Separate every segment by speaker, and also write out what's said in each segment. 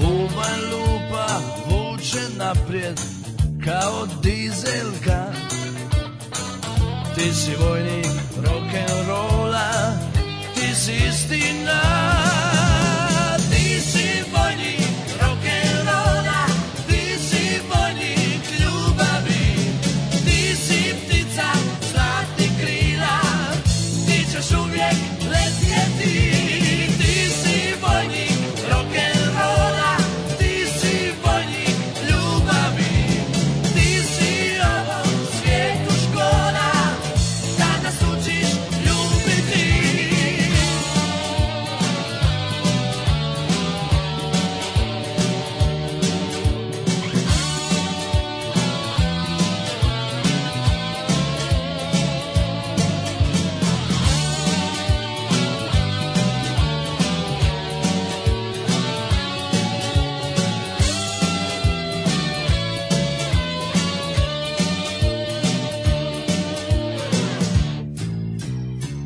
Speaker 1: Bubanj lupa vuče naprijed kao dizelka Ti si vojnik rock'n'rolla, ti si istina Ti si vojnik rock'n'rolla, ti si vojnik ljubavi Ti si ptica zlatnih krila, ti ćeš uvijek letjeti Ti si vojnik rock'n'rolla, ti si vojnik ljubavi Ti si ovom svijetu škola, da nas učiš ljubiti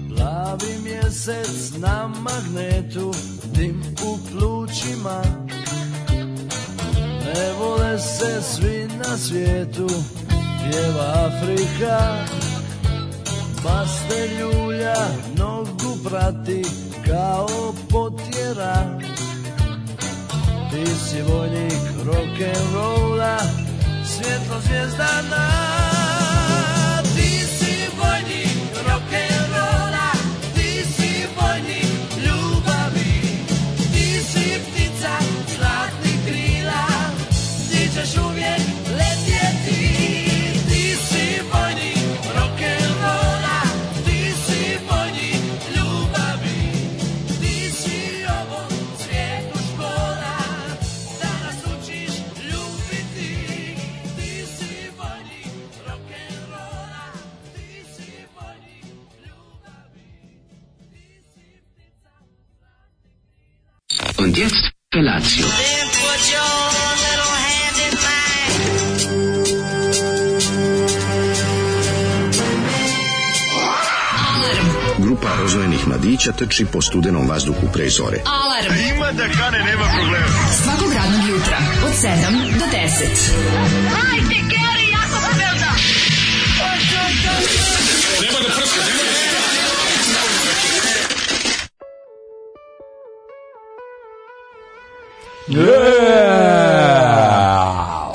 Speaker 1: Plavi mjesec na magnetu, dim u plućima Ne vole se svi na svijetu, pjeva Afrika Maste ljulja nogu prati kao potjera Ti si vojnik rock'n'rolla, svjetlo zvijezdana Ti si vojnik rock'n'rolla, ti si vojnik ljubavi Ti si ptica zlatnih krila, ti ćeš uvijek letjeti Ti si vojnik rock'n'rolla, ti si vojnik ljubavi Ti si ovom svijetu škola, da nas učiš ljubiti Ti si vojnik rock'n'rolla, ti si vojnik ljubavi Ti si ptica zlatnih krila
Speaker 2: Und jetzt Felatio.
Speaker 3: Then put your little hand in mine.
Speaker 4: Grupa rozvojenih mladića trči po studenom vazduhu pre zore.
Speaker 5: Alarm. Ima da kane, nema problema. Svakog radnog jutra, od 7 do 10. Hajde, Geri, jako se velda.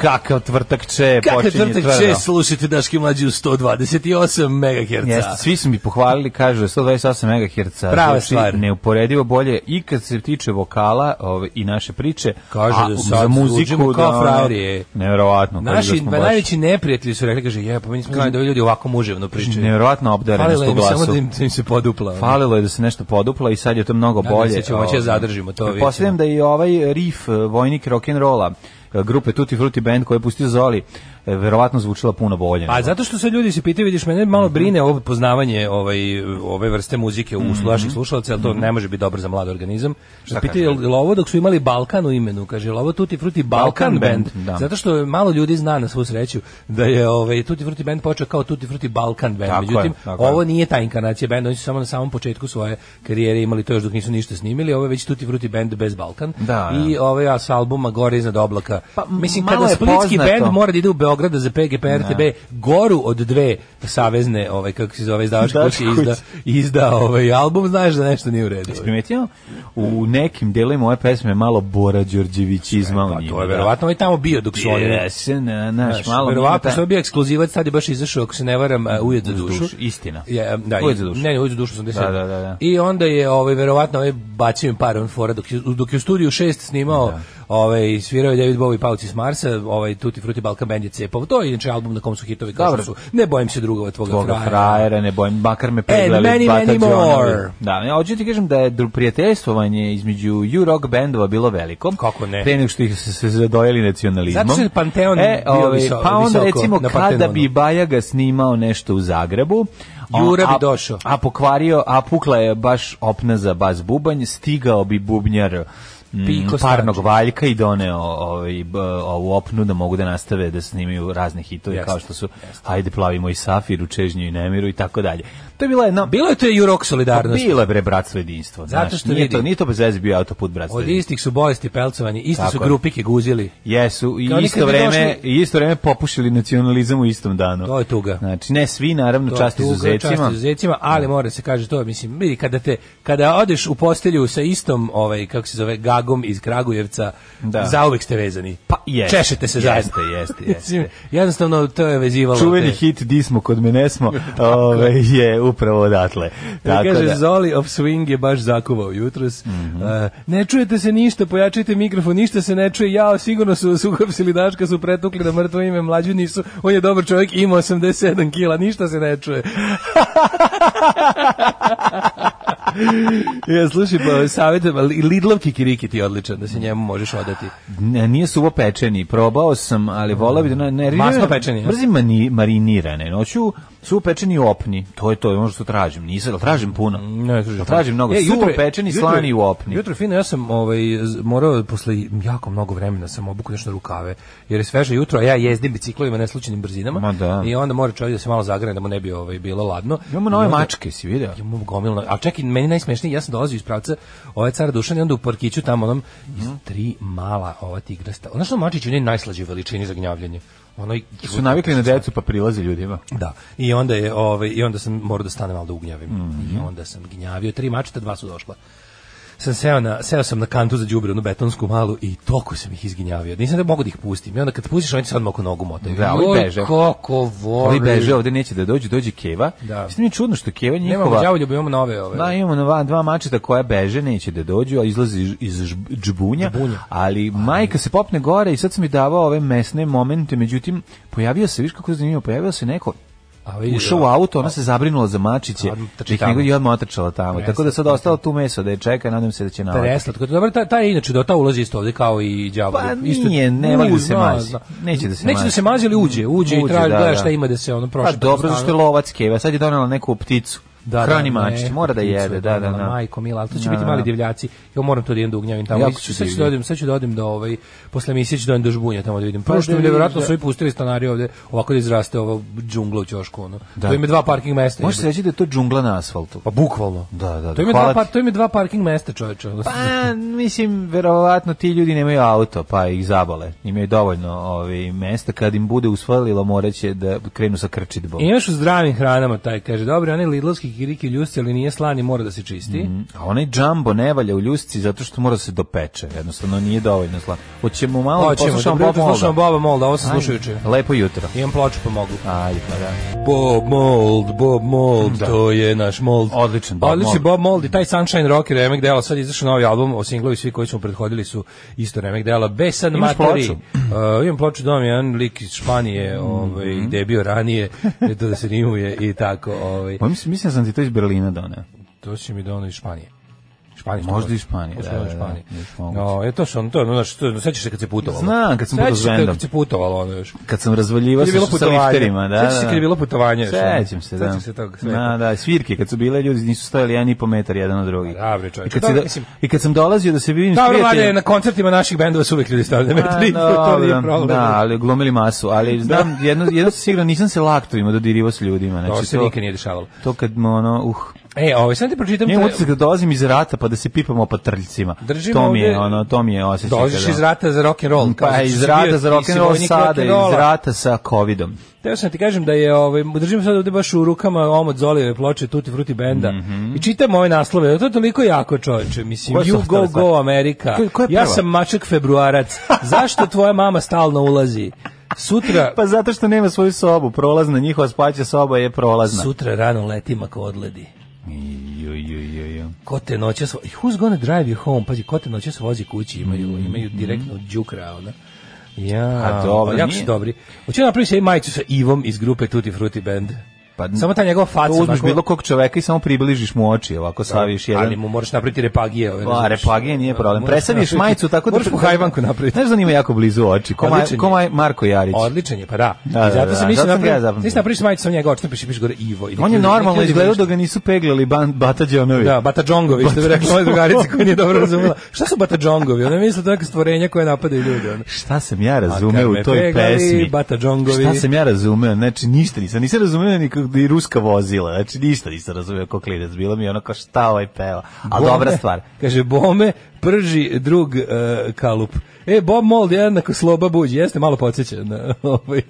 Speaker 6: Kakav tvrtak če,
Speaker 7: Kako je
Speaker 6: počinje
Speaker 7: tvrtak će, slušajte Daške mlađe u 128 MHz.
Speaker 6: Jeste, svi su mi pohvalili, kažu da je 128 MHz.
Speaker 7: Prava
Speaker 6: zvuči
Speaker 7: stvar.
Speaker 6: Neuporedivo bolje i kad se tiče vokala ove, i naše priče.
Speaker 7: Kažu
Speaker 6: a
Speaker 7: da sad zvučimo kao
Speaker 6: ono,
Speaker 7: frajeri.
Speaker 6: Neverovatno. kažu da
Speaker 7: Naši
Speaker 6: smo
Speaker 7: ba,
Speaker 6: baš
Speaker 7: najveći neprijatelji su rekli, kaže, je, pa mi nismo znali da ovi ljudi ovako muževno pričaju.
Speaker 6: Neverovatno obdarenost
Speaker 7: Falilo
Speaker 6: u
Speaker 7: im samo
Speaker 6: glasu.
Speaker 7: da im, da im se podupla. ono.
Speaker 6: Falilo je da se nešto podupla i sad je to mnogo
Speaker 7: Nadam
Speaker 6: bolje.
Speaker 7: se ćemo moći da
Speaker 6: Ovaj,
Speaker 7: zadržimo to, vidjet
Speaker 6: Pretpostavljam da je i ovaj riff, eh, vojnik rock'n'rolla, eh, grupe Tutti Frutti Band koje je pustio Zoli, eh, verovatno zvučila puno bolje.
Speaker 7: Pa zato što se ljudi se pitaju, vidiš, mene malo
Speaker 6: Mhm.
Speaker 7: brine ovo poznavanje ovaj, ove vrste muzike u
Speaker 6: Mhm.
Speaker 7: naših slušalaca, ali to ne može biti dobro za mlad organizam. Šta pitaju, je li ovo dok su imali Balkan u imenu, kaže, je li ovo Tutti Frutti Balkan,
Speaker 6: Balkan
Speaker 7: band?
Speaker 6: band, da.
Speaker 7: Zato što malo ljudi zna na svu sreću da je ovaj, Tutti Frutti band počeo kao Tutti Frutti Balkan band.
Speaker 6: Tako je,
Speaker 7: Međutim,
Speaker 6: tako je.
Speaker 7: ovo nije ta inkarnacija benda, oni su samo na samom početku svoje karijere imali to još dok nisu ništa snimili, ovo je već Tutti Frutti band bez Balkan.
Speaker 6: Da,
Speaker 7: I ovaj a, sa albuma Gore iznad oblaka.
Speaker 6: Pa, m-
Speaker 7: Mislim,
Speaker 6: malo
Speaker 7: kada
Speaker 6: je
Speaker 7: splitski
Speaker 6: poznato.
Speaker 7: band mora da ide u Beograda za PGP RTB goru od dve savezne, ovaj kako se zove izdavačke kuće
Speaker 6: Izdavačke
Speaker 7: izda izda ovaj album, znaš da nešto nije u redu.
Speaker 6: Jesi primetio? U nekim delovima ove pesme malo Bora Đorđevićizma u
Speaker 7: Pa
Speaker 6: njima.
Speaker 7: to je
Speaker 6: da.
Speaker 7: verovatno i tamo bio dok su oni.
Speaker 6: Jesen, na, naš,
Speaker 7: Znaš,
Speaker 6: malo
Speaker 7: verovatno što je
Speaker 6: minuta.
Speaker 7: bio ekskluzivac, sad je baš izašao, ako se ne varam, a, Ujed za
Speaker 6: Uz
Speaker 7: dušu.
Speaker 6: dušu, istina.
Speaker 7: Je, da,
Speaker 6: Ujed
Speaker 7: i-
Speaker 6: za dušu.
Speaker 7: Ne, ne, Ujed za dušu sam
Speaker 6: Da, da, da, da.
Speaker 7: I onda je ovaj verovatno ovaj bacio im par on fora dok je, dok je u studiju 6 snimao, ovaj svirao je David Bowie i Pauci s Marsa, ovaj Tutti Frutti Balkan Band je cepao. To je inače album na kom su hitovi kao što
Speaker 6: Dobro.
Speaker 7: su Ne bojim se drugova tvoga,
Speaker 6: Tvoga
Speaker 7: frajera.
Speaker 6: frajera, ne bojim, makar me pregledali.
Speaker 7: many,
Speaker 6: Bata
Speaker 7: many
Speaker 6: Đonovi.
Speaker 7: more.
Speaker 6: Da, ja hoću ti kažem da je dru- prijateljstvovanje između U-Rock bendova bilo veliko.
Speaker 7: Kako ne?
Speaker 6: Pre nego što ih se, se zadojeli nacionalizmom.
Speaker 7: Zato što je Panteon
Speaker 6: e,
Speaker 7: bio
Speaker 6: ovaj,
Speaker 7: viso-
Speaker 6: Pa onda
Speaker 7: visoko
Speaker 6: recimo
Speaker 7: na
Speaker 6: kada
Speaker 7: Panteonu.
Speaker 6: bi Bajaga snimao nešto u Zagrebu, a-
Speaker 7: Jura bi
Speaker 6: a-
Speaker 7: došao.
Speaker 6: A pokvario, a pukla je baš opna za bas bubanj, stigao bi bubnjar mm,
Speaker 7: Piko
Speaker 6: parnog
Speaker 7: Stančić.
Speaker 6: valjka i doneo ovaj, b- ovu opnu da mogu da nastave da snimaju razne hitove
Speaker 7: Jeste,
Speaker 6: kao što su Ajde plavimo i Safir u Čežnju i Nemiru i tako dalje. To je bila jedna...
Speaker 7: Bilo je to i Jurok solidarnost.
Speaker 6: Bilo je bre bratstvo jedinstvo.
Speaker 7: Zato
Speaker 6: znaš,
Speaker 7: što
Speaker 6: nije
Speaker 7: vidi-
Speaker 6: to, nije to bez veze bio autoput bratstvo
Speaker 7: Od istih su bolesti pelcovani, isti su
Speaker 6: Tako je.
Speaker 7: grupike guzili.
Speaker 6: Jesu i
Speaker 7: Kao nikad
Speaker 6: isto
Speaker 7: bi
Speaker 6: vreme
Speaker 7: došli-
Speaker 6: i isto vreme popušili nacionalizam u istom danu.
Speaker 7: To je tuga.
Speaker 6: Znači ne svi naravno
Speaker 7: To
Speaker 6: čast
Speaker 7: tuga,
Speaker 6: izuzećima.
Speaker 7: Čast izuzecima, ali mora se kaže to, mislim, vidi, kada, te, kada odeš u postelju sa istom, ovaj, kako se zove, gagom iz Kragujevca,
Speaker 6: Da.
Speaker 7: zauvek ste vezani.
Speaker 6: Pa, jeste.
Speaker 7: Češete se
Speaker 6: Jeste,
Speaker 7: zajedno.
Speaker 6: jeste, jeste.
Speaker 7: Mislim, Jednostavno, to je vezivalo.
Speaker 6: Čuveni
Speaker 7: te-
Speaker 6: hit Di smo kod mene smo ove, je upravo odatle.
Speaker 7: Da
Speaker 6: Tako
Speaker 7: kaže,
Speaker 6: da, Mhm.
Speaker 7: Zoli of Swing je baš zakuvao jutros. E, ne čujete se ništa, pojačajte mikrofon, ništa se ne čuje. Jao, sigurno su vas uhapsili Daška, su pretukli na mrtvo ime, mlađu nisu. On je dobar čovjek, ima 87 kila, ništa se ne čuje. ja, slušaj, pa, savjet, Lidlov kikiriki ti je odličan, da se njemu možeš odati.
Speaker 6: n- nije suvo pečeni, probao sam, ali volao bi da ne, ne
Speaker 7: Masno pečeni, ja?
Speaker 6: Mrzim mani, marinirane. Noću suvo pečeni i opni. To je to, ono što tražim. Nisam, jel tražim puno. Jel tražim Pa mnogo.
Speaker 7: E,
Speaker 6: suvo
Speaker 7: je-
Speaker 6: pečeni,
Speaker 7: jutro je-
Speaker 6: slani i u opni.
Speaker 7: Jutro fino, ja sam ovaj, z- morao, posle jako mnogo vremena sam obuku nešto rukave, jer je sveže jutro, a ja jezdim biciklovima na slučajnim brzinama.
Speaker 6: Ma da.
Speaker 7: I onda mora čovjek da se malo zagrane, da mu ne bi ovaj, bilo ladno.
Speaker 6: Imamo
Speaker 7: I
Speaker 6: nove
Speaker 7: onda-
Speaker 6: mačke, si vidio?
Speaker 7: Imamo gomilno. A čekaj, meni najsmešnije, ja sam dolazio iz pravca ovaj car Dušan i onda u parkiću tamo onom iz
Speaker 6: Mhm.
Speaker 7: tri mala ova tigrasta. Ono što mačići ne najslađe u veličini za gnjavljanje. Ono
Speaker 6: Su navikli na decu pa prilaze ljudima.
Speaker 7: da. I onda je ovaj i onda sam morao da stanem malo da ugnjavim.
Speaker 6: Mhm.
Speaker 7: I onda sam gnjavio tri mačeta, dva su došla. Sam seo, na, seo sam na kantu za đubre, onu betonsku malu i toliko sam ih izginjavio. Nisam da mogu da ih pustim. I onda kad pustiš, oni ti sad mogu nogu motaju.
Speaker 6: Da, ovi
Speaker 7: Joj,
Speaker 6: beže.
Speaker 7: Kako voli.
Speaker 6: Oni beže, ovde neće da dođu, dođe Keva.
Speaker 7: Da.
Speaker 6: Mislim mi je čudno što Keva
Speaker 7: Nemamo
Speaker 6: njihova...
Speaker 7: đavoljuba, imamo nove ove.
Speaker 6: Da, imamo nova, dva mačeta koja beže, neće da dođu, a izlazi iz- iz žb- džbunja,
Speaker 7: Džbunja.
Speaker 6: ali majka se popne gore i sad sam mi davao ove mesne momente, međutim, pojavio se, viš kako je zanimljivo, pojavio se neko,
Speaker 7: A vidi,
Speaker 6: ušao u
Speaker 7: da.
Speaker 6: auto, ona se zabrinula za mačiće,
Speaker 7: Odmah trči
Speaker 6: da ih
Speaker 7: tamo.
Speaker 6: nego i odmah otrčala tamo,
Speaker 7: Preslatko.
Speaker 6: tako da sad ostalo tu meso da je čeka, nadam se da će navati.
Speaker 7: Preslatko. Dobro, ta, ta je inače do ta ulazi isto ovde kao i đavo.
Speaker 6: Pa nije, ne voli da se mazi. Neće da se
Speaker 7: Neće da
Speaker 6: mazi.
Speaker 7: se mazi, ali uđe, uđe, i
Speaker 6: Uđe,
Speaker 7: traži
Speaker 6: da,
Speaker 7: da,
Speaker 6: da.
Speaker 7: šta ima da se ono prošlo.
Speaker 6: Pa dobro, zašto je lovac Keva, sad je donela neku pticu,
Speaker 7: da,
Speaker 6: hrani
Speaker 7: da,
Speaker 6: mačiće,
Speaker 7: ne,
Speaker 6: mora da
Speaker 7: pticu je
Speaker 6: jede, da, da,
Speaker 7: donela,
Speaker 6: da.
Speaker 7: Majko mila, ali to će
Speaker 6: Da,
Speaker 7: biti
Speaker 6: da.
Speaker 7: mali divljaci. Ja moram to da idem da ugnjavim tamo.
Speaker 6: Jako
Speaker 7: Jako
Speaker 6: su
Speaker 7: sad ću
Speaker 6: divni.
Speaker 7: da odem, sad ću da odem do ovaj posle emisije ću da odem do žbunja tamo da vidim. Prvo što
Speaker 6: Pa da
Speaker 7: mi je
Speaker 6: vidiš,
Speaker 7: verovatno
Speaker 6: da.
Speaker 7: su i pustili stanari ovde, ovako da izraste ova džungla u ćošku ono.
Speaker 6: Da.
Speaker 7: To ima dva parking mesta.
Speaker 6: Može se reći da je to džungla na asfaltu.
Speaker 7: pa bukvalno.
Speaker 6: Da, da, da,
Speaker 7: To ima
Speaker 6: hvala
Speaker 7: dva, pa-
Speaker 6: ti.
Speaker 7: par, to ima dva parking mesta, čoveče. ono.
Speaker 6: Pa, mislim, verovatno ti ljudi nemaju auto, pa ih zabole. Imaju dovoljno ovaj, mesta. Kad im bude usvalilo, moraće da krenu sa krčitbom.
Speaker 7: I Imaš u zdravim hranama taj, kaže, dobro, onaj lidlovski kiriki ljusci, ali nije slani, mora da se čisti.
Speaker 6: A onaj džambo ne valja u ljusci zato što mora da se dopeče. Jednostavno nije dovoljno slan. Hoćemo malo da
Speaker 7: Pa Hoćemo,
Speaker 6: poslušamo
Speaker 7: dobro
Speaker 6: Bob
Speaker 7: jutro,
Speaker 6: Molda.
Speaker 7: slušamo Boba Molda, ovo sam
Speaker 6: Ajde.
Speaker 7: slušao juče.
Speaker 6: Lepo jutro.
Speaker 7: Imam ploču pa mogu.
Speaker 6: Ajde, pa da.
Speaker 7: Bob Mold, Bob Mold,
Speaker 6: Da.
Speaker 7: to je naš Mold.
Speaker 6: Odličan Bob
Speaker 7: Odličan
Speaker 6: Mold.
Speaker 7: Bob Mold i taj Sunshine Rocker remek dela, sad je izašao novi album, o singlovi svi koji su mu prethodili su isto remek dela. Besan
Speaker 6: Imaš
Speaker 7: Matari.
Speaker 6: ploču? Mhm.
Speaker 7: Uh, imam ploču dom, jedan lik iz Španije, ovaj, gde je bio ranije, eto da se rimuje i tako. Ovaj.
Speaker 6: Pa mislim, mislim da sam ti to iz Berlina doneo.
Speaker 7: To si mi donao iz Španije. Španije.
Speaker 6: Možda
Speaker 7: to-
Speaker 6: iz Španije,
Speaker 7: možda
Speaker 6: da,
Speaker 7: iz
Speaker 6: da, da,
Speaker 7: Španije.
Speaker 6: još moguće.
Speaker 7: No, je to što on to, no, znači, to, sećaš se kad se putovalo.
Speaker 6: Znam, kad sam putovao s
Speaker 7: Sećaš se
Speaker 6: bendom.
Speaker 7: Kad se putovalo ono još.
Speaker 6: Kad sam razvaljivao
Speaker 7: Kad je bilo
Speaker 6: sa, sa
Speaker 7: putovanje.
Speaker 6: lifterima. Da,
Speaker 7: Sećaš se
Speaker 6: da.
Speaker 7: kad je bilo putovanje još,
Speaker 6: Sećam
Speaker 7: ono?
Speaker 6: se, da.
Speaker 7: Sećaš se toga svega.
Speaker 6: Da, da, svirke kad su bile ljudi nisu stajali jedan i po metar jedan od drugih.
Speaker 7: Pa, dobre, čoveče.
Speaker 6: I kad, se
Speaker 7: Dobro,
Speaker 6: da,
Speaker 7: mislim-
Speaker 6: I kad sam dolazio da se vidim s
Speaker 7: Dobro, mlade,
Speaker 6: prijateljem-
Speaker 7: na koncertima naših bendova su uvek ljudi stavljaju
Speaker 6: A,
Speaker 7: metri, to
Speaker 6: dobro,
Speaker 7: nije problem.
Speaker 6: Da, ali glomili masu, ali znam, jedno, jedno sam sigurno, nisam se laktovima dodirivao s ljudima. Znači,
Speaker 7: To se nikad nije dešavalo.
Speaker 6: To kad, mu, ono, uh,
Speaker 7: E, ovaj, sad ti pročitam...
Speaker 6: Nije
Speaker 7: te-
Speaker 6: utisak da dolazim iz rata pa da se pipamo po trljcima.
Speaker 7: Držim
Speaker 6: to mi je,
Speaker 7: ovde-
Speaker 6: ono, to mi je osjećaj.
Speaker 7: Dođeš
Speaker 6: kada-
Speaker 7: iz rata za rock and roll.
Speaker 6: Pa iz rata za rock'n'roll sada, iz rata sa covidom.
Speaker 7: Teo sam ti kažem da je, ovaj, držim sad ovde baš u rukama omot Zolijeve ploče Tutti Frutti Benda i čitam ove naslove, to je toliko jako čoveče, mislim,
Speaker 6: Mhm. Koje su
Speaker 7: you go
Speaker 6: ostale stvari?
Speaker 7: go Amerika,
Speaker 6: Ko- ko je
Speaker 7: ja
Speaker 6: prva?
Speaker 7: sam mačak februarac, zašto tvoja mama stalno ulazi? Sutra,
Speaker 6: Pa zato što nema svoju sobu, prolazna, njihova spaća soba je prolazna.
Speaker 7: sutra rano letim ako odledi.
Speaker 6: Ju, ju, ju, ju.
Speaker 7: Ko te noćas, vo- who's gonna drive you home, pazi, ko te noćas vozi kući, imaju, imaju direktno od đukra, ona. Ja,
Speaker 6: Mhm. A dobro,
Speaker 7: pa jako
Speaker 6: nije.
Speaker 7: su dobri. Hoću da napravim se i majicu sa Ivom iz grupe Tutti Frutti Band.
Speaker 6: Pa,
Speaker 7: Samo ta njegova faca.
Speaker 6: To uzmeš
Speaker 7: onako-
Speaker 6: bilo kog čoveka i samo približiš mu oči, ovako slaviš jedan...
Speaker 7: Ali mu moraš napraviti repagije. Ove,
Speaker 6: Pa,
Speaker 7: razumeš?
Speaker 6: repagije nije problem.
Speaker 7: Moraš
Speaker 6: Presadiš
Speaker 7: napraviti-
Speaker 6: majicu tako da...
Speaker 7: Moraš mu hajvanku napraviti.
Speaker 6: Znaš da njima jako blizu oči. Ko, maj,
Speaker 7: Odličan je.
Speaker 6: ko maj- Marko Jarić.
Speaker 7: Odličan je, pa da. I
Speaker 6: Da, da,
Speaker 7: zato
Speaker 6: da,
Speaker 7: sam
Speaker 6: zato
Speaker 7: mislio
Speaker 6: sam ga
Speaker 7: napraviti-
Speaker 6: ja zapamtio.
Speaker 7: nisi napraviš majicu sa njega, očito piše piše gore Ivo. I neki
Speaker 6: On je
Speaker 7: ljudi- neki
Speaker 6: normalno
Speaker 7: ljudi
Speaker 6: izgledao
Speaker 7: vide
Speaker 6: da ga nisu peglali ban, Bata Đonović.
Speaker 7: Da, Batadžongovi, što bi rekla moja drugarica koja nije dobro razumela. Šta su Batadžongovi? Ona misli da neka stvorenja koja napadaju ljude. ono. Ona.
Speaker 6: Šta sam ja razumeo
Speaker 7: A
Speaker 6: u
Speaker 7: kad me
Speaker 6: toj
Speaker 7: pegali,
Speaker 6: pesmi?
Speaker 7: batadžongovi.
Speaker 6: Šta sam ja razumeo? Znači, ništa nisam. Nisam razumeo ni kako i ruska vozila. Znači, ništa nisam razumeo kako klinac. Bilo mi je ono kao šta ovaj peva. Ali dobra
Speaker 7: Bome,
Speaker 6: stvar.
Speaker 7: Kaže, bome prži drug e, kalup. E, Bob Mold je jednako sloba buđ. Jeste, malo podsjeća na ovaj.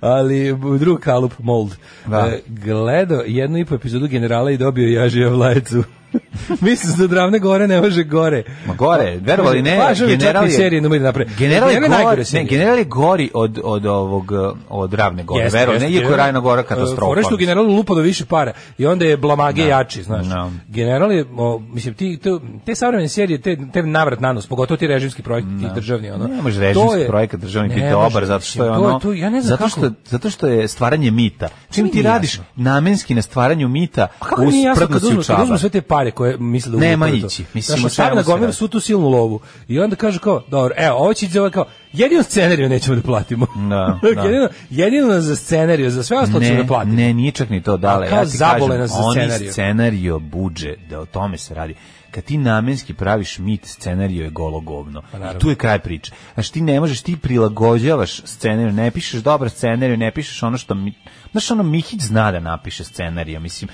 Speaker 7: Ali b- drug kalup Mold.
Speaker 6: Da.
Speaker 7: E, gledao jednu i po epizodu generala i dobio jažija vlajcu. Mislim da dravne gore ne može gore.
Speaker 6: Ma gore, verovali ne,
Speaker 7: Važno je
Speaker 6: general
Speaker 7: čak i
Speaker 6: je...
Speaker 7: serije numeri napred.
Speaker 6: General je, gori,
Speaker 7: najgore
Speaker 6: ne,
Speaker 7: serije.
Speaker 6: general je gori od, od ovog, uh, od ravne gore. Jeste, verovali, ne, iako je Ravna gora katastrofa.
Speaker 7: Foreš tu E, general lupa do više para i onda je blamage jači, znaš.
Speaker 6: Da.
Speaker 7: General je, o, mislim, ti, te, te savremene serije, te, te navrat nanos, pogotovo ti režimski projekti, ti državni, ono.
Speaker 6: Ne može
Speaker 7: to
Speaker 6: režimski
Speaker 7: je-
Speaker 6: projekat državni
Speaker 7: Ne
Speaker 6: biti
Speaker 7: može,
Speaker 6: dobar zato što je
Speaker 7: mislim, to
Speaker 6: ono
Speaker 7: to, ja ne znam
Speaker 6: zato
Speaker 7: kako-
Speaker 6: što zato što je stvaranje mita. Čim
Speaker 7: mi
Speaker 6: ti
Speaker 7: nije
Speaker 6: radiš
Speaker 7: jasno?
Speaker 6: namenski na stvaranju mita,
Speaker 7: A kako nije jasno
Speaker 6: usprdno
Speaker 7: kad
Speaker 6: si
Speaker 7: uzmu, kad
Speaker 6: učava.
Speaker 7: uzmu sve te pare koje misle da
Speaker 6: Nema
Speaker 7: uvuku u to?
Speaker 6: ići, mislim,
Speaker 7: Znaš,
Speaker 6: o čemu
Speaker 7: stavi na
Speaker 6: se
Speaker 7: gomilu
Speaker 6: radi?
Speaker 7: svu tu silnu lovu i onda kaže kao, dobro, evo, ovo će ići za ovaj kao, jedino scenariju nećemo da platimo.
Speaker 6: Da, da.
Speaker 7: jedino, jedino za scenariju, za sve ostalo ćemo
Speaker 6: ne,
Speaker 7: da platimo.
Speaker 6: ne, nije čak ni to dale.
Speaker 7: A kao
Speaker 6: ja ti
Speaker 7: zabole
Speaker 6: kažem,
Speaker 7: nas za
Speaker 6: oni
Speaker 7: scenarijo.
Speaker 6: scenarijo buđe, da o tome se radi. Kad ti namenski praviš mit, scenarijo je golo govno.
Speaker 7: Pa
Speaker 6: I tu je kraj priče. Znači ti ne možeš, ti prilagođavaš scenariju, ne pišeš dobar scenariju, ne pišeš ono što... Mi, znaš, ono Mihić zna da napiše scenariju, mislim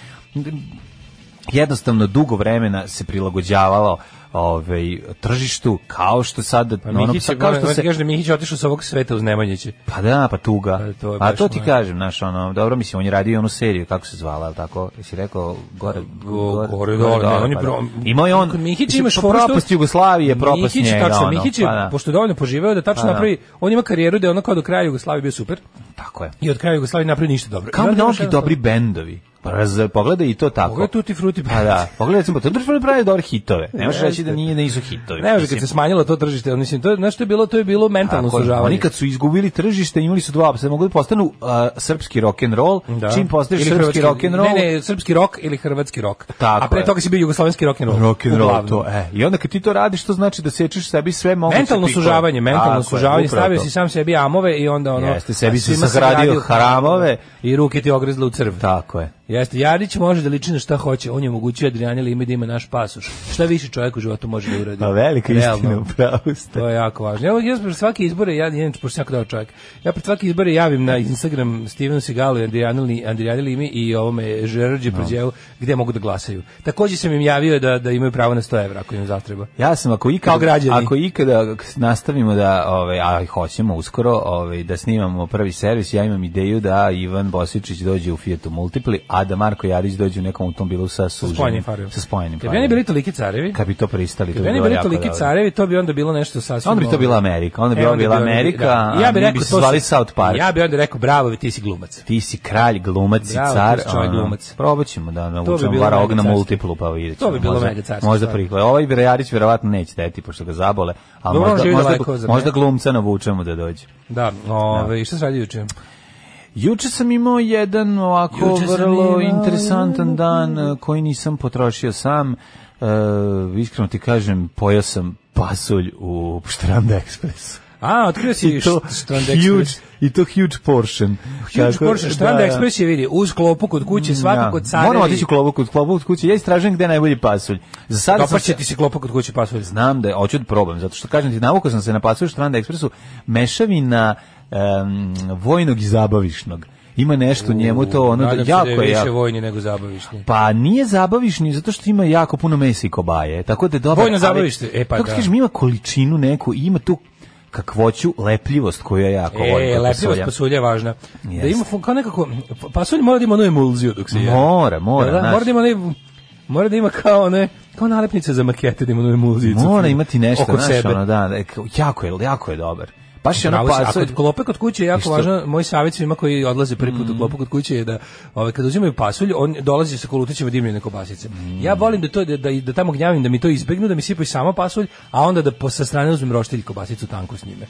Speaker 6: jednostavno dugo vremena se prilagođavalo ovaj tržištu kao što sad
Speaker 7: Pa
Speaker 6: ono,
Speaker 7: Mihić,
Speaker 6: sad
Speaker 7: je,
Speaker 6: kao što se
Speaker 7: Kaže da je Mihić otišao sa ovog sveta uz Nemanjići.
Speaker 6: Pa da, pa tuga.
Speaker 7: Pa to je
Speaker 6: A
Speaker 7: baš
Speaker 6: to ti
Speaker 7: ono-
Speaker 6: kažem, znaš, ono, dobro, mislim, on je radio i onu seriju, kako se zvala, ali tako, jesi rekao, Pa gore,
Speaker 7: Go- gore, dole, ne, on je
Speaker 6: pa
Speaker 7: pro-
Speaker 6: da. Imao je on,
Speaker 7: Kod Mihića
Speaker 6: mislim,
Speaker 7: imaš
Speaker 6: po
Speaker 7: foru što-
Speaker 6: propast Jugoslavije, propast
Speaker 7: Mihić,
Speaker 6: njega,
Speaker 7: tačno,
Speaker 6: ono,
Speaker 7: Mihić je,
Speaker 6: pa da.
Speaker 7: pošto je dovoljno poživeo da tačno
Speaker 6: Pa da.
Speaker 7: napravi, on ima karijeru da je ono kao do kraja Jugoslavije bio super
Speaker 6: Tako je.
Speaker 7: i od kraja Jugoslavije napravi ništa dobro.
Speaker 6: Kao mnogi dobri bendovi. Pa raz, pogledaj i to tako.
Speaker 7: Pogledaj Tutti Frutti
Speaker 6: Pa da, pogledaj sam, pa to je pravi dobre hitove. Ne možeš reći da nije, da nisu hitovi.
Speaker 7: Ne, može
Speaker 6: mislim.
Speaker 7: kad se smanjilo to tržište, ali mislim to je znaš što je bilo, to je bilo mentalno
Speaker 6: Tako je.
Speaker 7: sužavanje.
Speaker 6: Oni kad su izgubili tržište, imali su dva opcije, mogli da postanu a, srpski rock and roll. Čim postaneš
Speaker 7: Ili
Speaker 6: srpski
Speaker 7: hrvatski-
Speaker 6: rock and roll,
Speaker 7: Ne, ne, srpski rock ili hrvatski rock.
Speaker 6: Tako
Speaker 7: A pre
Speaker 6: je.
Speaker 7: toga si bio jugoslovenski rock and roll.
Speaker 6: rock and roll
Speaker 7: uglavnom.
Speaker 6: to e i onda kad ti to radiš to znači da sečeš sebi sve moguće
Speaker 7: mentalno
Speaker 6: pikove.
Speaker 7: sužavanje, mentalno
Speaker 6: Tako je,
Speaker 7: sužavanje,
Speaker 6: upravo
Speaker 7: stavio
Speaker 6: to.
Speaker 7: si sam sebi amove i onda ono...
Speaker 6: Jeste, sebi si
Speaker 7: svima sam
Speaker 6: sagradio
Speaker 7: radio
Speaker 6: haramove.
Speaker 7: I ruke ti ogrezle u crv.
Speaker 6: tako je
Speaker 7: Jeste, Jarić može da liči na šta hoće, on je omogućio Adriani Limi da ima naš pasoš. Šta više čovjek u životu može da uradi?
Speaker 6: na Pa velika istina
Speaker 7: Realno.
Speaker 6: upravo ste
Speaker 7: To je jako važno. Evo, ja pred svake izbore, ja jedan pošto jako dao čovjek, ja pred svake izbore javim na Instagram Stevenu Segalu i Andrijanu Li- Andrijani Limi i ovome Žerđe Prđevu gde mogu da glasaju. Također sam im javio da, da imaju pravo na 100 evra ako im zatreba.
Speaker 6: Ja sam ako
Speaker 7: Kao
Speaker 6: ikada
Speaker 7: građani.
Speaker 6: ako ikada nastavimo da ovaj a i hoćemo uskoro ovaj da snimamo prvi servis ja imam ideju da Ivan Bosičić dođe u Fiatu Multipli a da Marko Jarić dođe u nekom automobilu sa suženim
Speaker 7: spojenim farima.
Speaker 6: sa spojenim
Speaker 7: Kad bi oni
Speaker 6: farima.
Speaker 7: bili toliki carevi,
Speaker 6: kad bi to pristali to
Speaker 7: Kad bi oni
Speaker 6: bilo
Speaker 7: bili
Speaker 6: jako
Speaker 7: toliki
Speaker 6: dobro.
Speaker 7: carevi, to bi onda bilo nešto sasvim...
Speaker 6: Onda bi to
Speaker 7: novo.
Speaker 6: bila Amerika, onda bi
Speaker 7: E,
Speaker 6: ovo bila
Speaker 7: bi oni-
Speaker 6: Amerika,
Speaker 7: da. I
Speaker 6: a mi bi se
Speaker 7: to
Speaker 6: zvali
Speaker 7: su-
Speaker 6: South Park.
Speaker 7: Ja bi onda rekao, bravo, ti si glumac.
Speaker 6: Ti si kralj, glumac i
Speaker 7: Bravo,
Speaker 6: car.
Speaker 7: ti si čovjek
Speaker 6: ono,
Speaker 7: glumac.
Speaker 6: Probat ćemo da
Speaker 7: bi
Speaker 6: naučimo
Speaker 7: bilo
Speaker 6: Vara
Speaker 7: mega
Speaker 6: Ogna
Speaker 7: carstvo.
Speaker 6: multiplu, pa vidjet ćemo.
Speaker 7: To bi bilo
Speaker 6: Možda-
Speaker 7: mega carstvo,
Speaker 6: Možda
Speaker 7: stvarno.
Speaker 6: prihla. Ovaj Brejarić vjerovatno neće deti, pošto ga zabole. Ali
Speaker 7: Dobro, on
Speaker 6: možda,
Speaker 7: živi
Speaker 6: možda,
Speaker 7: daleko, zar ne?
Speaker 6: možda glumca navučemo da dođe.
Speaker 7: Da, ove, i šta se radi juče?
Speaker 6: Juče sam imao jedan ovako
Speaker 7: Juče sam
Speaker 6: vrlo
Speaker 7: imao
Speaker 6: interesantan
Speaker 7: jedan
Speaker 6: dan eh, koji nisam potrošio sam. Eh, iskreno ti kažem, pojao sam pasulj u Štrand Expressu.
Speaker 7: A, otkrio si
Speaker 6: I to,
Speaker 7: št- Strand
Speaker 6: huge,
Speaker 7: Express.
Speaker 6: I to huge portion.
Speaker 7: Huge
Speaker 6: Tako- Mm,
Speaker 7: Porsche, Strand Express je vidi, uz klopu kod kuće, svakako
Speaker 6: Da.
Speaker 7: kod carevi.
Speaker 6: Moramo otići u klobu kod klobu kod kuće. Ja istražujem gde je najbolji pasulj. Za sad sam
Speaker 7: Dopašće
Speaker 6: se-
Speaker 7: Pa ti se klopa kod kuće pasulj.
Speaker 6: znam da je hoću da probam zato što kažem ti navukao sam se na pasulj Strand Expressu mešavina em, vojnog i zabavišnog. Ima nešto u njemu to ono da,
Speaker 7: Nadam se
Speaker 6: jako
Speaker 7: da
Speaker 6: je
Speaker 7: više
Speaker 6: jako.
Speaker 7: vojni nego zabavišni.
Speaker 6: Pa nije zabavišni zato što ima jako puno mesa i kobaje. Tako da je dobro.
Speaker 7: Vojno
Speaker 6: ali-
Speaker 7: zabavište, e, pa
Speaker 6: kako ti
Speaker 7: da.
Speaker 6: kažem, ima količinu neku, i ima tu kakvoću, lepljivost koju ja jako volim.
Speaker 7: E,
Speaker 6: kod
Speaker 7: lepljivost
Speaker 6: pa pasulja.
Speaker 7: pasulja je važna. Da
Speaker 6: Jeste.
Speaker 7: ima fun- kao nekako pasulj mora da ima onu emulziju dok se je.
Speaker 6: Mora, mora,
Speaker 7: Da, da,
Speaker 6: znaš.
Speaker 7: mora da ima onaj- mora da ima kao ne kao nalepnice za makete da ima onu emulziju.
Speaker 6: Mora imati nešto,
Speaker 7: oko
Speaker 6: znaš,
Speaker 7: sebe.
Speaker 6: ono, da, da, kao- jako je, jako je dobar. Baš je ono
Speaker 7: Pravo si, a
Speaker 6: pasulj.
Speaker 7: kod klope kod kuće je jako
Speaker 6: što?
Speaker 7: važno, moj savjet svima koji odlaze prvi put u
Speaker 6: Mm.
Speaker 7: klopu kod kuće je da ovaj, kad uzimaju pasulj, on dolazi sa kolutićima dimljene kobasice.
Speaker 6: Mm.
Speaker 7: Ja volim da, to, da, da, da tamo gnjavim, da mi to izbegnu, da mi sipaju samo pasulj, a onda da po, sa strane uzmem roštilj i kobasicu tanku s njime.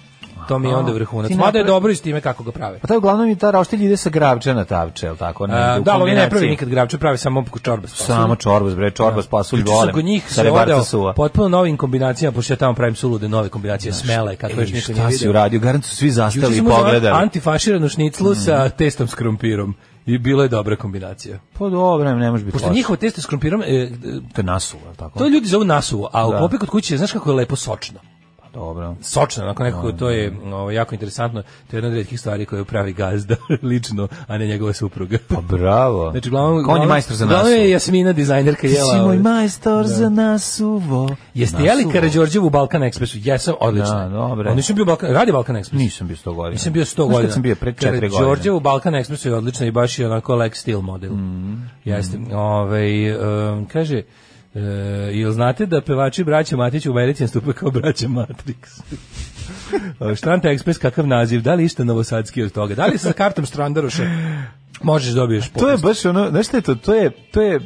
Speaker 7: to mi je onda vrhunac.
Speaker 6: Ti
Speaker 7: Mada je
Speaker 6: napravi-
Speaker 7: dobro i s time kako ga prave.
Speaker 6: Pa to je uglavnom i ta roštilj ide sa gravča na tavče, je li tako? Ne,
Speaker 7: A,
Speaker 6: ide u
Speaker 7: da, ali oni ne
Speaker 6: kombinaciji.
Speaker 7: pravi nikad gravče, pravi samo čorbe. s pasuljem.
Speaker 6: Samo čorba, bre, čorba s pasulj
Speaker 7: Juče sam
Speaker 6: volim.
Speaker 7: kod njih
Speaker 6: sa
Speaker 7: se
Speaker 6: rebarca
Speaker 7: odeo
Speaker 6: suva.
Speaker 7: potpuno novim kombinacijama, pošto ja tamo pravim sulude nove kombinacije smele, kako još
Speaker 6: Ej,
Speaker 7: niko nije
Speaker 6: e, šta si
Speaker 7: vidio.
Speaker 6: uradio? Garant su svi
Speaker 7: Juče
Speaker 6: zastali i
Speaker 7: sam uzeo
Speaker 6: pogledali. Mm.
Speaker 7: Antifaširanu šniclu sa testom s krumpirom. I bila je dobra kombinacija.
Speaker 6: Pa dobro, ne može biti
Speaker 7: Pošto
Speaker 6: loše.
Speaker 7: njihovo testo s krumpirom, e,
Speaker 6: To je nasuva, je li tako?
Speaker 7: to ljudi zovu nasu, a u
Speaker 6: Da.
Speaker 7: klopi kod kuće, znaš kako je lepo sočno?
Speaker 6: Dobro.
Speaker 7: sočno, onako nekako to je ovo, jako interesantno, to je jedna od redkih stvari koju pravi gazda lično, a ne njegova supruga.
Speaker 6: Pa bravo.
Speaker 7: Znači, uglavnom,
Speaker 6: Konji
Speaker 7: uglavnom-
Speaker 6: majstor za
Speaker 7: uglavnom
Speaker 6: nas.
Speaker 7: je Jasmina dizajnerka
Speaker 6: Ti
Speaker 7: jela.
Speaker 6: si moj
Speaker 7: ovaj,
Speaker 6: majstor za nasuvo.
Speaker 7: Jeste jeli
Speaker 6: Nasuvo?
Speaker 7: Karađorđevu Balkan Ekspresu? Jesam, odlično.
Speaker 6: Da, dobro.
Speaker 7: A nisam bio Balkan, radi Balkan Ekspres.
Speaker 6: Nisam bio 100 godina.
Speaker 7: Nisam bio 100
Speaker 6: Znaš kad
Speaker 7: godina.
Speaker 6: sam bio pre 4 godine.
Speaker 7: Karađorđevu Balkan Ekspresu je odlična i baš je onako Lex Steel model.
Speaker 6: Mhm.
Speaker 7: Jeste. Ovaj, em, kaže, e, jel znate da pevači braća Matić u Americi nastupe kao braća Matrix? E, Štranta Ekspres, kakav naziv? Da li išta novosadski od toga? Da li sa kartom Štrandaroša možeš dobiješ popis?
Speaker 6: To je baš ono, znaš šta je to? To je, to je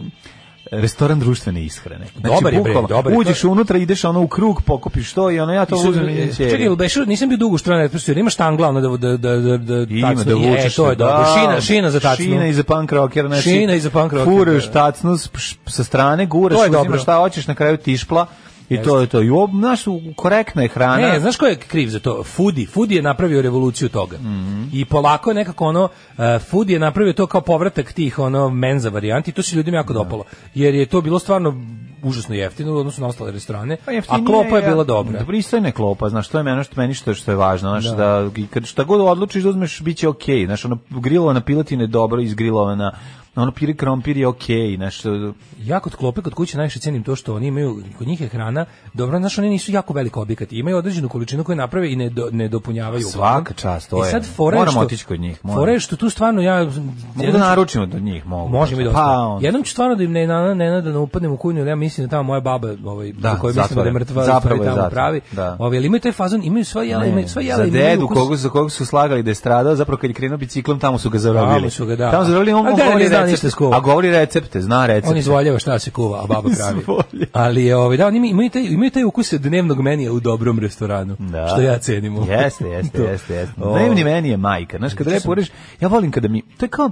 Speaker 6: restoran društvene ishrane. Znači,
Speaker 7: Dobar je, bre,
Speaker 6: bukvalno,
Speaker 7: dobar je.
Speaker 6: Uđeš unutra, ideš ono u krug, pokupiš to i ono ja to
Speaker 7: Sad,
Speaker 6: uzmem i
Speaker 7: e,
Speaker 6: neće.
Speaker 7: Čekaj, jel beš, nisam bio dugo u stranu ekspresu, jer ima štangla ono da, da, da, da, da,
Speaker 6: Ima
Speaker 7: tacnu.
Speaker 6: da vučeš.
Speaker 7: E, to je
Speaker 6: da,
Speaker 7: dobro. Šina, šina za tacnu.
Speaker 6: Šina i za punk rocker. Znači,
Speaker 7: Šina i za punk rocker,
Speaker 6: Furaš
Speaker 7: da.
Speaker 6: tacnu s- pš- sa strane, guraš,
Speaker 7: To je
Speaker 6: uzimaš
Speaker 7: dobro.
Speaker 6: šta hoćeš, na kraju tišpla. I to je to. I ovo, znaš, u- korektna je hrana.
Speaker 7: Ne, znaš ko je kriv za to? Fudi. Fudi je napravio revoluciju toga.
Speaker 6: Mhm.
Speaker 7: I polako je nekako ono, uh, Fudi je napravio to kao povratak tih ono menza varijanti i to se ljudima jako dopalo. Jer je to bilo stvarno užasno jeftino u odnosu na ostale restorane,
Speaker 6: Pa
Speaker 7: a
Speaker 6: jeftinije
Speaker 7: klopa je
Speaker 6: ja-
Speaker 7: bila dobra.
Speaker 6: Pristojna je klopa, znaš, to je meni ono što meni što što je važno, znaš da, i kad šta god odlučiš da uzmeš biće okej, znaš, ono grilovana piletina je dobro izgrilovana. Ono piri krompir je okej, znaš,
Speaker 7: Ja kod klope kod kuće najviše cenim to što oni imaju kod njih je hrana, dobro, znaš, oni nisu jako velik objekat, imaju određenu količinu koju naprave i ne, do- ne dopunjavaju.
Speaker 6: svaka čast, to
Speaker 7: I
Speaker 6: je.
Speaker 7: sad fore
Speaker 6: Moramo
Speaker 7: što,
Speaker 6: otići kod njih, moram.
Speaker 7: Fore je što tu stvarno ja
Speaker 6: Mogu da naručimo od njih, mogu.
Speaker 7: Možemo i dosta.
Speaker 6: Pa, onda.
Speaker 7: Jednom ću stvarno da im ne na ne da ne upadnem u kujnu, jer ja mislim da tamo moja baba, ovaj, da,
Speaker 6: Da,
Speaker 7: koja mislim da je
Speaker 6: zatvoren.
Speaker 7: mrtva,
Speaker 6: Zapravo
Speaker 7: zapravo
Speaker 6: je
Speaker 7: tamo
Speaker 6: zatvoren,
Speaker 7: pravi.
Speaker 6: da.
Speaker 7: Ovaj, ali imaju taj fazon, imaju sva jela, imaju sva jela.
Speaker 6: za
Speaker 7: imaju
Speaker 6: dedu
Speaker 7: ukus.
Speaker 6: kog, za kog su slagali da je stradao, zapravo kad je krenuo biciklom, tamo su ga zarobili.
Speaker 7: Tamo su ga, da.
Speaker 6: Tamo zarobili, on,
Speaker 7: A
Speaker 6: on
Speaker 7: da, ne
Speaker 6: govori
Speaker 7: zna
Speaker 6: recepte.
Speaker 7: ništa s kova.
Speaker 6: A govori recepte, zna recepte.
Speaker 7: On izvoljava šta se kuva, a baba pravi.
Speaker 6: Izvolje.
Speaker 7: ali je, ovaj, da, oni imaju taj, imaju taj ukus dnevnog menija u dobrom restoranu,
Speaker 6: Da.
Speaker 7: što ja cenim.
Speaker 6: Jeste, jeste,
Speaker 7: To.
Speaker 6: jeste, jeste.
Speaker 7: O.
Speaker 6: Dnevni meni je majka. Znaš, kada lepo ureš, ja volim kada mi, to je kao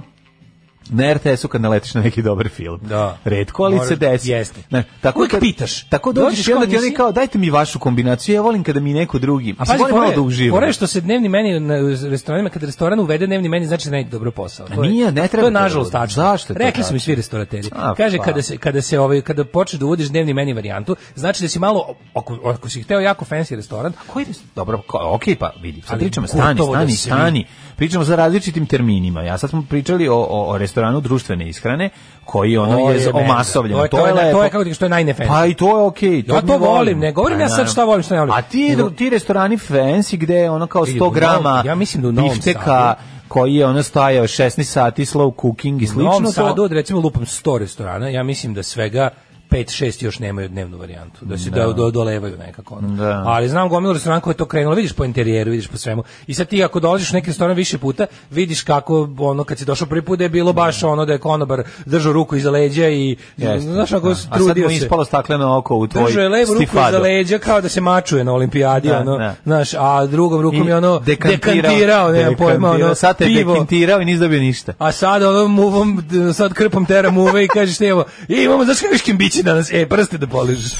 Speaker 6: na RTS-u kad naletiš na neki dobar film.
Speaker 7: Da.
Speaker 6: Redko, ali
Speaker 7: Moraš-
Speaker 6: se desi.
Speaker 7: jeste.
Speaker 6: Znaš, tako
Speaker 7: Uvijek
Speaker 6: kad-
Speaker 7: pitaš.
Speaker 6: Tako
Speaker 7: Dođeš
Speaker 6: dođeš i
Speaker 7: kao
Speaker 6: onda ti oni
Speaker 7: nisi-
Speaker 6: kao, dajte mi vašu kombinaciju, ja volim kada mi neko drugi.
Speaker 7: A pazi,
Speaker 6: volim malo
Speaker 7: fore,
Speaker 6: da uživam.
Speaker 7: fore je što se dnevni meni na restoranima, kad restoran uvede dnevni meni, znači da ne ide dobro posao.
Speaker 6: A
Speaker 7: To je-
Speaker 6: nije, ne treba
Speaker 7: To je
Speaker 6: to da
Speaker 7: nažalost
Speaker 6: bude.
Speaker 7: tačno.
Speaker 6: Zašto je to
Speaker 7: Rekli su mi
Speaker 6: tačno?
Speaker 7: svi restorateri.
Speaker 6: A,
Speaker 7: Kaže,
Speaker 6: pa.
Speaker 7: kada se, kada se ovaj, kada počneš da uvodiš dnevni meni varijantu, znači da si malo, ako, ako si hteo jako fancy restoran,
Speaker 6: Koji je, dobro, ko, ok, pa vidi, sad
Speaker 7: Ali
Speaker 6: pričamo, stani,
Speaker 7: gotovo da
Speaker 6: stani,
Speaker 7: svi-
Speaker 6: stani. Pričamo za različitim terminima. Ja sad smo pričali o, o, o restoranu društvene ishrane, koji ono
Speaker 7: To
Speaker 6: je,
Speaker 7: je menza.
Speaker 6: omasovljen.
Speaker 7: To je- to je-
Speaker 6: lepo.
Speaker 7: to je kako ti- što je najnefancy.
Speaker 6: Pa i to je okej.
Speaker 7: Ja to volim, ne govorim
Speaker 6: Pa,
Speaker 7: ja sad
Speaker 6: naravno.
Speaker 7: šta volim, šta ne volim.
Speaker 6: A ti,
Speaker 7: Nego-
Speaker 6: ti restorani fancy gde je ono kao
Speaker 7: Vidi,
Speaker 6: 100
Speaker 7: u Novom-
Speaker 6: grama
Speaker 7: ja mislim da u Novom
Speaker 6: bifteka,
Speaker 7: Sadu-
Speaker 6: koji je ono stajao 16 sati slow cooking i
Speaker 7: u
Speaker 6: slično.
Speaker 7: Novom
Speaker 6: to-
Speaker 7: Sadu, od recimo lupam 100 restorana, ja mislim da svega 5-6 još nemaju dnevnu varijantu, da se da. do, dolevaju nekako. ono.
Speaker 6: Da.
Speaker 7: Ali znam gomilu restorana koja je to krenula, vidiš po interijeru, vidiš po svemu. I sad ti ako dolaziš u neki restoran više puta, vidiš kako ono kad si došao prvi put da je bilo baš ono da je konobar držao ruku iza leđa i
Speaker 6: Jeste,
Speaker 7: znaš ako
Speaker 6: da.
Speaker 7: se
Speaker 6: A sad
Speaker 7: trudio
Speaker 6: mu je
Speaker 7: se.
Speaker 6: ispalo stakleno oko u tvoj
Speaker 7: Držao je levu ruku
Speaker 6: stifado.
Speaker 7: iza leđa kao da se mačuje na olimpijadi,
Speaker 6: Da,
Speaker 7: ono,
Speaker 6: da.
Speaker 7: znaš, a drugom rukom
Speaker 6: I
Speaker 7: je ono dekantirao, nema pojma, ono,
Speaker 6: Sad te je
Speaker 7: pivo,
Speaker 6: dekantirao i nisi dobio ništa.
Speaker 7: a sad ono muvom, d- sad krpom teram uve i kažeš ti evo, i imamo, znaš kakvi škimbići danas, e, prste da poližeš.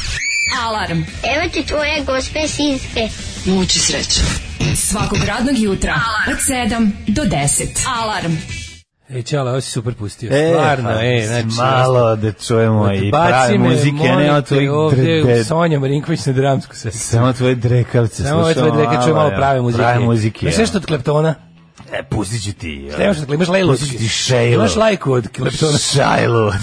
Speaker 5: Alarm.
Speaker 8: Evo ti tvoje gospe sinske.
Speaker 5: Muči sreće. Svakog radnog jutra od 7 do 10. Alarm.
Speaker 7: E, čala, ovo si super pustio,
Speaker 6: E,
Speaker 7: stvarno,
Speaker 6: pa,
Speaker 7: e, znači,
Speaker 6: malo da čujemo i
Speaker 7: baci
Speaker 6: prave
Speaker 7: me,
Speaker 6: muzike, a
Speaker 7: molim
Speaker 6: ne od
Speaker 7: te,
Speaker 6: tvojih
Speaker 7: ovdje,
Speaker 6: dr- dr-
Speaker 7: Sonja Marinković na dramsku se.
Speaker 6: Samo tvoje drekavce
Speaker 7: Samo ove
Speaker 6: slušamo.
Speaker 7: tvoje dvije čuje malo prave muzike.
Speaker 6: Prave muzike.
Speaker 7: Znaš nešto od kleptona?
Speaker 6: ja. E, pustit ću ti. ja.
Speaker 7: Šta imaš od kleptona? Imaš lejlu.
Speaker 6: Pustit ću ti šejlu.
Speaker 7: Imaš lajku od kleptona.
Speaker 6: Šajlu od,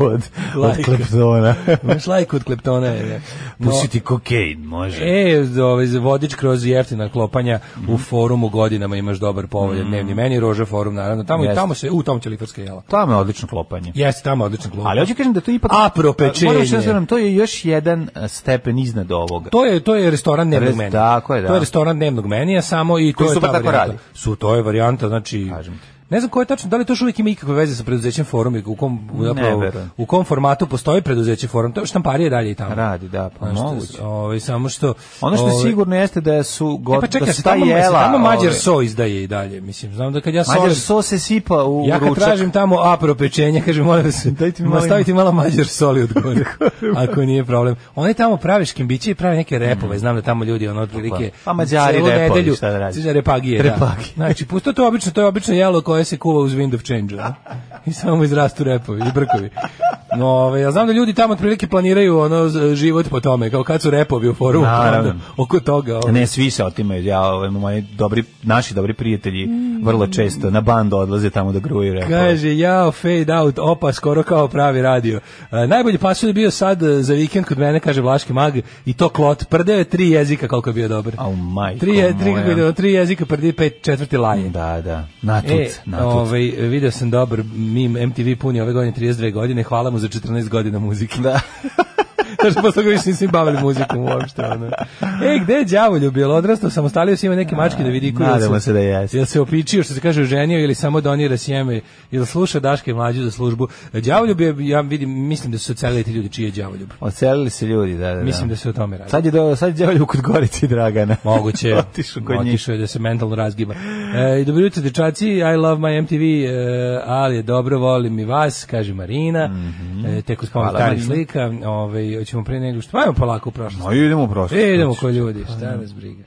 Speaker 6: od,
Speaker 7: Lajka.
Speaker 6: od kleptona.
Speaker 7: Imaš lajku od kleptona. je. No,
Speaker 6: Pustit ću ti kokain, može.
Speaker 7: E, ovaj vodič kroz jeftina klopanja u forumu godinama imaš dobar
Speaker 6: Mm.
Speaker 7: povoljan dnevni meni, Rože forum naravno. Tamo i
Speaker 6: Jeste.
Speaker 7: tamo se u tamo će litarska jela.
Speaker 6: Tamo je odlično klopanje.
Speaker 7: Jeste, tamo odličan klop.
Speaker 6: Ali hoću kažem da to ipak...
Speaker 7: Apro pečenje.
Speaker 6: Moram što da znam, to je još jedan a, stepen iznad ovoga.
Speaker 7: To je to je restoran dnevnog
Speaker 6: Res-
Speaker 7: menija.
Speaker 6: tako je, da.
Speaker 7: To je restoran dnevnog menija samo i to
Speaker 6: Koji
Speaker 7: je
Speaker 6: super
Speaker 7: ta
Speaker 6: tako
Speaker 7: varijanta.
Speaker 6: radi.
Speaker 7: Su to je varijanta, znači
Speaker 6: Kažem ti.
Speaker 7: Ne znam ko je tačno, da li to još uvijek ima ikakve veze sa preduzećem forum i u kom, zapravo,
Speaker 6: verujem.
Speaker 7: u kom formatu postoji preduzeće forum, to štamparije dalje i tamo.
Speaker 6: Radi, da, pa
Speaker 7: Znaš, što-
Speaker 6: moguće.
Speaker 7: Ovaj, samo što...
Speaker 6: Ono što je
Speaker 7: ovaj,
Speaker 6: sigurno jeste da su
Speaker 7: E
Speaker 6: god,
Speaker 7: pa čekaj,
Speaker 6: da
Speaker 7: da
Speaker 6: su ta
Speaker 7: tamo,
Speaker 6: jela.
Speaker 7: jela, tamo Mađar
Speaker 6: ove,
Speaker 7: so izdaje i dalje, mislim, znam da kad ja so...
Speaker 6: Mađar so se sipa u
Speaker 7: Ja kad
Speaker 6: ručak.
Speaker 7: tražim tamo apro pečenje, kažem, molim vas,
Speaker 6: Dajte mi
Speaker 7: ma,
Speaker 6: malo-
Speaker 7: stavite malo mađar soli od gore, ako nije problem. Oni tamo pravi škimbiće i pravi neke repove, znam da tamo ljudi, ono, otprilike...
Speaker 6: Mm. Pa Mađari
Speaker 7: celu
Speaker 6: repovi,
Speaker 7: nedelju-
Speaker 6: šta da radiš?
Speaker 7: Celu Repagije,
Speaker 6: Repagije.
Speaker 7: da. Znači, pusto to je obično, to je obično jelo koje se kuva uz wind of change, ono. I samo mu izrastu repovi i brkovi. No, ovaj, ja znam da ljudi tamo otprilike planiraju ono z- život po tome, kao kad su repovi u forumu, pa onda
Speaker 6: Naravno.
Speaker 7: oko toga. Ovaj.
Speaker 6: Ne, svi se otimaju. Ja, ovaj, moji dobri, naši dobri prijatelji vrlo često na bandu odlaze tamo da gruju repove.
Speaker 7: Kaže, jao, fade out, opa, skoro kao pravi radio. E, najbolji pasulj je bio sad e, za vikend kod mene, kaže Vlaški mag, i to klot. Prdeo je tri jezika, koliko je bio dobar.
Speaker 6: Au, majko
Speaker 7: tri, je- tri,
Speaker 6: moja.
Speaker 7: kako je bilo, tri jezika, prdi pet, četvrti laje.
Speaker 6: Da, da. Natut,
Speaker 7: E,
Speaker 6: natut.
Speaker 7: ovaj, video sam dobar mim, MTV puni ove godine 32 godine, hvala mu za 14 godina muzike.
Speaker 6: Da.
Speaker 7: Znaš, posle toga više nisam bavili muzikom uopšte. Ono. E, gde je đavolju bilo? Odrastao sam, ostalio sam ima neke mačke da vidi koji
Speaker 6: Nadamo se da jeste.
Speaker 7: Jel se opičio, što se kaže, oženio ili samo donira sjeme, ili sluša Daške mlađu za službu. Đavoljub je, ja vidim, mislim da su se ocelili ti ljudi čiji je đavoljub.
Speaker 6: Ocelili se ljudi, da, da.
Speaker 7: Mislim da se o tome radi.
Speaker 6: Sad je do, sad je đavolju kod Gorici i Dragana.
Speaker 7: Moguće.
Speaker 6: Otišu kod njih.
Speaker 7: Otišao je da se mentalno razgiba. E, i dobro jutro, dečaci. I love my MTV, e, ali je dobro, volim i vas, kaže Marina. e, tek uz pomoć
Speaker 6: Mhm. Hvala,
Speaker 7: starih
Speaker 6: Marina.
Speaker 7: slika. Ove, hoćemo pre nego što... Ajmo polako u prošlost.
Speaker 6: No, idemo u prošlost. znači.
Speaker 7: E, idemo ko ljudi,
Speaker 6: Pa
Speaker 7: šta nas briga.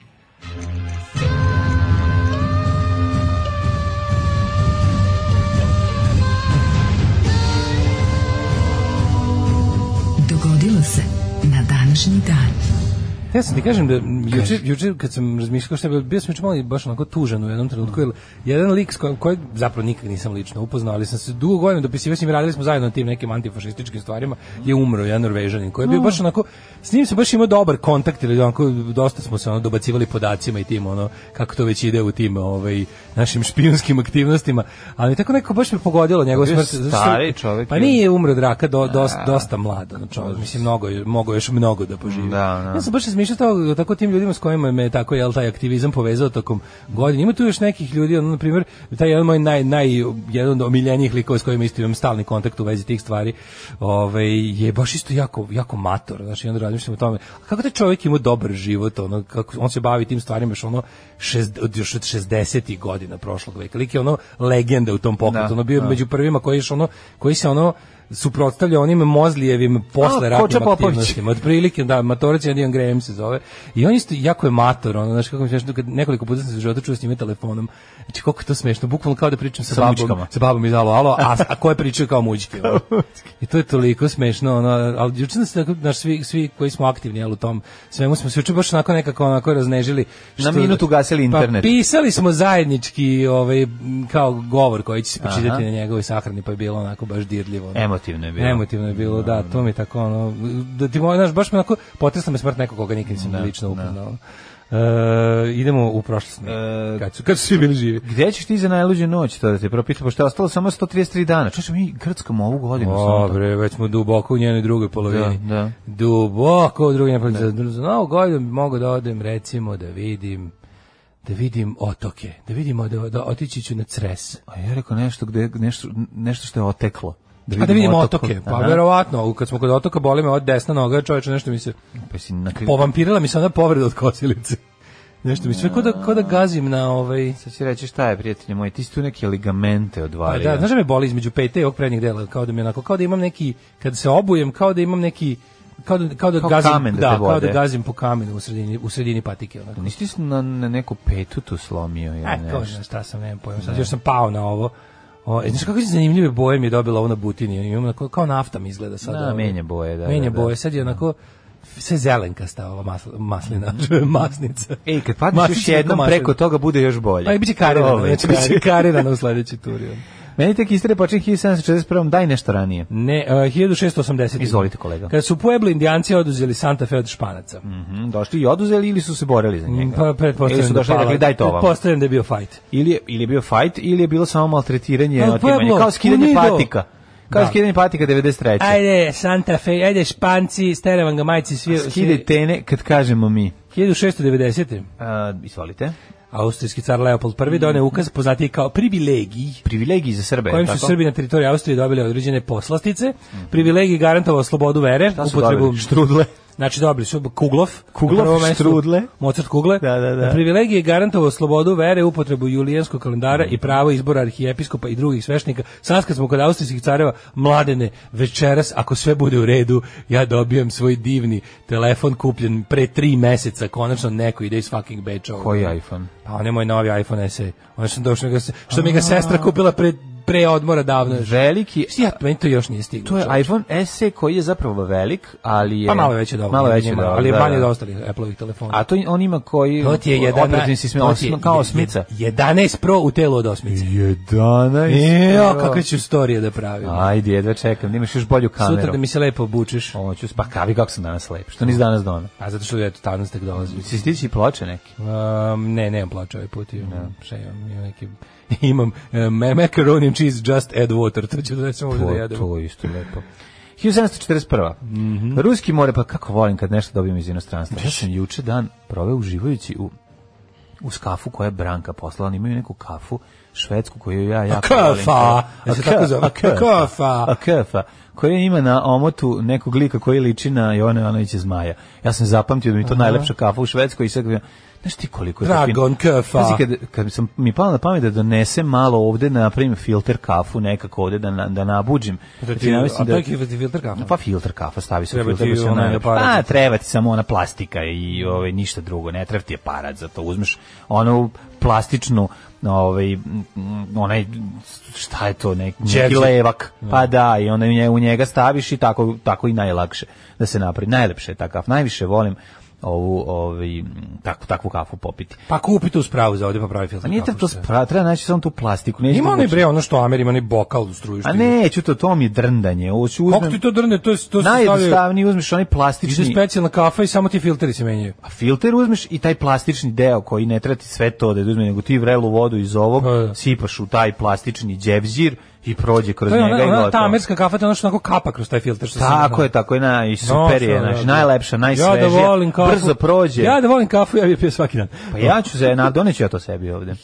Speaker 5: Dogodilo se na današnji dan.
Speaker 7: Ja sam ti kažem da m, juče, juče kad sam razmišljao što je bilo, bio sam juče malo i baš onako tužan u jednom trenutku, jer jedan lik s kojim, kojeg zapravo nikad nisam lično upoznao, ali sam se dugo godina dopisivao s njim, radili smo zajedno na tim nekim antifašističkim stvarima, je umro jedan Norvežanin koji je
Speaker 6: Mm.
Speaker 7: bio baš onako, s njim sam baš imao dobar kontakt, ili onako dosta smo se ono dobacivali podacima i tim, ono, kako to već ide u tim ovaj, našim špijunskim aktivnostima, ali tako neko baš me pogodilo njegov
Speaker 6: Pa Bio
Speaker 7: smrt. zato što-
Speaker 6: stari čovjek
Speaker 7: Pa
Speaker 6: je.
Speaker 7: nije umro od raka, do, dosta, dosta mlad, ono čovjek, mislim, mnogo, je- mogao je još mnogo da poživi.
Speaker 6: Da, da.
Speaker 7: Ja sam baš razmišljao tako, tako tim ljudima s kojima me tako jel taj aktivizam povezao tokom godina. Ima tu još nekih ljudi, ono na primjer, taj jedan moj naj naj jedan od omiljenijih likova s kojima isto imam stalni kontakt u vezi tih stvari. Ovaj je baš isto jako jako mator, znači onda razmišljam o tome. A kako taj čovjek ima dobar život, ono kako on se bavi tim stvarima još ono šest, od još od 60 godina prošlog veka. Lik je ono legenda u tom pokretu,
Speaker 6: Da,
Speaker 7: ono bio
Speaker 6: da.
Speaker 7: među prvima koji je još ono koji se ono suprotstavlja onim Mozlijevim posle
Speaker 6: Koča
Speaker 7: ratnim
Speaker 6: Popović.
Speaker 7: aktivnostima mislim, otprilike, da, Matorac je Adrian Graham se zove, i on isto jako je mator, ono, znaš, kako mi smiješno, kad nekoliko puta sam se u životu čuo s njime telefonom, znači, koliko je to smiješno, bukvalno kao da pričam sa,
Speaker 6: Sa
Speaker 7: babom,
Speaker 6: mućkama.
Speaker 7: sa babom iz Alo Alo, a, a ko je pričao kao muđke, ono. I to je toliko smešno, ono, ali juče nas, tako, znaš, svi, svi koji smo aktivni, jel, u tom svemu smo se juče baš onako nekako onako raznežili.
Speaker 6: Na minut ugasili internet.
Speaker 7: Pa, pisali smo zajednički, ovaj, m, kao govor koji će se pročitati
Speaker 6: Aha.
Speaker 7: na njegovoj sahrani, pa je bilo onako baš dirljivo. ono.
Speaker 6: Emotivno je bilo.
Speaker 7: Emotivno je bilo, da, to mi je tako ono, da ti moj, znaš, baš me onako, potresla me smrt nekog koga nikad nisam lično upoznao. E, idemo u prošlost.
Speaker 6: E,
Speaker 7: kad, su, kad su svi bili živi.
Speaker 6: Gde ćeš ti za najluđu noć, to da te propitam, pošto je ostalo samo 133 dana. Čuš, mi grckamo ovu godinu. samo tako.
Speaker 7: Dobre, već smo duboko u njenoj drugoj polovini.
Speaker 6: Da, da.
Speaker 7: Duboko u drugoj polovini. Za, za novu godinu bi mogao da odem, recimo, da vidim da vidim otoke, da vidimo da, da otići ću na Cres.
Speaker 6: A ja rekao nešto, gde, nešto, nešto što je oteklo.
Speaker 7: A da vidimo
Speaker 6: otok-
Speaker 7: otoke, pa
Speaker 6: Aha.
Speaker 7: verovatno, kad smo kod otoka boli me od desna noga, čoveče, nešto mi se
Speaker 6: Pa si na kraju...
Speaker 7: Povampirila mi se ona povreda od kosilice. Nešto mi sve kao da, kao da gazim na ovaj...
Speaker 6: Sad ću reći šta je, prijatelji moji, ti si tu neke ligamente
Speaker 7: Pa
Speaker 6: odvalio.
Speaker 7: da, znaš da me boli između pete i ovog prednjeg dela, kao da mi onako, kao da imam neki, kad se obujem, kao da imam neki, kao da, kao da
Speaker 6: Kao
Speaker 7: gazim,
Speaker 6: kamen da te
Speaker 7: kao da
Speaker 6: bode.
Speaker 7: gazim po kamenu u sredini, u sredini patike. Onako.
Speaker 6: Nisi ti na, na neku petu tu slomio ili
Speaker 7: E,
Speaker 6: nešto?
Speaker 7: kao znaš šta sam, nemam pojma, sad još sam pao na ovo. O, e, znaš kako je zanimljive boje mi je dobila ovo na butini, imam onako, kao nafta mi izgleda sad.
Speaker 6: Da,
Speaker 7: ovo.
Speaker 6: menja boje, da, da,
Speaker 7: Menja
Speaker 6: da.
Speaker 7: boje, sad je onako, sve zelenkasta ova masl, maslina, masnica.
Speaker 6: Ej, kad padneš
Speaker 7: Masnica
Speaker 6: još
Speaker 7: je kao
Speaker 6: jednom
Speaker 7: maslina.
Speaker 6: preko toga bude još bolje.
Speaker 7: Pa i biće karirano,
Speaker 6: Ovaj,
Speaker 7: neće biće karirano u sledećoj turi. ono.
Speaker 6: Meni tek istere počinje 1741. Daj nešto ranije.
Speaker 7: Ne, uh, 1680.
Speaker 6: Izvolite, kolega.
Speaker 7: Kada su Puebla indijanci oduzeli Santa Fe od Španaca.
Speaker 6: Mhm, došli i oduzeli ili su se borili za njega?
Speaker 7: Pa
Speaker 6: Ili
Speaker 7: pretpostavljam
Speaker 6: su
Speaker 7: da
Speaker 6: došli i
Speaker 7: pala-
Speaker 6: rekli daj to vam.
Speaker 7: Pretpostavljam da je bio fajt.
Speaker 6: Ili je, ili je bio fight, ili je bilo samo maltretiranje,
Speaker 7: Ali pa
Speaker 6: otimanje,
Speaker 7: Pueblo,
Speaker 6: kao skidanje
Speaker 7: Unido.
Speaker 6: patika. Kao
Speaker 7: Da.
Speaker 6: skidanje patika 93.
Speaker 7: Ajde Santa Fe, ajde Španci, stere vam ga majci svi.
Speaker 6: Skide tene kad kažemo mi.
Speaker 7: 1690.
Speaker 6: Uh, izvolite.
Speaker 7: Austrijski car Leopold
Speaker 6: Mm.
Speaker 7: I doneo ukaz poznatiji kao privilegij
Speaker 6: Privilegiji za Srbe,
Speaker 7: kojim
Speaker 6: tako?
Speaker 7: su Srbi na teritoriji Austrije dobili određene poslastice. Privilegij garantovao slobodu vere,
Speaker 6: Šta su
Speaker 7: upotrebu
Speaker 6: dobili? Štrudle.
Speaker 7: Znači dobili su Kuglov,
Speaker 6: Kuglov,
Speaker 7: na prvom mestu,
Speaker 6: štrudle.
Speaker 7: Mozart Kugle.
Speaker 6: Da, da, da.
Speaker 7: Privilegije garantovao slobodu vere, upotrebu julijanskog kalendara i pravo izbora arhijepiskopa i drugih sveštenika. Sad kad smo kod austrijskih careva, mladene, večeras, ako sve bude u redu, ja dobijam svoj divni telefon kupljen pre tri meseca, konačno neko ide iz fucking beča. ovdje.
Speaker 6: Koji iPhone?
Speaker 7: Pa on je moj novi iPhone SE. Ono što, sam došao, nego se- što mi ga sestra kupila pre, pre odmora davno.
Speaker 6: Veliki
Speaker 7: Šti Ja, meni to još nije stiglo.
Speaker 6: To
Speaker 7: čovječe.
Speaker 6: je iPhone SE koji je zapravo velik, ali je...
Speaker 7: Pa malo je veće dobro.
Speaker 6: Malo veće dobro,
Speaker 7: Ali je
Speaker 6: da,
Speaker 7: manji
Speaker 6: da.
Speaker 7: od ostalih Apple-ovih telefona.
Speaker 6: A to on ima koji...
Speaker 7: To ti je 11,
Speaker 6: Operativni sistem,
Speaker 7: to ti je
Speaker 6: osno, kao
Speaker 7: je-
Speaker 6: osmica.
Speaker 7: 11 Pro u telu od osmice.
Speaker 6: 11.
Speaker 7: Jo, kakve ću storije da pravim.
Speaker 6: Ajde, jedva čekam, da imaš još bolju kameru.
Speaker 7: Sutra da mi se lepo obučeš.
Speaker 6: Ovo ću spa, kavi kako sam danas lep. Što nisi danas dono?
Speaker 7: A zato što je to danas tek dolazi.
Speaker 6: Si stići ploče neki?
Speaker 7: Um, ne, nemam plaća ovaj put. Imam, šta imam, imam neki... Imam uh, macaroni and cheese, just add water. To ću da ćemo ovdje da
Speaker 6: To,
Speaker 7: jedemo.
Speaker 6: to je isto lepo. 1741. Ruski more, pa kako volim kad nešto dobijem iz inostranstva. Ja sam juče dan proveo uživajući u u skafu koja je Branka poslala, oni imaju neku kafu švedsku koju ja jako
Speaker 7: kafa!
Speaker 6: volim. A
Speaker 7: Da se
Speaker 6: ka-
Speaker 7: tako zove?
Speaker 6: a kafa,
Speaker 7: Kafa!
Speaker 6: A kafa, koja ima na omotu nekog lika koji liči na Jovana Jovanovića Zmaja. Ja sam zapamtio da mi je to najlepša kafa u Švedskoj i sad ga- Znaš ti koliko je to fino?
Speaker 7: Dragon kafa.
Speaker 6: Pazi, kad, kad sam mi palo na pamet da donesem malo ovde, napravim filter kafu nekako ovde, da, na- da nabuđim.
Speaker 7: Da
Speaker 6: Znači,
Speaker 7: ti,
Speaker 6: ja
Speaker 7: a
Speaker 6: mislim
Speaker 7: to je ti filter kafa.
Speaker 6: Pa filter kafa, stavi se
Speaker 7: Treba
Speaker 6: filter.
Speaker 7: ti
Speaker 6: da se
Speaker 7: onaj
Speaker 6: ona-
Speaker 7: aparat.
Speaker 6: Pa treba ti samo ona plastika i ovaj, ništa drugo, ne treba ti aparat za to. Uzmeš onu plastičnu ovaj m, m, onaj šta je to nek, neki
Speaker 7: Đevđe.
Speaker 6: levak pa da i onda u nje- u njega staviš i tako tako i najlakše da se napravi najlepše je ta kafa najviše volim ovu ovaj m, takvu takvu kafu popiti
Speaker 7: Pa kupi tu spravu za ovdje pa pravi filter
Speaker 6: a
Speaker 7: kafa.
Speaker 6: nije treba to spra- treba naći samo tu plastiku neću
Speaker 7: Ima
Speaker 6: to
Speaker 7: onaj
Speaker 6: moći.
Speaker 7: bre, ono što Amer ima, onaj bokal u struju. što
Speaker 6: a
Speaker 7: ide.
Speaker 6: neću to to mi je drndanje ovo ću
Speaker 7: Kako
Speaker 6: uzmem
Speaker 7: ti to drne, to, je- to se stavljaju...
Speaker 6: najjednostavnije uzmeš onaj
Speaker 7: Ide
Speaker 6: plastični
Speaker 7: specijalna kafa i samo ti filteri se menjaju.
Speaker 6: A filter uzmeš i taj plastični deo koji ne trati sve to da uzme, nego ti vrelu vodu iz ovog
Speaker 7: Pa da.
Speaker 6: sipaš u taj plastični đevđir i prođe kroz
Speaker 7: To je
Speaker 6: njega
Speaker 7: ona,
Speaker 6: i
Speaker 7: ona,
Speaker 6: gotovo.
Speaker 7: ta amerska kafa, to je ono što onako kapa kroz taj filter. Što se
Speaker 6: Tako
Speaker 7: ne-
Speaker 6: je, tako je, na, i
Speaker 7: No,
Speaker 6: super je,
Speaker 7: što,
Speaker 6: znači,
Speaker 7: da,
Speaker 6: najlepša, najsvežija,
Speaker 7: Ja da volim kafu.
Speaker 6: brzo prođe.
Speaker 7: Ja da volim kafu, ja bih je pio svaki dan.
Speaker 6: Pa ja ću za, na, doneću ja to sebi ovde.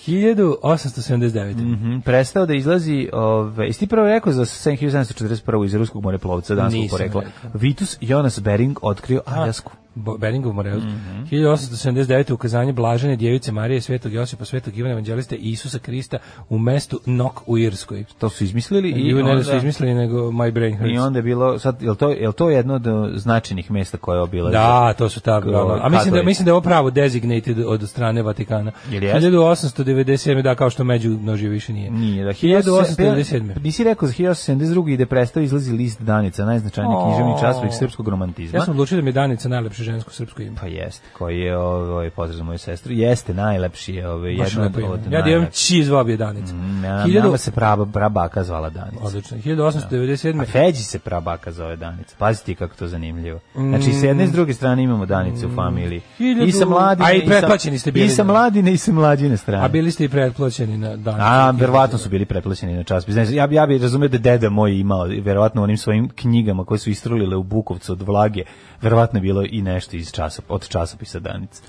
Speaker 7: 1879.
Speaker 6: Mhm, prestao da izlazi, ove, isti prvo rekao za 1741. iz ruskog moreplovca danskog
Speaker 7: Nisam
Speaker 6: porekla.
Speaker 7: rekao.
Speaker 6: Vitus Jonas Bering otkrio Aljasku.
Speaker 7: Bo- Beringov Moreus.
Speaker 6: Mhm.
Speaker 7: 1879. ukazanje Blažene Djevice Marije, Svetog Josipa, Svetog Ivana Evanđelista i Isusa Krista u mestu Nok u Irskoj.
Speaker 6: To su izmislili
Speaker 7: I
Speaker 6: i
Speaker 7: ju ne da
Speaker 6: onda,
Speaker 7: su izmislili, nego My Brain Hurts.
Speaker 6: i onda je bilo, sad, je to, jel to jedno od uh, značajnih mesta koje obilazi?
Speaker 7: Da, to su ta
Speaker 6: Ovaj,
Speaker 7: A mislim da
Speaker 6: katolici.
Speaker 7: mislim da je ovo pravo designated od strane Vatikana.
Speaker 6: Jel jeste?
Speaker 7: 1897 da kao što među množje više nije.
Speaker 6: Nije, da
Speaker 7: 1897.
Speaker 6: Nisi rekao za 1872. gde prestao izlazi list Danica, najznačajniji
Speaker 7: O.
Speaker 6: književni časopis srpskog romantizma.
Speaker 7: Ja sam odlučio da mi je Danica najlepše žensko srpsko ime.
Speaker 6: Pa jeste, koji je ovaj pozdrav za moju sestru. Jeste najlepši je ovaj
Speaker 7: Baš
Speaker 6: jedan od,
Speaker 7: lepo ime.
Speaker 6: od
Speaker 7: Ja da imam
Speaker 6: najlepših. Mm,
Speaker 7: či zvao bi je Danica.
Speaker 6: Na,
Speaker 7: Hiljadu-
Speaker 6: nama se praba brabaka zvala Danica.
Speaker 7: Odlično.
Speaker 6: A
Speaker 7: 1897.
Speaker 6: Feđi se prabaka zove Danica. Pazite kako to zanimljivo. Znači, i s jedne i s druge strane imamo Danice u familiji.
Speaker 7: Mm. Hiljadu-
Speaker 6: I sa mladine,
Speaker 7: A i
Speaker 6: sa-
Speaker 7: pretplaćeni ste bili,
Speaker 6: I sa
Speaker 7: da.
Speaker 6: mladine i sa mlađine strane.
Speaker 7: A bili ste i pretplaćeni na Danicu.
Speaker 6: A, verovatno su bili preplaćeni na časopis. Znači, ja, bi- ja bih razumio da deda moj imao, verovatno u onim svojim knjigama koje su istrulile u Bukovcu od vlage, verovatno je bilo i nešto iz časop, od časopisa Danica.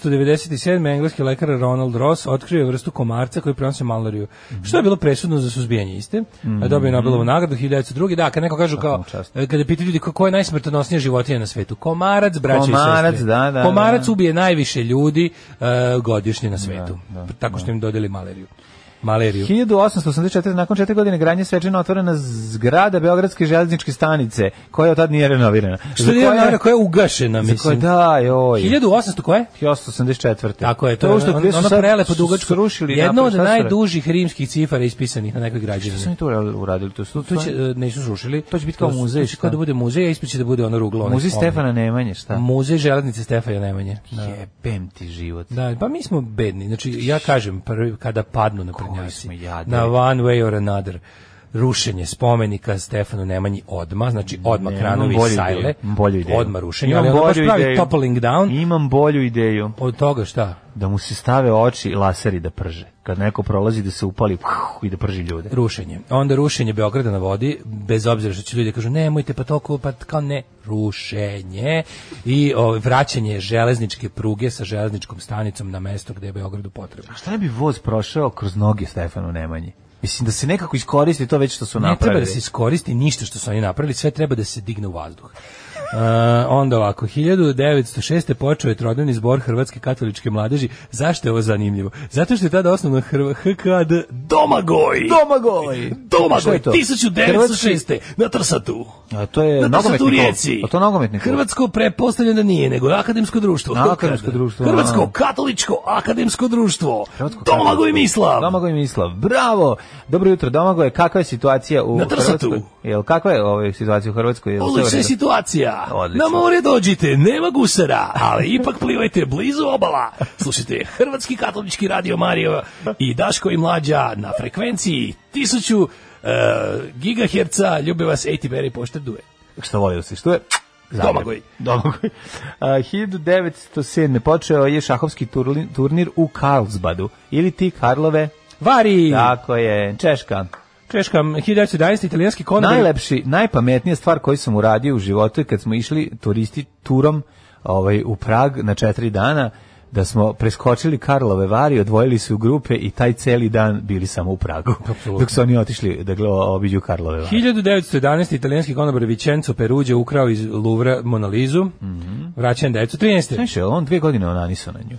Speaker 7: 1897. engleski lekar Ronald Ross otkrio je vrstu komarca koji prenosi malariju, što je bilo presudno za suzbijanje iste.
Speaker 6: Mhm.
Speaker 7: a Dobio je Nobelovu nagradu 1902. Da, kad neko kažu kao,
Speaker 6: mu čast.
Speaker 7: e, kada pitaju ljudi ko, ko je najsmrtonosnija životinja na svetu, komarac, braća i
Speaker 6: Komarac,
Speaker 7: sestre.
Speaker 6: da, da,
Speaker 7: komarac
Speaker 6: da.
Speaker 7: ubije najviše ljudi e, godišnje na svetu, tako što im dodeli maleriju. Maleriju.
Speaker 6: 1884. nakon četiri godine granje svečano otvorena zgrada Beogradske železničke stanice, koja od tad nije renovirana.
Speaker 7: Što
Speaker 6: Za
Speaker 7: je
Speaker 6: koje-
Speaker 7: nagrada koja je ugašena,
Speaker 6: za koje-
Speaker 7: mislim.
Speaker 6: da, joj.
Speaker 7: 1800 koje?
Speaker 6: 1884.
Speaker 7: Tako je, to
Speaker 6: ovo
Speaker 7: je
Speaker 6: što
Speaker 7: ono,
Speaker 6: gde su
Speaker 7: ono
Speaker 6: sad
Speaker 7: prelepo dugačko.
Speaker 6: srušili
Speaker 7: Jedno
Speaker 6: napolje,
Speaker 7: od
Speaker 6: šta su radili?
Speaker 7: najdužih rimskih cifara ispisanih na nekoj građevini.
Speaker 6: Šta su oni tu uradili? To, su-
Speaker 7: To će e, nisu srušili.
Speaker 6: To će biti kao
Speaker 7: su-
Speaker 6: muzej,
Speaker 7: To će kao
Speaker 6: šta?
Speaker 7: da bude muzej, a ispred će da bude ono ruglo. onaj
Speaker 6: Muzej
Speaker 7: spomenik.
Speaker 6: Stefana Nemanje, šta?
Speaker 7: Muzej železnice Stefana Nemanje. Da.
Speaker 6: Jebem ti život.
Speaker 7: Da, pa mi smo bedni. Znači ja kažem prvi kada padnu na prednjaci.
Speaker 6: smo jadni.
Speaker 7: Na one way or another. rušenje spomenika Stefanu Nemanji odma, znači odma
Speaker 6: Ne,
Speaker 7: Kranovi
Speaker 6: imam bolju
Speaker 7: i Sajle,
Speaker 6: ideju, imam bolju ideju.
Speaker 7: odma rušenje,
Speaker 6: Imam
Speaker 7: ali ono baš
Speaker 6: bolju
Speaker 7: pravi
Speaker 6: ideju.
Speaker 7: toppling down,
Speaker 6: Imam bolju ideju.
Speaker 7: od toga šta?
Speaker 6: Da mu se stave oči laseri da prže. Kad neko prolazi da se upali puh, i da prži ljude.
Speaker 7: rušenje. Onda rušenje Beograda na vodi, bez obzira što će ljudi da kažu nemojte pa toliko, pa kao ne, rušenje i o, vraćanje železničke pruge sa železničkom stanicom na mesto gde je Beogradu potrebno.
Speaker 6: Šta ne bi voz prošao kroz noge Stefanu Nemanji? Mislim da se nekako iskoristi to već što su
Speaker 7: Ne treba
Speaker 6: napravili.
Speaker 7: da se iskoristi ništa što su oni napravili, sve treba da se digne u vazduh. Uh, onda ovako, 1906. počeo je trodnevni zbor Hrvatske katoličke mladeži. Zašto je ovo zanimljivo? Zato što je tada osnovno Hrv HKD Domagoj!
Speaker 6: Domagoj! Šta
Speaker 7: Domagoj,
Speaker 6: je to?
Speaker 7: 1906. na Trsatu.
Speaker 6: A to je
Speaker 7: Na
Speaker 6: E, nogometni
Speaker 7: Trsatu u
Speaker 6: klub.
Speaker 7: Rijeci.
Speaker 6: A to je nogometni klub.
Speaker 7: Hrvatsko prepostavljeno da nije, nego akademsko društvo.
Speaker 6: Na akademsko
Speaker 7: HKD.
Speaker 6: društvo,
Speaker 7: Hrvatsko
Speaker 6: a.
Speaker 7: katoličko akademsko društvo.
Speaker 6: Hrvatsko
Speaker 7: Domagoj
Speaker 6: katoličko.
Speaker 7: Mislav.
Speaker 6: Domagoj Mislav. Bravo. Dobro jutro Domagoje. Kakva je situacija u
Speaker 7: Na Trsatu.
Speaker 6: Hrvatskoj? Jel kakva je ovaj situacija u Hrvatskoj? Jel sve u
Speaker 7: Odlična je
Speaker 6: redu?
Speaker 7: situacija.
Speaker 6: Odlično.
Speaker 7: Na more dođite, nema gusara, ali ipak plivajte blizu obala. Slušajte Hrvatski katolički radio Mario i Daško i Mlađa na frekvenciji 1000 uh, gigaherca. Ljubi vas, Ejti Berry poštrduje.
Speaker 6: Što volio si? Što je? Zagreb.
Speaker 7: Domagoj.
Speaker 6: Domagoj. A, 1907. počeo je šahovski turli- turnir u Karlsbadu. Ili ti Karlove?
Speaker 7: Vari!
Speaker 6: Tako je. Češka.
Speaker 7: Češka, 1911, italijanski konobar.
Speaker 6: Najlepši, najpametnija stvar koju sam uradio u životu je kad smo išli turisti turom ovaj, u Prag na četiri dana, da smo preskočili Karlove vari, odvojili se u grupe i taj celi dan bili samo u Pragu.
Speaker 7: Apsolutno.
Speaker 6: Dok su oni otišli da gleda obiđu Karlove vari.
Speaker 7: 1911. italijanski konobar Vicenzo Peruđe ukrao iz Luvra Monalizu, mm -hmm. vraćan 1913.
Speaker 6: Mhm. Znaš, je li on dve godine onaniso na nju.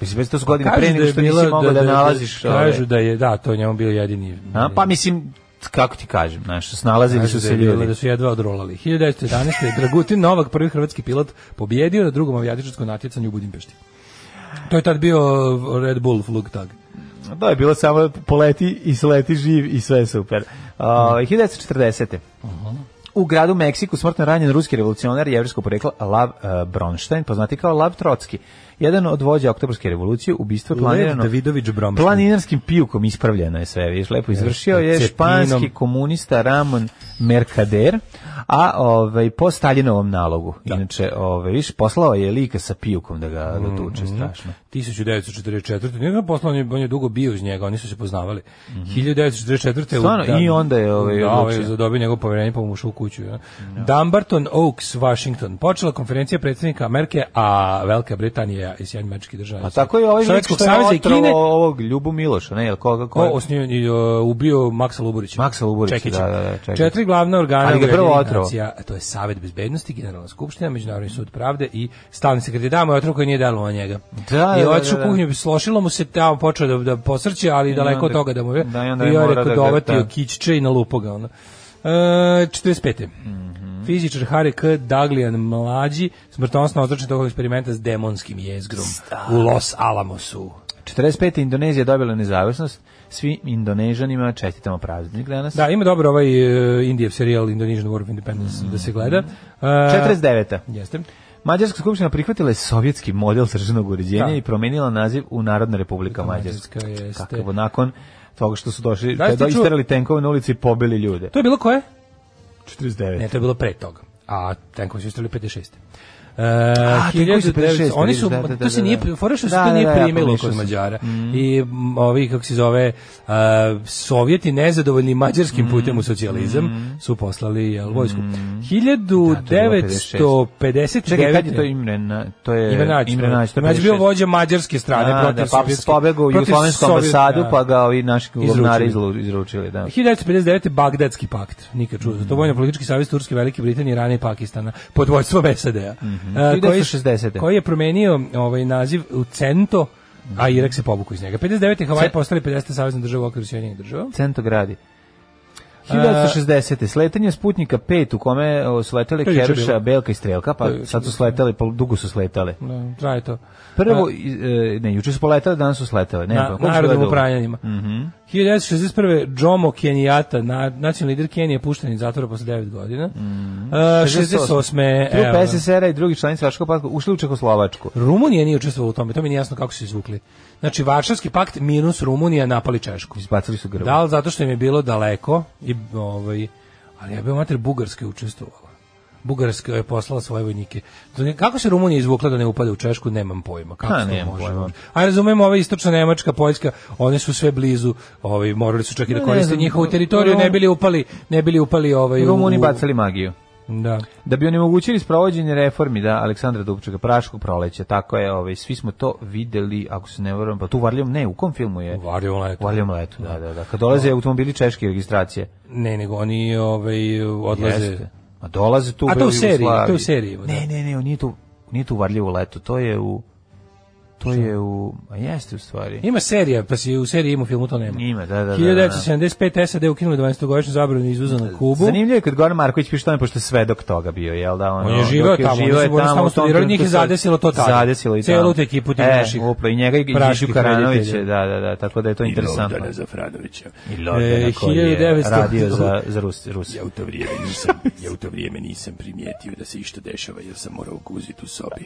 Speaker 6: Mislim, bez to su godine
Speaker 7: Pa Kažu
Speaker 6: pre nego
Speaker 7: je
Speaker 6: što
Speaker 7: bila-
Speaker 6: nisi mogao da, nalaziš.
Speaker 7: Da,
Speaker 6: ove-
Speaker 7: kažu da je, da, to je njemu bio jedini.
Speaker 6: A, pa mislim, kako ti kažem, znaš, snalazili
Speaker 7: Kažu
Speaker 6: su
Speaker 7: da
Speaker 6: se
Speaker 7: je bilo
Speaker 6: ljudi.
Speaker 7: da su jedva odrolali. 1911. je Dragutin Novak, prvi hrvatski pilot, pobjedio na drugom avijatičarskom natjecanju u Budimpešti. To je tad bio Red Bull Flug Tag.
Speaker 6: Da je bilo samo poleti i sleti živ i sve je super. Uh, 1940. U gradu Meksiku smrtno ranjen ruski revolucionar jevrskog porekla Lav uh, Bronstein, poznati kao Lav Trotski. Jedan od vođa oktobarske revolucije, ubistvo je planirano...
Speaker 7: Davidović Bromstein.
Speaker 6: Planinarskim pijukom ispravljeno je sve, viš, lepo izvršio je
Speaker 7: Cepinom.
Speaker 6: španski komunista Ramon Mercader, a ovaj, po Staljinovom nalogu, inače, ovaj, viš, poslao je lika sa pijukom da ga da tuče, strašno.
Speaker 7: 1944. Nije ga poslao, on je, on je dugo bio uz njega, oni su se poznavali. 1944. u
Speaker 6: Mhm. Stvarno,
Speaker 7: Dan-
Speaker 6: i onda je, ovaj,
Speaker 7: da,
Speaker 6: odlučio.
Speaker 7: zadobio njegov povjerenje pa mu ušao u kuću. Ja. Dumbarton Oaks, Washington. Počela konferencija predsjednika Amerike, a Velika Britanija i Sjedinjene američke države.
Speaker 6: A tako je ovaj lik
Speaker 7: Sovjetskog
Speaker 6: što je
Speaker 7: saveza i
Speaker 6: otrovo
Speaker 7: Kine.
Speaker 6: ovog Ljubu Miloša, ne, jel koga
Speaker 7: Ko
Speaker 6: koga?
Speaker 7: osnio i o, ubio Maksa Luburića.
Speaker 6: Maksa Luburića,
Speaker 7: Čekića.
Speaker 6: da, da, da, Čekića.
Speaker 7: Četiri glavna organa
Speaker 6: Ali ga prvo
Speaker 7: Ujedinjenih
Speaker 6: otrovao.
Speaker 7: nacija, a to je Savet bezbednosti, Generalna skupština, Međunarodni sud pravde i stalni sekretar. Da, mu je otrov koji nije delovao njega.
Speaker 6: Da, da,
Speaker 7: I
Speaker 6: da,
Speaker 7: otišao
Speaker 6: da,
Speaker 7: u
Speaker 6: da.
Speaker 7: kuhnju, slošilo mu se, tamo počeo da, da posrće, ali daleko od
Speaker 6: onda-
Speaker 7: toga da mu je.
Speaker 6: da, i onda
Speaker 7: I
Speaker 6: je
Speaker 7: on
Speaker 6: morao
Speaker 7: rekao
Speaker 6: da ga-
Speaker 7: dovatio
Speaker 6: da.
Speaker 7: kićče i na lupoga. Ono. E, 45.
Speaker 6: Mhm.
Speaker 7: Fizičar Harry K. Daglian mlađi smrtonosno ozračen tog eksperimenta s demonskim jezgrom u Los Alamosu.
Speaker 6: 45. Indonezija je dobila nezavisnost, svim Indonežanima čestitamo praznik danas.
Speaker 7: Da, ima dobro ovaj uh, Indijev serijal Indonesian War of Independence da se gleda. Uh,
Speaker 6: 49.
Speaker 7: Jeste.
Speaker 6: Mađarska skupština prihvatila je sovjetski model sržanog uređenja
Speaker 7: Da.
Speaker 6: i promenila naziv u Narodna republika Mađarska.
Speaker 7: Mađarska, jeste.
Speaker 6: Kako nakon toga što su došli,
Speaker 7: Da, jeste
Speaker 6: da
Speaker 7: čuo-
Speaker 6: isterali tenkove na ulici i pobili ljude. E,
Speaker 7: To je bilo koje?
Speaker 6: 49.
Speaker 7: Ne, to je bilo pre toga. A tenkovi su istrali 56. Uh,
Speaker 6: tenkovi su 56,
Speaker 7: oni su,
Speaker 6: vidiš, da, da,
Speaker 7: to se
Speaker 6: da,
Speaker 7: nije,
Speaker 6: da.
Speaker 7: fora što se
Speaker 6: Da,
Speaker 7: to
Speaker 6: da,
Speaker 7: nije
Speaker 6: da, ja
Speaker 7: primilo
Speaker 6: pomešao
Speaker 7: kod
Speaker 6: sam.
Speaker 7: Mađara. I m, ovi, kako se zove, uh, Sovjeti nezadovoljni mađarskim putem u socijalizam su poslali jel, vojsku.
Speaker 6: Čekaj, kad je to
Speaker 7: 1959.
Speaker 6: Imre Na- to je
Speaker 7: Imre Nađ.
Speaker 6: Imre Nađ, to je
Speaker 7: Nađ Znači, bio
Speaker 6: 56.
Speaker 7: vođa mađarske strane
Speaker 6: A,
Speaker 7: protiv
Speaker 6: E, da, pa
Speaker 7: sovjetske.
Speaker 6: pobegao u
Speaker 7: protiv
Speaker 6: Jugoslovensku
Speaker 7: Sovjet-
Speaker 6: ambasadu,
Speaker 7: da.
Speaker 6: pa ga ovi naši govnari
Speaker 7: Izručili.
Speaker 6: izlu- izručili. Da.
Speaker 7: 1959. Bagdadski pakt, nikad čuo. Za to vojno-politički savez Turske, Velike Britanije, ranije Pakistana, pod vojstvom SAD-a.
Speaker 6: Mhm.
Speaker 7: E, koji-
Speaker 6: 1960.
Speaker 7: Koji je promenio ovaj naziv u Cento, a Irak se povukao iz njega. 59. Havaj
Speaker 6: Ce-
Speaker 7: postali 50. savjezna država u okviru Sjedinjenih država.
Speaker 6: Centogradi. 1960. Sletanje Sputnika 5 u kome o, su letele
Speaker 7: To je juče bilo.
Speaker 6: Keruša, Belka i Strelka, pa
Speaker 7: To je juče
Speaker 6: sad su sletali, pa dugo su sletale.
Speaker 7: Da, traje to.
Speaker 6: Prvo, i- e, ne, juče su poletale, danas su sletale. Ne,
Speaker 7: Na-
Speaker 6: pa, koliko su Mhm.
Speaker 7: narodom
Speaker 6: bile dugo?
Speaker 7: upravljanjima. 1961. Jomo Kenyatta, na, nacionalni lider Kenije, pušten iz zatvora posle 9 godina. E, 68. evo.
Speaker 6: Mm. Trup SSR-a i drugi članici Vaškog pakta ušli u Čehoslovačku.
Speaker 7: Rumunija nije učestvovala u tome, to mi nije jasno kako su izvukli. Znači, Varšavski pakt minus Rumunija napali Češku.
Speaker 6: Izbacili su grbu.
Speaker 7: Da li zato što im je bilo daleko i i ovaj ali ja bih mater Bugarska je učestvovala. Bugarska je poslala svoje vojnike. To ne- Kako se Rumunija izvukla da ne upada u Češku, nemam pojma. Kako
Speaker 6: Ha,
Speaker 7: se to
Speaker 6: nemam
Speaker 7: može?
Speaker 6: pojma.
Speaker 7: A razumemo, ova istočna Nemačka, Poljska, one su sve blizu, ovaj morali su čak i da
Speaker 6: Ne, ne
Speaker 7: koriste
Speaker 6: znam,
Speaker 7: njihovu teritoriju,
Speaker 6: Rum-
Speaker 7: ne bili upali, ne bili upali ovaj u-
Speaker 6: Rumuni bacali magiju.
Speaker 7: Da.
Speaker 6: Da bi onemogućili sprovođenje reformi da Aleksandra Dubčeka Praškog proleća, tako je, ovaj svi smo to videli, ako se ne varam, pa tu Varljom ne, u kom filmu je?
Speaker 7: U Varljivom letu.
Speaker 6: U Varljivom letu, da, da, da. Kad dolaze automobili češke registracije.
Speaker 7: Ne, nego oni ovaj odlaze.
Speaker 6: Jeste. A dolaze tu
Speaker 7: A to
Speaker 6: bre,
Speaker 7: u seriji,
Speaker 6: Jugoslaviji.
Speaker 7: to je u seriji, da.
Speaker 6: Ne, ne, ne, on nije tu, nije tu Varljivo leto, to je u to je u, a jeste u stvari.
Speaker 7: Ima serija, pa si u seriji ima u filmu to nema.
Speaker 6: Ima, da, da, da,
Speaker 7: 1975 SAD ukinuli 12-godišnju zabranu izvoza na Kubu.
Speaker 6: Zanimljivo je kad Goran Marković piše tome, pošto je svedok toga bio, jel da? Ono,
Speaker 7: On je živeo
Speaker 6: dok
Speaker 7: tamo, oni su
Speaker 6: je
Speaker 7: bili tamo
Speaker 6: u tom
Speaker 7: studirali, njih je
Speaker 6: trenutku sad-
Speaker 7: zadesilo to tada.
Speaker 6: Zadesilo i tamo.
Speaker 7: Celu tu ekipu tih
Speaker 6: e,
Speaker 7: naših
Speaker 6: upravo, i njega i
Speaker 7: praških
Speaker 6: Žižu Karanovića,
Speaker 7: reditelja.
Speaker 6: da, da, da, tako da je to interesantno.
Speaker 7: Zafranovića.
Speaker 6: I
Speaker 7: E,
Speaker 6: Lordana koji je
Speaker 7: 1900
Speaker 6: radio za, za Rus, Rusiju.
Speaker 9: u to vrijeme nisam, ja u to vrijeme nisam primijetio da se išta dešava jer sam morao kuziti u sobi.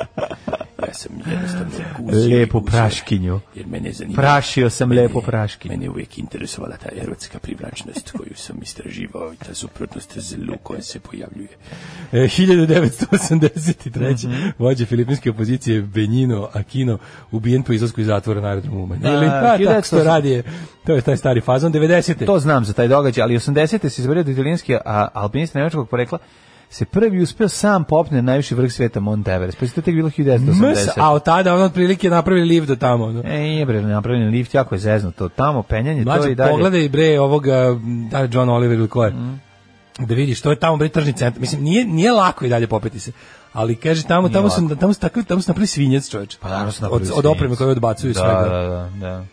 Speaker 9: Ja sam jednostavno kuzio. i
Speaker 6: Lepu
Speaker 9: kuzio,
Speaker 6: praškinju.
Speaker 9: Jer mene zanima...
Speaker 6: Prašio sam
Speaker 9: mene-
Speaker 6: lepu praškinju.
Speaker 9: Mene je uvijek interesovala ta erotska privlačnost koju sam istraživao i ta suprotnost zlu koja se pojavljuje.
Speaker 7: E, 1983.
Speaker 6: Mhm.
Speaker 7: Vođa filipinske opozicije Benjino Aquino ubijen po izlasku iz zatvora na aerodromu u Manili.
Speaker 6: Da,
Speaker 7: Da, pa tako što
Speaker 6: 1900.
Speaker 7: radi je, to je taj stari fazon 90.
Speaker 6: To znam za taj događaj, ali 80. se izborio da italijanski a, alpinist nemačkog porekla se prvi uspio sam popne na najviši vrh sveta Mount Everest. Pa je to tek bilo
Speaker 7: MS,
Speaker 6: 1980.
Speaker 7: a od tada on otprilike napravi lift do tamo. Ono.
Speaker 6: E, nije bre, napravljen lift, jako je zezno to tamo, penjanje, to
Speaker 7: Mlađe,
Speaker 6: i dalje.
Speaker 7: pogledaj bre ovoga, m, da li je John Oliver ili ko je, da vidiš, to je tamo bre tržni centar. Mislim, nije, nije lako i dalje popeti se. Ali kaže tamo tamo su tamo su takvi tamo su napravili svinjac čoveče.
Speaker 6: Pa naravno su
Speaker 7: od,
Speaker 6: napravili
Speaker 7: od opreme
Speaker 6: svinjac.
Speaker 7: koju odbacuju i
Speaker 6: da,
Speaker 7: svega.
Speaker 6: Da, da, da.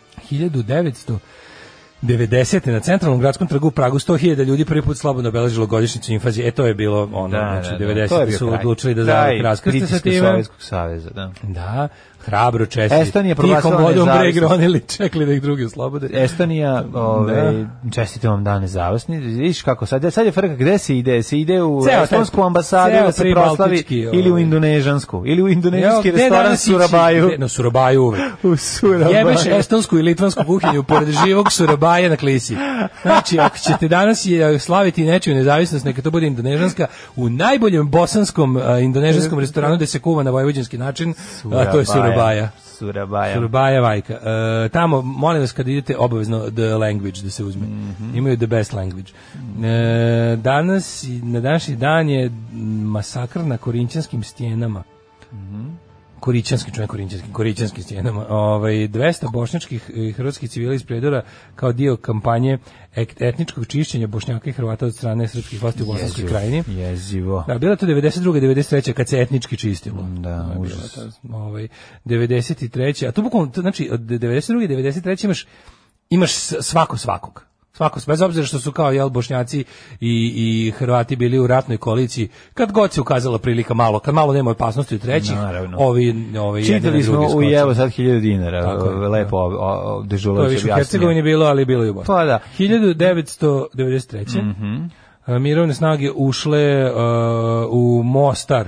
Speaker 7: 1990. na centralnom gradskom trgu u Pragu 100.000 ljudi prvi put slobodno obeležilo godišnjicu infazije. E to je bilo ono,
Speaker 6: Da,
Speaker 7: znači
Speaker 6: da, da, to je
Speaker 7: 90.
Speaker 6: bio
Speaker 7: su
Speaker 6: kraj.
Speaker 7: odlučili da
Speaker 6: Kraj
Speaker 7: završi raskrste sa
Speaker 6: pritiska
Speaker 7: time.
Speaker 6: Sovjetskog saveza, da.
Speaker 7: Da, hrabro čestiti.
Speaker 6: Estonija je proglasila
Speaker 7: Tihom vodom bre
Speaker 6: nezavisnost. E,
Speaker 7: gronili, čekali da ih drugi oslobode.
Speaker 6: Estonija, ovaj čestitam vam dane zavisni. Vidiš kako sad, sad je frka gde se ide? Se ide u
Speaker 7: Ceo taj-
Speaker 6: estonsku ambasadu
Speaker 7: ceo
Speaker 6: da se proslavi
Speaker 7: pribaltički,
Speaker 6: ili u
Speaker 7: ovaj.
Speaker 6: indonežansku, ili u indonežanski
Speaker 7: Evo, gde
Speaker 6: restoran
Speaker 7: danas ići?
Speaker 6: Surabaju.
Speaker 7: Gde? Na Surabaju uvek.
Speaker 6: U Surabaju.
Speaker 7: Jebeš estonsku i litvansku kuhinju pored živog surabaja na klisi. Znači, ako ćete danas je slaviti nečiju nezavisnost, neka to bude indonežanska, u najboljem bosanskom a, indonežanskom restoranu gde se kuva na vojvođanski način, a, to je surabaja.
Speaker 6: Surabaja.
Speaker 7: Surabaya vajka. E, tamo, molim vas, kad idete, obavezno the language da se uzme. Imaju the best language. E, danas, i- na današnji dan je masakr na korinćanskim stjenama. Korićanskim, čujem korićanskim, korićanskim stjenama. Ovaj, 200 bošnjačkih i hrvatskih civila iz Prijedora kao dio kampanje ek- etničkog čišćenja bošnjaka i Hrvata od strane srpskih vlasti u Bosanskoj krajini.
Speaker 6: Jezivo.
Speaker 7: Da, bila je to 92. 93. kad se etnički čistilo.
Speaker 6: Da,
Speaker 7: Ovo je bila
Speaker 6: užas.
Speaker 7: ta, Ovaj, 93. A tu bukvalno, to znači, od 92. i 93. imaš, imaš s- svako svakog. Svako, bez obzira što su kao jel bošnjaci i, i Hrvati bili u ratnoj koaliciji, kad god se ukazala prilika malo, kad malo nema opasnosti u trećih,
Speaker 6: Naravno.
Speaker 7: ovi, ovi jedni na
Speaker 6: Čitali smo
Speaker 7: drugi
Speaker 6: u
Speaker 7: skoče.
Speaker 6: evo sad 1000 dinara,
Speaker 7: Tako je,
Speaker 6: o, lepo o, o, o,
Speaker 7: To je
Speaker 6: Dežulović
Speaker 7: više u
Speaker 6: objasnio.
Speaker 7: Hercegovini bilo, ali bilo i u Bosni.
Speaker 6: Pa da.
Speaker 7: 1993.
Speaker 6: Mhm.
Speaker 7: A, Mirovne snage ušle uh, u Mostar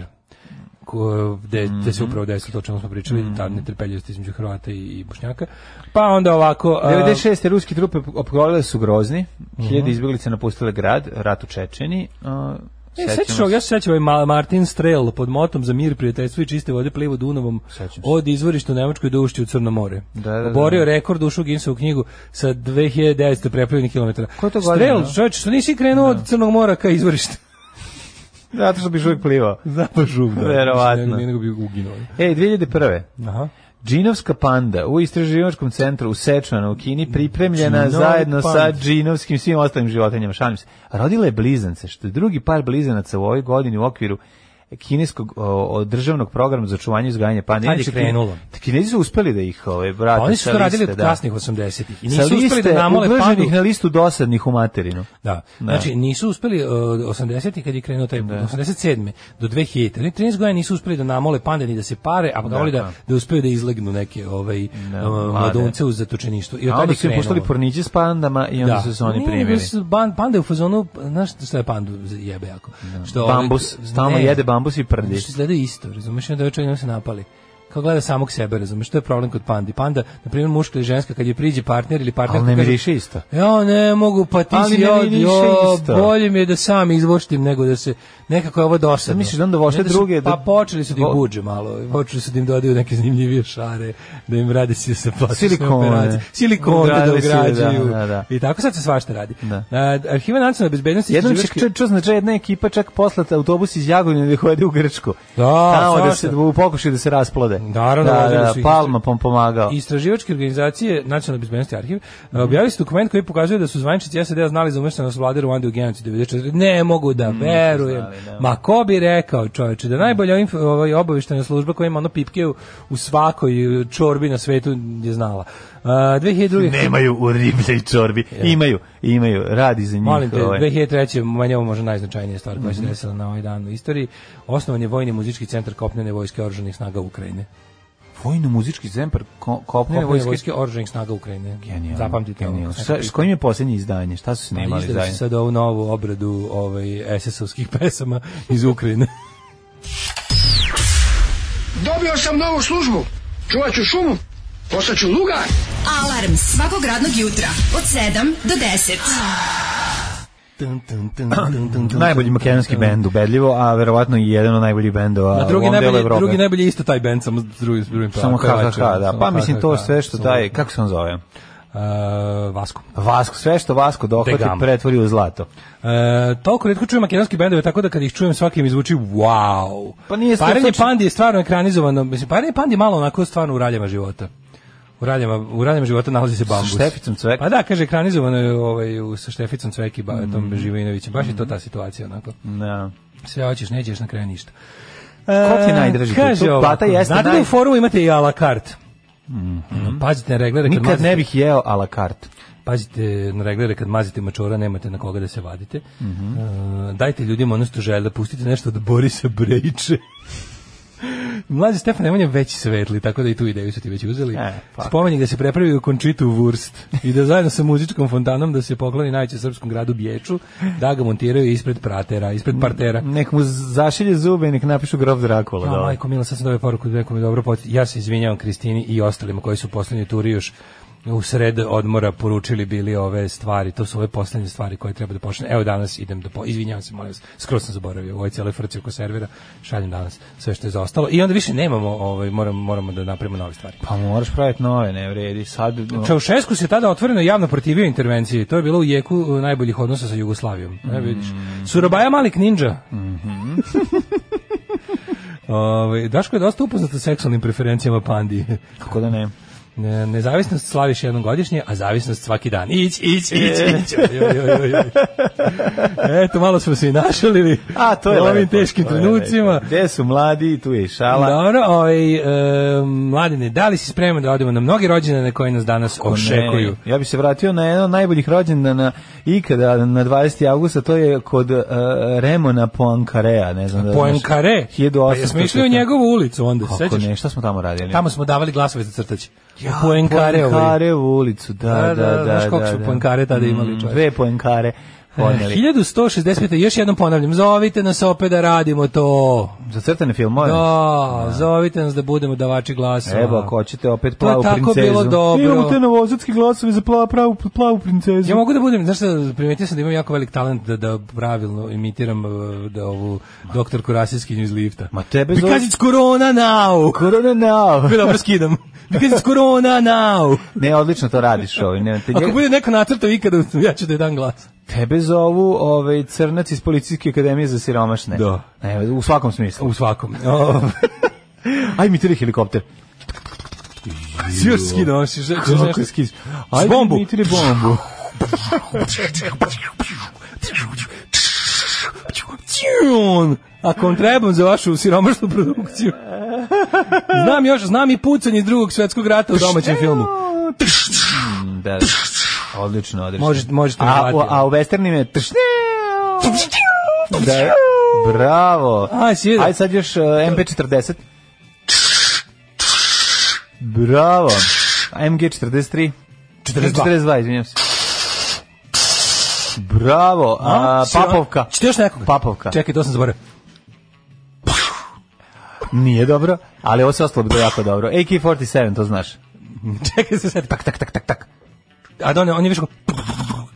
Speaker 7: ko- gde, gde
Speaker 6: Mhm.
Speaker 7: se upravo desilo to o čemu smo pričali, ta netrpeljivost između Hrvata i, i Bošnjaka. Pa onda ovako... a, Mhm.
Speaker 6: 96. ruski trupe opkolile su grozni, hiljade izbjeglice napustile grad, rat u Čečeni. a,
Speaker 7: E,
Speaker 6: sećamo
Speaker 7: sećaš ovog,
Speaker 6: se-
Speaker 7: ja se sećam ovaj Ma- Martin Strel pod motom za mir, prijateljstvo i čiste vode plivo Dunavom
Speaker 6: Sećam se.
Speaker 7: od izvorišta u Nemačkoj do ušća u Crno more.
Speaker 6: Da, da, da.
Speaker 7: Oborio rekord, ušao u Guinnessovu knjigu sa 2900 preplavljenih kilometara.
Speaker 6: Ko je to godina,
Speaker 7: Strel,
Speaker 6: da?
Speaker 7: čovječe, što nisi krenuo od Crnog mora ka izvorišta?
Speaker 6: Zato što bi žuvijek plivao.
Speaker 7: Zato žub, Pa da.
Speaker 6: Verovatno.
Speaker 7: Nego, nego bi uginuo.
Speaker 6: E, 2001.
Speaker 7: Aha.
Speaker 6: Džinovska panda u istraživačkom centru u Sečuanu u Kini pripremljena
Speaker 7: Džinovi
Speaker 6: zajedno sa
Speaker 7: pand.
Speaker 6: džinovskim svim ostalim životinjama, šalim se. Rodila je blizance, što je drugi par blizanaca u ovoj godini u okviru kineskog o, o, državnog programa za čuvanje i uzgajanje panda.
Speaker 7: Tad je
Speaker 6: Inače, Kin-
Speaker 7: krenulo.
Speaker 6: Kinezi su uspeli da ih ove, brate,
Speaker 7: Pa Oni su
Speaker 6: sa
Speaker 7: to radili
Speaker 6: liste,
Speaker 7: od
Speaker 6: da.
Speaker 7: kasnih 80-ih. I
Speaker 6: Sa
Speaker 7: nisu uspeli
Speaker 6: liste
Speaker 7: da namole pandu.
Speaker 6: ugroženih na listu dosadnih u materinu.
Speaker 7: Da. Znači, nisu uspeli od 80-ih kad je krenuo taj, da. 87. do 2000. Oni 13 godina nisu uspeli da namole pande ni da se pare, a da, da, da uspeju da izlegnu neke ovaj, uh, mladunce u zatočeništvu. I od
Speaker 6: A
Speaker 7: tada
Speaker 6: onda
Speaker 7: je
Speaker 6: su im
Speaker 7: krenulo.
Speaker 6: puštali porniđe s pandama i onda
Speaker 7: Da.
Speaker 6: su se oni
Speaker 7: Nije,
Speaker 6: primili.
Speaker 7: nego su ban- Panda je u fazonu, znaš šta je pandu jebe jako? Što ovaj-
Speaker 6: Bambus, stalno
Speaker 7: ne.
Speaker 6: jede bambus i prdi.
Speaker 7: Što izgleda isto, razumeš, I onda ovaj čovjek nam se napali. kao gleda samog sebe, razumeš, to je problem kod pandi. Panda, na primjer, muška ili ženska, kad je priđe partner ili partner...
Speaker 6: Ali ne miriše isto.
Speaker 7: Ja ne mogu, pa ti
Speaker 6: Ali
Speaker 7: si
Speaker 6: ne
Speaker 7: od,
Speaker 6: miriše
Speaker 7: jo,
Speaker 6: isto."
Speaker 7: bolje mi je da sam izvoštim nego da se, nekako je ovo dosadno.
Speaker 6: Misliš da onda vošte
Speaker 7: Ne, da su-
Speaker 6: druge, da-
Speaker 7: Pa počeli su da ih
Speaker 6: Vo-
Speaker 7: buđe malo, počeli su da im dodaju neke zanimljivije šare, da im rade si se plastične
Speaker 6: Silikone.
Speaker 7: operacije. Silikone da
Speaker 6: Ugradili su, da,
Speaker 7: ugrađuju.
Speaker 6: da, da.
Speaker 7: I tako sad se svašta radi.
Speaker 6: Da.
Speaker 7: A, Arhiva nacionalne bezbednosti... i
Speaker 6: Jednom će
Speaker 7: istraživačke-
Speaker 6: ču, ču, znači jedna ekipa čak poslata autobus iz Jagodine da ih uvede u Grčku.
Speaker 7: Da,
Speaker 6: Tamo da
Speaker 7: svašta.
Speaker 6: se u pokušaju da se rasplode.
Speaker 7: Naravno,
Speaker 6: da,
Speaker 7: vozili
Speaker 6: da,
Speaker 7: su ih.
Speaker 6: Palma pom pomagao.
Speaker 7: Istraživačke organizacije Nacionalne bezbednosti arhiv e, objavili su dokument koji pokazuje da su zvaničnici SAD-a znali za umeštanost vlade Ruande u genocid 94. Ne mogu
Speaker 6: Mm,
Speaker 7: da verujem. Ma ko bi rekao, čoveče, da najbolja inf- ovaj, obaveštena služba koja ima ono pipke u, u svakoj e, čorbi na svetu je znala. Uh, 2002.
Speaker 6: Nemaju u ribljej čorbi. Imaju, imaju, radi za njih.
Speaker 7: Molim te,
Speaker 6: ovaj.
Speaker 7: 2003. manje ovo možda najznačajnija stvar koja se
Speaker 6: Mhm.
Speaker 7: desila na ovaj dan u istoriji. Osnovan je Vojni muzički centar kopnene vojske oružanih snaga Ukrajine.
Speaker 6: Vojno-muzički zempar ko, kopnene
Speaker 7: Kopnene
Speaker 6: vojske.
Speaker 7: vojske oružanih snaga Ukrajine.
Speaker 6: Genijalno,
Speaker 7: Zapamtite ovo.
Speaker 6: genijalno.
Speaker 7: Sad
Speaker 6: Šta, s kojim je posljednje izdanje? Šta su
Speaker 7: Pa
Speaker 6: snimali
Speaker 7: izdali su
Speaker 6: zajedno?
Speaker 7: sad ovu novu obradu ovaj, SS-ovskih pesama iz Ukrajine.
Speaker 2: Dobio sam novu službu. Čuvat ću šumu. Postaću lugar.
Speaker 5: Alarm svakog radnog jutra od 7 do 10.
Speaker 6: Najbolji makedonski bend, ubedljivo, a verovatno i jedan od najboljih bendova
Speaker 7: A
Speaker 6: u
Speaker 7: drugi
Speaker 6: ovom delu
Speaker 7: najbolji,
Speaker 6: Evrope.
Speaker 7: drugi najbolji isto taj band, samo s drugim, s drugim
Speaker 6: Samo
Speaker 7: pevačem,
Speaker 6: HHH, da.
Speaker 7: samo
Speaker 6: Pa mislim to
Speaker 7: HHH,
Speaker 6: sve što
Speaker 7: samo-
Speaker 6: daje, kako se on zove?
Speaker 7: A, Vasko.
Speaker 6: Vasko, sve što Vasko dohvati
Speaker 7: Te gama.
Speaker 6: pretvori u zlato.
Speaker 7: E, toliko retko čujem makedonski bendove, tako da kad ih čujem svaki mi zvuči wow.
Speaker 6: Pa nije sve
Speaker 7: Parenje
Speaker 6: slučaj-
Speaker 7: pandi je stvarno ekranizovano, mislim, parenje pandi je malo onako stvarno u raljama života. U raljama, u raljama života nalazi se bambus.
Speaker 6: šteficom cveka.
Speaker 7: Pa da, kaže, ekranizovano je ovaj, u- sa Šteficom Cveki, ba,
Speaker 6: Mm.
Speaker 7: tom Živinovićem. Baš je to ta situacija, onako.
Speaker 6: Da.
Speaker 7: Sve hoćeš, nećeš na kraju ništa. E,
Speaker 6: Ko ti je najdraži?
Speaker 7: Kaže
Speaker 6: Tu
Speaker 7: ovako,
Speaker 6: plata jeste
Speaker 7: znate da
Speaker 6: naj- Mhm.
Speaker 7: u forumu imate i a la carte? Ono, Pazite na reglere kad
Speaker 6: Nikad
Speaker 7: mazite,
Speaker 6: ne bih jeo a la carte.
Speaker 7: pazite na reglere kad mazite mačora, nemate na koga da se vadite. E, dajte ljudima ono što žele, pustite nešto od Borisa Brejče. Mlađi Stefan Nemanja već svetli, tako da i tu ideju su ti već uzeli.
Speaker 6: E, fuck.
Speaker 7: Spomenik da se prepravi u Končitu Wurst i da zajedno sa muzičkom fontanom da se pokloni najvećem srpskom gradu Bječu, da ga montiraju ispred pratera, ispred partera.
Speaker 6: Nek mu zašilje zube i nek napišu grof Drakula.
Speaker 7: Ja,
Speaker 6: dole.
Speaker 7: majko Mila, sad sam dobio poruku, rekao mi dobro, pot- ja se izvinjavam Kristini i ostalima koji su u poslednjoj turi još u sred odmora poručili bili ove stvari, to su ove poslednje stvari koje treba da počne. Evo danas idem da po... izvinjavam se, molim vas, skroz sam zaboravio u ovoj cijeloj frci oko servera, šaljem danas sve što je zaostalo i onda više nemamo, ovaj, moramo, moramo da napravimo nove stvari.
Speaker 6: Pa moraš praviti nove, ne vredi. Sad, no,
Speaker 7: Čaušesku se tada otvoreno i javno protivio intervenciji. To je bilo u jeku e, najboljih odnosa sa Jugoslavijom. Ne vidiš.
Speaker 6: Mm.
Speaker 7: Surabaja Malik Ninja.
Speaker 6: Mm-hmm.
Speaker 7: Ovaj, Daško je dosta upoznat sa seksualnim preferencijama pandi.
Speaker 6: kako da ne.
Speaker 7: Ne- Nezavisnost slaviš jednom godišnje, a zavisnost svaki dan. Ić, ić, ić, ić. Oj, oj, oj, oj. Eto, malo smo se i našalili.
Speaker 6: A, to je
Speaker 7: u ovim
Speaker 6: lepo,
Speaker 7: teškim
Speaker 6: to je
Speaker 7: trenucima.
Speaker 6: lepo. Pa Gde su mladi, tu je i šala.
Speaker 7: Dobro, ovaj, e, mladine, da li si spreman da odemo na mnoge rođene na koje nas danas
Speaker 6: Ko ne?
Speaker 7: očekuju?
Speaker 6: Ja bih se vratio na jedan od najboljih rođendana ikada na 20. augusta, to je kod uh, Remona Poincarea, ne znam da znaš.
Speaker 7: Poenkare.
Speaker 6: 1800.
Speaker 7: Pa jesmo išli u njegovu ulicu onda,
Speaker 6: Kako
Speaker 7: sećaš?
Speaker 6: ne, šta smo tamo radili?
Speaker 7: Tamo smo davali glasove za crtaće. Ja, Poenkare ovaj.
Speaker 6: Poincare u ulicu, da, da,
Speaker 7: Da, da,
Speaker 6: da.
Speaker 7: znaš koliko
Speaker 6: da,
Speaker 7: su
Speaker 6: da.
Speaker 7: Poincare tada imali,
Speaker 6: Mm,
Speaker 7: čovječe? Eh,
Speaker 6: Dve Poincare poneli.
Speaker 7: 1165. Još jednom ponavljam, zovite nas opet da radimo to.
Speaker 6: Za crtane filmove?
Speaker 7: Da, zovite nas da budemo davači glasova.
Speaker 6: Pa Evo, ako hoćete opet
Speaker 7: To je
Speaker 6: plavu
Speaker 7: tako
Speaker 6: princezu.
Speaker 7: bilo dobro.
Speaker 6: Imamo te novozatske glasove za plavu, pravu, plavu princezu.
Speaker 7: Ja mogu da budem, znaš šta, primetio sam da imam jako velik talent da, da pravilno imitiram e, da ovu doktorku rasijskinju iz lifta.
Speaker 6: Ma tebe zove-
Speaker 7: Because it's corona now!
Speaker 6: Korona now.
Speaker 7: Dobro, skidam. Because it's corona now!
Speaker 6: Ne, odlično to radiš ovaj. Ne, te,
Speaker 7: Ako bude neko nacrtao ikada, ja ću da je dan glas.
Speaker 6: Tebe zovu ovaj, crnac iz Policijske akademije za siromašne.
Speaker 7: Da.
Speaker 6: Ne, u svakom smislu.
Speaker 7: U svakom. O,
Speaker 6: Aj mi tiri helikopter.
Speaker 7: Svi još skidam, što je
Speaker 6: Kako je skis? Aj
Speaker 7: bombu.
Speaker 6: mi tiri bombu.
Speaker 7: Tjun! Ako vam trebam za vašu siromašnu produkciju. Znam još, znam i pucanje iz drugog svjetskog rata u domaćem filmu.
Speaker 6: Da, da. Odlično, odlično.
Speaker 7: Možete- možete me
Speaker 6: a,
Speaker 7: hvatiti.
Speaker 6: u, a u westernima je tš- Da, bravo.
Speaker 7: Aj, si vidio.
Speaker 6: Aj sad još uh, MP40. Bravo. MG43.
Speaker 7: 42.
Speaker 6: 42, izvinjam se. Bravo. A,
Speaker 7: siro-
Speaker 6: papovka.
Speaker 7: Čete još nekoga?
Speaker 6: Papovka.
Speaker 7: Čekaj, to sam zaboravio.
Speaker 6: Nije dobro, ali ovo se ostalo bilo jako dobro. AK-47, to znaš.
Speaker 7: Čekaj se sad.
Speaker 6: Tak, tak, tak, tak, tak.
Speaker 7: A da on je, on je više kao-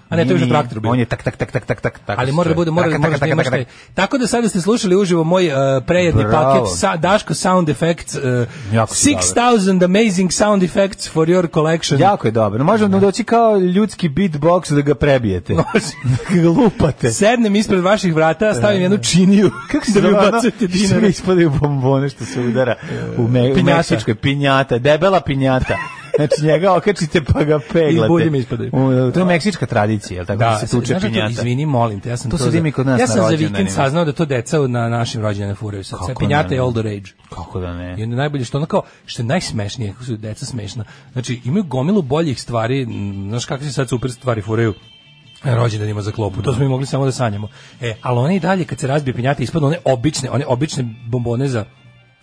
Speaker 7: A ne, to je više traktor bio.
Speaker 6: On je tak, tak, tak, tak, tak, tak. tako
Speaker 7: ali
Speaker 6: se
Speaker 7: mora da
Speaker 6: čuje.
Speaker 7: bude mora
Speaker 6: Tak,
Speaker 7: da
Speaker 6: tak,
Speaker 7: moraš da
Speaker 6: tak,
Speaker 7: imaš
Speaker 6: tak, tak,
Speaker 7: taj. Tako da sada ste slušali uživo moj uh, prejedni
Speaker 6: Bravo.
Speaker 7: paket sa Daško sound effects uh,
Speaker 6: Jako si
Speaker 7: 6000 amazing sound effects for your collection.
Speaker 6: Jako je dobro. Možemo da doći kao ljudski beatbox da ga prebijete. Da ga lupate.
Speaker 7: Sednem ispred vaših
Speaker 6: E,
Speaker 7: vrata, stavim jednu činiju kako se da mi
Speaker 6: Ono,
Speaker 7: bacate
Speaker 6: što
Speaker 7: dinara.
Speaker 6: mi ispadaju bombone što se udara u, me, u
Speaker 7: Pinjata.
Speaker 6: Meksičkoj. Pinjata, debela pinjata. Znači njega okačite pa ga peglate.
Speaker 7: I bulje mi ispadaju.
Speaker 6: U, to je meksička tradicija, jel tako? Da, se tuče
Speaker 7: znaš da to-
Speaker 6: pinjata.
Speaker 7: Izvini, molim te, ja sam
Speaker 6: To
Speaker 7: to,
Speaker 6: se dimi kod nas
Speaker 7: Ja
Speaker 6: na
Speaker 7: sam za
Speaker 6: rođendanima.
Speaker 7: vikend saznao da to deca na našim rođendanima furaju sad.
Speaker 6: Kako
Speaker 7: Sve pinjata
Speaker 6: ne?
Speaker 7: je older age.
Speaker 6: Kako da ne?
Speaker 7: I onda najbolje što ono kao, što je najsmešnije, kako su deca smešna. Znači, imaju gomilu boljih stvari, m, znaš kakve se sad super stvari furaju na rođendanima za klopu. To smo mi mogli samo da sanjamo. E, ali one i dalje kad se razbije pinjata ispadnu one obične, one obične bombone za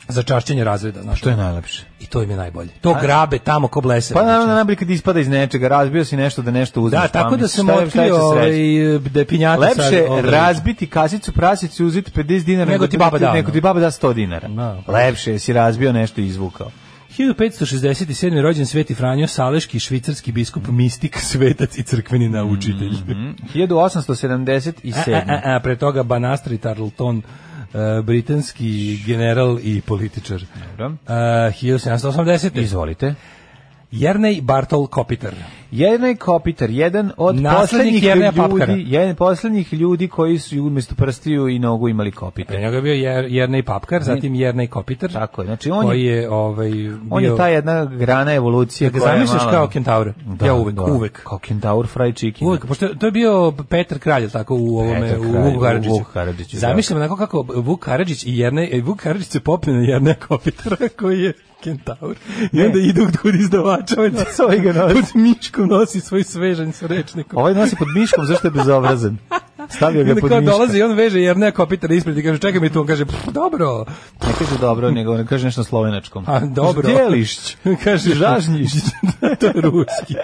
Speaker 7: za čašćenje razreda, znaš.
Speaker 6: To je najlepše.
Speaker 7: I to im je najbolje. To grabe tamo ko blese.
Speaker 6: Pa naravno najbolje kad ispada iz nečega, razbio si nešto da nešto uzmeš.
Speaker 7: Znači- Da, tako
Speaker 6: pamet.
Speaker 7: da sam
Speaker 6: Šta je- šta je
Speaker 7: otkrio
Speaker 6: će sreći?
Speaker 7: ovaj, da je pinjata sad...
Speaker 6: Lepše
Speaker 7: ovaj,
Speaker 6: razbiti kasicu prasicu i uzeti 50 dinara
Speaker 7: Nego ti baba da,
Speaker 6: nego
Speaker 7: ono.
Speaker 6: ti baba da 100 dinara.
Speaker 7: Da. E,
Speaker 6: Lepše si razbio nešto i izvukao.
Speaker 7: 1567. je rođen Sveti Franjo Saleški, švicarski biskup, mistik, svetac i crkveni naučitelj.
Speaker 6: 1877.
Speaker 7: A, a, a, a, pre toga Banastri Tarleton, e, britanski general i političar.
Speaker 6: Dobro.
Speaker 7: E, 1780.
Speaker 6: Izvolite.
Speaker 7: Jernej Bartol Kopitar.
Speaker 6: Jernej Kopitar, jedan od
Speaker 7: Naslednik
Speaker 6: poslednjih
Speaker 7: Jerneja
Speaker 6: ljudi,
Speaker 7: Papkara.
Speaker 6: jedan od poslednjih ljudi koji su umjesto prstiju i nogu imali kopitar.
Speaker 7: Pre njega je bio Jer, Jernej Papkar, zatim Jernej Kopitar.
Speaker 6: Tako je, znači on
Speaker 7: koji
Speaker 6: je,
Speaker 7: je ovaj bio
Speaker 6: on je ta jedna grana evolucije
Speaker 7: Da ga
Speaker 6: koja je
Speaker 7: zamisliš
Speaker 6: malo-
Speaker 7: kao kentaure.
Speaker 6: Da,
Speaker 7: ja uvek,
Speaker 6: da,
Speaker 7: uvek.
Speaker 6: Kao kentaur fried chicken.
Speaker 7: Uvek, pošto je- to je bio Petar Kralj, jel tako, u ovome,
Speaker 6: Petar
Speaker 7: u
Speaker 6: Kralj,
Speaker 7: Vuku
Speaker 6: u
Speaker 7: Karadžiću.
Speaker 6: Vuku Karadžiću, da.
Speaker 7: Zamišljam onako kako Vuk Karadžić i Jerne, e, Vuk Karadžić se popne na Jerne Kopitara koji je kentaur i onda idu kod izdavača, ovaj nosi,
Speaker 6: Ovaj ga nosi.
Speaker 7: pod miškom nosi svoj svežanj sa rečnikom.
Speaker 6: Ovaj nosi pod miškom, zašto je bezobrazan? Stavio
Speaker 7: I
Speaker 6: ga
Speaker 7: onda
Speaker 6: pod
Speaker 7: kao
Speaker 6: miškom.
Speaker 7: dolazi i on veže Jerne Kopitara ispred i kaže čekaj mi tu, on kaže "Pff, dobro,
Speaker 6: Ne kaže dobro, nego ne kaže nešto na slovenačkom.
Speaker 7: a dobro.
Speaker 6: Djelišć.
Speaker 7: kaže
Speaker 6: Žažnjišć.
Speaker 7: to je ruski.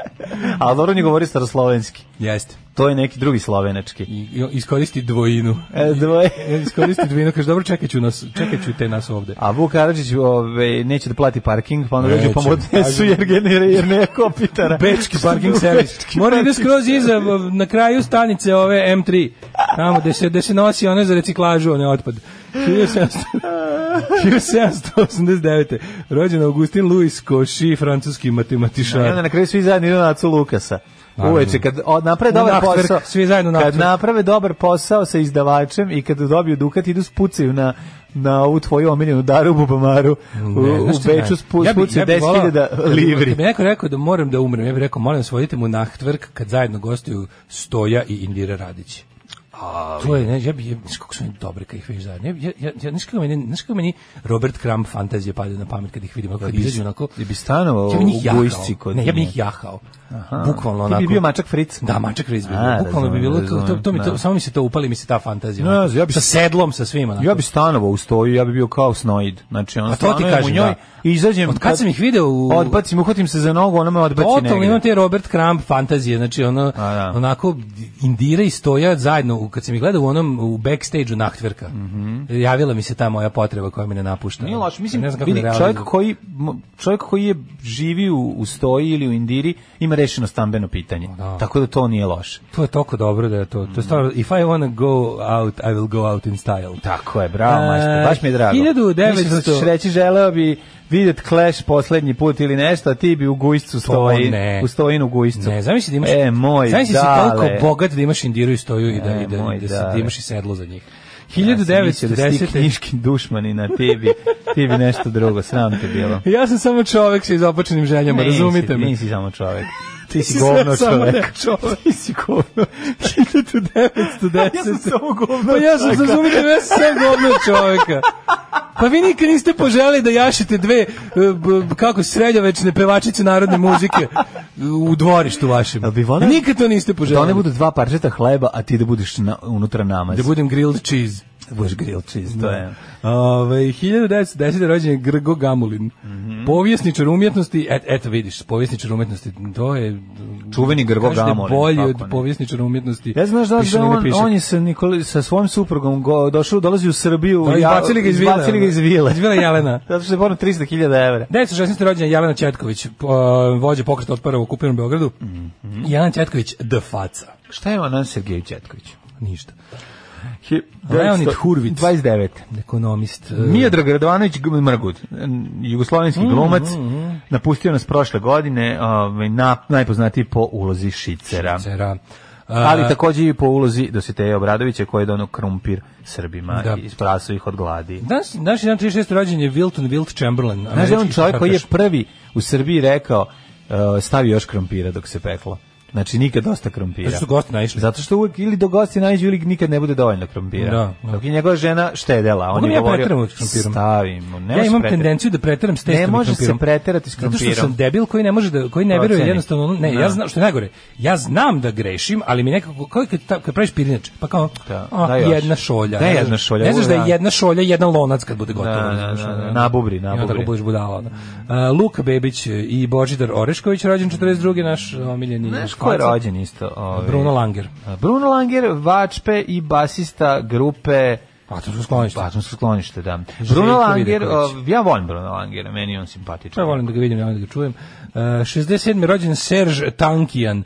Speaker 6: A dobro ne govori staroslovenski.
Speaker 7: Jeste.
Speaker 6: To je neki drugi slovenački.
Speaker 7: I, i- iskoristi dvojinu.
Speaker 6: E, dvoje.
Speaker 7: iskoristi dvojinu, kaže dobro čekaj ću, nas, čekaj ću te nas ovde.
Speaker 6: A Vuk Karadžić ove, neće da plati parking, pa onda dođe pa mu
Speaker 7: Neće.
Speaker 6: odnesu jer genera jer ne kopitara.
Speaker 7: Bečki parking servis.
Speaker 6: Bečki
Speaker 7: Mora ide
Speaker 6: parking.
Speaker 7: skroz iza, v- na kraju stanice ove M3. Tamo gde se, gde se nosi one za reciklažu, one otpad. 1700 1789. Rođen Augustin Louis Cauchy, francuski
Speaker 6: I onda
Speaker 7: matematičar.
Speaker 6: na kraju svi zajedno idu na Acu Lukasa. Uveče, kad o, naprave
Speaker 7: Na
Speaker 6: dobar
Speaker 7: naftverk,
Speaker 6: posao,
Speaker 7: svi zajedno na
Speaker 6: kad
Speaker 7: naftverk.
Speaker 6: naprave dobar posao sa izdavačem i kad dobiju dukat, idu spucaju na na ovu tvoju omiljenu daru bubamaru u,
Speaker 7: Ne,
Speaker 6: u
Speaker 7: znaš šta je
Speaker 6: Beču
Speaker 7: naj-
Speaker 6: spu,
Speaker 7: Ja bi-
Speaker 6: spucaju
Speaker 7: ja bi volao-
Speaker 6: 10.000 livri.
Speaker 7: Kad bi neko rekao da moram da umrem, ja bih rekao, molim vas, vodite mu nahtvrk kad zajedno gostuju Stoja i Indira Radić. To je, ne, ja bi, ja, znaš kako su oni dobri kad ih vidiš zajedno. Ja, ja, ja, ja, znaš kako meni, znaš kako meni Robert Crumb fantazije padaju na pamet kad ih vidim, kad izađu onako...
Speaker 6: Ja bi stanovao
Speaker 7: Ja bi njih
Speaker 6: u
Speaker 7: jahao.
Speaker 6: Gujsci kod
Speaker 7: Ne, ja bi
Speaker 6: nje.
Speaker 7: njih jahao. Bukvalno
Speaker 6: Ti
Speaker 7: onako.
Speaker 6: bi bio mačak Fritz.
Speaker 7: Da, mačak Fritz bi bio.
Speaker 6: A,
Speaker 7: Bukvalno bi
Speaker 6: razumem,
Speaker 7: bilo, to, to, to mi, to,
Speaker 6: razumem,
Speaker 7: samo mi se to upali, mi se ta fantazija.
Speaker 6: Ne,
Speaker 7: onako.
Speaker 6: ja bi-
Speaker 7: sa sedlom, sa svima. Onako.
Speaker 6: Ja bi stanovao u stoju, ja bi bio kao snoid. Znači, ono,
Speaker 7: A to ti
Speaker 6: stanujem
Speaker 7: kažem,
Speaker 6: u njoj
Speaker 7: da.
Speaker 6: i izađem...
Speaker 7: Od kad sam ih video u-
Speaker 6: Odbacim, uhvatim se za nogu, ona me odbaci
Speaker 7: Totalno
Speaker 6: negde.
Speaker 7: imam te Robert Crumb fantazije, znači ono,
Speaker 6: A, da.
Speaker 7: onako Indira i Stoja zajedno, u- kad sam ih gledao u onom u backstage-u Nahtverka, javila mi se ta moja potreba koja me ne napušta.
Speaker 6: Mhm. Nije loš, mislim,
Speaker 7: ne znam kako
Speaker 6: vidi,
Speaker 7: da
Speaker 6: čovjek
Speaker 7: realizujem.
Speaker 6: koji, m- čovjek koji je živi u, u stoji ili u Indiri ima rešeno stambeno pitanje. Tako da to nije loše.
Speaker 7: To je toliko dobro da je to, to je stvarno, if I wanna go out, I will go out in style.
Speaker 6: Tako je, bravo,
Speaker 7: E,
Speaker 6: majstor, baš mi je drago.
Speaker 7: 1900
Speaker 6: Mislim da ćeš reći, želeo bi vidjet Clash poslednji put ili nešto, a ti bi u gujscu stoji,
Speaker 7: ne.
Speaker 6: u stojinu gujscu.
Speaker 7: Ne, zamisli da imaš,
Speaker 6: E, moj,
Speaker 7: zamisli da si
Speaker 6: dale.
Speaker 7: toliko bogat da imaš Indiru i Stoju i da,
Speaker 6: E,
Speaker 7: i da,
Speaker 6: moj
Speaker 7: da, se- da
Speaker 6: dale.
Speaker 7: imaš i sedlo za njih.
Speaker 6: Ja sam mislio da si ti
Speaker 7: 1910.
Speaker 6: knjiški dušman i na tebi, ti bi nešto drugo, sram te bilo.
Speaker 7: Ja sam samo čovek sa izopačenim željama,
Speaker 6: Nisi-
Speaker 7: razumite me.
Speaker 6: Nisi samo čovjek. Ti si
Speaker 7: Ti si
Speaker 6: govno
Speaker 7: sve samo
Speaker 6: čovjek.
Speaker 7: ne čovek.
Speaker 6: Ti si govno.
Speaker 7: 1910.
Speaker 6: Ja sam samo govno
Speaker 7: Pa ja sam,
Speaker 6: čovjek.
Speaker 7: razumite, me, ja sam sve govno čoveka. Pa vi nikad niste poželi da jašite dve, e, b- kako srednjovečne pevačice narodne muzike u dvorištu vašem.
Speaker 6: Jel bi voleo-
Speaker 7: Nikad to niste
Speaker 6: Da
Speaker 7: poželi.
Speaker 6: one budu dva parčeta hleba, a ti da budeš na, unutra namaz.
Speaker 7: Da budem grilled cheese.
Speaker 6: Bush grill cheese, to je.
Speaker 7: Ove, 1910. rođen je Grgo Gamulin,
Speaker 6: Mhm.
Speaker 7: povjesničar umjetnosti, et, eto vidiš, povjesničar umjetnosti, to je...
Speaker 6: Čuveni Grgo
Speaker 7: kažete,
Speaker 6: Gamulin,
Speaker 7: bolji
Speaker 6: kako
Speaker 7: od
Speaker 6: ne.
Speaker 7: povjesničara umjetnosti.
Speaker 6: Ja znaš da,
Speaker 7: Piše
Speaker 6: da
Speaker 7: ili ne
Speaker 6: on,
Speaker 7: piše.
Speaker 6: on je sa, Nikoli, sa svojim suprugom go, došao, dolazi u Srbiju.
Speaker 7: Da,
Speaker 6: ja-
Speaker 7: Pa izbacili ga iz vile. ono.
Speaker 6: izbacili ga iz vile.
Speaker 7: Iz vile Jelena.
Speaker 6: Zato što je porno 300.000 evra.
Speaker 7: 1916. rođena Jelena Četković, po- vođa pokreta otpora u okupiranom Beogradu.
Speaker 6: Mhm.
Speaker 7: Jelena Četković, de faca.
Speaker 6: Šta je ona Sergej Četković?
Speaker 7: Ništa.
Speaker 6: Leonid
Speaker 7: Hurvic.
Speaker 6: 29.
Speaker 7: Ekonomist. e,
Speaker 6: Mijedrag Radovanović G- Mrgut, jugoslovenski glumac, mm. napustio nas prošle godine, ovaj, na, najpoznatiji po ulozi Šicera.
Speaker 7: Cera.
Speaker 6: Ali
Speaker 7: A,
Speaker 6: takođe i po ulozi Dositeja Obradovića koji je donio krumpir Srbima
Speaker 7: Da.
Speaker 6: i spasio ih od gladi.
Speaker 7: Danas, naš jedan 36. rođen je Wilton Wilt Chamberlain.
Speaker 6: Znaš da je on
Speaker 7: američki
Speaker 6: čovjek koji je
Speaker 7: košarkaš.
Speaker 6: prvi u Srbiji rekao uh, stavi još krompira dok se peklo. Znači nikad dosta krompira.
Speaker 7: Zato što su gosti naišli.
Speaker 6: Zato što uvijek ili do gosti najđu ili nikad ne bude dovoljno krompira.
Speaker 7: Da, da.
Speaker 6: Dok je njegova žena štedela. On
Speaker 7: Mogu li
Speaker 6: je
Speaker 7: ja
Speaker 6: govorio,
Speaker 7: pretjerati s krompirom?
Speaker 6: stavimo. Ne
Speaker 7: ja
Speaker 6: možeš
Speaker 7: imam
Speaker 6: pretjerati.
Speaker 7: tendenciju da preteram s
Speaker 6: Ne
Speaker 7: testom i
Speaker 6: može se
Speaker 7: krompirom.
Speaker 6: preterati s krompirom.
Speaker 7: Zato što sam debil koji ne može da koji ne
Speaker 6: To
Speaker 7: veruje
Speaker 6: oceni.
Speaker 7: jednostavno ono- ne,
Speaker 6: Da.
Speaker 7: ja znam što je najgore. Ja znam da grešim, ali mi nekako kao kad, ta- kad praviš pirinač, pa kao
Speaker 6: Da,
Speaker 7: a,
Speaker 6: da još.
Speaker 7: jedna šolja.
Speaker 6: Da,
Speaker 7: ne znaš-
Speaker 6: jedna šolja,
Speaker 7: Ne znaš da je
Speaker 6: da.
Speaker 7: jedna šolja, jedan lonac kad bude gotovo.
Speaker 6: Da, da,
Speaker 7: znaš,
Speaker 6: da,
Speaker 7: ono,
Speaker 6: da. Nabubri,
Speaker 7: i onda
Speaker 6: nabubri.
Speaker 7: tako budeš budala. Da. A, Luka Bebić i Božidar Orešković rođen 42. naš omiljeni.
Speaker 6: Znaš ko je
Speaker 7: špaca?
Speaker 6: rođen isto? Ovaj.
Speaker 7: Bruno Langer.
Speaker 6: Bruno Langer, Vačpe i basista grupe
Speaker 7: Atomsko sklonište.
Speaker 6: Atomsko sklonište, da.
Speaker 7: Željko
Speaker 6: Bruno Langer,
Speaker 7: Vidaković.
Speaker 6: o, ja volim Bruno Langera, meni je on simpatičan.
Speaker 7: Pa Ja volim da ga vidim, ja volim da ga čujem. Uh, 67. rođen Serge Tankian,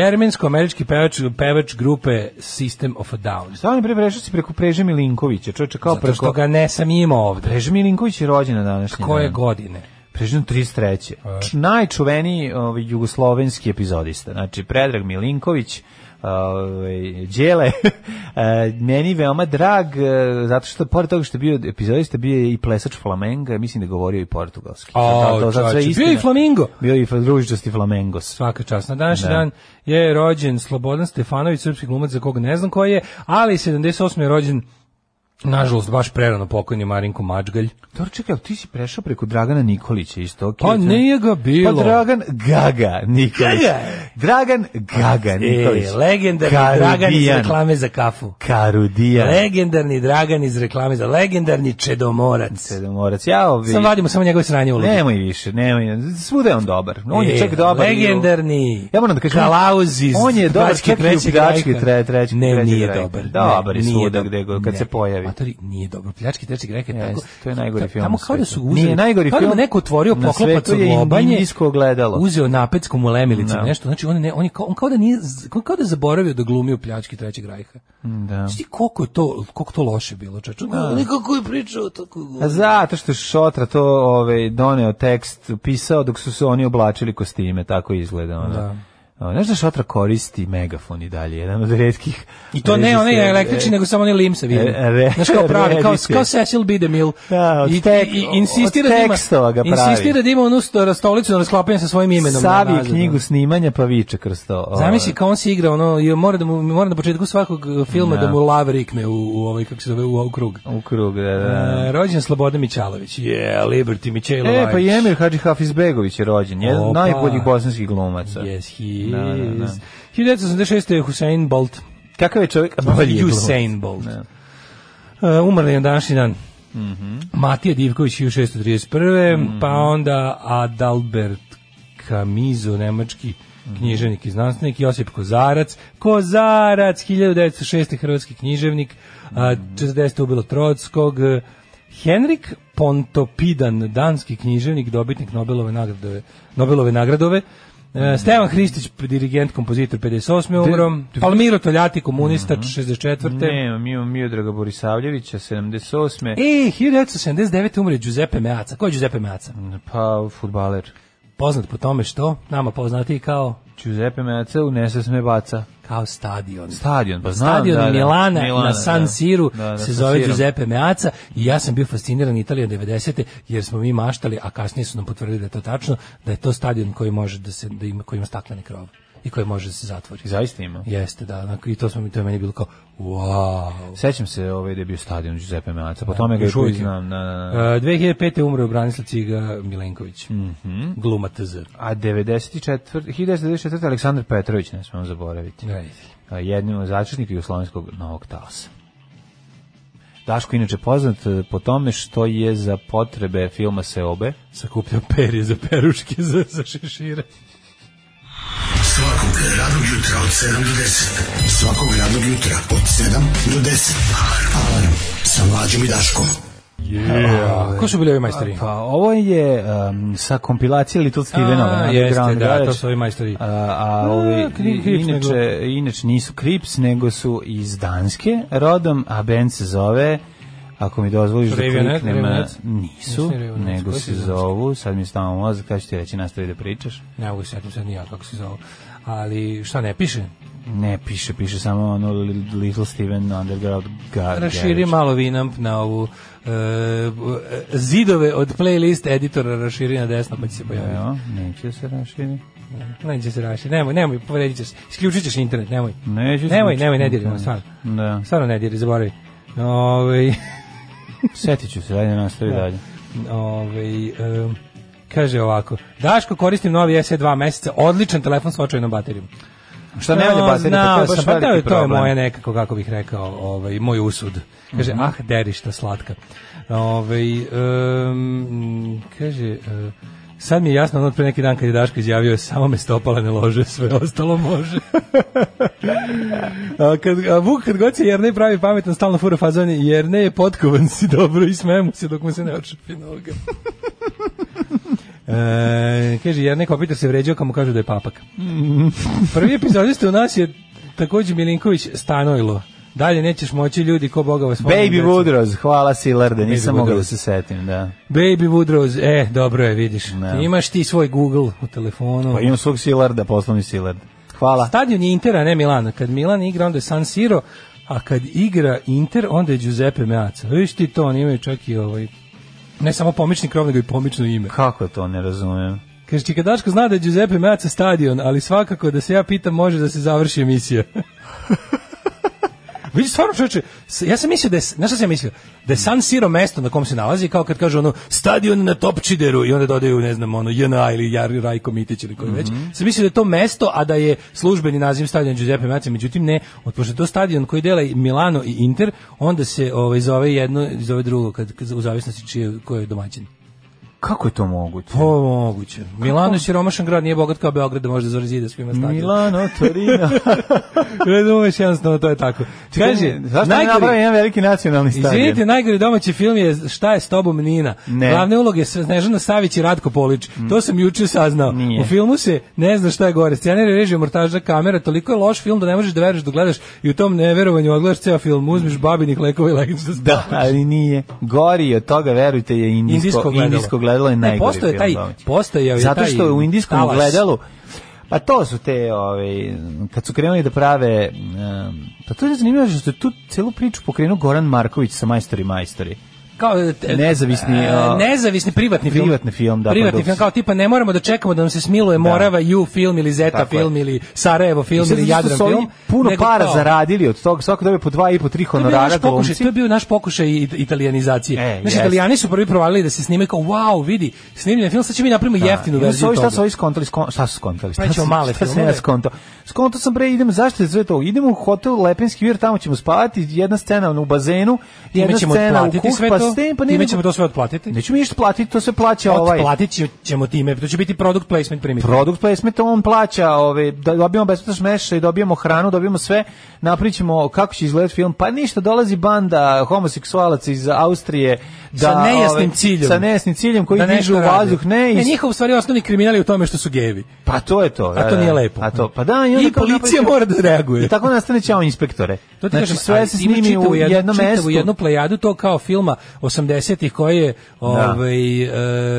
Speaker 7: jermensko-američki pevač, pevač grupe System of a Down.
Speaker 6: Šta on je pre prešao si preko Preže Milinkovića, čovječe kao
Speaker 7: Zato što
Speaker 6: preko...
Speaker 7: ga nesam imao ovde.
Speaker 6: Preže Milinković je rođen na današnji
Speaker 7: Koje
Speaker 6: dan.
Speaker 7: godine?
Speaker 6: Preživno 33.
Speaker 7: Pa.
Speaker 6: Č, najčuveniji ovaj, jugoslovenski epizodista. Znači, Predrag Milinković, ovaj, Đele, eh, meni veoma drag, eh, zato što pored toga što je bio epizodista, bio je i plesač Flamenga, mislim da je govorio i portugalski.
Speaker 7: O,
Speaker 6: Zato- zato sve
Speaker 7: čovječe,
Speaker 6: istina.
Speaker 7: bio je i Flamingo.
Speaker 6: Bio je i fa- ružičasti Flamengos.
Speaker 7: Svaka čast. Na današnji
Speaker 6: Da.
Speaker 7: dan je rođen Slobodan Stefanović, srpski glumac za koga ne znam ko je, ali 78. je rođen Nažalost, baš prerano pokojni Marinko Mačgalj.
Speaker 6: Dobro, čekaj, ali ti si prešao preko Dragana Nikolića isto. Okay,
Speaker 7: Pa nije ga bilo.
Speaker 6: Pa Dragan Gaga Nikolić.
Speaker 7: Gaga.
Speaker 6: Dragan Gaga Nikolić.
Speaker 7: E, legendarni Dragan iz
Speaker 6: Karudijan.
Speaker 7: reklame za kafu.
Speaker 6: Karudijan.
Speaker 7: Legendarni Dragan iz reklame za legendarni Čedomorac.
Speaker 6: Sedemorac. Ja ovi...
Speaker 7: Sam vadimo samo njegove sranje u ludu.
Speaker 6: Nemoj više, nemoj. Svuda je on dobar. On
Speaker 7: E,
Speaker 6: je čak dobar. i u-
Speaker 7: Legendarni.
Speaker 6: Ja moram da kažem,
Speaker 7: Kalauz iz
Speaker 6: on je dobar
Speaker 7: Bačke
Speaker 6: čak i u
Speaker 7: trećeg
Speaker 6: pljački
Speaker 7: Rajha.
Speaker 6: tre- trećeg-
Speaker 7: Ne,
Speaker 6: trećeg
Speaker 7: nije
Speaker 6: Rajha.
Speaker 7: dobar.
Speaker 6: Dobar je
Speaker 7: Ne,
Speaker 6: svuda
Speaker 7: dobar.
Speaker 6: gde go- kad
Speaker 7: Ne.
Speaker 6: se pojavi.
Speaker 7: Matori, nije dobar. Pljački trećeg reka je tako.
Speaker 6: Jeste, to je najgori
Speaker 7: ta-
Speaker 6: film
Speaker 7: Tamo
Speaker 6: na
Speaker 7: kao da
Speaker 6: svetu.
Speaker 7: su uzeli.
Speaker 6: Nije najgori
Speaker 7: kao da mu
Speaker 6: film
Speaker 7: neko otvorio
Speaker 6: na
Speaker 7: poklopac
Speaker 6: svetu
Speaker 7: od
Speaker 6: je
Speaker 7: lobanje.
Speaker 6: indijsko ogledalo.
Speaker 7: Uzeo napecku mu lemilicu,
Speaker 6: Da.
Speaker 7: nešto. Znači, on, je ne, on, je kao, on kao da nije, kao, kao da je zaboravio da glumi u pljački trećeg rajha.
Speaker 6: Da.
Speaker 7: Znaš ti koliko je to, koliko to loše bilo, čaču? Nekako je pričao tako.
Speaker 6: A zato što je Šotra to ovaj doneo tekst, pisao dok su se oni oblačili kostime, tako izgleda ona.
Speaker 7: Da.
Speaker 6: Znaš da Šotra koristi megafon i dalje, jedan od retkih...
Speaker 7: I to ne onaj
Speaker 6: režisera-
Speaker 7: električni, nego samo onaj limsa vidim.
Speaker 6: e, re-
Speaker 7: Znaš kao pravi, kao,
Speaker 6: reditelj.
Speaker 7: kao Cecil B. DeMille.
Speaker 6: Da, od
Speaker 7: I,
Speaker 6: tek-
Speaker 7: i, i insistira
Speaker 6: od
Speaker 7: da ima,
Speaker 6: tekstova ga pravi.
Speaker 7: insistira da ima onu sto- stolicu na rasklapanju sa svojim imenom.
Speaker 6: Savi
Speaker 7: na
Speaker 6: je
Speaker 7: nazadu.
Speaker 6: knjigu snimanja pa viče kroz to. ovaj.
Speaker 7: Zamisli kao on se igra, ono, i mora, da mu, mora na početku svakog eh, filma da, mu lav rikne u, u ovaj, kako se zove, u, u krug.
Speaker 6: U krug, da, da.
Speaker 7: E, rođen Slobodan Mićalović. Je, yeah, Liberty Mićalović.
Speaker 6: E, pa i Emir Hadži Hafizbegović je rođen, jedan od
Speaker 7: Opa.
Speaker 6: najboljih bosanskih glumaca.
Speaker 7: Yes, he
Speaker 6: Da, da, da.
Speaker 7: is. 1986. je Hussein Bolt.
Speaker 6: Kakav je čovjek? A, Bolji je glumac.
Speaker 7: Usain Bolt.
Speaker 6: Da.
Speaker 7: Uh, umrli je na današnji dan. Matija Divković 1631. Pa onda Adalbert Kamizo, nemački književnik i znanstvenik, Josip Kozarac, Kozarac, 1906. hrvatski književnik, a, 40. ubilo Trotskog, Henrik Pontopidan, danski književnik, dobitnik Nobelove nagrade, Nobelove nagradove, E, Stevan Hristić, dirigent, kompozitor 58. umrom, Palmiro Toljati, komunista 64.
Speaker 6: Mhm. Ne, mi imamo Miodraga Borisavljevića, 78.
Speaker 7: E, 1979. umre Giuseppe Meaca. Ko je Giuseppe Meaca?
Speaker 6: Pa, futbaler.
Speaker 7: Poznat po tome što, nama poznati kao
Speaker 6: Giuseppe Meaca u Nesa sme baca.
Speaker 7: kao stadion.
Speaker 6: Stadion, pa znam,
Speaker 7: Stadion
Speaker 6: da, da.
Speaker 7: Milana,
Speaker 6: Milana,
Speaker 7: na San
Speaker 6: da.
Speaker 7: Siru
Speaker 6: Da, da,
Speaker 7: se
Speaker 6: San
Speaker 7: zove
Speaker 6: Sirom.
Speaker 7: Giuseppe Meaca i ja sam bio fasciniran Italijom 90. jer smo mi maštali, a kasnije su nam potvrdili da je to tačno, da je to stadion koji može da se da ima koji ima stakleni krov i koji može da se zatvori.
Speaker 6: I zaista ima.
Speaker 7: Jeste, da, onako, i to smo mi to je meni bilo kao wow.
Speaker 6: Sećam se ovaj da je bio stadion Giuseppe Meaca, po tome ga
Speaker 7: još
Speaker 6: još uvijek
Speaker 7: uvijek je.
Speaker 6: znam. Da, da, da.
Speaker 7: Uh, 2005. umre Branislav Ciga Milenković. Mm
Speaker 6: Mhm.
Speaker 7: Gluma TZ.
Speaker 6: A 94, 1994. Aleksandar Petrović, ne smemo zaboraviti.
Speaker 7: Gledajte.
Speaker 6: A, jednim od začetnika jugoslovenskog novog talasa. Daško je inače poznat e, po tome što je za potrebe filma Seobe
Speaker 7: Sakupljam perje za peruške, za, za šešire.
Speaker 4: Svakog radnog jutra od 7 do 10. Svakog radnog jutra od 7 do 10. Alarm sa mlađom i Daškom.
Speaker 7: Ko su bili ovi majstori?
Speaker 6: Pa ovo je um, sa kompilacije Little Stevenova.
Speaker 7: A,
Speaker 6: Underground
Speaker 7: jeste, da,
Speaker 6: Garage.
Speaker 7: to su ovi majstori.
Speaker 6: A, a ovi,
Speaker 7: A, Kri- Krips
Speaker 6: inače, inače nisu Krips, nego su iz Danske rodom, a band se zove Ako mi dozvoliš da
Speaker 7: Raveonettes,
Speaker 6: kliknem, a,
Speaker 7: Raveonettes?
Speaker 6: nisu,
Speaker 7: Nisu Raveonettes,
Speaker 6: nego
Speaker 7: koji
Speaker 6: se
Speaker 7: su iz Danske?
Speaker 6: zovu, sad mi je stavamo mozak, kada ću ti reći, nastavi da pričaš.
Speaker 7: Ne mogu se sjetiti sad ni ja kako se zove. Ali šta ne piše?
Speaker 6: Ne, piše, piše samo ono Li- Little Steven Underground Gar
Speaker 7: Raširi malo vinamp na ovu e, zidove od playlist editora raširi na desno pa će se pojaviti.
Speaker 6: Evo, neće se raširi.
Speaker 7: Neće se rašiti, nemoj, nemoj, povredit ćeš, isključit ćeš internet, nemoj.
Speaker 6: Neće se
Speaker 7: nemoj, nemoj, ne
Speaker 6: isključiti
Speaker 7: dirimo, stvarno.
Speaker 6: Da.
Speaker 7: Stvarno ne diri, zaboravi. Ovaj, Ove,
Speaker 6: Setit ću se, dajde nastavi dalje.
Speaker 7: ove, Ovaj, em, kaže ovako, Daško koristim novi SE 2 meseca, odličan telefon s očajnom baterijom.
Speaker 6: Šta ne valja
Speaker 7: No,
Speaker 6: baterija,
Speaker 7: znao
Speaker 6: pa to je baš
Speaker 7: sam, pa to je-
Speaker 6: veliki
Speaker 7: to je
Speaker 6: problem.
Speaker 7: moje nekako, kako bih rekao, ovaj, moj usud. Kaže,
Speaker 6: Mhm.
Speaker 7: ah, derišta slatka. Ovaj, em, kaže, eh, sad mi je jasno ono od pre neki dan kad je Daško izjavio, samo me stopala ne lože, sve ostalo može. a, kad, a Vuk kad god se Jerne pravi pametno, stalno fura fazon, je, Jerne je potkovan si dobro i smeje mu se dok mu se ne očepi noga. E, kaže, Jerne Kopitar se vređao kad mu kažu da je papak. Prvi epizodista u nas je takođe Milinković Stanojlo. Dalje nećeš moći ljudi ko Boga vas voli,
Speaker 6: Baby
Speaker 7: deco.
Speaker 6: Woodrose, hvala Silarda, nisam
Speaker 7: Baby
Speaker 6: mogao da
Speaker 7: Woodrose.
Speaker 6: se setim, da.
Speaker 7: Baby Woodrose, e, dobro je, vidiš.
Speaker 6: Ne.
Speaker 7: Ti imaš ti svoj Google u telefonu.
Speaker 6: Pa imam svog Silarda, poslovni Silard. Hvala.
Speaker 7: Stadion je Inter, a ne Milan. Kad Milan igra, onda je San Siro, a kad igra Inter, onda je Giuseppe Meazza. Viš ti to, oni imaju čak i ovaj ne samo pomični krov, nego i pomično ime.
Speaker 6: Kako to ne razumem?
Speaker 7: Kaže, Čikadaško zna da je Giuseppe Meazza stadion, ali svakako da se ja pitam može da se završi emisija. Vidi, stvarno čoveče, s- ja sam mislio da je, znaš šta sam ja mislio? Da je San Siro mesto na kom se nalazi, kao kad kažu ono, stadion na Topčideru i onda dodaju, ne znam, ono, JNA ili Jar Rajko Mitić ili koji već. Sam mislio da je to mesto, a da je službeni naziv stadion Giuseppe Meazza, međutim ne, od pošto je to stadion koji dela i Milano i Inter, onda se ovaj, zove jedno i zove drugo, kad, kad- u zavisnosti čije, ko je domaćin.
Speaker 6: Kako je to moguće?
Speaker 7: Pa moguće. Milano je siromašan grad, nije bogat kao Beograd, da može da zora da svima stadion.
Speaker 6: Milano, Torino.
Speaker 7: Razumeš, jednostavno, to je tako. Kaže,
Speaker 6: zašto ne napravim jedan veliki nacionalni stadion?
Speaker 7: Izvinite, najgori domaći film je Šta je s tobom Nina.
Speaker 6: Ne. Mm.
Speaker 7: Glavne uloge su Snežana Savić i Ratko Polić. To sam juče saznao.
Speaker 6: Nije.
Speaker 7: U filmu se ne zna šta je gore. Scenarij, režija, montaža, kamera, toliko je loš film da ne možeš da veruješ da gledaš i u tom neverovanju odgledaš ceo film, uzmeš babinih lekova i legneš da
Speaker 6: Da, ali nije. Gori od toga, verujte, je indijsko,
Speaker 7: Indijsko gledalo.
Speaker 6: indijsko gledalo je
Speaker 7: Ne,
Speaker 6: najgori
Speaker 7: postojao
Speaker 6: film
Speaker 7: je taj-
Speaker 6: domaći.
Speaker 7: postojao je
Speaker 6: Zato što
Speaker 7: taj
Speaker 6: u indijskom
Speaker 7: talas.
Speaker 6: gledalu Pa to su te, ovaj, kad su krenuli da prave, um, pa to je zanimljivo što je tu celu priču pokrenuo Goran Marković sa Majstori Majstori.
Speaker 7: kao e, t-
Speaker 6: Nezavisni,
Speaker 7: e,
Speaker 6: a-
Speaker 7: nezavisni privatni film.
Speaker 6: Privatni film, da, pa
Speaker 7: Privatni
Speaker 6: produkcija.
Speaker 7: film kao tipa ne moramo da čekamo da nam se smiluje Morava Ju film ili Zeta
Speaker 6: Tako je.
Speaker 7: film ili Sarajevo film
Speaker 6: I sad
Speaker 7: ili
Speaker 6: zato što
Speaker 7: Jadran
Speaker 6: su oni
Speaker 7: film.
Speaker 6: Puno
Speaker 7: nego
Speaker 6: para
Speaker 7: kao-
Speaker 6: zaradili od toga, svako dobije po dva i po tri
Speaker 7: To je bio
Speaker 6: honorara
Speaker 7: naš pokušaj,
Speaker 6: glumci.
Speaker 7: to je bio naš pokušaj i- italijanizacije.
Speaker 6: E,
Speaker 7: Znaš,
Speaker 6: jest.
Speaker 7: italijani su prvi provalili da se snime kao, wow, vidi, snimljen je film, sad ćemo mi napravimo jeftinu
Speaker 6: I onda su
Speaker 7: verziju
Speaker 6: ovi šta
Speaker 7: toga.
Speaker 6: su ovi skontali, skon, šta su skontali? Šta,
Speaker 7: Pravićemo
Speaker 6: sam-
Speaker 7: male
Speaker 6: šta sam
Speaker 7: filmove.
Speaker 6: ja skontao? Skontao sam bre, idem, zašto je sve to? Idemo u hotel Lepenski vir, tamo ćemo spavati, jedna scena ono, u bazenu, jedna
Speaker 7: Time ćemo
Speaker 6: scena u
Speaker 7: otplatiti
Speaker 6: kuh,
Speaker 7: sve
Speaker 6: pa
Speaker 7: to,
Speaker 6: s tem, pa ne
Speaker 7: time
Speaker 6: idemo-
Speaker 7: ćemo to sve otplatiti.
Speaker 6: Nećemo ništa platiti, to se plaća ovaj.
Speaker 7: Otplatit će- ćemo time, to će biti product placement primitiv.
Speaker 6: Produkt pa placement on plaća, ove, da- dobijamo besplatno smeštaj, dobijamo hranu, dobijamo sve, napričamo kako će izgledati film, pa ništa, dolazi banda homoseksualaca iz Austrije da,
Speaker 7: sa nejasnim
Speaker 6: ove,
Speaker 7: ciljem.
Speaker 6: sa nejasnim ciljem koji
Speaker 7: Da nešto
Speaker 6: dižu u
Speaker 7: rade.
Speaker 6: vazduh, ne,
Speaker 7: Ne,
Speaker 6: iz-
Speaker 7: njihov u stvari osnovni kriminal je u tome što su gevi.
Speaker 6: Pa to je to.
Speaker 7: A to
Speaker 6: da, da.
Speaker 7: nije lepo.
Speaker 6: A to, pa da, i,
Speaker 7: I,
Speaker 6: onda kao
Speaker 7: policija
Speaker 6: napravi-
Speaker 7: mora da reaguje.
Speaker 6: I tako nastane ćao inspektore.
Speaker 7: To ti
Speaker 6: znači
Speaker 7: kažem,
Speaker 6: sve
Speaker 7: ali
Speaker 6: se
Speaker 7: ima
Speaker 6: snimi
Speaker 7: čitavu
Speaker 6: u
Speaker 7: jednu-
Speaker 6: jednom
Speaker 7: čitavu
Speaker 6: mestu.
Speaker 7: jednu plejadu to kao filma 80-ih koji je ovaj e,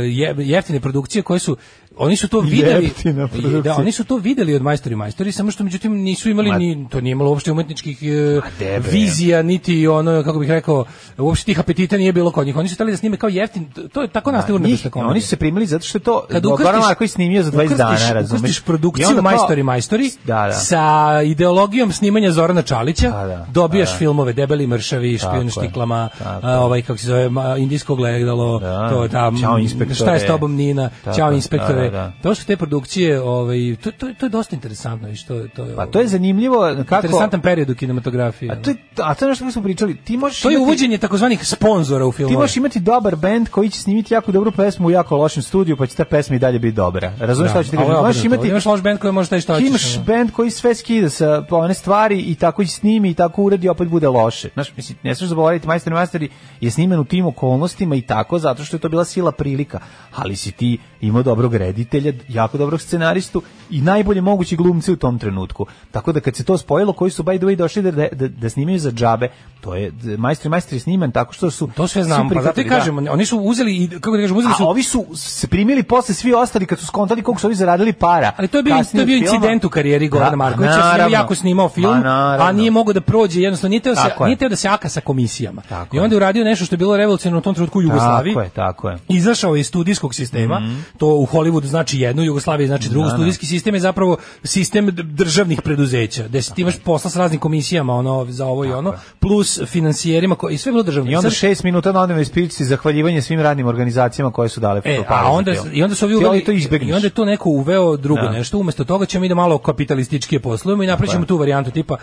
Speaker 7: je- jeftine produkcije koje su oni su to videli.
Speaker 6: Jeftina produkcija.
Speaker 7: Da, oni su to videli od majstori majstori, samo što međutim nisu imali
Speaker 6: Ma-
Speaker 7: ni to nije imalo uopšte umetničkih e,
Speaker 6: de bre.
Speaker 7: vizija niti ono kako bih rekao uopšte tih apetita nije bilo kod njih. Oni su hteli da snime kao jeftin, to je tako nastalo
Speaker 6: Njih-
Speaker 7: urnebesna komedija.
Speaker 6: Pa oni su se primili zato što je to
Speaker 7: Kad
Speaker 6: Goran
Speaker 7: ukrstiš-
Speaker 6: Marković snimio za 20 dana,
Speaker 7: ukrstiš-
Speaker 6: razumeš?
Speaker 7: ukrstiš
Speaker 6: I onda
Speaker 7: produkciju
Speaker 6: kao-
Speaker 7: majstori majstori
Speaker 6: Da, da.
Speaker 7: sa ideologijom snimanja Zorana Čalića,
Speaker 6: Pa da,
Speaker 7: dobijaš
Speaker 6: pa da.
Speaker 7: filmove Debeli mršavi,
Speaker 6: Tako
Speaker 7: Špijun
Speaker 6: je,
Speaker 7: štiklama,
Speaker 6: tako
Speaker 7: a, ovaj kako se zove ma, indijsko gledalo,
Speaker 6: Da.
Speaker 7: to je tam
Speaker 6: Ćao, inspektore.
Speaker 7: šta je s tobom Nina,
Speaker 6: Tako
Speaker 7: Ćao
Speaker 6: je,
Speaker 7: inspektore, ove,
Speaker 6: da.
Speaker 7: to su te produkcije, ovaj to, to, to je dosta interesantno i što to je
Speaker 6: Pa to je zanimljivo kako...
Speaker 7: interesantan period u kinematografiji. ovaj.
Speaker 6: A to je, a to je nešto što smo pričali. Ti možeš
Speaker 7: To je
Speaker 6: imati-
Speaker 7: uvođenje ovaj. takozvanih sponzora u
Speaker 6: Ti
Speaker 7: filmove.
Speaker 6: možeš imati dobar bend koji će snimiti jako dobru pesmu u jako lošem studiju, pa će ta pesma i dalje biti dobra. Razumeš šta ću ti
Speaker 7: a ovo je
Speaker 6: kažem? Možeš
Speaker 7: obrnuto.
Speaker 6: imati
Speaker 7: imaš loš band koji može taj šta
Speaker 6: Ti
Speaker 7: hoćeš.
Speaker 6: imaš
Speaker 7: ono.
Speaker 6: bend koji sve skida sa pa, one stvari i tako i snimi i tako uradi opet bude loše. Znaš, mislim, ne smiješ zaboraviti Majster i Majsteri je snimen u tim okolnostima i tako zato što je to bila sila prilika. Ali si ti imao dobrog reditelja, jako dobrog scenaristu i najbolje mogući glumci u tom trenutku. Tako da kad se to spojilo, koji su by the way došli da, da, da, da snimaju za džabe, to je Majster i Majster je snimen tako što su
Speaker 7: To sve
Speaker 6: su
Speaker 7: znam, pa zato i
Speaker 6: prihvatili, da.
Speaker 7: kažem, oni su uzeli, i, kako da kažem, uzeli
Speaker 6: A ovaj
Speaker 7: su...
Speaker 6: ovi su se primili posle svi ostali kad su skontali koliko su ovi zaradili para.
Speaker 7: Ali to je bio, to
Speaker 6: Kasnije
Speaker 7: je bio
Speaker 6: od filma.
Speaker 7: incident u karijeri
Speaker 6: Da, pa
Speaker 7: Gorana Markovića, jer
Speaker 6: naravno.
Speaker 7: je jako snimao film,
Speaker 6: Ma, naravno.
Speaker 7: a nije mogao da prođe, jednostavno nije teo, se,
Speaker 6: Tako je.
Speaker 7: nije teo da se aka sa komisijama.
Speaker 6: Tako
Speaker 7: I
Speaker 6: je.
Speaker 7: onda je uradio nešto što je bilo revolucionarno u tom trenutku u Jugoslaviji.
Speaker 6: Tako je, Mhm. tako je.
Speaker 7: izašao je iz studijskog sistema, to u Hollywoodu znači jedno, u Jugoslaviji znači drugo, studijski sistem je zapravo sistem d- državnih preduzeća, gde si ti imaš posla s raznim komisijama, ono, za ovo i ono, plus financijerima, koji, i sve je bilo državno.
Speaker 6: I onda
Speaker 7: Sad-
Speaker 6: šest minuta na odnevnoj ispirici zahvaljivanje svim radnim organizacijama koje su dale
Speaker 7: E,
Speaker 6: fotopare
Speaker 7: a
Speaker 6: za
Speaker 7: onda,
Speaker 6: film.
Speaker 7: i onda su ovi
Speaker 6: Ti
Speaker 7: uveli,
Speaker 6: ali to izbegniš.
Speaker 7: i onda je tu neko uveo drugo
Speaker 6: Da. Pa.
Speaker 7: nešto, umesto toga ćemo mi da malo kapitalističkije poslujemo i napraćemo tu varijantu tipa,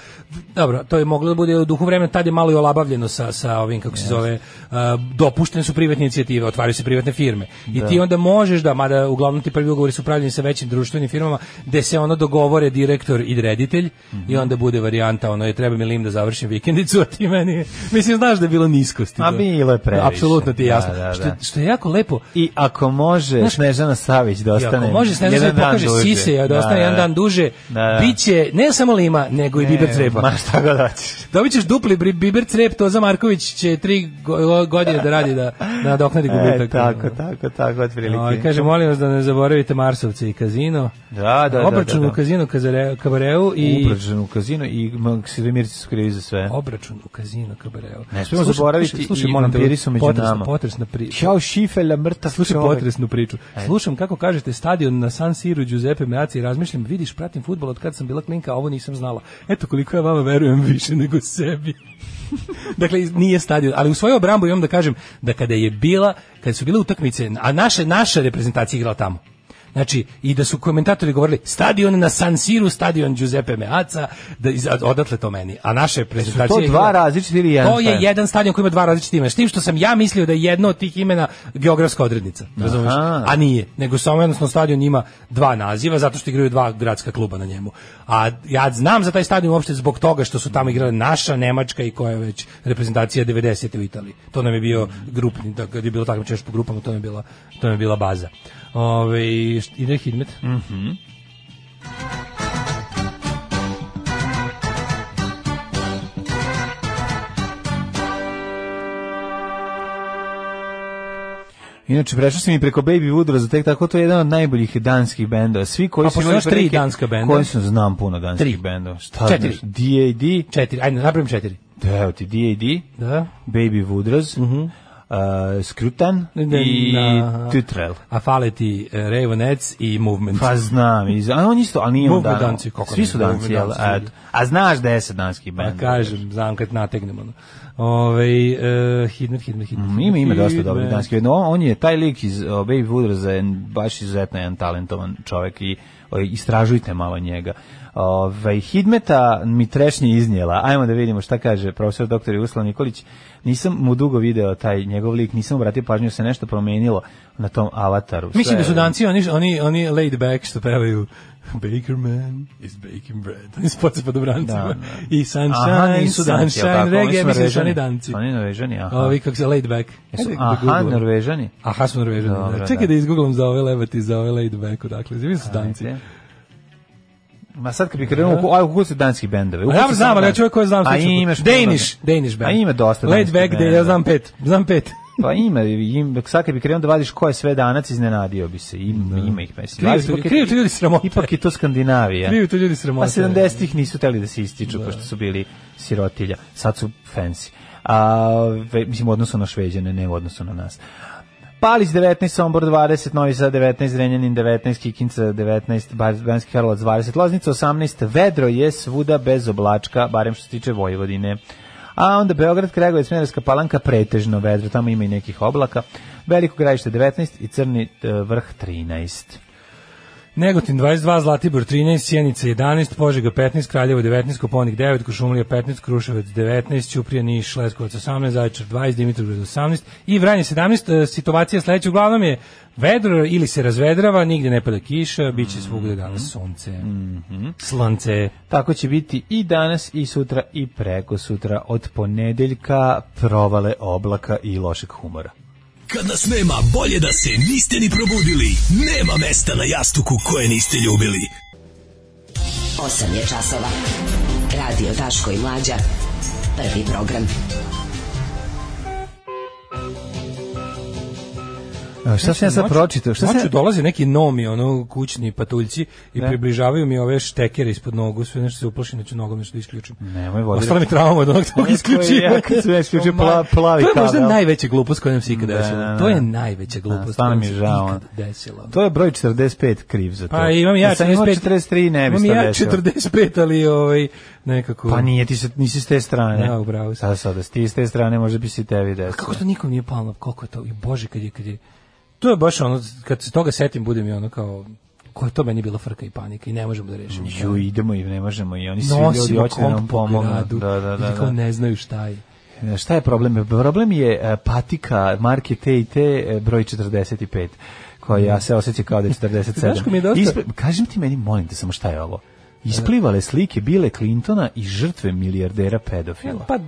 Speaker 7: dobro, to je moglo da bude u duhu vremena, tad je malo i olabavljeno sa, sa ovim, kako se zove, a, dopuštene su privatne inicijative, otvaraju se privatne firme. I ti onda možeš da, mada uglavnom ti prvi ugovori su pravljeni sa većim društvenim firmama, gde se ono dogovore direktor i reditelj i
Speaker 6: Mhm.
Speaker 7: onda bude varijanta, ono je treba mi lim da završim vikendicu, a ti meni, mislim, znaš da je bilo niskosti.
Speaker 6: A bilo je previše.
Speaker 7: Apsolutno ti je
Speaker 6: Da,
Speaker 7: jasno.
Speaker 6: da, da.
Speaker 7: Što, što je jako lepo,
Speaker 6: I ako može
Speaker 7: Znaš-
Speaker 6: Snežana Savić da
Speaker 7: I
Speaker 6: ostane.
Speaker 7: Ako može Snežana
Speaker 6: jedan
Speaker 7: Savić
Speaker 6: dan
Speaker 7: pokaže
Speaker 6: duže.
Speaker 7: sise, ja da ostane jedan dan duže,
Speaker 6: Da, da.
Speaker 7: biće ne samo lima, nego i biber
Speaker 6: E,
Speaker 7: crepa.
Speaker 6: Ma šta god hoćeš.
Speaker 7: Dobit ćeš dupli bri- biber crep, to za Marković će tri go- godine da radi da, da nadoknadi gubitak.
Speaker 6: E, tako, tako, tako, otprilike.
Speaker 7: Ovaj, kaže, molim vas da ne zaboravite Marsovce i kazino.
Speaker 6: Da, da, da,
Speaker 7: Obračun
Speaker 6: da, da.
Speaker 7: u kazino kazare- kabareu i...
Speaker 6: Ubražen u kazino i Maksimirci su krivi za sve.
Speaker 7: Obračun u kazino kabareu.
Speaker 6: Ne smijemo
Speaker 7: Slušaj,
Speaker 6: zaboraviti
Speaker 7: slušaj, slušaj,
Speaker 6: i
Speaker 7: molim te,
Speaker 6: vampiri su među
Speaker 7: potresna-
Speaker 6: nama.
Speaker 7: Potresna priča.
Speaker 6: Ćao Šifela, mrtav
Speaker 7: Slušaj
Speaker 6: čovek. E.
Speaker 7: potresnu priču. Slušam kako kažete stadion na San Siru Giuseppe Meazzi i razmišljam, vidiš, pratim fudbal od kad sam bila klinka, a ovo nisam znala. Eto koliko ja vama verujem više nego sebi. dakle, nije stadion, ali u svojoj obrambu imam da kažem da kada je bila, kada su bile utakmice, a naše, naša reprezentacija igrala tamo. Znači, i da su komentatori govorili stadion na San Siru, stadion Giuseppe Meazza, da, iz- odatle to meni. A naše reprezentacije...
Speaker 6: To dva različiti ili jedan
Speaker 7: To je
Speaker 6: stadion?
Speaker 7: jedan stadion koji ima dva različita imena. S tim što sam ja mislio da je jedno od tih imena geografska odrednica, razumeš?
Speaker 6: Aha.
Speaker 7: A nije, nego samo jednostavno stadion ima dva naziva zato što igraju dva gradska kluba na njemu. A ja znam za taj stadion uopšte zbog toga što su tamo igrale naša, nemačka i koja je već reprezentacija 90 u Italiji. To nam je bio grupni, da kad je bilo takmičenje po grupama, to nam je bila, to nam je bila baza. Ove, ide Hidmet.
Speaker 6: Mm. Inače, prešao sam i preko Baby Woodrow, tek tako to je jedan od najboljih danskih bendova. Svi koji
Speaker 7: A
Speaker 6: su
Speaker 7: postoje još tri
Speaker 6: prilike-
Speaker 7: danska benda?
Speaker 6: Koji su, znam puno danskih
Speaker 7: Tri.
Speaker 6: bendova. Šta
Speaker 7: Četiri.
Speaker 6: znaš? D.A.D.
Speaker 7: Četiri, ajde, napravim četiri.
Speaker 6: Evo ti, D.A.D.
Speaker 7: Da. Mhm.
Speaker 6: Baby Woodrows, uh, Skrutan
Speaker 7: Ne,
Speaker 6: i
Speaker 7: na-
Speaker 6: Tutrel.
Speaker 7: A fale ti e, Ravenets i Movement.
Speaker 6: Pa znam, iz, a on isto, ali nije on
Speaker 7: Mogu
Speaker 6: dan.
Speaker 7: danci, kako
Speaker 6: Svi
Speaker 7: ne,
Speaker 6: su
Speaker 7: mogu
Speaker 6: danci, jel?
Speaker 7: danci,
Speaker 6: A,
Speaker 7: ljudi.
Speaker 6: a znaš da je se danski
Speaker 7: Pa
Speaker 6: bend.
Speaker 7: kažem, znam kad nategnemo. No. Ove, e, Hidmet, Hidmet, Hidmet.
Speaker 6: Mm, Ima, ima dosta
Speaker 7: Hidmet.
Speaker 6: dobrih danskih bendova. On, on je, taj lik iz o, Baby Woodrows je baš izuzetno jedan talentovan čovek i o, istražujte malo njega. Ove, Hidmeta mi trešnje iznijela. Ajmo da vidimo šta kaže profesor dr. Jugoslav Nikolić. Nisam mu dugo video taj njegov lik, nisam obratio pažnju, da se nešto promenilo na tom avataru. Sve
Speaker 7: Mislim da su
Speaker 6: je-
Speaker 7: danci, oni, oni, oni laid back što pevaju Baker man is baking bread. Oni spoce pod obrancima.
Speaker 6: Da, da.
Speaker 7: I sunshine,
Speaker 6: Aha, nisu danci, jel
Speaker 7: sunshine,
Speaker 6: tako? Oni
Speaker 7: reggae,
Speaker 6: su
Speaker 7: mislim da su
Speaker 6: Norvežani.
Speaker 7: oni danci.
Speaker 6: Oni Norvežani, aha.
Speaker 7: Ovi kako se laid back.
Speaker 6: Jesu,
Speaker 7: Ajde da
Speaker 6: aha,
Speaker 7: googlam.
Speaker 6: Norvežani.
Speaker 7: Aha, su Norvežani. da.
Speaker 6: Dobro, da.
Speaker 7: Čekaj da izgooglam za ove levati, za ove laid back, odakle. Zivim su danci.
Speaker 6: Ajde. Ma sad kad bi krenuo, u- aj kako su danski bendovi?
Speaker 7: A
Speaker 6: Ukucao
Speaker 7: Ja
Speaker 6: sam
Speaker 7: znam, ali ja
Speaker 6: danski-
Speaker 7: čovjek koji znam
Speaker 6: A
Speaker 7: slučajno.
Speaker 6: imaš puno
Speaker 7: Danish,
Speaker 6: toga.
Speaker 7: Danish band.
Speaker 6: A ima dosta.
Speaker 7: Laid
Speaker 6: danskih
Speaker 7: back, da ja
Speaker 6: bendova.
Speaker 7: znam pet, znam pet.
Speaker 6: Pa ima, im, sad kad bi krenuo da vadiš ko je sve danac, iznenadio bi se. Ima, ima ih, mislim.
Speaker 7: Krivo
Speaker 6: Ali
Speaker 7: tu-
Speaker 6: ipak je-
Speaker 7: krivo tu ljudi sramote.
Speaker 6: Ipak je to Skandinavija.
Speaker 7: Kriju to ljudi
Speaker 6: Pa
Speaker 7: sramote.
Speaker 6: 70-ih nisu teli da se ističu, pošto su bili sirotilja. Sad su fancy. A, ve, mislim, u odnosu na Šveđane, ne u odnosu na nas. Palić 19, Sombor 20, Novi Sad 19, Renjanin 19, Kikinca 19, Bar- Banski Karlovac 20, Loznica 18, Vedro je svuda bez oblačka, barem što se tiče Vojvodine. A onda Beograd, Kragujevac, Smederevska Palanka, pretežno vedro, tamo ima i nekih oblaka. Veliko gradište 19 i Crni eh, vrh 13.
Speaker 7: Negotin 22, Zlatibor 13, Sjenica 11, Požega 15, Kraljevo 19, Koponik 9, Košumlija 15, Kruševac 19, Ćuprija Niš, Leskovac 18, Zaječar 20, Dimitrovgrad 18 i Vranje 17. E, Situacija sledeća uglavnom je vedro ili se razvedrava, nigde ne pada kiša, bit će svugde danas sunce, slance.
Speaker 6: Tako će biti i danas, i sutra, i preko sutra, od ponedeljka provale oblaka i lošeg humora.
Speaker 10: Kad nas nema, bolje da se niste ni probudili. Nema mesta na jastuku koje niste ljubili.
Speaker 5: 8 je časova. Radio Daško i Mlađa. Prvi program.
Speaker 6: A, šta sam ja sad pročitao? Šta sam
Speaker 7: Noću
Speaker 6: ja...
Speaker 7: dolaze neki nomi, ono, kućni patuljci i približavaju mi ove štekere ispod nogu, sve nešto se uplašim da ću nogom nešto da isključim.
Speaker 6: Nemoj vodi.
Speaker 7: Ostala mi trauma od onog tog
Speaker 6: Onaj koji
Speaker 7: isključivanja.
Speaker 6: ja kad sam ja isključio
Speaker 7: Ma,
Speaker 6: pla- plavi
Speaker 7: To je možda
Speaker 6: kabel.
Speaker 7: najveća glupost koja nam se ikada
Speaker 6: Da,
Speaker 7: desila.
Speaker 6: da, da.
Speaker 7: To je najveća
Speaker 6: Da,
Speaker 7: glupost koja
Speaker 6: stvarno
Speaker 7: nam
Speaker 6: mi je
Speaker 7: se
Speaker 6: žao,
Speaker 7: ikada
Speaker 6: ono.
Speaker 7: desila.
Speaker 6: To je broj 45 kriv za to.
Speaker 7: Pa imam ja
Speaker 6: Da sam imao
Speaker 7: 45.
Speaker 6: 43 ne bi
Speaker 7: Imam
Speaker 6: se
Speaker 7: ja
Speaker 6: desilo.
Speaker 7: 45, ali ovaj, nekako...
Speaker 6: Pa nije, ti se, nisi s te strane.
Speaker 7: Da, upravo si.
Speaker 6: Sada sada, si ti s te strane, možda bi si tebi desilo.
Speaker 7: Kako to nikom nije palo, na- koliko je to, i bože, kad je, kad je, to je baš ono, kad se toga setim, budem i ono kao, ko je to meni bila frka i panika i ne možemo da rešimo.
Speaker 6: Ju, idemo i ne možemo i oni svi ljudi
Speaker 7: Nosimo
Speaker 6: hoće da nam
Speaker 7: komp po
Speaker 6: pomognu.
Speaker 7: gradu,
Speaker 6: Da, da, da,
Speaker 7: ljudi kao
Speaker 6: da.
Speaker 7: ne znaju šta je.
Speaker 6: E, Šta je problem? Problem je e, patika marke T i T broj 45 koja ja se osjeća kao da je 47.
Speaker 7: Znaš ko mi je dosta-
Speaker 6: kažem ti meni, molim te samo šta je ovo? Isplivale slike Bile Clintona i žrtve milijardera pedofila.
Speaker 7: Pa,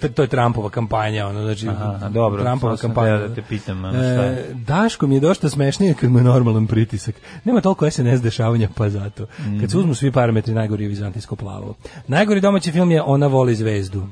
Speaker 7: t- to je Trumpova kampanja, ono, znači,
Speaker 6: Aha, dobro, samo
Speaker 7: Trumpova
Speaker 6: sam
Speaker 7: kampanja.
Speaker 6: teo da te pitam, ono, šta je.
Speaker 7: E, Daško mi je dosta smešnije kad mu je normalan pritisak. Nema toliko SNS dešavanja, pa zato. Kad
Speaker 6: Mhm.
Speaker 7: se uzmu svi parametri, najgori je Vizantijsko plavo. Najgori domaći film je Ona voli zvezdu.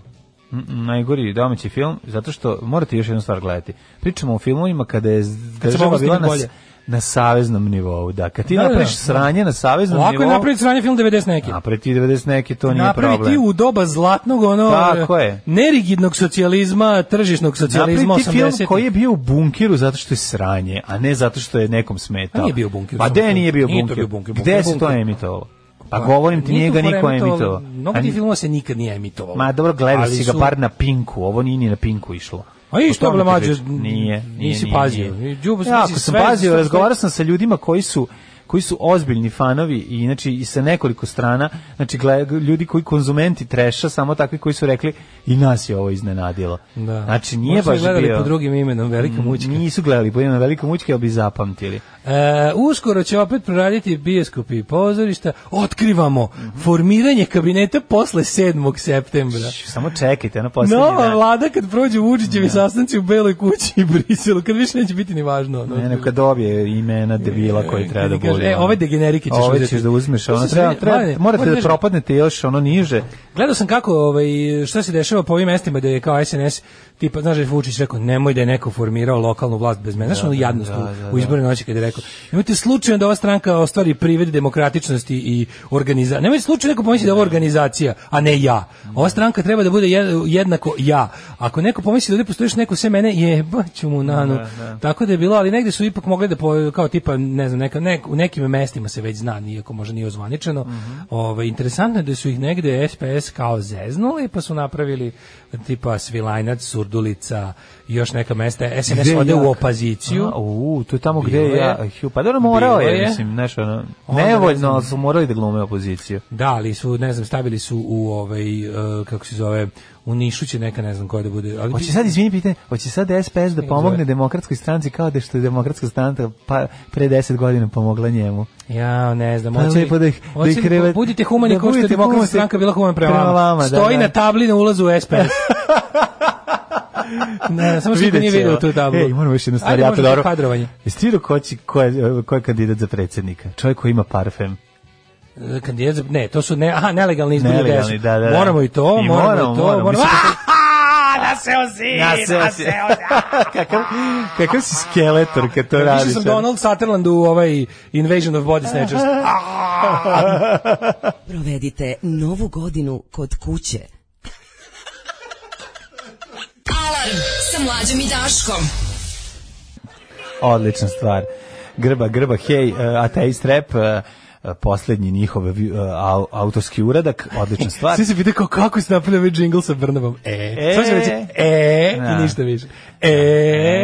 Speaker 6: Mm, mm, Najgori domaći film, zato što morate još jednu stvar gledati. Pričamo o filmovima kada je država
Speaker 7: moglo
Speaker 6: bila
Speaker 7: snimiti
Speaker 6: na,
Speaker 7: bolje.
Speaker 6: s- na saveznom nivou. Da, kad ti
Speaker 7: Da, da,
Speaker 6: napraviš
Speaker 7: da.
Speaker 6: sranje na saveznom
Speaker 7: Ovako je
Speaker 6: nivou...
Speaker 7: napraviti sranje film 90 neki.
Speaker 6: Napravi ti 90 neki, to nije
Speaker 7: Napravi
Speaker 6: problem.
Speaker 7: ti u doba zlatnog ono
Speaker 6: Tako je.
Speaker 7: nerigidnog socijalizma, tržišnog socijalizma
Speaker 6: Napravi ti
Speaker 7: 80.
Speaker 6: film koji je bio u bunkiru zato što je sranje, a ne zato što je nekom smetao.
Speaker 7: A nije bio u bunkiru,
Speaker 6: Pa
Speaker 7: samo
Speaker 6: gde
Speaker 7: film.
Speaker 6: nije bio
Speaker 7: Nije to
Speaker 6: bunkir?
Speaker 7: bio bunker, bunker je
Speaker 6: Gde se to
Speaker 7: bunker.
Speaker 6: emitovalo? Pa govorim ti, nije ga niko emitovao.
Speaker 7: Mnogo
Speaker 6: A
Speaker 7: ti
Speaker 6: ni-
Speaker 7: filmova se nikad nije emitovalo.
Speaker 6: Ma dobro, gledao
Speaker 7: Ali
Speaker 6: si ga
Speaker 7: su-
Speaker 6: bar na Pinku, ovo nije ni na Pinku išlo.
Speaker 7: A i što
Speaker 6: O tome
Speaker 7: ble
Speaker 6: ti
Speaker 7: mađo,
Speaker 6: pričam. nije, nije,
Speaker 7: nisi
Speaker 6: nije,
Speaker 7: pazio.
Speaker 6: nije.
Speaker 7: I đubo,
Speaker 6: Ja,
Speaker 7: mislim,
Speaker 6: ako sam
Speaker 7: sve-
Speaker 6: pazio,
Speaker 7: sve-
Speaker 6: razgovarao sam sa ljudima koji su koji su ozbiljni fanovi i znači i sa nekoliko strana, znači gle- ljudi koji konzumenti treša, samo takvi koji su rekli i nas je ovo iznenadilo.
Speaker 7: Da.
Speaker 6: Znači nije
Speaker 7: Možda su
Speaker 6: baš
Speaker 7: gledali
Speaker 6: bio.
Speaker 7: pod drugim imenom, velika mućka.
Speaker 6: Nisu gledali pa po imenu velika mućka, ali bi zapamtili.
Speaker 7: E, uskoro će opet proraditi bioskopi i pozorišta. Otkrivamo formiranje kabineta posle 7. septembra.
Speaker 6: Samo čekajte, ono posljednje.
Speaker 7: Nova vlada kad prođe Vučićevi sastanci u Beloj kući i Briselu, kad više neće biti ni važno. ono.
Speaker 6: Ne, ne, kad dobije imena debila koji treba da
Speaker 7: Kad ti kaže,
Speaker 6: bude.
Speaker 7: e,
Speaker 6: ono.
Speaker 7: ove degenerike ćeš
Speaker 6: Ove
Speaker 7: uzeti.
Speaker 6: ćeš da uzmeš,
Speaker 7: To
Speaker 6: ono,
Speaker 7: se
Speaker 6: treba,
Speaker 7: sve-
Speaker 6: treba,
Speaker 7: Mladene,
Speaker 6: morate
Speaker 7: moram
Speaker 6: da
Speaker 7: kažem-
Speaker 6: propadnete još ono niže.
Speaker 7: Gledao sam kako ovaj šta se dešava po ovim mestima da je kao SNS tipa znaš da je Vučić rekao nemoj da je neko formirao lokalnu vlast bez mene. Znaš onu jadnost u- u izbornoj noći kad je rekao nemojte slučajno da ova stranka ostvari privid demokratičnosti i organiza. Nemojte slučajno neko pomisli da je ovo organizacija, a ne ja. Ova stranka treba da bude jed- jednako ja. Ako neko pomisli da ovdje postoji još neko sve mene, jebaću mu nanu. Tako da je bilo, ali negde su ipak mogli da po- kao tipa ne znam neka nek- u nekim mestima se već zna, iako možda nije ozvaničeno.
Speaker 6: Mhm.
Speaker 7: Ovaj, interesantno je da su ih negde SPS kao zeznuli, pa su napravili tipa Svilajnac, Surdulica, i još neka mesta. SNS
Speaker 6: Gde
Speaker 7: ode
Speaker 6: je
Speaker 7: u
Speaker 6: jak?
Speaker 7: opoziciju.
Speaker 6: A, u, to je tamo gde
Speaker 7: Bilo
Speaker 6: je,
Speaker 7: je.
Speaker 6: ja, Hju, pa dobro morao
Speaker 7: Bilo
Speaker 6: je,
Speaker 7: je.
Speaker 6: mislim, znaš, ono,
Speaker 7: Onda ne
Speaker 6: nevoljno,
Speaker 7: znam.
Speaker 6: ali su morali da glume opoziciju.
Speaker 7: Da, ali su, ne znam, stavili su u ovaj, e, kako se zove, u Nišu će neka, ne znam koja da bude. Ali
Speaker 6: Hoće sad, izvini pitanje, hoće sad SPS da pomogne
Speaker 7: zove?
Speaker 6: demokratskoj stranci kao da što je demokratska stranka pa, pre deset godina pomogla njemu.
Speaker 7: Ja ne znam,
Speaker 6: Pa
Speaker 7: hoće li,
Speaker 6: lepo da ih- da
Speaker 7: hoće
Speaker 6: ih
Speaker 7: li-
Speaker 6: revet-
Speaker 7: budite humani
Speaker 6: da
Speaker 7: kao što je
Speaker 6: budete
Speaker 7: demokratska
Speaker 6: humani
Speaker 7: stranka bila humana prema,
Speaker 6: prema
Speaker 7: vama.
Speaker 6: vama, da,
Speaker 7: Stoji
Speaker 6: da.
Speaker 7: na tabli na ulazu u SPS. ne, samo što niko nije
Speaker 6: Vidjet ćemo.
Speaker 7: video tu tablu.
Speaker 6: Ej, moramo još jednu stvar,
Speaker 7: Ajde,
Speaker 6: jako
Speaker 7: možda
Speaker 6: dobro.
Speaker 7: kadrovanje.
Speaker 6: Jesi ti vidio ko, će- ko je, ko je kandidat za predsjednika? Čovjek koji ima parfem.
Speaker 7: E, Kandidat za, ne, to su ne, aha, nelegalni izbori.
Speaker 6: Nelegalni,
Speaker 7: gde su.
Speaker 6: da, da, da.
Speaker 7: Moramo i to,
Speaker 6: I
Speaker 7: moramo,
Speaker 6: moramo,
Speaker 7: i to,
Speaker 6: moramo.
Speaker 7: moramo.
Speaker 6: Mislim,
Speaker 7: Ah!
Speaker 6: Naseo si. kakav, kakav si skeletor kad to
Speaker 7: Više
Speaker 6: radiš.
Speaker 7: sam
Speaker 6: ono.
Speaker 7: Donald Sutherland u ovaj Invasion of Body Snatchers.
Speaker 5: Provedite novu godinu kod kuće.
Speaker 11: Alarm sa Mlađom i Daškom.
Speaker 6: Odlična stvar. Grba, grba, hej, uh, e, ateist rap, uh, e, poslednji njihov e, vi- e, au- autorski uradak, odlična stvar.
Speaker 7: Svi se pitaju kao kako se napravio ovaj džingl sa Brnabom. E,
Speaker 6: E.
Speaker 7: Samo se reći e
Speaker 6: Da.
Speaker 7: i ništa više. E,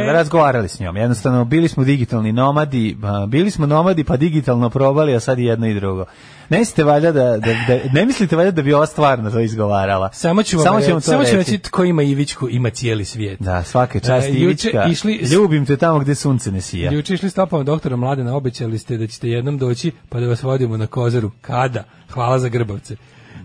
Speaker 6: E, razgovarali s njom. Jednostavno, bili smo digitalni nomadi, a, bili smo nomadi pa digitalno probali, a sad i jedno i drugo. Ne mislite valjda da, da, da ne mislite valjda da bi ova stvarno to izgovarala.
Speaker 7: Samo ću vam,
Speaker 6: samo
Speaker 7: reći,
Speaker 6: ću vam to
Speaker 7: samo ću
Speaker 6: reći.
Speaker 7: reći tko ima Ivićku, ima cijeli svijet.
Speaker 6: Da, svaka čast
Speaker 7: E,
Speaker 6: Ivićka.
Speaker 7: juče išli s-
Speaker 6: Ljubim te tamo gde sunce ne sija.
Speaker 7: Juče išli stopama doktora Mladena, obećali ste da ćete jednom doći pa da vas vodimo na kozaru. Kada? Hvala za grbavce.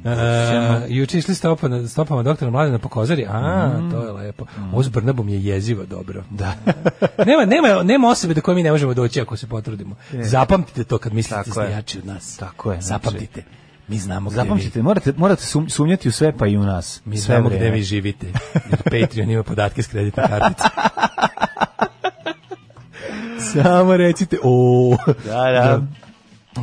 Speaker 7: E, juče išli stopama, stopama doktora Mladena po kozari. A,
Speaker 6: Mm.
Speaker 7: to je lepo. Ovo s Brnabom je jezivo dobro. Da. nema, nema, nema osobe do koje mi ne možemo doći ako se potrudimo. Zapamtite to kad mislite
Speaker 6: Tako
Speaker 7: ste
Speaker 6: je.
Speaker 7: jači od nas.
Speaker 6: Tako je, znači-
Speaker 7: Zapamtite. Mi znamo gde
Speaker 6: Zapamćite,
Speaker 7: vi,
Speaker 6: morate, morate sum- sumnjati u sve pa i u nas.
Speaker 7: mi
Speaker 6: Sve
Speaker 7: znamo gde
Speaker 6: vreme.
Speaker 7: vi živite. Jer Patreon ima podatke s kreditne kartice. Samo recite o.
Speaker 6: Da, da.
Speaker 7: O,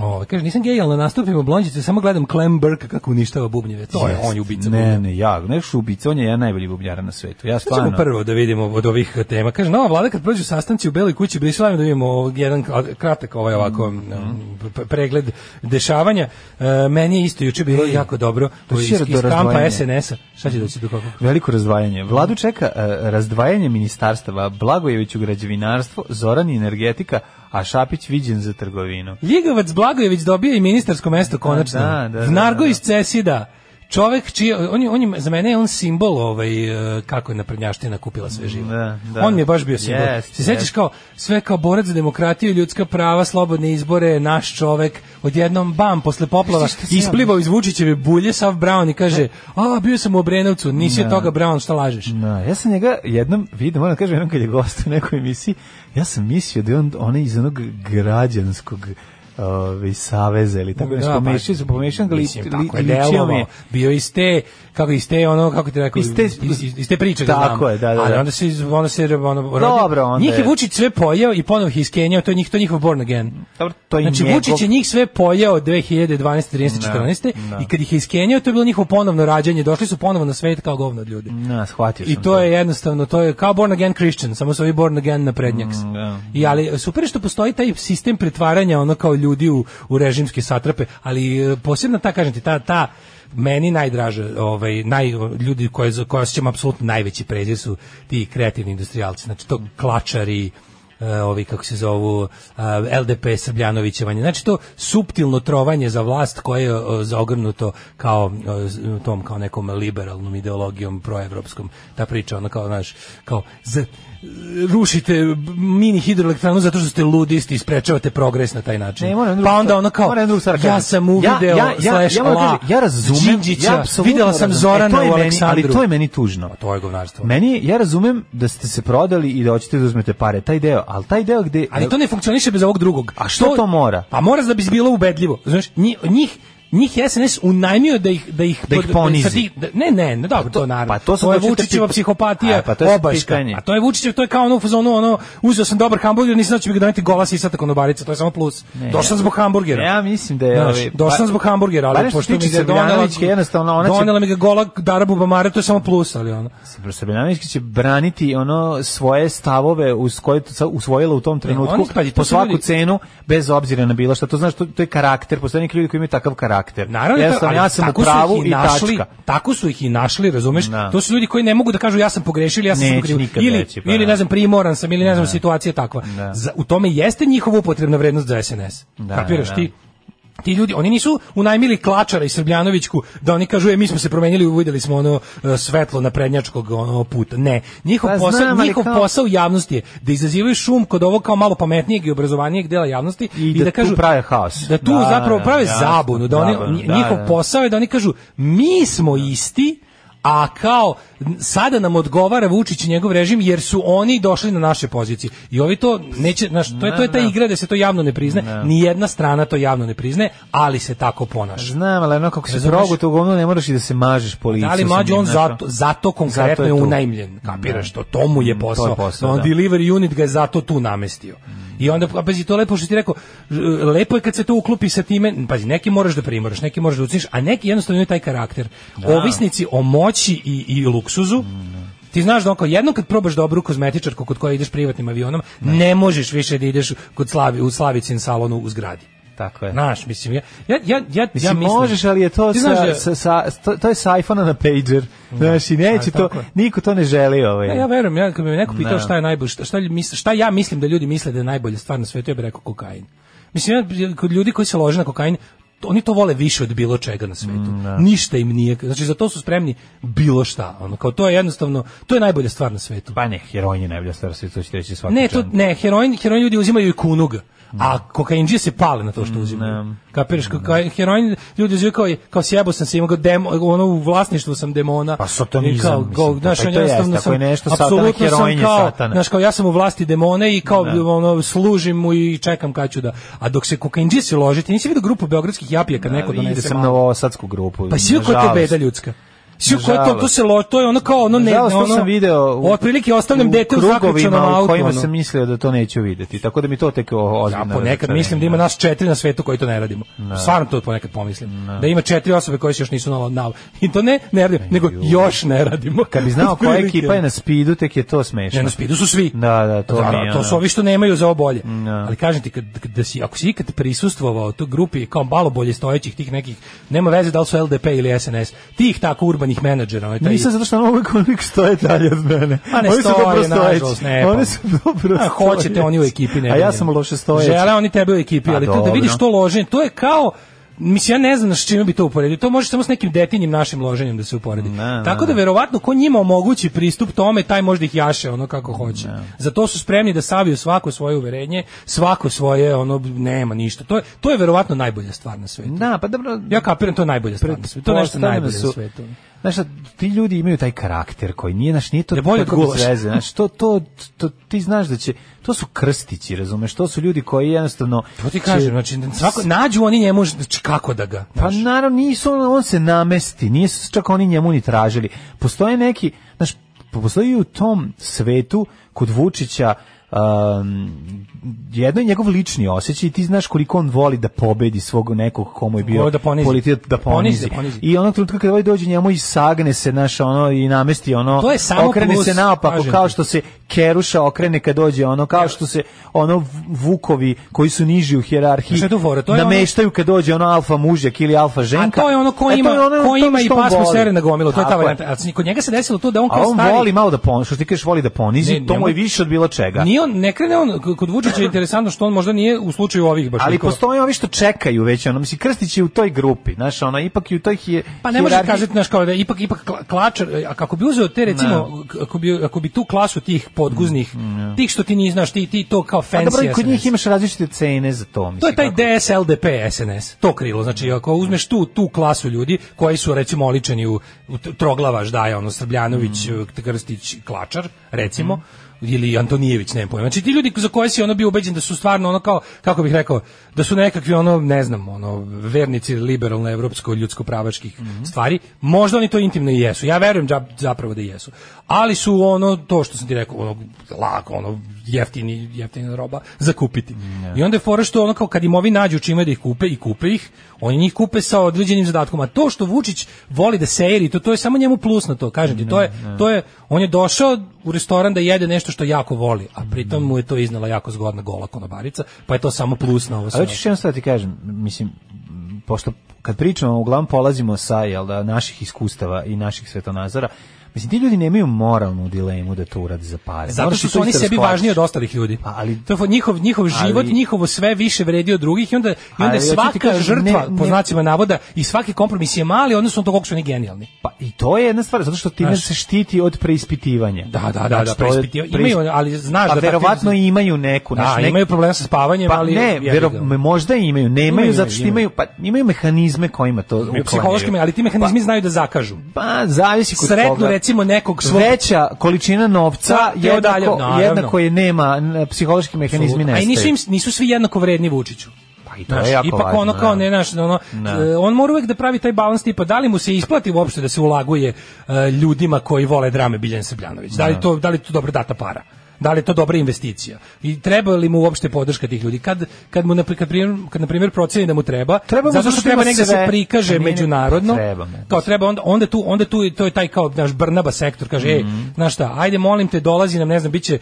Speaker 7: Ovaj, kaže, nisam gej, ali na nastupima blonđice samo gledam Clem Burke kako uništava bubnjeve. To je,
Speaker 6: Jest.
Speaker 7: on je ubica
Speaker 6: Ne,
Speaker 7: bubnjeva.
Speaker 6: ne, ja, ne što ubica, on je jedan najbolji bubnjara na svetu. Ja
Speaker 7: Šta ćemo
Speaker 6: stvarno.
Speaker 7: prvo da vidimo od ovih tema? Kaže, nova vlada kad prođu sastanci u Beloj kući, bili slavimo da vidimo jedan kratak ovaj ovako
Speaker 6: Mhm.
Speaker 7: um, p- pregled dešavanja. E, meni je isto juče bilo jako dobro.
Speaker 6: to je
Speaker 7: Iz, iz
Speaker 6: široko
Speaker 7: kampa
Speaker 6: razdvajanje.
Speaker 7: SNS-a. Šta će doći do kakvog?
Speaker 6: Veliko razdvajanje. Vladu čeka e, razdvajanje ministarstava, Blagojeviću građevinarstvo, Zoran i energetika, a Šapić viđen za trgovinu.
Speaker 7: Ljigavac Blagojević dobio i ministarsko mesto konačno.
Speaker 6: da, da, da,
Speaker 7: Vnargo
Speaker 6: da.
Speaker 7: iz Cesida. Čovek čiji, on je, on je, za mene je on simbol ovaj, e, kako je naprednjaština kupila sve živo.
Speaker 6: Da, da.
Speaker 7: On mi je baš bio simbol.
Speaker 6: Jest,
Speaker 7: Se sećaš
Speaker 6: jest.
Speaker 7: kao, sve kao borac za demokratiju, ljudska prava, slobodne izbore, naš čovek, odjednom bam, posle poplava,
Speaker 6: Misliš šta si ja-
Speaker 7: isplivao iz Vučićeve bulje, sav Brown i kaže, a, bio sam u Obrenovcu, nisi od toga Brown, šta lažeš?
Speaker 6: Na, ja sam njega jednom vidio, moram da kažem, jednom kad je gost u nekoj emisiji, ja sam mislio da je on onaj iz onog građanskog ovaj saveza ili tako nešto
Speaker 7: Da, pa,
Speaker 6: pomešao se pomešao ga li,
Speaker 7: mislim,
Speaker 6: li,
Speaker 7: tako je
Speaker 6: ličio mi
Speaker 7: delovao.
Speaker 6: je.
Speaker 7: Bio iz te, kako iz te ono, kako ti rekao, iz
Speaker 6: Iz te-
Speaker 7: te, iz, iz te priče ga
Speaker 6: Tako
Speaker 7: znam.
Speaker 6: je, da, da,
Speaker 7: Ali
Speaker 6: da.
Speaker 7: onda se, iz- onda se, ono, rodi-
Speaker 6: Dobro, onda
Speaker 7: njih je
Speaker 6: je.
Speaker 7: Vučić sve pojeo i ponovo ih iskenjao, to je njih, to je njihov born again.
Speaker 6: Dobro, to je
Speaker 7: Znači,
Speaker 6: njegov-
Speaker 7: Vučić je njih sve pojeo 2012, 13, 14 i kad ih je iskenjao, to je bilo njihovo ponovno rađanje, došli su ponovo na svet kao govno od ljudi.
Speaker 6: Na, shvatio sam.
Speaker 7: I to je jednostavno, to je kao born again Christian, samo su ovi born again na prednjaks.
Speaker 6: Mm, da.
Speaker 7: I ali super je što postoji taj sistem pretvaranja ono kao ljudi u, u režimske satrape, ali e, posebno ta kažem ti ta ta meni najdraže, ovaj naj ljudi koje za koje osjećam apsolutno najveći prezir su ti kreativni industrijalci, znači to klačari e, ovi kako se zovu e, LDP Srbljanovićevanje. Znači to suptilno trovanje za vlast koje je e, zaogrnuto kao e, z- tom kao nekom liberalnom ideologijom proevropskom. Ta priča ona kao znaš kao z- rušite mini hidroelektranu zato što ste ludisti i sprečavate progres na taj način.
Speaker 6: Ne, moram jednu
Speaker 7: pa
Speaker 6: drugu
Speaker 7: onda
Speaker 6: stvar-
Speaker 7: ono kao,
Speaker 6: moram jednu drugu stvar da
Speaker 7: ja
Speaker 6: kažem.
Speaker 7: sam
Speaker 6: ja,
Speaker 7: uvideo
Speaker 6: ja,
Speaker 7: slash
Speaker 6: ja, moram da
Speaker 7: la
Speaker 6: kažem, ja razumem,
Speaker 7: Đinđića,
Speaker 6: ja apsolutno
Speaker 7: videla sam
Speaker 6: razumem.
Speaker 7: Zorana
Speaker 6: E, to je
Speaker 7: u
Speaker 6: meni-
Speaker 7: Aleksandru.
Speaker 6: Ali to je meni tužno.
Speaker 7: Pa to je govnarstvo.
Speaker 6: Meni, je- ja razumem da ste se prodali i da hoćete da uzmete pare, taj deo, ali taj deo gde...
Speaker 7: Ali to ne funkcioniše bez ovog drugog.
Speaker 6: A što to mora?
Speaker 7: Pa mora da bi bilo ubedljivo. Znaš, nji- njih njih je SNS unajmio da ih da ih
Speaker 6: Da ih ponizi.
Speaker 7: sad ih- da- ne, ne, ne, dobro, to,
Speaker 6: to-
Speaker 7: naravno.
Speaker 6: pa to sam
Speaker 7: je
Speaker 6: hoću da ti-
Speaker 7: Vučićeva psihopatija,
Speaker 6: A, pa to je sad
Speaker 7: obaška.
Speaker 6: pitanje.
Speaker 7: A to je Vučićev, to je kao ono u fazonu ono, uzeo sam dobar hamburger, nisam da će mi ga doneti gola sisata konobarica, to je samo plus.
Speaker 6: Ne.
Speaker 7: Došao sam zbog hamburgera.
Speaker 6: Ja mislim da je,
Speaker 7: Znaš,
Speaker 6: ovaj,
Speaker 7: došao sam
Speaker 6: ba-
Speaker 7: zbog hamburgera, ali
Speaker 6: barem što
Speaker 7: pošto mi
Speaker 6: tiče
Speaker 7: ga je donela,
Speaker 6: Srbljanovićke, jednostavno, ona će-
Speaker 7: donela mi ga gola Darabu Bamare, to je samo plus, ali ono.
Speaker 6: Srbljanovićki će braniti ono svoje stavove uz koje je to sa- usvojila u tom
Speaker 7: oni-
Speaker 6: trenutku
Speaker 7: pazi, to
Speaker 6: po
Speaker 7: su
Speaker 6: svaku
Speaker 7: ljudi-
Speaker 6: cenu bez obzira na bilo šta. To znaš, to, to je karakter. Postoje neki ljudi koji imaju takav karakter.
Speaker 7: Naravno,
Speaker 6: Jednostavno,
Speaker 7: ali
Speaker 6: ja sam u
Speaker 7: tako su
Speaker 6: pravu
Speaker 7: ih
Speaker 6: i
Speaker 7: našli,
Speaker 6: tačka.
Speaker 7: Tako su ih i našli, razumeš?
Speaker 6: Da.
Speaker 7: To su ljudi koji ne mogu da kažu ja sam pogrešio ili ja sam
Speaker 6: Neće
Speaker 7: u krivu.
Speaker 6: nikad
Speaker 7: Ili,
Speaker 6: reći, pa
Speaker 7: ili
Speaker 6: da.
Speaker 7: ne znam, primoran sam ili ne znam, situacija je takva. Za- u tome jeste njihova upotrebna vrednost za SNS.
Speaker 6: Da,
Speaker 7: Kapiraš
Speaker 6: da.
Speaker 7: ti? Ti ljudi, oni nisu unajmili Klačara i Srbljanovićku da oni kažu, e, mi smo se promenili, uvideli smo ono e, svetlo na prednjačkog ono, puta. Ne, njihov,
Speaker 6: Pa
Speaker 7: posao,
Speaker 6: znam, ali
Speaker 7: njihov
Speaker 6: kao-
Speaker 7: posao u javnosti je da izazivaju šum kod ovo kao malo pametnijeg i obrazovanijeg dela javnosti i,
Speaker 6: I da tu
Speaker 7: kažu
Speaker 6: prave haos.
Speaker 7: Da tu
Speaker 6: Da,
Speaker 7: zapravo
Speaker 6: da,
Speaker 7: prave
Speaker 6: jasno,
Speaker 7: zabunu, da oni,
Speaker 6: zabunu,
Speaker 7: nji-
Speaker 6: da,
Speaker 7: njihov
Speaker 6: da.
Speaker 7: posao je da oni kažu mi smo isti, a kao n- sada nam odgovara Vučić i njegov režim jer su oni došli na naše pozicije. I ovi to neće, znaš, to je to je ta igra da se to javno ne priznaje. Ni jedna strana to javno ne priznaje, ali se tako ponaša.
Speaker 6: Znam, ali ono kako se
Speaker 7: Razumeš?
Speaker 6: progu, to uglavnom ne moraš i da se mažeš po licu.
Speaker 7: Da li
Speaker 6: sa
Speaker 7: mlađi
Speaker 6: njim,
Speaker 7: on
Speaker 6: znaš,
Speaker 7: zato,
Speaker 6: ono.
Speaker 7: zato konkretno
Speaker 6: Zato je
Speaker 7: je
Speaker 6: tu.
Speaker 7: unajmljen, kapiraš to, to mu je
Speaker 6: to je
Speaker 7: posao.
Speaker 6: posao,
Speaker 7: on
Speaker 6: da.
Speaker 7: delivery unit ga je zato tu namestio. I onda, a pazi, to je lepo što ti rekao, ž- lepo je kad se to uklopi sa time, pazi, neki moraš da primoraš, neki moraš da uciniš, a neki jednostavno imaju taj karakter. Ovisnici o moći i, i luksuzu,
Speaker 6: Mm,
Speaker 7: Ti znaš da on kao jednom kad probaš dobru kozmetičarku kod koje ideš privatnim avionom, ne možeš više da ideš kod Slavi, u Slavicin salonu u zgradi. Tako je. Znaš, mislim, ja, ja, ja, ja,
Speaker 6: Mislim,
Speaker 7: ja mislim...
Speaker 6: možeš, ali je to,
Speaker 7: Ti
Speaker 6: sa,
Speaker 7: znaš da-
Speaker 6: sa, sa, to, to je sa iPhone-a na pager. Znaš, i neće
Speaker 7: ali
Speaker 6: to,
Speaker 7: tako je.
Speaker 6: niko to ne želi. Ovaj.
Speaker 7: Ja, ja verujem, ja, kad bi me neko pitao
Speaker 6: Da.
Speaker 7: šta je najbolje, šta, šta, misle, šta ja mislim da ljudi misle da je najbolja stvar na svetu, ja bih rekao kokain. Mislim, ja, kod ljudi koji se lože na kokain, to- oni to vole više od bilo čega na svetu.
Speaker 6: Mm,
Speaker 7: Ništa im nije, znači za to su spremni bilo šta. Ono, kao to je jednostavno, to je najbolja stvar na svetu.
Speaker 6: Pa ne, heroin je najbolja stvar, sve to ćete reći svaki
Speaker 7: Ne, to, ne, heroin, heroin ljudi uzimaju i kunug. A kokainđije se pale na to
Speaker 6: Mm,
Speaker 7: što uzimaju. Kapiraš, kokain, heroin ljudi uzimaju kao, kao sjebo sam se imao, kao demo, ono u vlasništvu sam demona.
Speaker 6: Pa satanizam,
Speaker 7: I
Speaker 6: mislim, to-
Speaker 7: znaš,
Speaker 6: pa i
Speaker 7: on
Speaker 6: to jest,
Speaker 7: jednostavno
Speaker 6: ako je nešto satanak,
Speaker 7: apsolutno sam
Speaker 6: heroin je
Speaker 7: kao,
Speaker 6: satanak.
Speaker 7: Znaš, kao ja sam u vlasti demona i kao
Speaker 6: Da.
Speaker 7: ono, služim mu i čekam kad ću da... A dok se kokainđije se ložiti, nisi vidio grupu beogradskih japija kad neko donese
Speaker 6: Ide sam
Speaker 7: malo?
Speaker 6: na osadsku grupu.
Speaker 7: Pa svi kod te
Speaker 6: nažalost.
Speaker 7: beda ljudska. Svi kod to, to se lo, to je ono kao ono ne,
Speaker 6: Nažalost, to
Speaker 7: ono.
Speaker 6: sam video u,
Speaker 7: otprilike ostavljam dete u zaključanom
Speaker 6: krugovima u
Speaker 7: autu.
Speaker 6: kojima
Speaker 7: ono.
Speaker 6: sam mislio da to neću videti. Tako da mi to tek o-
Speaker 7: Ja
Speaker 6: ozbiljno...
Speaker 7: ponekad
Speaker 6: razočarenje.
Speaker 7: mislim da ima nas četiri na svetu koji to ne radimo. Stvarno to ponekad pomislim. Da ima četiri osobe koje se još nisu na, na i to ne ne radimo, nego još ne radimo.
Speaker 6: Kad bi znao koja ekipa je na speedu, tek je to smešno.
Speaker 7: Ne, na speedu su svi. Pa
Speaker 6: Da, da, to mi je,
Speaker 7: to
Speaker 6: ono.
Speaker 7: su ovi što nemaju za ovo bolje.
Speaker 6: Da.
Speaker 7: Ali kažem ti, kad, kad- da si, ako si ikad prisustvovao toj grupi kao malo bolje stojećih tih nekih, nema veze da li su LDP ili SNS, tih tako urbanih menadžera. Ovaj, taj-
Speaker 6: Nisam zato što ono uvijek, uvijek stoje dalje od mene.
Speaker 7: A Pa ne
Speaker 6: oni su dobro
Speaker 7: stoje, nažalost,
Speaker 6: stojeći.
Speaker 7: ne. pa.
Speaker 6: Oni su dobro
Speaker 7: A hoćete
Speaker 6: stojeći.
Speaker 7: oni u ekipi, ne.
Speaker 6: A ja
Speaker 7: brinite.
Speaker 6: sam loše stojeći.
Speaker 7: Žele oni tebe u ekipi,
Speaker 6: Pa
Speaker 7: ali to da vidiš
Speaker 6: dobro.
Speaker 7: to loženje, to je kao Mislim, ja ne znam s čime bi to uporedio. To može samo s nekim detinjim našim loženjem da se uporedi.
Speaker 6: Ne,
Speaker 7: Tako da,
Speaker 6: ne.
Speaker 7: verovatno, ko njima omogući pristup tome, taj možda ih jaše ono kako hoće. Za to su spremni da saviju svako svoje uverenje, svako svoje, ono, nema ništa. To je, to je verovatno najbolja stvar na svetu.
Speaker 6: Da, pa dobro,
Speaker 7: Ja kapiram, to je najbolja stvar na svetu. To je nešto
Speaker 6: Pretpostavljam da
Speaker 7: najbolje
Speaker 6: su-
Speaker 7: na svetu.
Speaker 6: Znaš, šta, ti ljudi imaju taj karakter koji nije, znaš, nije to
Speaker 7: Da je bolje
Speaker 6: tako
Speaker 7: od
Speaker 6: bez
Speaker 7: gulaša.
Speaker 6: veze, znaš, to, to, to, ti znaš da će, to su krstići, razumeš, to su ljudi koji jednostavno...
Speaker 7: To ti kažem, znači, svako, nađu oni njemu, znači, kako da ga.
Speaker 6: Pa naravno, nisu, on, on se namesti, nisu čak oni njemu ni tražili. Postoje neki, znaš, postoji u tom svetu kod Vučića um, jedno je njegov lični osjećaj i ti znaš koliko on voli da pobedi svog nekog komu je bio
Speaker 7: Voli da ponizi.
Speaker 6: politi- da
Speaker 7: Ponizi,
Speaker 6: ponizi.
Speaker 7: da ponizi.
Speaker 6: I onog trenutka kada ovaj dođe njemu i sagne se naš ono i namesti ono
Speaker 7: To je samo
Speaker 6: okrene
Speaker 7: plus,
Speaker 6: se naopako
Speaker 7: kažem
Speaker 6: kao
Speaker 7: ti.
Speaker 6: što se Keruša okrene kad dođe ono kao što se ono Vukovi koji su niži u hijerarhiji
Speaker 7: Šta je tu fora? To je ono-
Speaker 6: nameštaju kad dođe ono alfa mužjak ili alfa žena
Speaker 7: A to je ono ko
Speaker 6: E, to
Speaker 7: ima,
Speaker 6: je ono
Speaker 7: ko
Speaker 6: to
Speaker 7: ima i
Speaker 6: što on
Speaker 7: pasmu
Speaker 6: voli.
Speaker 7: sere na gomilu, to je ta
Speaker 6: Tako
Speaker 7: varijanta. A kod njega se desilo to da on
Speaker 6: A
Speaker 7: kao
Speaker 6: on
Speaker 7: stari...
Speaker 6: voli malo da ponizi, što ti kažeš voli da ponizi,
Speaker 7: Ne,
Speaker 6: to mu je
Speaker 7: njemu-
Speaker 6: više od bilo čega.
Speaker 7: Nije on, ne krene on, k- kod Vučića je interesantno što on možda nije u slučaju ovih baš.
Speaker 6: Ali
Speaker 7: likova.
Speaker 6: postoje ovi što čekaju već, ono, mislim, Krstić je u toj grupi, znaš, ono, ipak i u toj hije,
Speaker 7: Pa ne može
Speaker 6: hijerarhiji-
Speaker 7: kazati naš kao da je ipak ipak kla- klačar, e, a kako bi uzeo te recimo k- ako bi ako bi tu klasu tih podguznih, tih što ti ni znaš, ti ti to
Speaker 6: Mm,
Speaker 7: kao
Speaker 6: A
Speaker 7: fancy.
Speaker 6: Pa dobro, i kod
Speaker 7: SNS.
Speaker 6: njih imaš različite cene za to, mislim.
Speaker 7: To je taj
Speaker 6: kako-
Speaker 7: DSLDP SNS, to krilo. Znači, ako uzmeš tu, tu klasu ljudi koji su, recimo, oličeni u, u t- Troglava, Ždaja, ono, Srbljanović,
Speaker 6: Mm.
Speaker 7: eh, Krstić, Klačar, recimo, ili Antonijević, ne pojma. Znači, ti ljudi za koje si ono bio ubeđen da su stvarno ono kao, kako bih rekao, da su nekakvi ono, ne znam, ono, vernici liberalno evropsko ljudsko pravačkih
Speaker 6: Mhm.
Speaker 7: stvari, možda oni to intimno i jesu. Ja verujem džab- zapravo da jesu. Ali su ono, to što sam ti rekao, ono, lako, ono, jeftini, jeftina roba, zakupiti. I onda je fora što ono kao kad im ovi nađu čime da ih kupe i kupe ih, oni njih kupe sa određenim zadatkom. A to što Vučić voli da sejeri, to, to je samo njemu plus na to, kažem ti. To je, to je, on je došao u restoran da jede nešto što jako voli, a pritom mu je to iznala jako zgodna gola konobarica, pa je to samo plus na ovo sve.
Speaker 6: A već još jednom stvar ti kažem, mislim, m, pošto kad pričamo, uglavnom polazimo sa jel, da, naših iskustava i naših svetonazora, mislim, ti ljudi nemaju moralnu dilemu da to urade za pare.
Speaker 7: Zato
Speaker 6: E, Moraš
Speaker 7: što
Speaker 6: i
Speaker 7: su
Speaker 6: to
Speaker 7: oni
Speaker 6: isto da
Speaker 7: sebi
Speaker 6: shvatiš.
Speaker 7: važniji od ostalih ljudi.
Speaker 6: Pa, ali-
Speaker 7: to je njihov njihov život, njihovo sve više vredi od drugih i onda i onda
Speaker 6: Ali,
Speaker 7: je
Speaker 6: hoću ti
Speaker 7: svaka
Speaker 6: kažem,
Speaker 7: žrtva
Speaker 6: ne- ne-
Speaker 7: po znacima navoda i svaki kompromis je mali odnosno na to koliko su oni genijalni.
Speaker 6: Pa i to je jedna stvar, zato što time
Speaker 7: Znaš.
Speaker 6: se štiti od preispitivanja.
Speaker 7: Da, da, da, da,
Speaker 6: Znači, to je
Speaker 7: preispitiva-
Speaker 6: preispit-
Speaker 7: imaju, ali znaš
Speaker 6: pa
Speaker 7: da takvi-
Speaker 6: verovatno imaju neku,
Speaker 7: Da,
Speaker 6: znaš, nek-
Speaker 7: imaju problema sa spavanjem,
Speaker 6: pa
Speaker 7: ali
Speaker 6: ne,
Speaker 7: jebi ga.
Speaker 6: vero, možda imaju, nemaju
Speaker 7: Imaju,
Speaker 6: zato što
Speaker 7: imaju.
Speaker 6: imaju, pa imaju mehanizme kojima to
Speaker 7: U
Speaker 6: uklanjaju.
Speaker 7: psihološkim, ali ti mehanizmi znaju da zakažu.
Speaker 6: Pa, zavisi kod
Speaker 7: Sretnu,
Speaker 6: koga.
Speaker 7: recimo, nekog svog- Pa,
Speaker 6: Veća količina novca
Speaker 7: Da, te odalje,
Speaker 6: jednako,
Speaker 7: naravno.
Speaker 6: jednako je nema, n- psihološki mehanizmi
Speaker 7: Apsolutno. A i
Speaker 6: nestaju.
Speaker 7: nisu, im, nisu svi jednako vredni Vučiću.
Speaker 6: Pa i to
Speaker 7: Znaš,
Speaker 6: je jako
Speaker 7: ipak
Speaker 6: važno,
Speaker 7: ono kao ne naš ono
Speaker 6: Ne.
Speaker 7: e, on mora uvek da pravi taj balans tipa da li mu se isplati uopšte da se ulaguje e, ljudima koji vole drame Biljan Srbljanović da li to da li to dobro data para da li je to dobra investicija i treba li mu uopšte podrška tih ljudi kad kad mu na pri- kad primjer- kad na primjer proceni da mu treba
Speaker 6: Treba mu
Speaker 7: zato
Speaker 6: zato
Speaker 7: što
Speaker 6: što
Speaker 7: treba
Speaker 6: ima
Speaker 7: negde se
Speaker 6: sve.
Speaker 7: prikaže
Speaker 6: Ne, ne,
Speaker 7: međunarodno
Speaker 6: treba mu.
Speaker 7: kao treba onda onda tu "E,
Speaker 6: Mhm.
Speaker 7: onda tu to je taj kao naš Brnaba sektor kaže ej znaš šta ajde molim te dolazi nam ne znam biće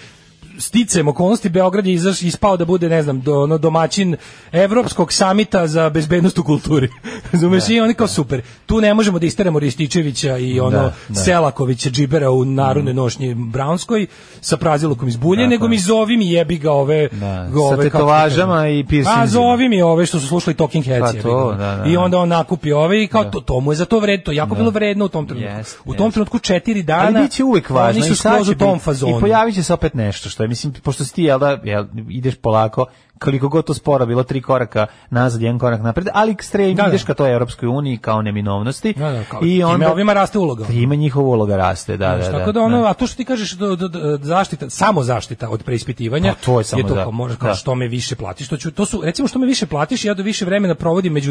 Speaker 7: sticajem okolnosti Beograd je izaš, ispao da bude, ne znam, do, ono, domaćin Evropskog samita za bezbednost u kulturi. Razumeš? I oni kao super. Tu ne možemo da isteremo Rističevića i ono
Speaker 6: Da, da. Mhm.
Speaker 7: Selakovića džibera u narodnoj nošnji Brownskoj sa prazilukom iz bulje,
Speaker 6: Tako
Speaker 7: nego
Speaker 6: je.
Speaker 7: mi zovi mi jebi ga ove... Da,
Speaker 6: sa tetovažama i piercingima.
Speaker 7: Pa zovi mi ove što su slušali Talking Heads.
Speaker 6: Pa
Speaker 7: jebi
Speaker 6: to,
Speaker 7: ga. ono.
Speaker 6: da, da,
Speaker 7: I
Speaker 6: da.
Speaker 7: onda on nakupi ove i kao to, to mu je za to vredno, to je jako bilo vredno u tom trenutku.
Speaker 6: Jest,
Speaker 7: u tom
Speaker 6: jest.
Speaker 7: trenutku četiri dana...
Speaker 6: Ali bit će uvek važno.
Speaker 7: Oni su
Speaker 6: i sad
Speaker 7: skroz
Speaker 6: će
Speaker 7: u tom
Speaker 6: biti-
Speaker 7: fazonu.
Speaker 6: I pojavit će se opet nešto, što je, mislim, pošto si ti, jel da, jel, ideš polako, koliko god to spora bilo, tri koraka nazad, jedan korak napred, ali ekstrem,
Speaker 7: Da, da.
Speaker 6: ideš ka toj Europskoj uniji, kao neminovnosti.
Speaker 7: Da, da, kao time ovima raste uloga.
Speaker 6: Time njihova uloga raste, da, da, da.
Speaker 7: Tako da ono, a to što ti kažeš da, da, da, zaštita, samo zaštita od preispitivanja,
Speaker 6: Pa to je samo
Speaker 7: to
Speaker 6: da.
Speaker 7: kao, može, kao
Speaker 6: Da.
Speaker 7: što me više platiš, to ću, to su, recimo što me više platiš, ja do više vremena provodim među,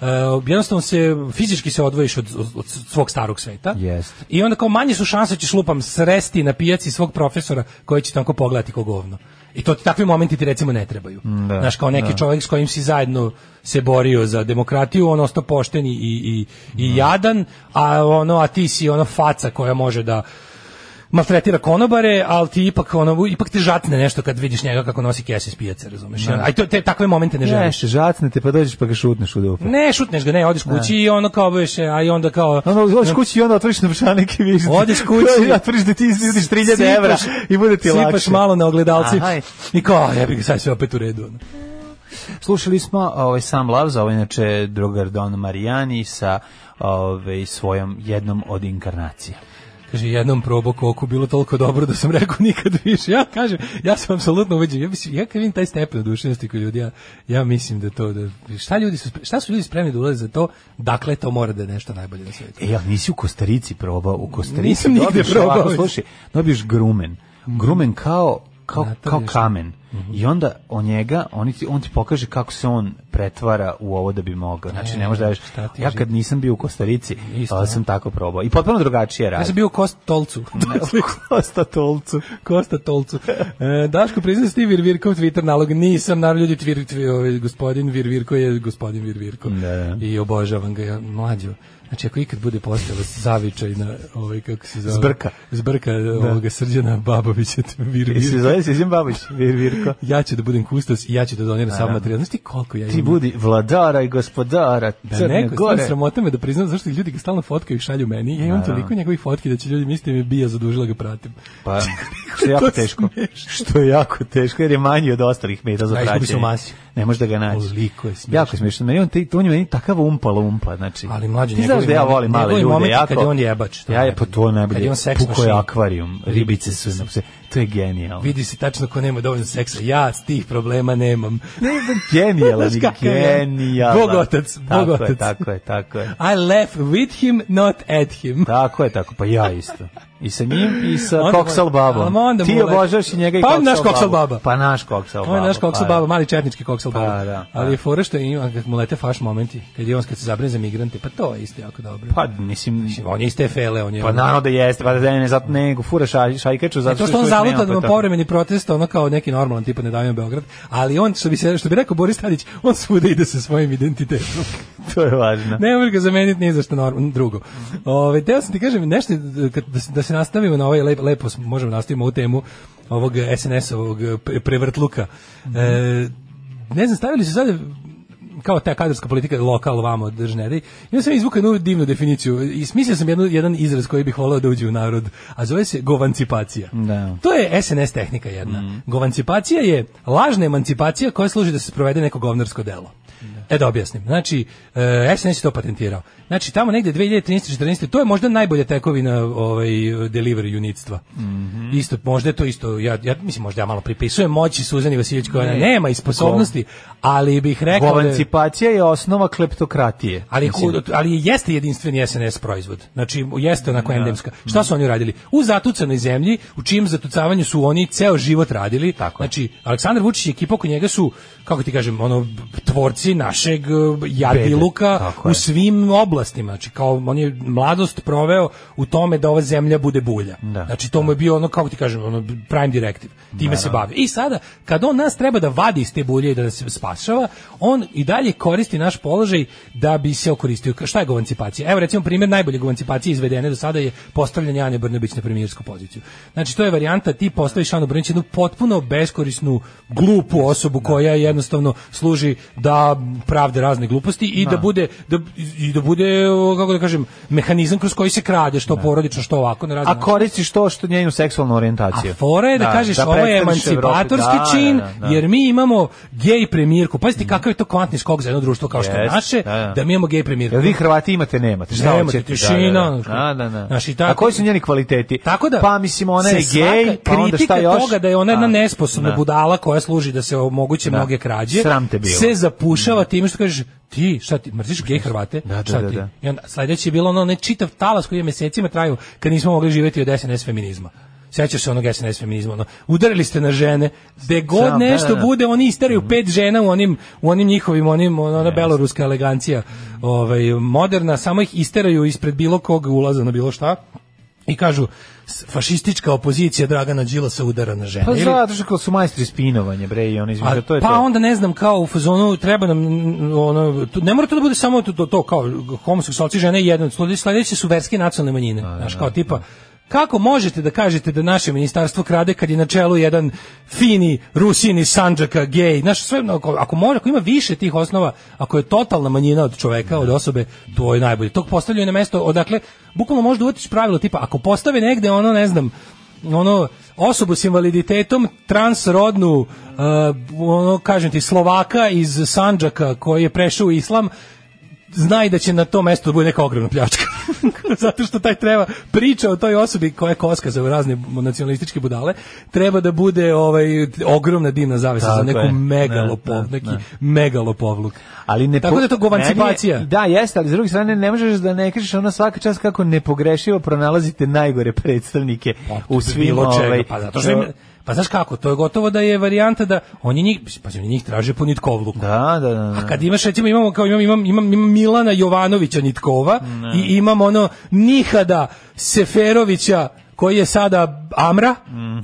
Speaker 7: e, jednostavno se, fizički se odvojiš od, od, od svog starog sveta,
Speaker 6: Jeste.
Speaker 7: i onda kao manje su šanse da ćeš lupam sresti na pijaci svog profesora koji će tanko pogledati ko govno. I to ti takvi momenti ti recimo ne trebaju.
Speaker 6: da,
Speaker 7: Znaš, kao neki
Speaker 6: da.
Speaker 7: čovjek s kojim si zajedno se borio za demokratiju, on ostao pošten i, i, i jadan, a ono, a ti si ono faca koja može da maltretira konobare, ali ti ipak ono, ipak te žatne nešto kad vidiš njega kako nosi kese s pijace, razumeš?
Speaker 6: Da.
Speaker 7: Aj to te takve momente ne želiš.
Speaker 6: Nešto, žacne te, pa dođeš pa ga šutneš u dupu.
Speaker 7: Ne, šutneš ga, ne, odeš kući i ono kao budeš, a i onda kao...
Speaker 6: Onda odeš Ono, kući i onda otvoriš novčanik i vidiš.
Speaker 7: Odeš kući.
Speaker 6: otvoriš da ti vidiš 3000 evra
Speaker 7: Sipaš-
Speaker 6: i bude ti lakše.
Speaker 7: Sipaš malo na ogledalci
Speaker 6: Aha.
Speaker 7: i kao, ja bih sad sve opet u redu. ono.
Speaker 6: Slušali smo ovaj Sam Loves, ovaj inače drugar Don Marijani sa ovaj, svojom jednom od inkarnacija.
Speaker 7: Kaže, jednom probao koku, bilo toliko dobro da sam rekao nikad više. Ja kažem, ja sam apsolutno uveđen. Ja, mislim, ja kad vidim taj stepen oduševljenosti kod ljudi, ja, ja mislim da to... Da, šta, ljudi su, spre- šta su ljudi spremni da ulaze za to? Dakle, to mora da je nešto najbolje na svijetu.
Speaker 6: E, ja nisi u Kostarici probao, u Kostarici
Speaker 7: Nisam nigde
Speaker 6: dobiješ
Speaker 7: probao. Mhm.
Speaker 6: ovako, slušaj, dobiješ grumen. Grumen kao kao,
Speaker 7: Natalješ.
Speaker 6: kao kamen.
Speaker 7: Mhm.
Speaker 6: I onda o njega, on ti, on ti pokaže kako se on pretvara u ovo da bi mogao. Znači, ne možeš da veriš.
Speaker 7: šta ti
Speaker 6: Ja
Speaker 7: živi.
Speaker 6: kad nisam bio u Kostarici,
Speaker 7: Isto,
Speaker 6: ali sam tako probao. I potpuno drugačije radi.
Speaker 7: Ja sam bio u Kost Tolcu. To je slika.
Speaker 6: Kosta Tolcu.
Speaker 7: Kosta Tolcu. E, Daško, priznaj ti Vir Virkov Twitter nalog. Nisam, naravno ljudi, tvir, tvir, ovaj, gospodin Vir Virko je gospodin Vir Virko.
Speaker 6: Da, da.
Speaker 7: I obožavam ga, ja, mlađo. Znači, ako ikad bude postala zavičaj na ovaj, kako se zove?
Speaker 6: Zbrka.
Speaker 7: Zbrka ovoga Srđana Babovića, Vir
Speaker 6: I se
Speaker 7: Virko.
Speaker 6: zove Sizim Babić, Vir Virko.
Speaker 7: Ja ću da budem kustos i ja ću da doniram sav materijal. Znaš ti koliko ja
Speaker 6: Ti
Speaker 7: imam?
Speaker 6: budi vladara i gospodara
Speaker 7: Da
Speaker 6: Crne
Speaker 7: neko gore.
Speaker 6: Gore.
Speaker 7: sramota me da priznam zašto ljudi ga stalno fotkaju i šalju meni. Ja imam toliko njegovih fotki da će ljudi misliti da mi je bija zadužila ga pratim.
Speaker 6: Pa, što je jako
Speaker 7: To
Speaker 6: teško.
Speaker 7: smiješno.
Speaker 6: Što je jako teško, jer je manji od ostalih meta za
Speaker 7: Da, izgubi se
Speaker 6: praćenje.
Speaker 7: u masi.
Speaker 6: Ne možeš da ga naći.
Speaker 7: Koliko je smiješno.
Speaker 6: Jako je smiješno. Meni on, te, on je meni takav umpala umpa, znači.
Speaker 7: Ali mlađi
Speaker 6: Ti znaš
Speaker 7: njegovi
Speaker 6: da ja
Speaker 7: momenti-
Speaker 6: volim male
Speaker 7: njegovi
Speaker 6: ljude
Speaker 7: momenti
Speaker 6: jako.
Speaker 7: kad je on jebač, to je
Speaker 6: Ja je, pa
Speaker 7: najbolje.
Speaker 6: to je
Speaker 7: Kad je
Speaker 6: najbolje.
Speaker 7: on seks
Speaker 6: Puko je
Speaker 7: mašina.
Speaker 6: akvarijum, ribice su na pse. To je genijalno.
Speaker 7: Vidi se tačno ko nema dovoljno seksa. Ja tih problema nemam.
Speaker 6: Ne, genijalan,
Speaker 7: Znaš kakav je?
Speaker 6: genijalan.
Speaker 7: Bogotac,
Speaker 6: Tako je,
Speaker 7: bogotac.
Speaker 6: tako je, tako je.
Speaker 7: I laugh with him, not at him.
Speaker 6: Tako je, tako, pa ja isto. I sa njim i sa
Speaker 7: Onda mu-
Speaker 6: Koksal babom.
Speaker 7: ali onda mu
Speaker 6: Ti
Speaker 7: lepo.
Speaker 6: obožavaš i njega i
Speaker 7: Pa
Speaker 6: Koksal
Speaker 7: naš Koksal
Speaker 6: babu.
Speaker 7: baba.
Speaker 6: Pa naš Koksal baba.
Speaker 7: On je naš koksal
Speaker 6: pa da.
Speaker 7: baba, mali četnički koksal
Speaker 6: Pa,
Speaker 7: baba.
Speaker 6: da, pa.
Speaker 7: Ali je fora što ima, kad mu lete faš momenti, kad je on kad se zabrine za migrante, pa to je isto jako dobro.
Speaker 6: Pa, mislim,
Speaker 7: Mislim, on je iz te fele, on je...
Speaker 6: pa naravno da jeste, pa da ne, zato ne, fura šaj, šajkaču, zato
Speaker 7: E, to što on
Speaker 6: još uvijek
Speaker 7: zaluta
Speaker 6: nema,
Speaker 7: da
Speaker 6: pa
Speaker 7: ima
Speaker 6: tako.
Speaker 7: povremeni protest, ono kao neki normalan tipa ne davimo Beograd, ali on, što bi, se, što bi rekao Boris Tadić, on svuda ide sa svojim identitetom.
Speaker 6: To je važno.
Speaker 7: Ne možeš ga zameniti ni za što norm, drugo. Ove, teo sam ti kažem nešto kad- da, se- da se nastavimo na ovaj lep, lepo smo- možemo nastavimo ovu temu ovog SNS-ovog pre- prevrtluka. E, ne znam, stavili su sad kao ta kadrovska politika lokal vamo držneri. I onda sam izvukao jednu divnu definiciju i smislio sam jednu, jedan izraz koji bih voleo da uđe u narod, a zove se govancipacija.
Speaker 6: Da. Mhm.
Speaker 7: To je SNS tehnika jedna. Govancipacija je lažna emancipacija koja služi da se sprovede neko govnarsko delo. E da objasnim. Znači, e, SNS je to patentirao. Znači, tamo negde 2013. 14. to je možda najbolja tekovina ovaj, delivery unitstva.
Speaker 6: Mhm.
Speaker 7: Isto, možda je to isto, ja, ja mislim, možda ja malo pripisujem moći Suzani Vasiljević koja
Speaker 6: Ne.
Speaker 7: nema i sposobnosti, ali bih rekao da je-
Speaker 6: Govancipacija je osnova kleptokratije.
Speaker 7: ali,
Speaker 6: Mislim,
Speaker 7: hu- ali jeste jedinstveni SNS proizvod. Znači, jeste onako endemska. Šta su oni radili? U zatucanoj zemlji, u čijem zatucavanju su oni ceo život radili.
Speaker 6: Tako je.
Speaker 7: Znači, Aleksandar Vučić i ekipa oko njega su, kako ti kažem, ono, tvorci našeg eh, jadiluka
Speaker 6: Tako je.
Speaker 7: u svim oblastima. Znači, kao on je mladost proveo u tome da ova zemlja bude bulja.
Speaker 6: Da.
Speaker 7: Znači, to mu je bio ono kako ti kažem, ono prime directive. Time se bavi. I sada kad on nas treba da vadi iz te bulje i da nas spašava, on i dalje koristi naš položaj da bi se okoristio. Ka- Šta je govancipacija? Evo recimo primjer najbolje govancipacije izvedene do sada je postavljanje Ane Brnabić na premijersku poziciju. Znači to je varijanta ti postaviš Anu Brnabić jednu potpuno beskorisnu, glupu osobu koja jednostavno služi da pravde razne gluposti i da,
Speaker 6: Da.
Speaker 7: bude da, i da bude o, kako da kažem mehanizam kroz koji se krade što porodično što ovako na razne
Speaker 6: A koristiš to što njenu seksualnu orijentaciju.
Speaker 7: a fora je da, kažeš ovo
Speaker 6: predstaviš
Speaker 7: je emancipatorski
Speaker 6: Evropi. Da,
Speaker 7: čin,
Speaker 6: da, da, da.
Speaker 7: jer mi imamo gej premijerku. Pazite kakav je to kvantni skok za jedno društvo kao što je
Speaker 6: Jest,
Speaker 7: naše,
Speaker 6: da, da.
Speaker 7: da mi imamo gej premijerku.
Speaker 6: Jel vi Hrvati imate, nemate? Šta
Speaker 7: Nemate,
Speaker 6: hoćete?
Speaker 7: tišina, ono
Speaker 6: Da, da, da. da, da.
Speaker 7: znaš, i tako-
Speaker 6: A koji su njeni kvaliteti?
Speaker 7: Tako da
Speaker 6: pa mislim ona
Speaker 7: se
Speaker 6: je
Speaker 7: svaka
Speaker 6: gej, pa onda
Speaker 7: kritika
Speaker 6: šta još?
Speaker 7: toga da je ona jedna
Speaker 6: A,
Speaker 7: nesposobna
Speaker 6: da.
Speaker 7: budala koja služi da se omoguće
Speaker 6: Da.
Speaker 7: mnoge krađe.
Speaker 6: Sram te bilo. Mm.
Speaker 7: Se zapušava time što kažeš ti šta ti mrziš gej Hrvate?
Speaker 6: Da, da,
Speaker 7: šta
Speaker 6: da,
Speaker 7: ti?
Speaker 6: da.
Speaker 7: I onda sledeći je bilo ono ne čitav talas koji je mesecima trajao kad nismo mogli živjeti od SNS feminizma. Sećaš se onog SNS feminizma, ono, udarili ste na žene, gde god
Speaker 6: Sram, da,
Speaker 7: nešto
Speaker 6: da, Mhm. da.
Speaker 7: bude, oni isteraju pet žena u onim, u onim njihovim, onim, ono, ona beloruska elegancija, ovaj, moderna, samo ih isteraju ispred bilo kog ulaza na bilo šta i kažu "S- fašistička opozicija Dragana Đilasa udara na žene.
Speaker 6: Pa
Speaker 7: Ili-
Speaker 6: zato što su majstri spinovanja, bre, i oni
Speaker 7: a,
Speaker 6: izmišljaju, E, to je
Speaker 7: pa
Speaker 6: to.
Speaker 7: onda ne znam kao u fazonu treba nam mm, ono tu- ne mora to da bude samo to, to, to kao homoseksualci žene jedno sledeće su verske i nacionalne manjine znaš kao tipa Kako možete da kažete da naše ministarstvo krade kad je na čelu jedan fini Rusin iz Sandžaka, gej, znaš, sve, no, ako, ako može, ako ima više tih osnova, ako je totalna manjina od čoveka, od osobe, to je najbolje. Tog postavljaju na mesto, odakle, bukvalno možda uvatiš pravilo, tipa, ako postave negde, ono, ne znam, ono osobu s invaliditetom transrodnu uh, ono kažem ti Slovaka iz Sandžaka koji je prešao u islam znaj da će na tom mestu da bude neka ogromna pljačka. Zato što taj treba priča o toj osobi koja je koska za razne nacionalističke budale, treba da bude ovaj ogromna dimna zavesa za
Speaker 6: Tako je.
Speaker 7: neku megalopov,
Speaker 6: Ne, ne,
Speaker 7: neki
Speaker 6: ne.
Speaker 7: megalopovluk.
Speaker 6: ali ne
Speaker 7: Tako
Speaker 6: po-
Speaker 7: da je to govancipacija.
Speaker 6: Meni je- Da, jeste, ali s druge strane ne možeš da ne kažeš ona svaka čast kako nepogrešivo pronalazite najgore predstavnike u svim
Speaker 7: Pa, bilo čega,
Speaker 6: ovaj,
Speaker 7: pa zato što im- pa znaš kako, to je gotovo da je varijanta da oni njih, pa oni njih traže po nitkovluku.
Speaker 6: Da, da, da. da.
Speaker 7: Kad imaš recimo imamo kao imam imam imam, imam Milana Jovanovića Nitkova i imam ono Nihada Seferovića koji je sada Amra,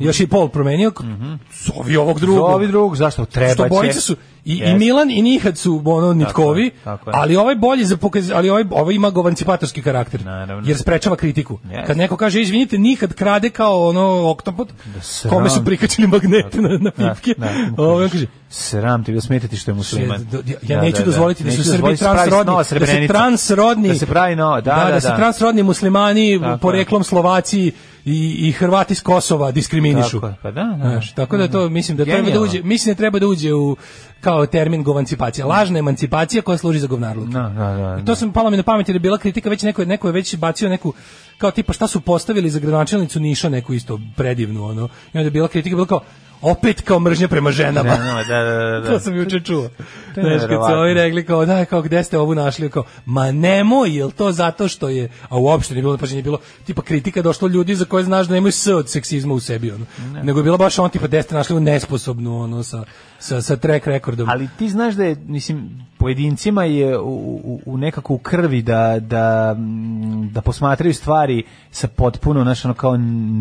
Speaker 7: još i pol promenio, Mhm. zovi ovog drugog.
Speaker 6: Zovi drugog, zašto treba
Speaker 7: Što
Speaker 6: će.
Speaker 7: bojice su i, i
Speaker 6: Jeste.
Speaker 7: Milan i Nihad su ono nitkovi,
Speaker 6: je, tako je.
Speaker 7: ali ovaj bolji za pokaz, ali ovaj ovaj ima govancipatorski karakter.
Speaker 6: Naravno.
Speaker 7: Jer sprečava kritiku.
Speaker 6: Jeste.
Speaker 7: Kad neko kaže izvinite, Nihad krade kao ono oktopod,
Speaker 6: sram.
Speaker 7: kome su prikačili magnete na, na
Speaker 6: Da,
Speaker 7: pipke.
Speaker 6: da, da,
Speaker 7: Ovaj kaže,
Speaker 6: Sram ti da smetiti što je musliman.
Speaker 7: Sve- do- ja- ja neću dozvoliti da se u Srbiji
Speaker 6: dozvoliti da se pravi
Speaker 7: transrodni-
Speaker 6: nova
Speaker 7: da se
Speaker 6: Srebrenica.
Speaker 7: transrodni-
Speaker 6: da se pravi nova, da, da,
Speaker 7: da, se transrodni muslimani
Speaker 6: Tako je.
Speaker 7: poreklom Slovaci i, i Hrvati iz Kosova diskriminišu.
Speaker 6: Tako je, pa da, da.
Speaker 7: Znaš, tako da to mislim da treba da
Speaker 6: Genijalno.
Speaker 7: uđe, mislim da treba da uđe u kao termin govancipacija, lažna emancipacija koja služi za govnarluk.
Speaker 6: Da, da, da,
Speaker 7: I to sam palo mi na pamet jer je bila kritika, već neko je, neko je već bacio neku kao tipa šta su postavili za gradonačelnicu Niša neku isto predivnu ono. I onda je bila kritika bilo kao opet kao mržnja prema ženama.
Speaker 6: Ženama, da, da, da, da.
Speaker 7: to sam juče čuo.
Speaker 6: to je
Speaker 7: Znaš, kad su
Speaker 6: neverovatno.
Speaker 7: ovi rekli kao, da, kao, gde ste ovu našli? Kao, ma nemoj, jel to zato što je, a uopšte nije bilo, pa nije bilo, tipa kritika došlo ljudi za koje znaš da nemaju s od seksizma u sebi, ono. Nego je bila baš on, tipa, gde ste našli ovu nesposobnu, ono, sa, sa, sa track rekordom.
Speaker 6: Ali ti znaš da je, mislim, pojedincima je u, u, u nekako u krvi da, da, mm, da posmatraju stvari sa potpuno, znaš, ono kao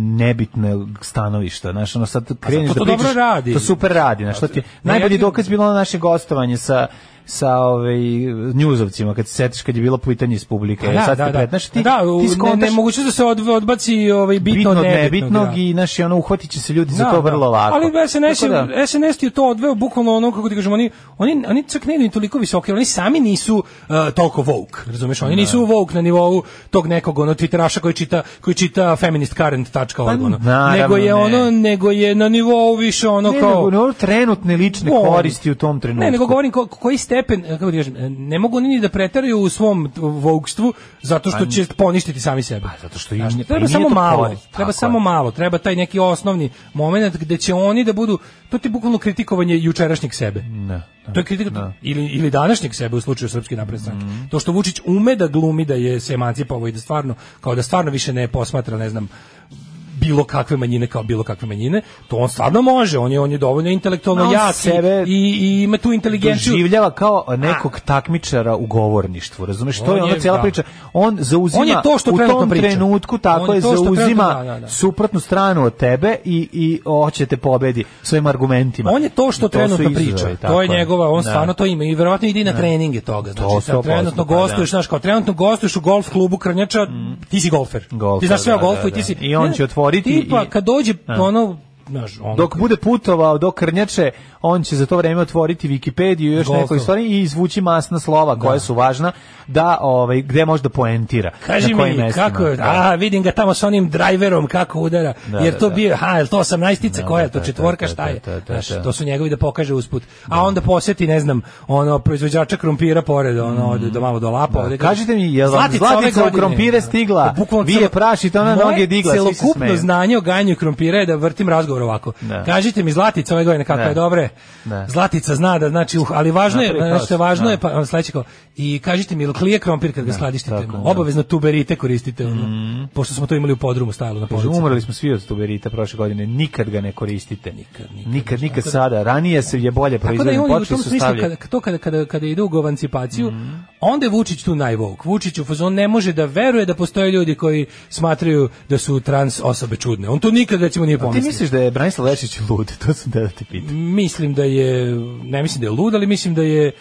Speaker 6: nebitne stanovišta, znaš, ono sad kreniš
Speaker 7: Pa
Speaker 6: da
Speaker 7: zato to dobro
Speaker 6: pričaš,
Speaker 7: radi.
Speaker 6: to super radi, znaš, to ti, je-
Speaker 7: Ne,
Speaker 6: najbolji
Speaker 7: ja ti-
Speaker 6: dokaz bilo ono naše gostovanje sa sa ovaj njuzovcima kad se setiš kad je bilo pitanje iz publike
Speaker 7: Da,
Speaker 6: e, sad
Speaker 7: da,
Speaker 6: te
Speaker 7: da.
Speaker 6: pretnaš, ti
Speaker 7: da, u-
Speaker 6: ti
Speaker 7: ne,
Speaker 6: skontaš
Speaker 7: nemogućnost da se od, odbaci ovaj, bitno,
Speaker 6: bitno od
Speaker 7: nebitnog,
Speaker 6: nebitnog
Speaker 7: da.
Speaker 6: i naši ono uhvatit će se ljudi za
Speaker 7: Da,
Speaker 6: to
Speaker 7: da.
Speaker 6: vrlo lako
Speaker 7: Ali SNS je,
Speaker 6: Tako da-
Speaker 7: SNS ti je to odveo bukvalno ono kako ti kažemo oni oni oni čak ne idu ni toliko visoki, oni sami nisu uh, toliko woke, razumeš? Oni nisu woke na nivou tog nekog ono Twitteraša koji čita koji čita feministcurrent.org ono.
Speaker 6: Pa, naravno,
Speaker 7: nego je
Speaker 6: ne.
Speaker 7: ono nego je na nivou više ono
Speaker 6: Ne,
Speaker 7: kao
Speaker 6: nego, nego trenutne lične
Speaker 7: On.
Speaker 6: koristi u tom trenutku.
Speaker 7: Ne, nego govorim ko, koji stepen, e, kako ti kažem, ne mogu oni ni da preteraju u svom vogstvu zato što će poništiti sami sebe.
Speaker 6: zato što im-
Speaker 7: Znaš,
Speaker 6: pa im
Speaker 7: treba
Speaker 6: nije
Speaker 7: samo
Speaker 6: to
Speaker 7: malo,
Speaker 6: korist,
Speaker 7: treba
Speaker 6: tako
Speaker 7: samo
Speaker 6: je.
Speaker 7: malo, treba taj neki osnovni moment gde će oni da budu, to ti je bukvalno kritikovanje jučerašnjeg sebe.
Speaker 6: Ne, Mhm.
Speaker 7: To je kritika ili, ili današnjeg sebe u slučaju Srpske napredne stranke. To što Vučić ume da glumi da je se emancipovao i da stvarno, kao da stvarno više ne posmatra, ne znam, bilo kakve manjine kao bilo kakve manjine, to on stvarno može, on je on je dovoljno intelektualno
Speaker 6: Ma, on
Speaker 7: jak
Speaker 6: sebe
Speaker 7: i, i ima tu inteligenciju.
Speaker 6: Doživljava kao nekog takmičara u govorništvu, razumeš? To
Speaker 7: On
Speaker 6: je ona
Speaker 7: je,
Speaker 6: cijela
Speaker 7: da.
Speaker 6: priča. On zauzima
Speaker 7: On je to što
Speaker 6: u
Speaker 7: trenutno
Speaker 6: tom
Speaker 7: priča.
Speaker 6: trenutku tako
Speaker 7: On
Speaker 6: je,
Speaker 7: je to što
Speaker 6: zauzima
Speaker 7: trenutno- da, da, da.
Speaker 6: suprotnu stranu od tebe i i hoće te pobedi svojim argumentima.
Speaker 7: On je to što
Speaker 6: I su
Speaker 7: trenutno
Speaker 6: izazovi,
Speaker 7: priča.
Speaker 6: tako
Speaker 7: To je njegova, on
Speaker 6: Da.
Speaker 7: stvarno to ima i verovatno ide i na
Speaker 6: Da.
Speaker 7: treninge toga.
Speaker 6: To
Speaker 7: Znači, sad
Speaker 6: 100%,
Speaker 7: trenutno
Speaker 6: pa da.
Speaker 7: gostuješ,
Speaker 6: Mm.
Speaker 7: znaš, kao trenutno gostuješ u golf klubu Krnjača, ti si golfer. ti znaš sve
Speaker 6: da,
Speaker 7: o golfu
Speaker 6: da,
Speaker 7: i ti si...
Speaker 6: da. I on
Speaker 7: Ne,
Speaker 6: će otvoriti
Speaker 7: Tipa,
Speaker 6: i-
Speaker 7: kad dođe,
Speaker 6: Da.
Speaker 7: ono, znaš, ono,
Speaker 6: Dok bude putovao do Krnjače, on će za to vreme otvoriti Wikipediju i još
Speaker 7: Golf.
Speaker 6: neko stvari i izvući masna slova koja su važna da ovaj gde može da poentira.
Speaker 7: Kaži
Speaker 6: na kojim
Speaker 7: mi,
Speaker 6: mestima.
Speaker 7: kako je,
Speaker 6: Da.
Speaker 7: a vidim ga tamo sa onim drajverom kako udara,
Speaker 6: Da,
Speaker 7: jer
Speaker 6: da,
Speaker 7: to
Speaker 6: da.
Speaker 7: bio, ha, jel to 18-ica
Speaker 6: Da,
Speaker 7: koja, je
Speaker 6: da,
Speaker 7: to
Speaker 6: da,
Speaker 7: četvorka,
Speaker 6: da,
Speaker 7: šta je,
Speaker 6: da, da, da,
Speaker 7: znaš,
Speaker 6: da.
Speaker 7: to su njegovi da pokaže usput, a onda posjeti, ne znam, ono, proizvođača krompira pored, ono, ode do malo do lapa,
Speaker 6: Mm. Da.
Speaker 7: ovde,
Speaker 6: Kažite mi, je li vam
Speaker 7: Zlatica ove
Speaker 6: zlatica u
Speaker 7: godine,
Speaker 6: krompire stigla?
Speaker 7: da, bukvalno
Speaker 6: Vi je
Speaker 7: celo-
Speaker 6: prašite, ona
Speaker 7: Moje
Speaker 6: noge digla, svi se
Speaker 7: celokupno
Speaker 6: smeju.
Speaker 7: znanje o ganju krompira je da vrtim razgovor ovako.
Speaker 6: Da.
Speaker 7: Kažite mi, Zlatica ove godine, kako
Speaker 6: Da.
Speaker 7: je dobre?
Speaker 6: Da.
Speaker 7: Zlatica zna da, znači, uh, ali važno je,
Speaker 6: Napravi
Speaker 7: znači,
Speaker 6: kaos,
Speaker 7: važno
Speaker 6: da.
Speaker 7: je, pa sledeće kao, i kažite mi, je li klije krompir kad ga sladištite?
Speaker 6: tako, da.
Speaker 7: Obavezno tuberite koristite, ono,
Speaker 6: Mhm.
Speaker 7: pošto smo to imali u podrumu stajalo na
Speaker 6: Kaže,
Speaker 7: polici.
Speaker 6: umrli smo svi od tuberita prošle godine, nikad ga ne koristite. Nikad, nikad, nikad,
Speaker 7: Tako da-
Speaker 6: sada. Ranije se je bolje
Speaker 7: Tako da je
Speaker 6: proizvodnje,
Speaker 7: on i u
Speaker 6: počeli
Speaker 7: tom
Speaker 6: su
Speaker 7: smislu, kada,
Speaker 6: stavljati. Mhm.
Speaker 7: to kada, kada, kada ide u govancipaciju, onda je Vučić tu najvok. Vučić u fazon ne može da veruje da postoje ljudi koji smatraju da su trans osobe čudne. On to nikad recimo nije
Speaker 6: Ti
Speaker 7: pomislio.
Speaker 6: misliš da je Branislav Lešić lud? To sam te da te pitam.
Speaker 7: Mislim da je, ne mislim da je lud, ali mislim da je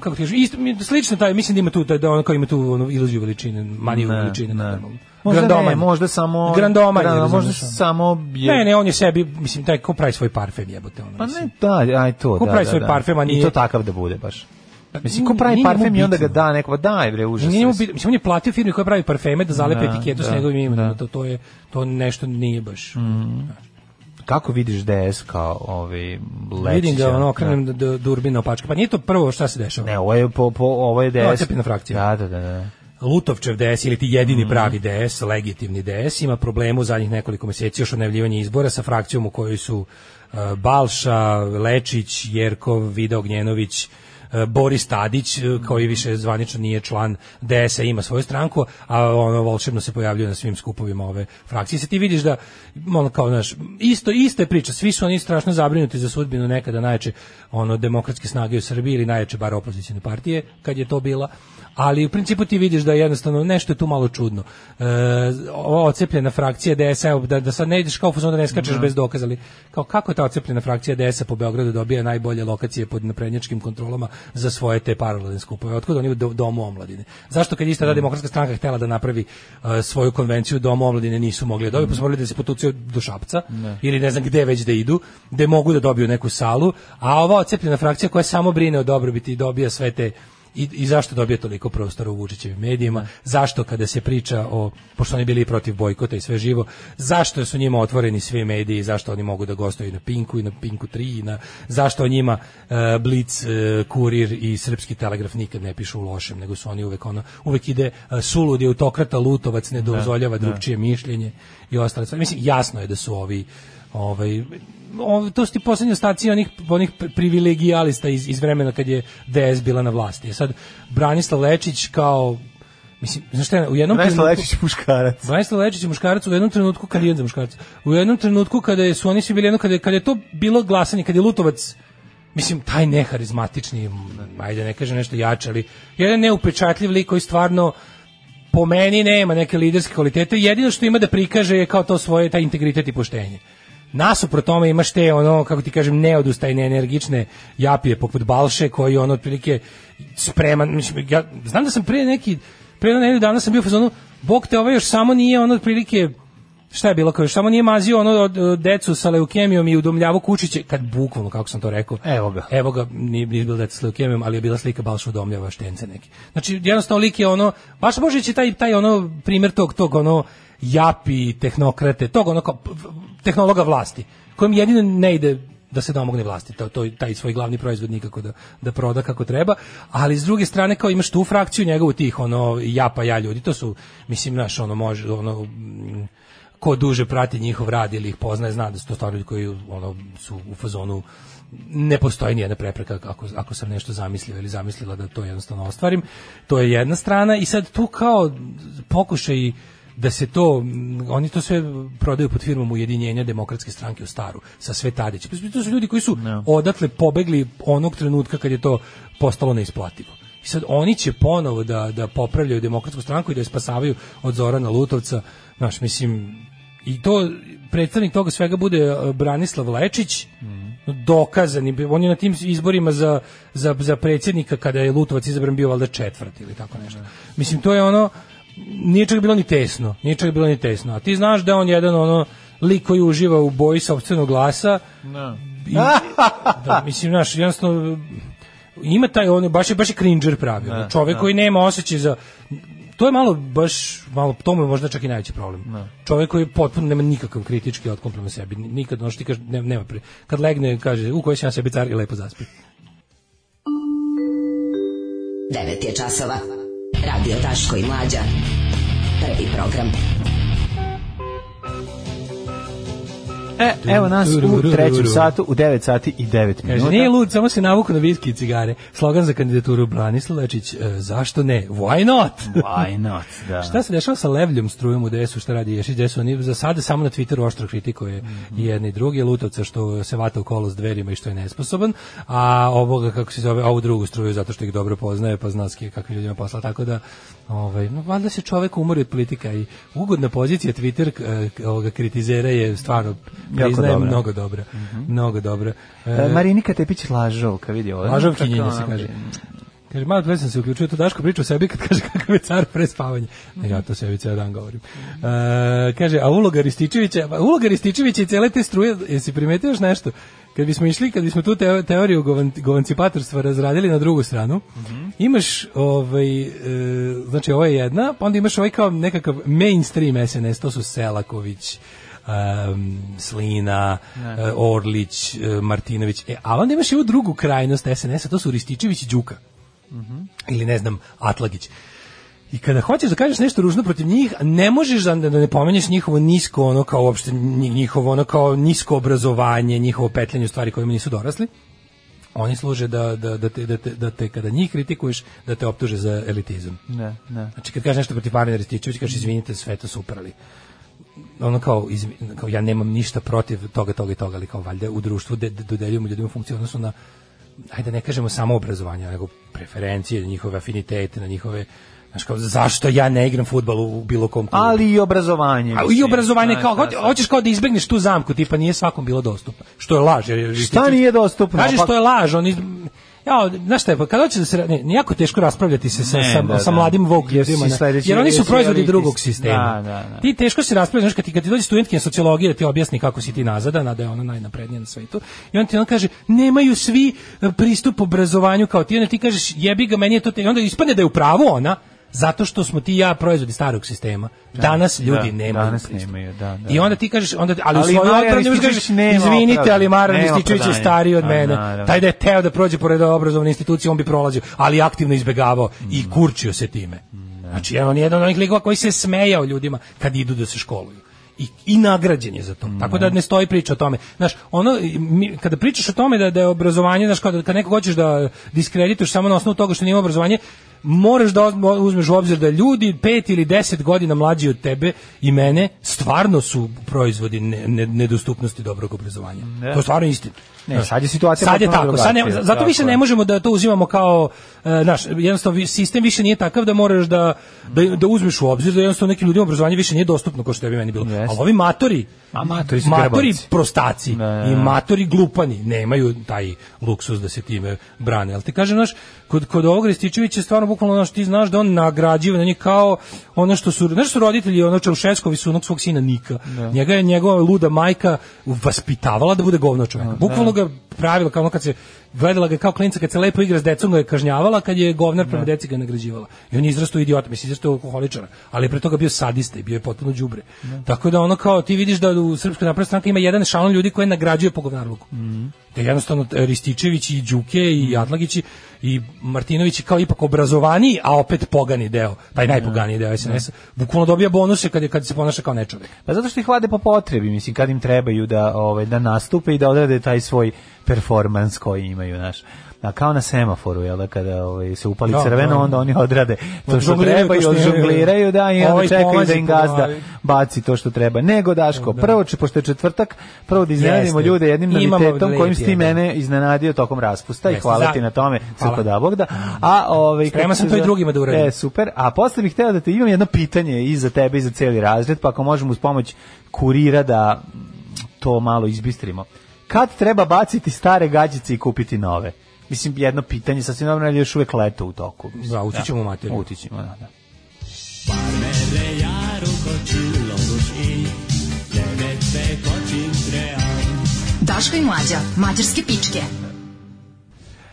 Speaker 7: kako ti kažem, isto, mi- slično taj, mislim da ima tu, taj- da on kao ima tu ono, iluziju veličine, maniju
Speaker 6: Ne,
Speaker 7: veličine.
Speaker 6: ne.
Speaker 7: naravno.
Speaker 6: Možda ne,
Speaker 7: Grandomaniju.
Speaker 6: možda samo...
Speaker 7: Grandomaniju,
Speaker 6: Grandoma-
Speaker 7: razumeš,
Speaker 6: možda
Speaker 7: ono.
Speaker 6: samo... Je,
Speaker 7: Ne, ne, on je sebi, mislim, taj ko pravi svoj parfem jebote. Ono,
Speaker 6: Pa
Speaker 7: mislim.
Speaker 6: ne, da, aj to,
Speaker 7: Ko
Speaker 6: da,
Speaker 7: pravi
Speaker 6: da,
Speaker 7: svoj
Speaker 6: da.
Speaker 7: parfem, a
Speaker 6: I
Speaker 7: nije-
Speaker 6: to takav da bude baš. Mislim, ko
Speaker 7: Nije-
Speaker 6: pravi
Speaker 7: nije njemu
Speaker 6: parfem i onda ga
Speaker 7: bitno.
Speaker 6: da nekoga, daj bre, užas.
Speaker 7: Nije njemu bitno, mislim, on je platio firmi koja pravi parfeme da zalepe
Speaker 6: Da,
Speaker 7: etiketu s
Speaker 6: da,
Speaker 7: njegovim imenom.
Speaker 6: da. Mm,
Speaker 7: To, to, je, to nešto nije baš.
Speaker 6: Kako vidiš DS kao ovi Lečića?
Speaker 7: Vidim ga, ono,
Speaker 6: Da.
Speaker 7: okrenem da. do Durbina opačka. Pa nije to prvo šta se dešava.
Speaker 6: Ne, ovo je, po, po, ovo je DS.
Speaker 7: Ocepina
Speaker 6: Da,
Speaker 7: frakcija.
Speaker 6: da, da. da.
Speaker 7: Lutovčev DS ili ti jedini pravi DS, legitimni DS, ima problema u zadnjih nekoliko meseci još najavljivanja izbora sa frakcijom u kojoj su e, Balša, Lečić, Jerkov, Vida Ognjenović, e, Boris Tadić, e, koji više zvanično nije član DS-a, ima svoju stranku, a ono volšebno se pojavljuje na svim skupovima ove frakcije. Se ti vidiš da, ono kao, znaš, isto, ista je priča, svi su oni strašno zabrinuti za sudbinu nekada najjače ono, demokratske snage u Srbiji ili najjače bar opozicijne partije, kad je to bila, ali u principu ti vidiš da jednostavno nešto je tu malo čudno. E, ova ocepljena frakcija DS-a, evo, da, da sad ne ideš kao u fazonu da ne skačeš bez dokaza, ali kao kako ta ocepljena frakcija DS-a po Beogradu dobija najbolje lokacije pod naprednjačkim kontrolama za svoje te paralelne skupove? Otkud oni do, domu omladine? Zašto kad je ista ta demokratska stranka htela da napravi e, svoju konvenciju domu omladine nisu mogli da dobiju, pa su morali da se potucaju do Šapca ili ne znam gde već da idu, gde mogu da dobiju neku salu, a ova ocepljena frakcija koja samo brine o dobrobiti i dobija sve te i, i zašto dobije toliko prostora u Vučićevim medijima, zašto kada se priča o, pošto oni bili protiv bojkota i sve živo, zašto su njima otvoreni svi mediji, zašto oni mogu da gostuju i na Pinku i na Pinku 3, i na, zašto o njima e, Blic, e, Kurir i Srpski telegraf nikad ne pišu u lošem, nego su oni uvek ono, uvek ide e, sulud je autokrata, lutovac, ne dozvoljava drugčije mišljenje i ostale stvari. Mislim, jasno je da su ovi ovaj ov- to su ti poslednji ostaci onih onih pri- privilegijalista iz, iz vremena kad je DS bila na vlasti. E sad Branislav Lečić kao mislim znaš šta je, u jednom
Speaker 6: Branislav
Speaker 7: trenutku-
Speaker 6: Lečić muškarac.
Speaker 7: Branislav Lečić je muškarac u jednom trenutku kad je za muškarca. U jednom trenutku kada je, su oni svi bili jedno kada je, kada je to bilo glasanje, kada je Lutovac mislim taj neharizmatični, m, ajde ne kažem nešto jače, ali jedan neupečatljiv lik koji stvarno po meni nema neke liderske kvalitete, jedino što ima da prikaže je kao to svoje, taj integritet i poštenje. Nasuprot tome imaš te, ono, kako ti kažem, neodustajne, energične japije poput Balše, koji on otprilike spreman, mislim, ja znam da sam prije neki, prije jednu nedelju dana sam bio u fazonu, bog te ovaj još samo nije on otprilike, šta je bilo, kao još samo nije mazio ono od, od decu sa leukemijom i udomljavo kučiće, kad bukvalno, kako sam to rekao,
Speaker 6: Evo ga.
Speaker 7: Evo ga, nije, nije bilo dete s leukemijom, ali je bila slika Balša udomljava štence neki. Znači, jednostavno lik je ono, baš Božić je taj, taj ono, primjer tog, tog ono, japi, tehnokrate, tog ono, kao, p- tehnologa vlasti, kojem jedino ne ide da se domogne vlasti, to, to, taj svoj glavni proizvod nikako da, da proda kako treba, ali s druge strane kao imaš tu frakciju njegovu tih ono japa ja ljudi, to su, mislim, naš ono može, ono, mm, ko duže prati njihov rad ili ih poznaje, zna da su to stvarno ljudi koji ono, su u fazonu ne postoji nijedna prepreka ako, ako sam nešto zamislio ili zamislila da to jednostavno ostvarim. To je jedna strana i sad tu kao pokušaj da se to, m, oni to sve prodaju pod firmom Ujedinjenja demokratske stranke u staru, sa sve Tadić. To su ljudi koji su odatle pobegli onog trenutka kad je to postalo neisplativo. I sad oni će ponovo da, da popravljaju demokratsku stranku i da je spasavaju od Zorana Lutovca. Znaš, mislim, i to predstavnik toga svega bude e, Branislav Lečić, dokazani, on je na tim izborima za, za, za predsjednika kada je Lutovac izabran bio valjda četvrt ili tako nešto. Mislim, to je ono, nije čak bilo ni tesno, nije čak bilo ni tesno. A ti znaš da je on jedan ono lik koji uživa u boji sopstvenog glasa, i, da, mislim, znaš, jednostavno ima taj on baš je baš je cringer pravi. ono, čovjek
Speaker 6: ne.
Speaker 7: koji nema osjećaj za to je malo baš malo to mu je možda čak i najveći problem. Čovjek koji potpuno nema nikakav kritički otklon prema sebi. ni- Nikad ono što ti kaže nema, nema pre- Kad legne kaže u kojoj sam ja sebi car i lepo zaspi.
Speaker 11: 9 je časova. Radio Daško i Mlađa. Prvi program.
Speaker 6: E, evo nas u trećem satu, u 9 sati i 9
Speaker 7: Kaže,
Speaker 6: minuta.
Speaker 7: nije lud, samo se navuku na viski i cigare. Slogan za kandidaturu Branislav Lečić, e, zašto ne? Why not?
Speaker 6: Why not, da.
Speaker 7: Šta se dešava sa levljom strujom u DS-u, šta radi Ješić DS-u? Oni za sada samo na Twitteru oštro kritikuje
Speaker 6: Mhm.
Speaker 7: i jedni i drugi, Lutovca što se vata u kolo s dverima i što je nesposoban, a ovoga, kako se zove, ovu drugu struju zato što ih dobro poznaje, pa zna s kje- kakvim ljudima posla, tako da, ovaj, no, valjda se čovek umori od politika i ugodna pozicija Twitter e, k- ovoga kritizera je stvarno, priznajem,
Speaker 6: dobra. Mhm.
Speaker 7: mnogo dobra. Mnogo dobra.
Speaker 6: E,
Speaker 7: E,
Speaker 6: Marinika Tepić Lažovka, vidi ovo. ono,
Speaker 7: Lažovkinjenje
Speaker 6: Kako
Speaker 7: se
Speaker 6: ona-
Speaker 7: kaže. Kaže, malo pre sam se uključio, to Daško priča o sebi kad kaže kakav je car pre spavanja. Ne, ja to sebi cijel dan govorim. E, kaže, a uloga Rističevića, pa uloga Rističevića i cele te struje, jesi primetio još nešto? Kad bismo išli, kad bismo tu teo- teoriju govan- govancipatorstva razradili na drugu stranu, imaš ovaj, e, znači ovo je jedna, pa onda imaš ovaj kao nekakav mainstream SNS, to su Selaković, em, Slina, e, Orlić, e, Martinović, e, a onda imaš i ovu drugu krajnost SNS-a, to su Rističević i Đuka ili ne znam, Atlagić. I kada hoćeš da kažeš nešto ružno protiv njih, ne možeš da, da ne pomenješ njihovo nisko ono kao uopšte nji- njihovo ono kao nisko obrazovanje, njihovo petljanje u stvari kojima nisu dorasli. Oni služe da, da, da, te, da, te, da te kada njih kritikuješ, da te optuže za elitizam.
Speaker 6: Ne, ne.
Speaker 7: Znači kad kažeš nešto protiv Marina Rističevića, kažeš izvinite, sve to super, ali ono kao, izvi- kao ja nemam ništa protiv toga, toga i toga, ali kao valjda u društvu de, de- dodeljujemo ljudima funkciju u odnosu na ajde ne kažemo samo obrazovanje, nego preferencije, njihove afinitete, na njihove Znaš kao, zašto ja ne igram fudbal u bilo kom klubu?
Speaker 6: Ali i obrazovanje.
Speaker 7: A i
Speaker 6: mislim.
Speaker 7: obrazovanje
Speaker 6: Da,
Speaker 7: kao
Speaker 6: da,
Speaker 7: hoće- hoćeš kao da izbegneš tu zamku, tipa nije svakom bilo dostupno. Što je laž, jer jer
Speaker 6: Šta nije dostupno?
Speaker 7: Kažeš
Speaker 6: Pa-
Speaker 7: što je laž, oni Ja, znaš šta je, pa kad hoće da se, ra- ne, ne, jako teško raspravljati se sa,
Speaker 6: Ne,
Speaker 7: sa,
Speaker 6: da, da.
Speaker 7: sa mladim vok
Speaker 6: Jer si
Speaker 7: ljudima, ne.
Speaker 6: sledeći-
Speaker 7: jer oni
Speaker 6: jer
Speaker 7: su
Speaker 6: si
Speaker 7: proizvodi
Speaker 6: elitist.
Speaker 7: drugog sistema.
Speaker 6: Da, da, da.
Speaker 7: Ti teško se raspravljaš, znaš, kad ti, kad ti dođe studentkinja sociologije da ti objasni kako si ti nazadana, da je ona najnaprednija na svetu, i on ti on kaže, nemaju svi e, pristup obrazovanju kao ti, onda ti kažeš, jebi ga, meni je to te... I onda ispadne da je u pravu ona, zato što smo ti i ja proizvodi starog sistema. danas ljudi
Speaker 6: da,
Speaker 7: nemaju
Speaker 6: danas
Speaker 7: pristup.
Speaker 6: nemaju, da, da.
Speaker 7: I onda ti kažeš, onda, ali, u
Speaker 6: Ali
Speaker 7: svojoj
Speaker 6: Marijan
Speaker 7: odbrani možeš
Speaker 6: Rističević
Speaker 7: kažeš,
Speaker 6: nema
Speaker 7: izvinite,
Speaker 6: opravdanja,
Speaker 7: ali Marijan
Speaker 6: nema
Speaker 7: Rističević je
Speaker 6: opravdanja."
Speaker 7: stariji od
Speaker 6: A,
Speaker 7: mene.
Speaker 6: naravno.
Speaker 7: Taj da je teo da prođe pored obrazovne institucije, on bi prolazio, ali aktivno izbegavao i kurčio se time. Znači, on je jedan od onih likova koji se smejao ljudima kad idu da se školuju. I, i nagrađen je za to. Tako da ne stoji priča o tome. Znaš, ono, mi- kada pričaš o tome da, da je obrazovanje, znaš, kada, kad nekog hoćeš da diskredituješ samo na osnovu toga što nije imao obrazovanje, moraš da ozmo- uzmeš u obzir da ljudi pet ili deset godina mlađi od tebe i mene stvarno su proizvodi ne- ne- nedostupnosti dobrog obrazovanja. To je stvarno istina.
Speaker 6: Ne, sad je situacija
Speaker 7: Sad je
Speaker 6: potpuno
Speaker 7: tako, sad ne-
Speaker 6: drugačija,
Speaker 7: zato više
Speaker 6: tako
Speaker 7: ne
Speaker 6: je.
Speaker 7: možemo da to uzimamo kao e, naš jednostavno vi- sistem više nije takav da moraš da da, da uzmeš u obzir da jednostavno nekim ljudima obrazovanje više nije dostupno kao što je bi meni bilo.
Speaker 6: Jeste.
Speaker 7: Ali ovi matori,
Speaker 6: A matori su
Speaker 7: matori
Speaker 6: grbavci.
Speaker 7: prostaci
Speaker 6: da, da.
Speaker 7: i matori glupani nemaju taj luksuz da se time brane. Ali ti kažem, znaš, kod, kod ovog Rističevića je stvarno bukvalno ono što ti znaš da on nagrađiva na njih kao ono što su, znaš su roditelji, ono Čaušeskovi su onog svog sina Nika. Njega je njegova luda majka vaspitavala da bude govno čovjeka. Bukvalno ga pravila kao ono kad se gledala ga kao klinca kad se lepo igra s decom ga je kažnjavala kad je govnar prema deci ga nagrađivala i on je izrastao idiot mislim izrastao u alkoholičara ali je pre toga bio sadista i bio je potpuno đubre tako da ono kao ti vidiš da u srpskoj naprednoj stranci ima jedan šalon ljudi koji nagrađuje po govnarluku da jednostavno e, Rističević i Đuke i Atlagići i Martinović kao ipak obrazovaniji a opet pogani deo taj najpoganiji deo SNS bukvalno dobija bonuse kad je kad se ponaša kao nečovek
Speaker 6: Pa zato što ih vade po potrebi, mislim, kad im trebaju da, ovaj, da nastupe i da odrade taj svoj performans koji imaju, znaš. A kao na semaforu, jel da, kada ovaj, se upali
Speaker 7: Da,
Speaker 6: crveno,
Speaker 7: da.
Speaker 6: onda oni odrade to što
Speaker 7: Odžongliraju
Speaker 6: treba i
Speaker 7: to što imaju.
Speaker 6: odžongliraju, da, i onda
Speaker 7: Ovaj
Speaker 6: čekaju
Speaker 7: polazi
Speaker 6: da im
Speaker 7: po
Speaker 6: gazda
Speaker 7: glavi.
Speaker 6: baci to što treba. Nego, Daško, prvo, će, pošto je četvrtak, prvo da iznenadimo
Speaker 7: Jeste.
Speaker 6: ljude jednim
Speaker 7: Imamo
Speaker 6: novitetom
Speaker 7: lep
Speaker 6: kojim si ti
Speaker 7: jedan.
Speaker 6: mene iznenadio tokom raspusta i
Speaker 7: Jeste,
Speaker 6: hvala
Speaker 7: za-
Speaker 6: ti na tome,
Speaker 7: Hvala.
Speaker 6: crko da Bog da. A, ovaj,
Speaker 7: Spreman
Speaker 6: kako
Speaker 7: sam
Speaker 6: se
Speaker 7: to i
Speaker 6: zove-
Speaker 7: drugima da uradim.
Speaker 6: E, super. A posle bih hteo da te imam jedno pitanje i za tebe i za cijeli razred, pa ako možemo uz pomoć kurira da to malo izbistrimo. Kad treba baciti stare gađice i kupiti nove? Mislim, jedno pitanje, sasvim dobro, ali je još uvek leto u toku. Mislim,
Speaker 7: Da, ući ćemo u materiju.
Speaker 6: Ući ćemo, da, da.
Speaker 11: Daško i Mlađa, mađarske pičke.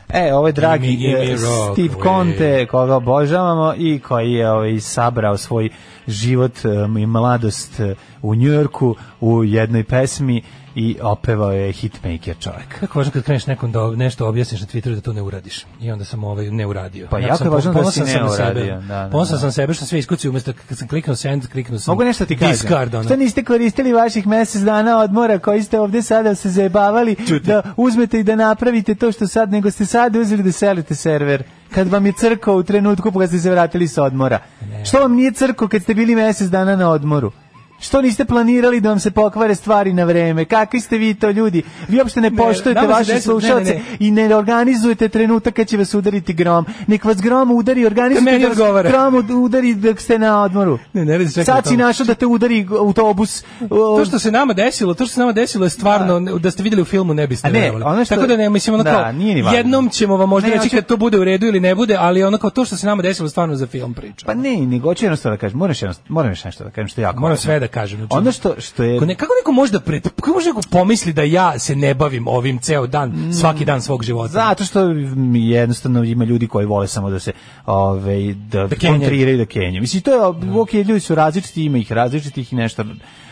Speaker 6: E, ovo je dragi
Speaker 7: Gimme,
Speaker 6: eh,
Speaker 7: gimme rock,
Speaker 6: Steve
Speaker 7: bre.
Speaker 6: Conte, koga obožavamo i koji je ovaj, sabrao svoj život em, i mladost eh, u Njujorku u jednoj pesmi i opevao je hitmaker čovjek.
Speaker 7: Kako važno kad kreneš nekom da nešto objasniš na Twitteru da to ne uradiš. I onda sam ovaj ne uradio.
Speaker 6: Pa
Speaker 7: Ja
Speaker 6: jako
Speaker 7: sam
Speaker 6: je važno da
Speaker 7: ponosan
Speaker 6: si
Speaker 7: sam
Speaker 6: ne
Speaker 7: na sebe.
Speaker 6: uradio, da, da,
Speaker 7: Ponosan
Speaker 6: da.
Speaker 7: sam sebe što sve iskuci umjesto kad sam kliknuo send, kliknuo sam
Speaker 6: Mogu nešto ti kažem?
Speaker 7: Discard, ono.
Speaker 6: Šta niste koristili vaših mjesec dana odmora koji ste ovdje sada se zajebavali da uzmete i da napravite to što sad, nego ste sad uzeli da selite server kad vam je crko u trenutku kad ste se vratili sa odmora. Što vam nije crko kad ste bili mjesec dana na odmoru? Što niste planirali da vam se pokvare stvari na vreme? Kakvi ste vi to ljudi? Vi uopšte ne
Speaker 7: Ne,
Speaker 6: poštujete
Speaker 7: nama se
Speaker 6: vaše
Speaker 7: desilo- ne, ne,
Speaker 6: slušalce
Speaker 7: ne.
Speaker 6: i ne organizujete trenutak kad će vas udariti grom. Nek vas grom udari, organizujete
Speaker 7: meni
Speaker 6: da vas
Speaker 7: odgovara.
Speaker 6: grom ud- udari dok ste na odmoru.
Speaker 7: Ne, ne radi se čekaj o
Speaker 6: Sad si
Speaker 7: tome.
Speaker 6: našao da te udari autobus.
Speaker 7: To što se nama desilo, to što se nama desilo je stvarno da, ste vidjeli u filmu ne biste
Speaker 6: A ne,
Speaker 7: verovali.
Speaker 6: ono što-
Speaker 7: Tako da ne mislim ono
Speaker 6: Da,
Speaker 7: kao
Speaker 6: nije ni važno.
Speaker 7: jednom ćemo vam možda
Speaker 6: Ne,
Speaker 7: reći
Speaker 6: hoću-
Speaker 7: kad to bude u redu ili ne bude, ali ono kao to što se nama desilo je stvarno za film priča.
Speaker 6: Pa ne, nego hoću jednostavno da kažem, moram još jednost- moram još nešto da kažem što je jako.
Speaker 7: Moram
Speaker 6: važno.
Speaker 7: sve da kažem. znači-
Speaker 6: Ono što što je
Speaker 7: Kako, ne, kako neko može da pret, kako može neko pomisli da ja se ne bavim ovim ceo
Speaker 6: Mm.
Speaker 7: dan, svaki dan svog života?
Speaker 6: Zato što mi jednostavno ima ljudi koji vole samo da se ovaj da,
Speaker 7: Da kenjaju.
Speaker 6: kontriraju da kenjaju. Mislim to je ok, ljudi su različiti, ima ih različitih i nešto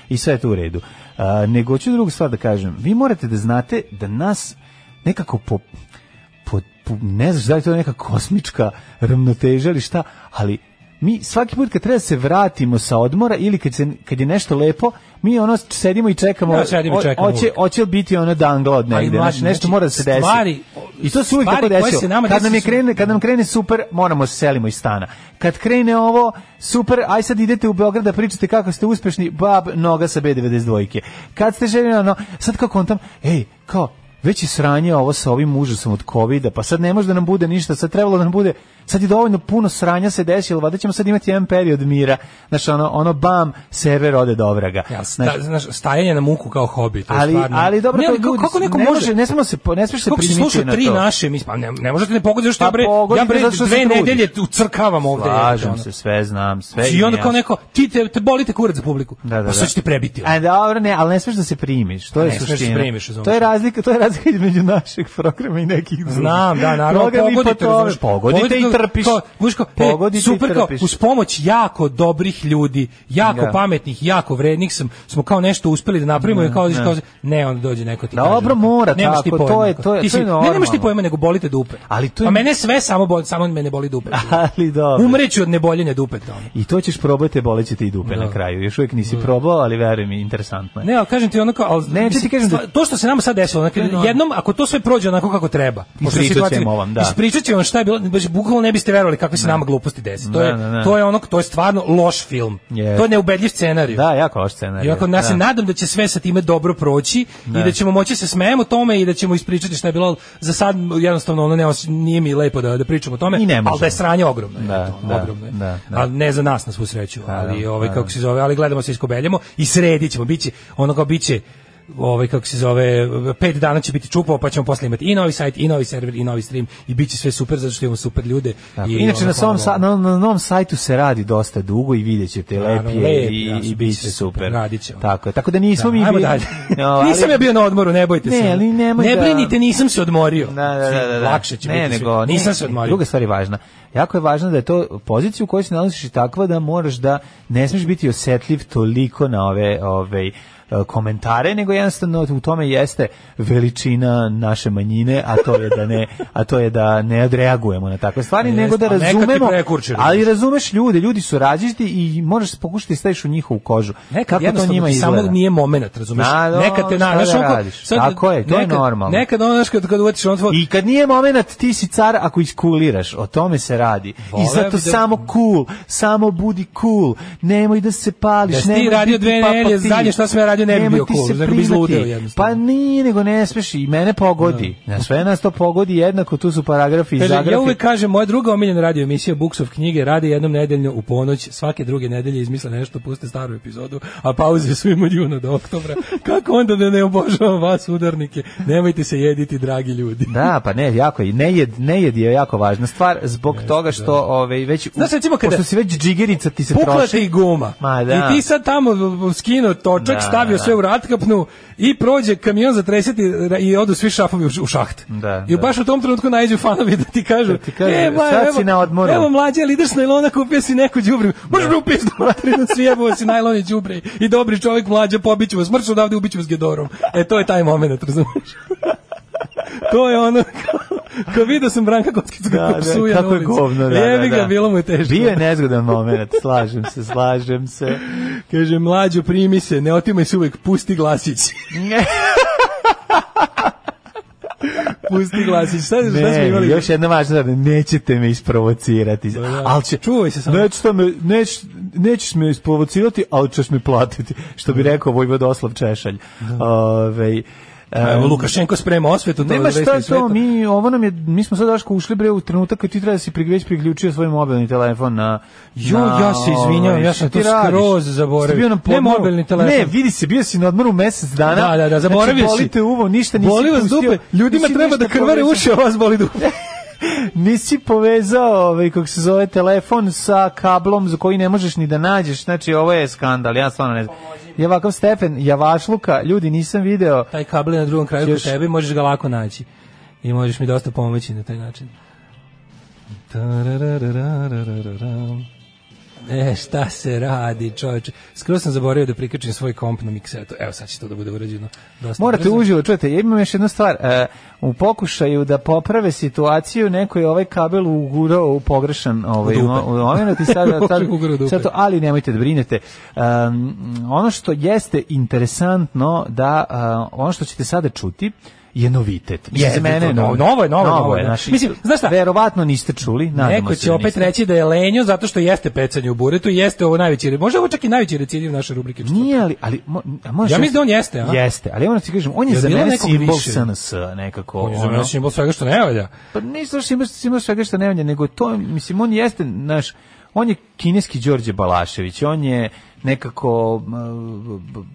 Speaker 6: i sve je to u redu. A, nego ću drugu stvar da kažem. Vi morate da znate da nas nekako po, po, po- ne znaš da li to je neka kosmička ravnoteža ili šta, ali mi svaki put kad treba da se vratimo sa odmora ili kad, se, kad je nešto lepo, mi ono sedimo i čekamo,
Speaker 7: Da, sedimo i
Speaker 6: o-
Speaker 7: čekamo
Speaker 6: hoće,
Speaker 7: uvek.
Speaker 6: hoće li biti ono dangla od negde,
Speaker 7: mlađe,
Speaker 6: znaš, nešto
Speaker 7: znači,
Speaker 6: mora da se desi.
Speaker 7: stvari-
Speaker 6: I to se uvijek
Speaker 7: stvari
Speaker 6: tako
Speaker 7: koje
Speaker 6: desilo.
Speaker 7: se nama
Speaker 6: Kad nam, je
Speaker 7: desi su-
Speaker 6: krene, kad nam krene super, moramo se selimo iz stana. Kad krene ovo, super, aj sad idete u Beograd da pričate kako ste uspešni, bab, noga sa B92-ke. Kad ste željeli, ono, sad kako on tam, ej, kao, već je sranje ovo sa ovim užasom od covida, pa sad ne može da nam bude ništa, sad trebalo da nam bude, sad je dovoljno puno sranja se desilo, valjda ćemo sad imati jedan period mira, znaš, ono, ono bam, server ode do vraga.
Speaker 7: Ja, sta,
Speaker 6: Znaš,
Speaker 7: znaš, stajanje na muku kao hobi, to je
Speaker 6: ali,
Speaker 7: stvarno.
Speaker 6: ali dobro,
Speaker 7: ne,
Speaker 6: to
Speaker 7: ali kako,
Speaker 6: ljudi-
Speaker 7: kako neko
Speaker 6: ne
Speaker 7: može,
Speaker 6: ne smemo se, po- ne smiješ se
Speaker 7: Kako si
Speaker 6: primiti
Speaker 7: slušao
Speaker 6: na
Speaker 7: tri
Speaker 6: to.
Speaker 7: naše, mislim, pa ne, ne možete ne pogoditi što
Speaker 6: Pa
Speaker 7: ja bre, ja
Speaker 6: pogodite
Speaker 7: bre
Speaker 6: zato što se
Speaker 7: dve
Speaker 6: trudiš.
Speaker 7: nedelje ucrkavam ovde.
Speaker 6: Slažem
Speaker 7: ono. Znači,
Speaker 6: se, sve znam, sve.
Speaker 7: I onda
Speaker 6: imam
Speaker 7: kao
Speaker 6: ja.
Speaker 7: neko, ti te, te bolite kurac za publiku.
Speaker 6: Da, da, da.
Speaker 7: Pa sad ću ti prebiti. ono.
Speaker 6: A E, dobro, ne, ali ne smeš da se primiš, to je
Speaker 7: ne smeš da se
Speaker 6: suština.
Speaker 7: primiš, razumeš.
Speaker 6: to je razlika, to je razlika između našeg programa i nekih drugih.
Speaker 7: Znam, da, naravno,
Speaker 6: Program i
Speaker 7: pogodite,
Speaker 6: po tome-
Speaker 7: razumeš,
Speaker 6: pogodite, i
Speaker 7: kao-
Speaker 6: trpiš.
Speaker 7: Kao, budeš kao, e,
Speaker 6: Pogodite i
Speaker 7: super, kao,
Speaker 6: trpiš.
Speaker 7: uz pomoć jako dobrih ljudi, jako
Speaker 6: Da.
Speaker 7: pametnih, jako vrednih sam, smo kao nešto uspeli da napravimo i kao,
Speaker 6: ne.
Speaker 7: kao, ne, onda dođe neko ti
Speaker 6: Da,
Speaker 7: kaže.
Speaker 6: dobro, mora
Speaker 7: nemaš ti
Speaker 6: tako,
Speaker 7: pojma,
Speaker 6: to je-
Speaker 7: kao,
Speaker 6: to je-
Speaker 7: ti
Speaker 6: to je
Speaker 7: si- Ne, nemaš ti
Speaker 6: normalno.
Speaker 7: pojma, nego boli te dupe.
Speaker 6: Ali to je-
Speaker 7: Pa mene sve samo boli, samo mene boli dupe.
Speaker 6: Ali dobro.
Speaker 7: Umreću od neboljenja dupe ono. tamo.
Speaker 6: I to ćeš probati, boleće ti i dupe na kraju. Još uvijek nisi probao, ali veruj mi, interesantno je.
Speaker 7: Ne, ali kažem ti onako, ali,
Speaker 6: Ne, ti kažem da-
Speaker 7: stva- to što se nama sad desilo, onako,
Speaker 6: Ne, no.
Speaker 7: jednom, ako to sve prođe onako kako treba, pošto je
Speaker 6: Ispričat
Speaker 7: situacija-
Speaker 6: ćemo vam, da.
Speaker 7: ispričat ćemo vam šta je bilo, baš bukvalno ne biste verovali kakve se nama gluposti desi. To,
Speaker 6: Ne,
Speaker 7: je,
Speaker 6: ne, ne.
Speaker 7: to je ono, to je stvarno loš film.
Speaker 6: Yes.
Speaker 7: To je neubedljiv scenarij.
Speaker 6: Da, jako loš scenarij.
Speaker 7: I ako ja se
Speaker 6: Da.
Speaker 7: nadam da će sve sa time dobro proći i da ćemo moći se smejemo tome i da ćemo ispričati šta je bilo ali za sad jednostavno ono ne os- nije mi lepo da da pričamo o tome
Speaker 6: I ne možemo.
Speaker 7: ali da je sranje ogromno je,
Speaker 6: Da,
Speaker 7: to,
Speaker 6: da,
Speaker 7: ogromno je.
Speaker 6: da, da.
Speaker 7: ali ne za nas na svu sreću ali ovaj kako se zove ali gledamo se iskobeljamo i sredi ćemo biće ono kao biće ovaj kako se zove pet dana će biti čupao pa ćemo posle imati i novi sajt i novi server i novi stream i biće sve super zato što imamo super ljude
Speaker 6: Tako.
Speaker 7: i
Speaker 6: Inače,
Speaker 7: ono,
Speaker 6: na, svom,
Speaker 7: hvala
Speaker 6: sa-
Speaker 7: vam.
Speaker 6: na, na novom sajtu se radi dosta dugo i vidjet ćete
Speaker 7: Naravno,
Speaker 6: lepije
Speaker 7: lep,
Speaker 6: i,
Speaker 7: jasno,
Speaker 6: i bit će super.
Speaker 7: radit ćemo.
Speaker 6: Tako, je. tako da nismo mi...
Speaker 7: Ajmo
Speaker 6: bili-
Speaker 7: dalje.
Speaker 6: No, ali-
Speaker 7: Nisam ja bio na odmoru, ne bojte
Speaker 6: Ne,
Speaker 7: se.
Speaker 6: ali nemoj
Speaker 7: ne
Speaker 6: da-
Speaker 7: brinite, nisam se odmorio.
Speaker 6: Da, da, da, da, da.
Speaker 7: Lakše će
Speaker 6: ne,
Speaker 7: biti. sve.
Speaker 6: nego, ne,
Speaker 7: nisam se odmorio.
Speaker 6: Druga stvar je važna. jako je važno da je to pozicija u kojoj se nalaziš i takva da moraš da ne smiješ biti osetljiv toliko na ove, ove e, komentare, nego jednostavno u tome jeste veličina naše manjine, a to je da ne, a to je da ne odreagujemo na takve stvari,
Speaker 7: Jest,
Speaker 6: nego da
Speaker 7: a nekad ti
Speaker 6: razumemo,
Speaker 7: prekurče,
Speaker 6: ali
Speaker 7: razumeš.
Speaker 6: razumeš ljude, ljudi su različiti i moraš pokušati da staviš u njihovu kožu.
Speaker 7: Nekad
Speaker 6: Kako to
Speaker 7: jednostavno
Speaker 6: njima
Speaker 7: ti
Speaker 6: izgleda?
Speaker 7: samo nije momenat, razumeš?
Speaker 6: Da, da,
Speaker 7: nekad te
Speaker 6: šta
Speaker 7: na,
Speaker 6: da
Speaker 7: znaš, onako,
Speaker 6: radiš? Tako je, to je normalno.
Speaker 7: Nekad ono, znaš, kad, kad uvatiš ono tvoj...
Speaker 6: I kad nije moment, ti si car ako iskuliraš. O tome se radi.
Speaker 7: Voleo
Speaker 6: I zato
Speaker 7: bi da-
Speaker 6: samo cool, samo budi cool. Nemoj da se pališ.
Speaker 7: Da si ti
Speaker 6: nemoj
Speaker 7: radio
Speaker 6: biti
Speaker 7: dve
Speaker 6: papa
Speaker 7: nedelje,
Speaker 6: ti.
Speaker 7: zadnje šta sam ja radio, ne bi
Speaker 6: Nemoj
Speaker 7: bio
Speaker 6: ti
Speaker 7: cool,
Speaker 6: se
Speaker 7: nego bi izludeo
Speaker 6: primati.
Speaker 7: jednostavno.
Speaker 6: Pa nije, nego ne smeš. I mene pogodi. Na sve nas to pogodi jednako. Tu su paragrafi i
Speaker 7: Kaže,
Speaker 6: zagrafi.
Speaker 7: ja uvek kažem, moja druga omiljena radio emisija Buksov knjige radi jednom nedeljno u ponoć, svake druge nedelje izmisle nešto, puste staru epizodu, a pauze su im od juna do oktobra. Kako onda da ne obožavam vas udarnike? Nemojte se jediti, dragi ljudi.
Speaker 6: Da, pa ne, jako je. Ne jed, ne jed je jako važna stvar zbog toga što ovaj već u-
Speaker 7: Znaš, recimo, kada-
Speaker 6: pošto si već džigerica ti se
Speaker 7: Pukla
Speaker 6: troši.
Speaker 7: ti guma.
Speaker 6: Ma da.
Speaker 7: I ti sad tamo skino točak,
Speaker 6: Da,
Speaker 7: stavio
Speaker 6: da.
Speaker 7: sve u ratkapnu i prođe kamion za treseti i odu svi šafovi u, š- u šaht.
Speaker 6: Da,
Speaker 7: I
Speaker 6: da.
Speaker 7: baš u tom trenutku najđu fanovi da ti kažu,
Speaker 6: ti kažu,
Speaker 7: e, ba,
Speaker 6: sad
Speaker 7: evo,
Speaker 6: si na odmoru."
Speaker 7: Evo mlađe, lider s najlona, kupio si neko đubre. Možeš me u pizdu materinu, svijebuo si najlon i đubre. I dobri čovjek mlađe, pobiću vas, mršu odavde, ubiću vas gedorom. E, to je taj moment, razumiješ? to je ono, kao, kao vidio sam Branka Kockicu kako
Speaker 6: da,
Speaker 7: psuje na
Speaker 6: kako je
Speaker 7: ulici.
Speaker 6: govno, da,
Speaker 7: Jebi
Speaker 6: da,
Speaker 7: ga,
Speaker 6: da.
Speaker 7: bilo mu je teško.
Speaker 6: Bio je nezgodan moment, slažem se, slažem se.
Speaker 7: Kaže, mlađo, primi se, ne otimaj se uvek, pusti glasić. pusti glasić. Šta, šta smo
Speaker 6: Ne,
Speaker 7: imali?
Speaker 6: još jedna važna stvar, nećete me isprovocirati.
Speaker 7: da.
Speaker 6: Al će
Speaker 7: Čuvaj se samo.
Speaker 6: nećete me neć nećeš me isprovocirati, al ćeš mi platiti, što bi rekao Vojvodoslav Češalj. Ovaj
Speaker 7: Evo,
Speaker 6: em,
Speaker 7: Lukašenko sprema osvetu. to
Speaker 6: Nema šta
Speaker 7: izvesti
Speaker 6: je
Speaker 7: iz sveta.
Speaker 6: to, mi, ovo nam je, mi smo sad Daško ušli bre u trenutak kad ti treba da si pri- već priključio svoj mobilni telefon na...
Speaker 7: Jo,
Speaker 6: na ovaj,
Speaker 7: ja se izvinjavam, ja sam
Speaker 6: šta ti
Speaker 7: to
Speaker 6: radiš?
Speaker 7: skroz
Speaker 6: Jesi ti
Speaker 7: zaboravio.
Speaker 6: bio na
Speaker 7: Ne
Speaker 6: podmoru?
Speaker 7: mobilni telefon.
Speaker 6: Ne, vidi se, bio si na odmoru mesec dana.
Speaker 7: Da, da, da, zaboravio
Speaker 6: znači,
Speaker 7: si.
Speaker 6: boli te uvo, ništa nisi
Speaker 7: Boli vas
Speaker 6: pustio,
Speaker 7: dupe, ljudima
Speaker 6: nisi
Speaker 7: treba da
Speaker 6: ništa
Speaker 7: krvare
Speaker 6: povezao.
Speaker 7: uši, a vas boli dupe.
Speaker 6: Nisi povezao, ovaj, kako se zove, telefon sa kablom za koji ne možeš ni da nađeš. Znači, ovo je skandal, ja stvarno ne znam. Je ovakav Stefen, javašluka, ljudi, nisam video.
Speaker 7: Taj kabel je na drugom kraju kod
Speaker 6: Još-
Speaker 7: tebe, možeš ga lako naći. I možeš mi dosta pomoći na taj način. Tarararararararam. E, šta se radi, čovječe? Skoro sam zaboravio da prikačim svoj komp na miksetu. Evo, sad će to da bude urađeno. Dosta
Speaker 6: Morate
Speaker 7: brzo.
Speaker 6: uživo, čujete, ja imam još jednu stvar. E, u pokušaju da poprave situaciju, neko je ovaj kabel ugurao u pogrešan ovaj,
Speaker 7: U dupe.
Speaker 6: mo- u momenat i sada, sad,
Speaker 7: Ugurao u dupe.
Speaker 6: sad to, ali nemojte da brinete. Um, ono što jeste interesantno da uh, ono što ćete sada čuti je novitet. Mislim,
Speaker 7: Jeste,
Speaker 6: za mene
Speaker 7: to
Speaker 6: je
Speaker 7: je
Speaker 6: novitet.
Speaker 7: novo je, novo je, novo je, da.
Speaker 6: znači,
Speaker 7: Mislim, znaš šta?
Speaker 6: Verovatno niste čuli, nadamo
Speaker 7: Neko
Speaker 6: se
Speaker 7: će
Speaker 6: da
Speaker 7: opet
Speaker 6: niste.
Speaker 7: reći da je lenjo zato što jeste pecanje u buretu i jeste ovo najveći, re- možda ovo čak i najveći recidiv naše rubrike.
Speaker 6: Nije, ali, ali mo, a možeš
Speaker 7: Ja mislim
Speaker 6: reći-
Speaker 7: da on jeste, a?
Speaker 6: Jeste, ali ja moram ti kažem, on je
Speaker 7: Jel
Speaker 6: za
Speaker 7: bilo
Speaker 6: mene
Speaker 7: nekog
Speaker 6: simbol
Speaker 7: više?
Speaker 6: SNS nekako.
Speaker 7: On je za
Speaker 6: ono.
Speaker 7: mene simbol svega što ne valja.
Speaker 6: Pa nije što ima, ima svega što ne valja, nego to, mislim, on jeste naš, on je kineski Đorđe Balašević, on je nekako m, b- b-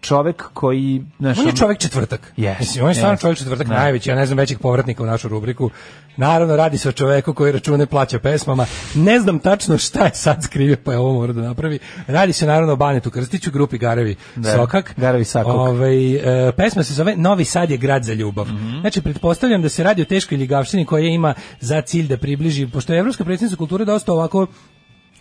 Speaker 6: čovek koji... ono- Naš,
Speaker 7: On je čovjek četvrtak.
Speaker 6: Yes,
Speaker 7: Mislim, on je stvarno
Speaker 6: yes.
Speaker 7: čovjek četvrtak
Speaker 6: Da.
Speaker 7: najveći, ja ne znam većeg povratnika u našu rubriku. Naravno, radi se o čoveku koji račune plaća pesmama. Ne znam tačno šta je sad skrivio, pa je ovo morao da napravi. Radi se naravno o Banetu Krstiću, grupi Garevi
Speaker 6: Da,
Speaker 7: Sokak.
Speaker 6: Garevi Sakok.
Speaker 7: Ovaj, e, pesma se zove Novi Sad je grad za ljubav.
Speaker 6: Mhm.
Speaker 7: Znači, pretpostavljam da se radi o teškoj ljigavštini koja ima za cilj da približi, pošto je Evropska predsjednica kulture dosta ovako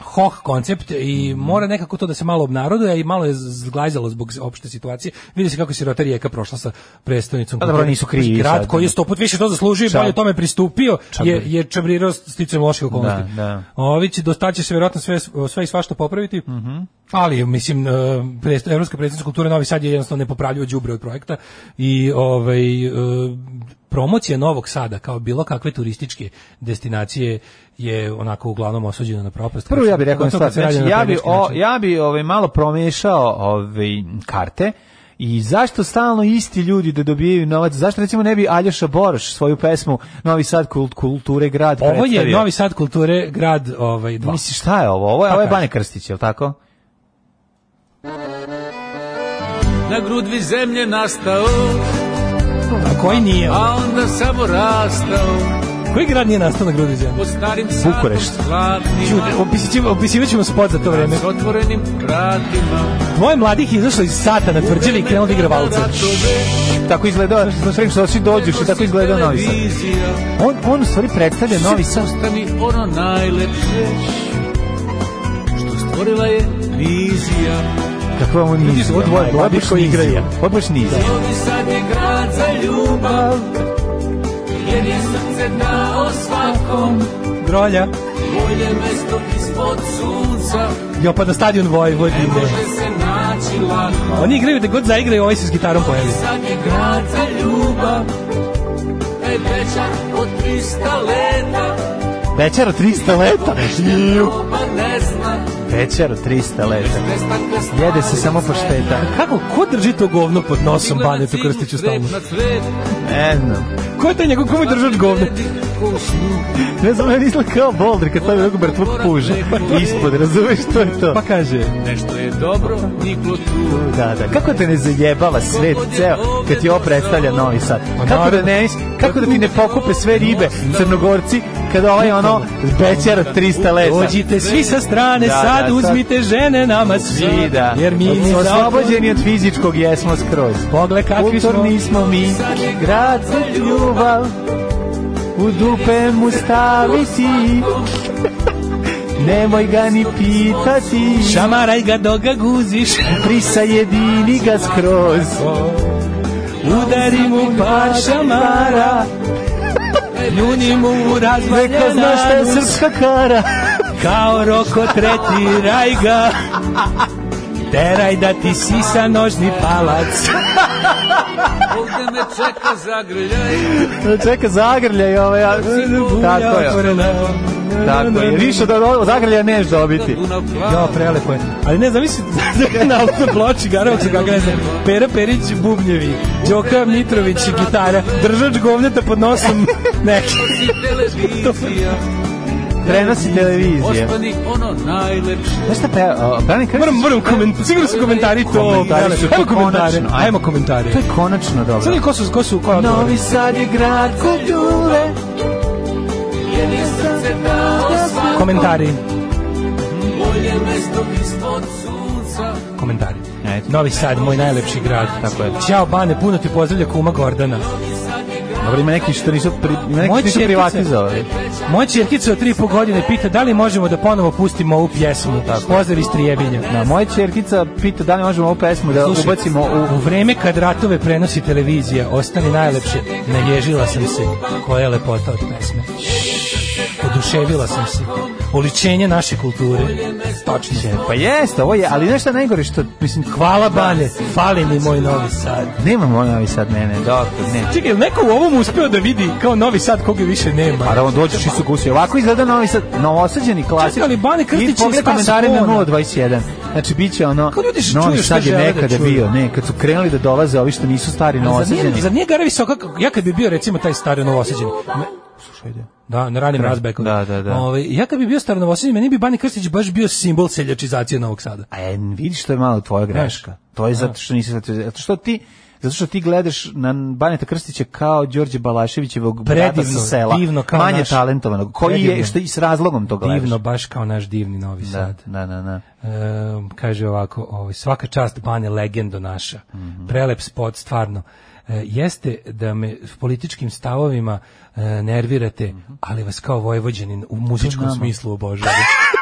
Speaker 7: hoh koncept i
Speaker 6: Mhm.
Speaker 7: mora nekako to da se malo obnaroduje i malo je zglajzalo zbog opšte situacije. Vidi se kako je sirota rijeka prošla sa predstavnicom.
Speaker 6: A dobro,
Speaker 7: kulture.
Speaker 6: nisu krivi
Speaker 7: Grad
Speaker 6: sad.
Speaker 7: koji je sto put više to zaslužio i
Speaker 6: Čab-
Speaker 7: bolje tome pristupio je,
Speaker 6: Čabri.
Speaker 7: je čabrirao sticajem loših okolnosti.
Speaker 6: Da, da.
Speaker 7: Ovi će, dosta će se vjerojatno sve, sve i svašta popraviti,
Speaker 6: Mhm.
Speaker 7: ali mislim, e, predst- Evropska predstavnica kulture Novi Sad je jednostavno nepopravljivo đubre od projekta i ovaj, e, promocija Novog Sada kao bilo kakve turističke destinacije je onako uglavnom osuđena na propast.
Speaker 6: Prvo ja bih rekao
Speaker 7: Pogotovo
Speaker 6: na stvar,
Speaker 7: kad se
Speaker 6: znači,
Speaker 7: radi na
Speaker 6: ja bi,
Speaker 7: naprednjački
Speaker 6: o,
Speaker 7: način.
Speaker 6: ja bi ovaj, malo promiješao ovaj, karte I zašto stalno isti ljudi da dobijaju novac? Zašto recimo ne bi Aljoša Boroš svoju pesmu Novi Sad kult- kulture grad
Speaker 7: Ovo je
Speaker 6: predstavio?
Speaker 7: Novi Sad kulture grad ovaj dva.
Speaker 6: Misli, šta je ovo? Ovo je,
Speaker 7: Pa
Speaker 6: ovo je
Speaker 7: kaži.
Speaker 6: Bane Krstić, je li tako?
Speaker 1: Na grudvi zemlje nastao,
Speaker 7: A koji nije?
Speaker 1: a onda samo rastao.
Speaker 7: Koji grad nije nastao na grudi zemlje?
Speaker 12: Po starim
Speaker 7: Bukurešt. Opisićemo, opisivaćemo spot za to vreme.
Speaker 12: S otvorenim vratima.
Speaker 7: Moje mladih je izašlo iz sata na tvrđavi i krenulo da igra valce.
Speaker 6: Tako izgledao, što sredim što svi dođeš i tako izgledao Novi Sad. On, on u stvari predstavlja Novi Sad.
Speaker 12: Ostani ono najlepše što stvorila je vizija.
Speaker 6: Kako vam on
Speaker 12: Ljudi,
Speaker 6: nizija?
Speaker 12: ovo dvoje
Speaker 6: majko,
Speaker 12: mladih
Speaker 6: baš
Speaker 12: koji
Speaker 6: nizija,
Speaker 12: igraju.
Speaker 6: Ovo baš nizija.
Speaker 12: Novi Sad je grad za ljubav, jer je srce dao svakom.
Speaker 7: Grolja.
Speaker 12: Bolje mesto ispod sunca,
Speaker 7: Jo, pa na stadion
Speaker 12: ne
Speaker 7: Vojvodine.
Speaker 12: može se naći lako.
Speaker 7: Oni igraju da god zaigraju, ovaj se s gitarom pojavi.
Speaker 12: Novi Sad je grad za ljubav, taj pečak od 300 leta,
Speaker 6: Večera 300 leta. Iju.
Speaker 12: oba ne zna,
Speaker 6: Večera 300 leta.
Speaker 12: nestanka stvari
Speaker 6: Jede se samo pašteta.
Speaker 7: Kako, ko drži to govno pod nosom
Speaker 12: Cigle na
Speaker 7: Banetu
Speaker 12: ciglu,
Speaker 7: Krstiću
Speaker 12: cvet
Speaker 7: stalno?
Speaker 12: na cvet,
Speaker 6: Ne znam.
Speaker 7: Ko je taj njegov, komu drži od govno?
Speaker 12: ko u snu.
Speaker 6: Ne znam, meni izgleda kao Boldri kad stavi ruku mrtvog puža. Ispod, razumeš što je to?
Speaker 7: Pa kaže,
Speaker 12: Nešto je dobro, niklo tu.
Speaker 6: Da, da. Kako te ne zajebava svet ceo kad ti ovo predstavlja Novi Sad? Kako da, ne, kako da ti ne pokupe sve ribe crnogorci kada ovaj ono večera 300 leta?
Speaker 7: dođite svi sa strane,
Speaker 6: Da, da,
Speaker 7: sad
Speaker 6: sad.
Speaker 7: uzmite žene nama svi,
Speaker 6: Svi, da.
Speaker 7: jer mi ni
Speaker 6: smo
Speaker 7: za
Speaker 6: oslobođeni od fizičkog jesmo skroz.
Speaker 7: Pogle kakvi smo.
Speaker 6: Kulturni smo mi, grad za ljubav, u dupe mu staviti, nemoj ga ni pitati,
Speaker 7: Šamaraj ga dok ga guziš,
Speaker 6: prisajedini ga skroz.
Speaker 7: udari mu par šamara, ljuni mu
Speaker 6: Neko
Speaker 7: razvalja
Speaker 6: zna šta je
Speaker 7: nanus,
Speaker 6: srpska kara.
Speaker 7: kao roko tretiraj ga. Teraj da ti sisa nožni palac.
Speaker 12: Ovde me čeka zagrljaj,
Speaker 6: Čeka, zagrljaj ovaj. a- Tako je. Tako je. Više da od zagrljaja neš dobiti.
Speaker 12: Dunav
Speaker 7: Jo,
Speaker 12: plav,
Speaker 7: prelepo je. Ali ne, zamisli na auto ploči, garavak se kako ne znam. Pera Perić, bubnjevi, Đoka Mitrović, gitara, držač govneta pod nosom neki.
Speaker 12: televizija,
Speaker 6: Prenosi televizije.
Speaker 12: ostani ono najlepše.
Speaker 6: Znaš šta peva? Brani, kako
Speaker 7: Moram, moram, koment, sigurno su komentari to.
Speaker 6: Komentari su to
Speaker 7: Ajmo komentare,
Speaker 6: konačno, ajmo.
Speaker 7: ajmo komentare.
Speaker 6: To je konačno dobro.
Speaker 7: Sada ko su, ko su, ko je odgovor?
Speaker 6: Novi Sad je grad kulture.
Speaker 7: Komentari,
Speaker 12: Bolje mesto ispod sunca,
Speaker 7: komentari.
Speaker 6: Ajde.
Speaker 7: Novi Sad, moj najlepši grad.
Speaker 6: Tako je.
Speaker 7: Ćao Bane, puno ti pozdravlja kuma Gordana.
Speaker 6: Dobro, ima neki što nisu, pri, ima neki
Speaker 7: Moja
Speaker 6: što nisu
Speaker 7: ćerkica-
Speaker 6: privatizovali.
Speaker 7: Moja čerkica od tri i po godine pita da li možemo da ponovo pustimo ovu pjesmu. Pozdrav iz Trijebinja.
Speaker 6: Na, moja čerkica pita da li možemo ovu pesmu da
Speaker 7: Slušaj,
Speaker 6: ubacimo u...
Speaker 7: u vreme kad ratove prenosi televizija, ostani najlepše. Naježila sam se, koja je lepota od pesme. Oduševila sam se. Oličenje naše kulture. Točno.
Speaker 6: Pa jeste, ovo je, ali znaš šta najgore što, mislim,
Speaker 7: Hvala Bane, fali mi moj novi sad.
Speaker 6: nemamo Novi Sad, ne, ne, doktor, ne.
Speaker 7: Čekaj, je li neko u ovom uspeo da vidi kao novi sad koga više nema?
Speaker 6: Pa da on dođeš i su gusi. Ovako izgleda Novi Sad, novosađeni klasik.
Speaker 7: Čekaj, ali Bane Krstić
Speaker 6: I
Speaker 7: je
Speaker 6: pogled
Speaker 7: šta su
Speaker 6: komentare na
Speaker 7: ono?
Speaker 6: 021. Znači, bit će ono,
Speaker 7: Kao ljudi što
Speaker 6: Novi
Speaker 7: čuju šta
Speaker 6: Sad je
Speaker 7: žele da
Speaker 6: nekada
Speaker 7: čuju.
Speaker 6: bio, ne, kad su krenuli da dolaze ovi što nisu stari
Speaker 7: Ali Zar nije,
Speaker 6: novosađeni.
Speaker 7: zar nije Gara visoka? Ja kad bi bio recimo taj stari novosađeni,
Speaker 6: Slušaj, ide.
Speaker 7: Da, na ranim razbekom.
Speaker 6: Da, da, da.
Speaker 7: Ovaj, ja kad bi bio starnovosjedin, meni bi Bani Krstić baš bio simbol seljačizacije Novog Sada.
Speaker 6: A e, vidiš to je malo tvoja greška. To je zato što nisi zato, zato što ti zato što ti gledaš na Baneta Krstića kao Đorđe Balaševićevog brata
Speaker 7: Predivno,
Speaker 6: sa sela,
Speaker 7: divno kao
Speaker 6: manje
Speaker 7: naš.
Speaker 6: talentovanog, koji je
Speaker 7: Predivno.
Speaker 6: što i s razlogom to gledaš.
Speaker 7: Divno, baš kao naš divni Novi
Speaker 6: Da,
Speaker 7: Sad.
Speaker 6: da, da, da.
Speaker 7: Ehm, kaže ovako, ovaj, svaka čast Bane, legendo naša.
Speaker 6: Mhm.
Speaker 7: Prelep spot, stvarno. E, jeste da me u političkim stavovima e, nervirate,
Speaker 6: Mhm.
Speaker 7: ali vas kao vojvođanin u muzičkom smislu obožavam.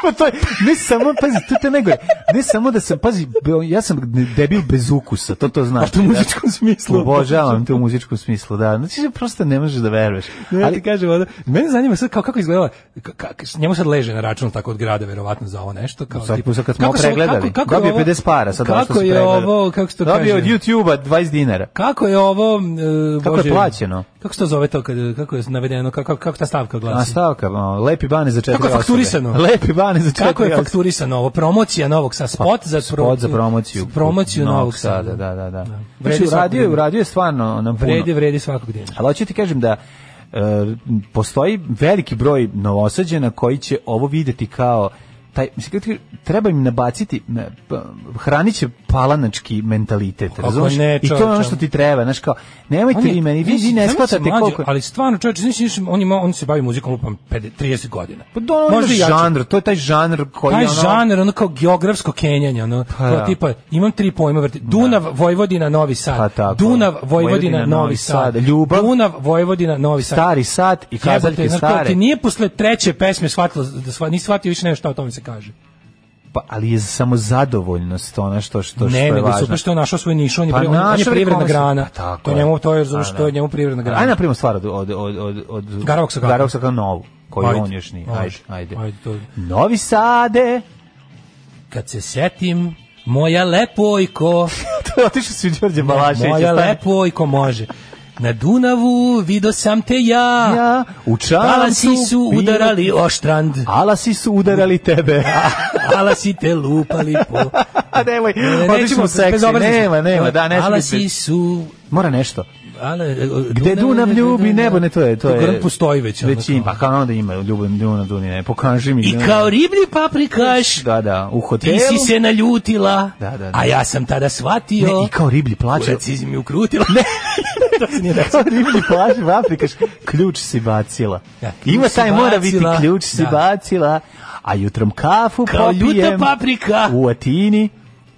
Speaker 6: pa to je, ne samo, pazi, to te najgore, ne samo da sam, pazi, be- ja sam debil bez ukusa, to to znači.
Speaker 7: A to u muzičkom smislu.
Speaker 6: Obožavam te u muzičkom smislu, da. Znači, se prosto ne ono, možeš da veruješ.
Speaker 7: Ne, ali
Speaker 6: Ali,
Speaker 7: kaže voda. Mene zanima sad kao kako izgledala ka- ka- njemu sad leže na račun tako od grada verovatno za ovo nešto kao
Speaker 6: Sad,
Speaker 7: tipa-
Speaker 6: sad kad smo ovo
Speaker 7: kako se ovo-
Speaker 6: pregledali,
Speaker 7: kako- kako je
Speaker 6: dobio
Speaker 7: ovo-
Speaker 6: 50 para, sad ovo što
Speaker 7: Kako
Speaker 6: si
Speaker 7: je
Speaker 6: pregledao.
Speaker 7: ovo kako se to kaže?
Speaker 6: Dobio od YouTube-a 20 dinara.
Speaker 7: Kako je ovo e,
Speaker 6: Kako je
Speaker 7: Bože,
Speaker 6: plaćeno?
Speaker 7: Kako se to zove to kad kako je navedeno kako kako ta stavka glasi?
Speaker 6: A stavka, o, lepi bane za četiri
Speaker 7: Znači- Kako je
Speaker 6: osobe.
Speaker 7: fakturisano?
Speaker 6: Lepi bane za četiri
Speaker 7: Kako je
Speaker 6: osobe.
Speaker 7: fakturisano ovo? Promocija novog sa spot za
Speaker 6: Spot za promociju.
Speaker 7: promociju novog sada.
Speaker 6: Da, da, da.
Speaker 7: Vredi
Speaker 6: Znači, uradio je,
Speaker 7: svakog
Speaker 6: uradio je stvarno nam puno.
Speaker 7: Vredi, vredi svakog dana.
Speaker 6: Ali hoću ti kažem da e, postoji veliki broj novosađena koji će ovo videti kao taj mislim kako ti kažem, treba im nabaciti ne, pa, hranit će palanački mentalitet,
Speaker 7: Kako
Speaker 6: razumeš?
Speaker 7: ne,
Speaker 6: I to je ono
Speaker 7: čoveče.
Speaker 6: što ti treba, znaš kao, nemojte
Speaker 7: On je-
Speaker 6: vi meni, vi, vi
Speaker 7: mislim,
Speaker 6: ne
Speaker 7: nemojte se
Speaker 6: shvatate
Speaker 7: mlađe,
Speaker 6: koliko...
Speaker 7: Ali stvarno čovječe, znaš, znaš, on, ima, on se bavi muzikom lupam 50 30 godina.
Speaker 6: Pa da, ono
Speaker 7: Možda i jače.
Speaker 6: žanr, to je taj žanr koji
Speaker 7: Taj
Speaker 6: ono...
Speaker 7: žanr, ono kao geografsko kenjanje, ono,
Speaker 6: Pa
Speaker 7: kao
Speaker 6: da.
Speaker 7: tipa, imam tri pojma, vrti, Dunav, Vojvodina, Novi Sad,
Speaker 6: Pa tako.
Speaker 7: Dunav, Vojvodina,
Speaker 6: Vojvodina,
Speaker 7: Novi
Speaker 6: Novi
Speaker 7: Sad,
Speaker 6: Sad, ljubav.
Speaker 7: Dunav, Vojvodina, Novi Sad.
Speaker 6: Stari Sad i kazaljke
Speaker 7: Jebote, znaš, kao,
Speaker 6: stare.
Speaker 7: Ti nije posle treće pesme shvatilo, da shva, nisi shvatio više nešto o tome se kaže.
Speaker 6: Pa, ali je samo zadovoljnost ono što, što, što
Speaker 7: ne,
Speaker 6: je
Speaker 7: nego
Speaker 6: važno.
Speaker 7: super što je on našao svoj niš, on je,
Speaker 6: Pa
Speaker 7: pri- on- on je
Speaker 6: našao je
Speaker 7: privredna
Speaker 6: kome se-
Speaker 7: grana.
Speaker 6: Pa tako
Speaker 7: to je
Speaker 6: je.
Speaker 7: njemu, to je,
Speaker 6: Pa
Speaker 7: zato što
Speaker 6: da.
Speaker 7: je njemu privredna grana.
Speaker 6: Ajde napravimo stvar od, od, od, od, od
Speaker 7: Garavog Sakata.
Speaker 6: Garavog Sakata novu, koju
Speaker 7: Ajde.
Speaker 6: on još nije.
Speaker 7: Može.
Speaker 6: Ajde, ajde.
Speaker 7: Ajde, to je-
Speaker 6: Novi Sade,
Speaker 7: Kad se setim, moja lepojko,
Speaker 6: to je otišao si u Đorđe Balaševića.
Speaker 7: moja
Speaker 6: stani.
Speaker 7: lepojko može. Na Dunavu video sam te ja.
Speaker 6: Ja, u čamcu
Speaker 7: Alasi su
Speaker 6: bilo-
Speaker 7: udarali o štrand.
Speaker 6: Alasi su udarali tebe.
Speaker 7: Alasi te lupali po...
Speaker 6: A nemoj,
Speaker 7: Ne,
Speaker 6: otišli
Speaker 7: nećemo,
Speaker 6: smo seksi.
Speaker 7: bezobrazni smo.
Speaker 6: Nema, nema, da, ne smije
Speaker 7: Alasi
Speaker 6: biti.
Speaker 7: su...
Speaker 6: Mora nešto.
Speaker 7: Ale, e,
Speaker 6: Gde Dunav ljubi nebo, ne to je, to je.
Speaker 7: Grm postoji već. ono
Speaker 6: Već
Speaker 7: kao.
Speaker 6: ima, pa kao onda ima ljubim Dunav, Dunav, ne, pokaži mi.
Speaker 7: I
Speaker 6: Dunav.
Speaker 7: kao riblji paprikaš,
Speaker 6: Da, da, u hotelu.
Speaker 7: ti si se naljutila,
Speaker 6: Da, da, da.
Speaker 7: a ja sam tada shvatio...
Speaker 6: Ne, i kao riblji plače.
Speaker 7: Kurac iz mi ukrutila. Ne, to se nije
Speaker 6: Kao
Speaker 7: desilo.
Speaker 6: riblji plaži u Afrikaš, ključ si bacila.
Speaker 7: Da, ključ
Speaker 6: Ima
Speaker 7: si
Speaker 6: taj mora biti
Speaker 7: bacila,
Speaker 6: ključ si
Speaker 7: da.
Speaker 6: bacila, a jutrom kafu
Speaker 7: Kao ljuta
Speaker 6: popijem
Speaker 7: paprika.
Speaker 6: u Atini.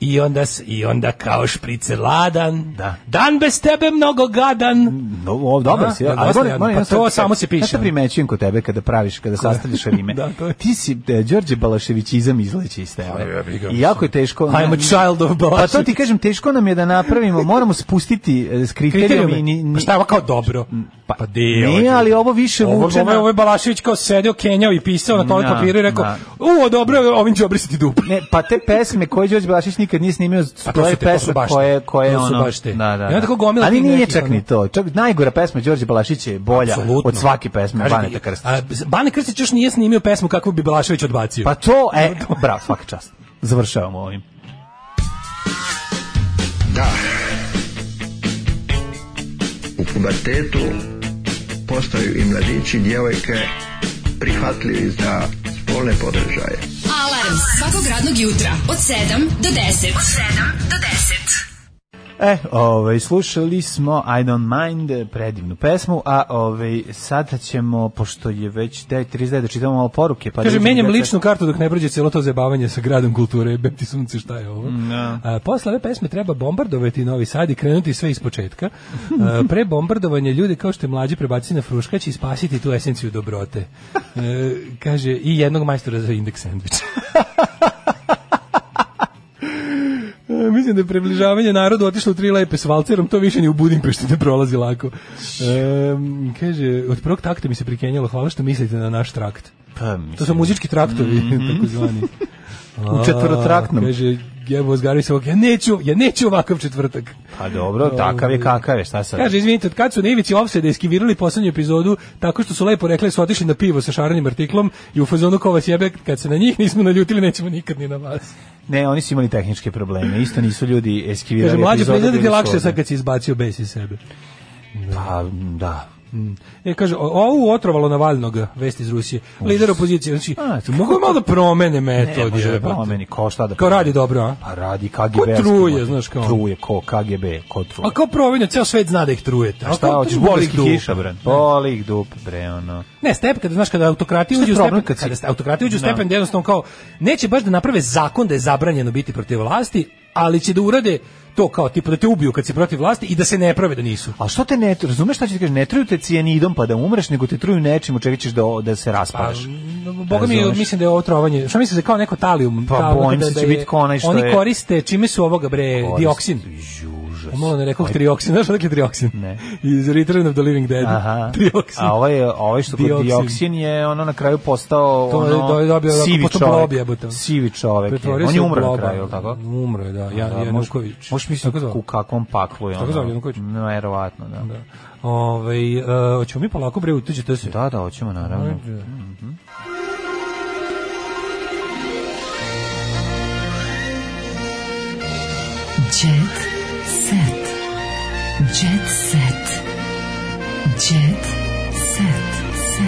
Speaker 7: I onda, s- I onda kao šprice ladan.
Speaker 6: Da.
Speaker 7: Dan bez tebe mnogo gadan.
Speaker 6: No, o, dobar
Speaker 7: A,
Speaker 6: si.
Speaker 7: da,
Speaker 6: ali
Speaker 7: dosta
Speaker 6: moram-
Speaker 7: je,
Speaker 6: moram
Speaker 7: pa
Speaker 6: jedno
Speaker 7: to
Speaker 6: sad-
Speaker 7: samo se piše.
Speaker 6: Znaš šta primećujem kod tebe kada praviš, kada sastavljaš rime?
Speaker 7: Da, to je-
Speaker 6: Ti si e, Đorđe Balaševićizam izleće iz tebe.
Speaker 7: ja bih ga
Speaker 6: I jako je teško.
Speaker 7: I'm a child of
Speaker 6: Pa
Speaker 7: Balašević.
Speaker 6: to ti kažem, teško nam je da napravimo, moramo spustiti e, s kriterijom. i ni- ni-
Speaker 7: Pa šta je ovo kao dobro? Pa, pa de,
Speaker 6: Nije, ali ovo više
Speaker 7: Ovo,
Speaker 6: vuče
Speaker 7: ovo, je-
Speaker 6: na-
Speaker 7: ovo je Balašević kao sedeo, kenjao i pisao na toalet
Speaker 6: Da,
Speaker 7: papiru i rekao,
Speaker 6: da.
Speaker 7: u, dobro, je, ovim ću obrisati dupu.
Speaker 6: Ne, pa te pesme koje Đorđe Balašić nikad nije snimio,
Speaker 7: Pa to
Speaker 6: to
Speaker 7: su
Speaker 6: je
Speaker 7: te, to su
Speaker 6: pesma
Speaker 7: baš te.
Speaker 6: koje, koje
Speaker 7: To su
Speaker 6: ono...
Speaker 7: baš te.
Speaker 6: Da, da,
Speaker 7: I onda kao gomila
Speaker 6: Ali
Speaker 7: tih
Speaker 6: nije
Speaker 7: nekih,
Speaker 6: čak
Speaker 7: ono.
Speaker 6: ni to. Čak najgora pesma Đorđe Balašića je bolja
Speaker 7: Apsolutno.
Speaker 6: od svake pesme
Speaker 7: Kaže,
Speaker 6: Baneta Krstića.
Speaker 7: a, Bane Krstić još nije snimio pesmu kakvu bi Balašević odbacio.
Speaker 6: Pa to, e, bravo, svaka čast. Završavamo ovim.
Speaker 2: Da. U pubertetu postaju i mladići i djevojke prihvatljivi za spolne podržaje.
Speaker 11: Alarm svakog radnog jutra od 7 do 10. Od 7 do 10.
Speaker 6: E, ovaj, slušali smo I Don't Mind, eh, predivnu pesmu, a ovaj, sada ćemo, pošto je već 9.30, da čitamo malo poruke. Pa da
Speaker 7: Kaže,
Speaker 6: vidimo
Speaker 7: menjam
Speaker 6: gde se-
Speaker 7: ličnu kartu dok ne prođe cijelo to zabavanje sa gradom kulture. Jebem ti sunce, šta je ovo?
Speaker 6: Mm,
Speaker 7: A, posle ove pesme treba bombardovati Novi Sad i krenuti sve iz početka. A, pre bombardovanja ljude kao što je mlađi prebaciti na fruškać i spasiti tu esenciju dobrote. E, kaže, i jednog majstora za indeks sandvič. E, Mislim da je približavanje narodu otišlo u tri lepe s valcerom, to više ni u Budimpešti ne prolazi lako. E, kaže, od prvog takta mi se prikenjalo, hvala što mislite na naš trakt.
Speaker 6: Pa, mislim,
Speaker 7: To su muzički traktovi, takozvani.
Speaker 6: U četvorotraktnom.
Speaker 7: A, Mhm. Pa, Kaže, jebo zgari se ovog, ja neću, ja neću ovakav četvrtak.
Speaker 6: Pa dobro, takav je kakav je, šta sad?
Speaker 7: Kaže, izvinite, od kad su na ivici ofsede iskivirali poslednju epizodu, tako što su lepo rekli da su otišli na pivo sa šarenim artiklom i u fazonu ko vas jebe, kad se na njih nismo naljutili, nećemo nikad ni na vas.
Speaker 6: Ne, oni su imali tehničke probleme, isto nisu ljudi eskivirali.
Speaker 7: Kaže, mlađe, pa
Speaker 6: epizodu,
Speaker 7: priznate ti
Speaker 6: bili su
Speaker 7: lakše
Speaker 6: ovde.
Speaker 7: sad kad si izbacio bes iz sebe.
Speaker 6: Pa, da.
Speaker 7: E, kaže, o- ovu otrovalo Navalnoga, vest iz Rusije, lider opozicije. Znači,
Speaker 6: A,
Speaker 7: mogu malo da promene metod.
Speaker 6: Ne, pa može da
Speaker 7: jebote.
Speaker 6: promeni, ko šta da
Speaker 7: Kao radi
Speaker 6: promeni.
Speaker 7: dobro, a?
Speaker 6: Pa radi KGB.
Speaker 7: Ko truje, znaš, kao ono.
Speaker 6: Truje, ko KGB, ko truje.
Speaker 7: A kao provinja, ceo svet zna da ih trujete. A
Speaker 6: šta
Speaker 7: kao
Speaker 6: hoćeš,
Speaker 7: tu boli
Speaker 6: bolski
Speaker 7: dupe.
Speaker 6: kiša, bre. Boli ih dup, bre, ono.
Speaker 7: Ne, step kada znaš kada autokrati
Speaker 6: Šta je
Speaker 7: uđu u
Speaker 6: problem
Speaker 7: stepen,
Speaker 6: kad si-
Speaker 7: kada ste- autokrati uđu u
Speaker 6: Da.
Speaker 7: stepen da jednostavno kao neće baš da naprave zakon da je zabranjeno biti protiv vlasti, ali će da urade to kao tipa da te ubiju kad si protiv vlasti i da se ne prave da nisu.
Speaker 6: A što te ne, razumeš šta ću ti kažem, ne truju te cijenidom pa da umreš, nego te truju nečim u čega ćeš da, da se
Speaker 7: Pa,
Speaker 6: raspadeš.
Speaker 7: m, Boga mi,
Speaker 6: Razumeš?
Speaker 7: mislim da je ovo trovanje. Šta mislite, kao neko talium?
Speaker 6: Pa,
Speaker 7: kao,
Speaker 6: bojim
Speaker 7: da-
Speaker 6: se
Speaker 7: da
Speaker 6: će
Speaker 7: je-
Speaker 6: biti kao onaj što
Speaker 7: Oni
Speaker 6: je-
Speaker 7: koriste, čime su ovoga, bre,
Speaker 6: Korist-
Speaker 7: dioksin. Pa
Speaker 6: Užas.
Speaker 7: Malo ne rekao
Speaker 6: Aj,
Speaker 7: trioksin, znaš odakle trioksin?
Speaker 6: Ne.
Speaker 7: Iz Return of the Living Dead.
Speaker 6: Aha.
Speaker 7: Trioksin.
Speaker 6: A ovaj, je- ovaj što kod
Speaker 7: Dioksin.
Speaker 6: dioksin je ono na kraju postao
Speaker 7: To je
Speaker 6: ono,
Speaker 7: do- dobio ovako,
Speaker 6: sivi
Speaker 7: postao
Speaker 6: čovek.
Speaker 7: blob, jebote.
Speaker 6: Sivi čovek. je.
Speaker 7: ono. Pretvorio
Speaker 6: On
Speaker 7: se
Speaker 6: je
Speaker 7: u
Speaker 6: umro na
Speaker 7: bloba.
Speaker 6: kraju, je li tako?
Speaker 7: Umro je, da. Ja,
Speaker 6: Da,
Speaker 7: ja
Speaker 6: možeš-
Speaker 7: Januković.
Speaker 6: Možeš
Speaker 7: Tako
Speaker 6: misliti
Speaker 7: zvao?
Speaker 6: u kakvom paklu je ono.
Speaker 7: Tako zvao Januković?
Speaker 6: Neverovatno, da.
Speaker 7: Da. Ovaj, e, hoćemo mi polako bre utuđi to se.
Speaker 6: Da, da, hoćemo naravno.
Speaker 5: Jet set. Jet set. Jet set. Set.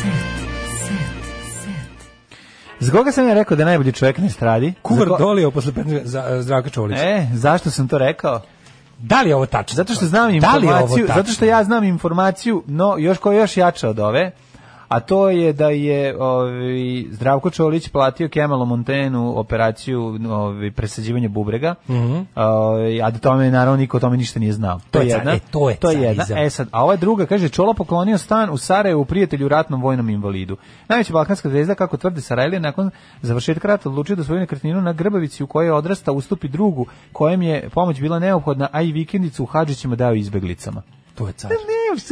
Speaker 5: Set. Set. Set.
Speaker 6: Za koga sam ja rekao da je najbolji čovjek na estradi?
Speaker 7: Kuvar
Speaker 6: Za ko-
Speaker 7: dolio posle 15 za, Zdravka Čolića.
Speaker 6: E, zašto sam to rekao?
Speaker 7: Da li je ovo tačno?
Speaker 6: Zato što znam
Speaker 7: Pa, Da li je ovo
Speaker 6: informaciju,
Speaker 7: tačno?
Speaker 6: zato što ja znam informaciju, no još koja je još jača od ove, a to je da je ovi, Zdravko Čolić platio Kemalu Montenu operaciju ovi, presađivanja bubrega,
Speaker 7: Mhm.
Speaker 6: ovi, a da tome naravno niko o tome ništa nije znao. To,
Speaker 7: To
Speaker 6: je
Speaker 7: je car-
Speaker 6: jedna.
Speaker 7: e, to je
Speaker 6: jedna.
Speaker 7: carizam.
Speaker 6: E sad, a ova druga kaže Čola poklonio stan u Sarajevu prijatelju ratnom vojnom invalidu. Najveća balkanska zvezda kako tvrde Sarajlija nakon završetka rata odlučio da svoju nekretninu na Grbavici u kojoj je odrasta ustupi drugu kojem je pomoć bila neophodna, a i vikendicu u Hadžićima dao izbeglicama.
Speaker 7: To je car.
Speaker 6: Pa Ne,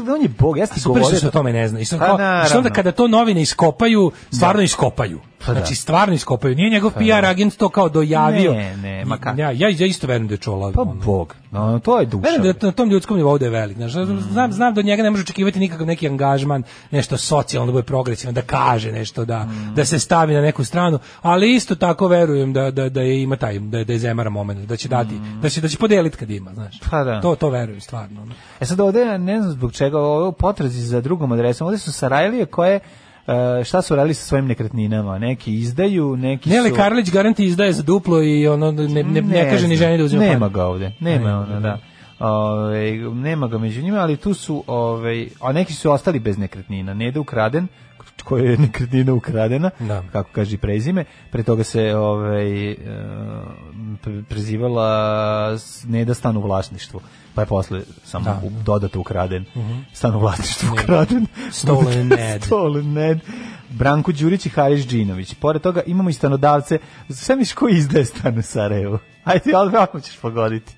Speaker 6: ne, on je bog, ja sam
Speaker 7: Super što se o tome ne zna. I sad kao- i sad onda kada to novine iskopaju, stvarno iskopaju.
Speaker 6: Pa da.
Speaker 7: Znači, stvarno iskopaju. Nije njegov
Speaker 6: Pa da.
Speaker 7: PR agent to kao dojavio.
Speaker 6: Ne, ne, ma ka-
Speaker 7: Ja, ja, ja isto verujem da je čola. ono,
Speaker 6: Pa bog, no, to je duša.
Speaker 7: Verujem da je na tom ljudskom nivou da je velik. Znaš,
Speaker 6: Mm.
Speaker 7: znam, znam da od njega ne može očekivati nikakav neki angažman, nešto socijalno, da bude progresivan, da kaže nešto, da,
Speaker 6: Mm.
Speaker 7: da se stavi na neku stranu, ali isto tako verujem da, da, da je ima taj, da, je- da je zemara moment, da će dati, da će, da će podeliti kad ima, znaš.
Speaker 6: Mm. Pa da.
Speaker 7: To, to verujem, stvarno. ono.
Speaker 6: E sad ovde, ne znam zbog čega, ovo je u potrazi za drugom adresom, ovde su Sarajlije koje e, šta su radili sa svojim nekretninama? Neki izdaju, neki su...
Speaker 7: Nele Karlić garanti izdaje za duplo i ono ne, ne, ne, kaže ni
Speaker 6: znam.
Speaker 7: ženi da uzima
Speaker 6: Nema
Speaker 7: pare.
Speaker 6: ga ovde. Nema
Speaker 7: Ne,
Speaker 6: ona, da. Ove, nema ga među njima, ali tu su, ove, a neki su ostali bez nekretnina. Neda ukraden, koja je nekretnina ukradena,
Speaker 7: Da.
Speaker 6: kako kaže i prezime. Pre toga se ovaj e, pre- prezivala s- Neda stan u vlasništvu. Pa je posle samo
Speaker 7: Da.
Speaker 6: u- dodato ukraden.
Speaker 7: Mhm.
Speaker 6: Stan u vlasništvu
Speaker 7: Neda.
Speaker 6: ukraden.
Speaker 7: Stolen Ned.
Speaker 6: Stolen Ned. Branko Đurić i Haris Džinović. Pored toga imamo i stanodavce. Sve miš ko izdaje stan u Sarajevu? Ajde, ali ako ćeš pogoditi.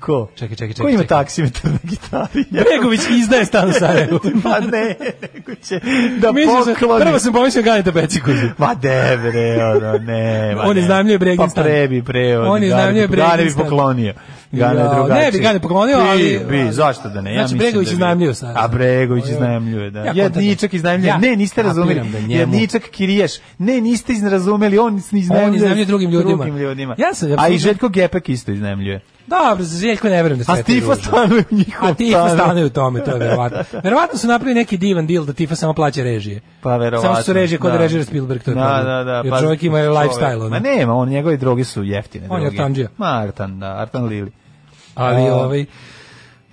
Speaker 6: Ko?
Speaker 7: Čekaj, čekaj, čekaj.
Speaker 6: Ko ima
Speaker 7: čekaj.
Speaker 6: taksimetar na gitari?
Speaker 7: Bregović izdaje stan u Sarajevu.
Speaker 6: pa ne, nego će da
Speaker 7: Mislio sam-
Speaker 6: pokloni.
Speaker 7: prvo sam pomislio Ganeta Becikuzu.
Speaker 6: Ma de bre, ono, ne. ma
Speaker 7: On
Speaker 6: ne.
Speaker 7: iznajmljuje Bregin
Speaker 6: Pa
Speaker 7: stan.
Speaker 6: pre bi, pre.
Speaker 7: On iznajmljuje Bregin
Speaker 6: Gane bi
Speaker 7: stan.
Speaker 6: poklonio. Gane
Speaker 7: Ja,
Speaker 6: je
Speaker 7: ne
Speaker 6: drugačiji.
Speaker 7: bi Gane poklonio,
Speaker 6: Bi,
Speaker 7: ali-
Speaker 6: Bi, zašto da ne? Ja
Speaker 7: Znači,
Speaker 6: mislim
Speaker 7: Bregović
Speaker 6: da bi.
Speaker 7: iznajmljuje sad.
Speaker 6: A Bregović
Speaker 7: Ja.
Speaker 6: iznajmljuje, da.
Speaker 7: Ja
Speaker 6: Ja,
Speaker 7: kontam.
Speaker 6: Ničak iznajmljuje.
Speaker 7: Ja
Speaker 6: ne, niste razumeli.
Speaker 7: kapiram da njemu-
Speaker 6: Ja Ničak Kiriješ. Ne, niste iznrazumeli. On iznajmljuje,
Speaker 7: On iznajmljuje drugim ljudima.
Speaker 6: Drugim ljudima.
Speaker 7: Ja sam
Speaker 6: A i
Speaker 7: apsolutno- Pa
Speaker 6: Željko Gepek isto iznajmljuje.
Speaker 7: Dobro, za Željko ne verujem da
Speaker 6: A
Speaker 7: sve to
Speaker 6: Stifa
Speaker 7: ružno.
Speaker 6: stanuje u njihovom
Speaker 7: A Tifa
Speaker 6: stanu.
Speaker 7: stanuje u tome, to je verovatno. Verovatno su napravili neki divan deal da Tifa samo plaća režije.
Speaker 6: Pa verovatno.
Speaker 7: Samo su režije kod da. režira Spielberg, to je
Speaker 6: da,
Speaker 7: problem.
Speaker 6: da, da,
Speaker 7: Jer
Speaker 6: pa
Speaker 7: čovjek ima
Speaker 6: čovjek-
Speaker 7: lifestyle. ono.
Speaker 6: Ma nema, on njegove droge su jeftine
Speaker 7: On je
Speaker 6: droge.
Speaker 7: artandžija.
Speaker 6: Ma Artan, da, Artan Lili.
Speaker 7: Ali
Speaker 6: A,
Speaker 7: ovaj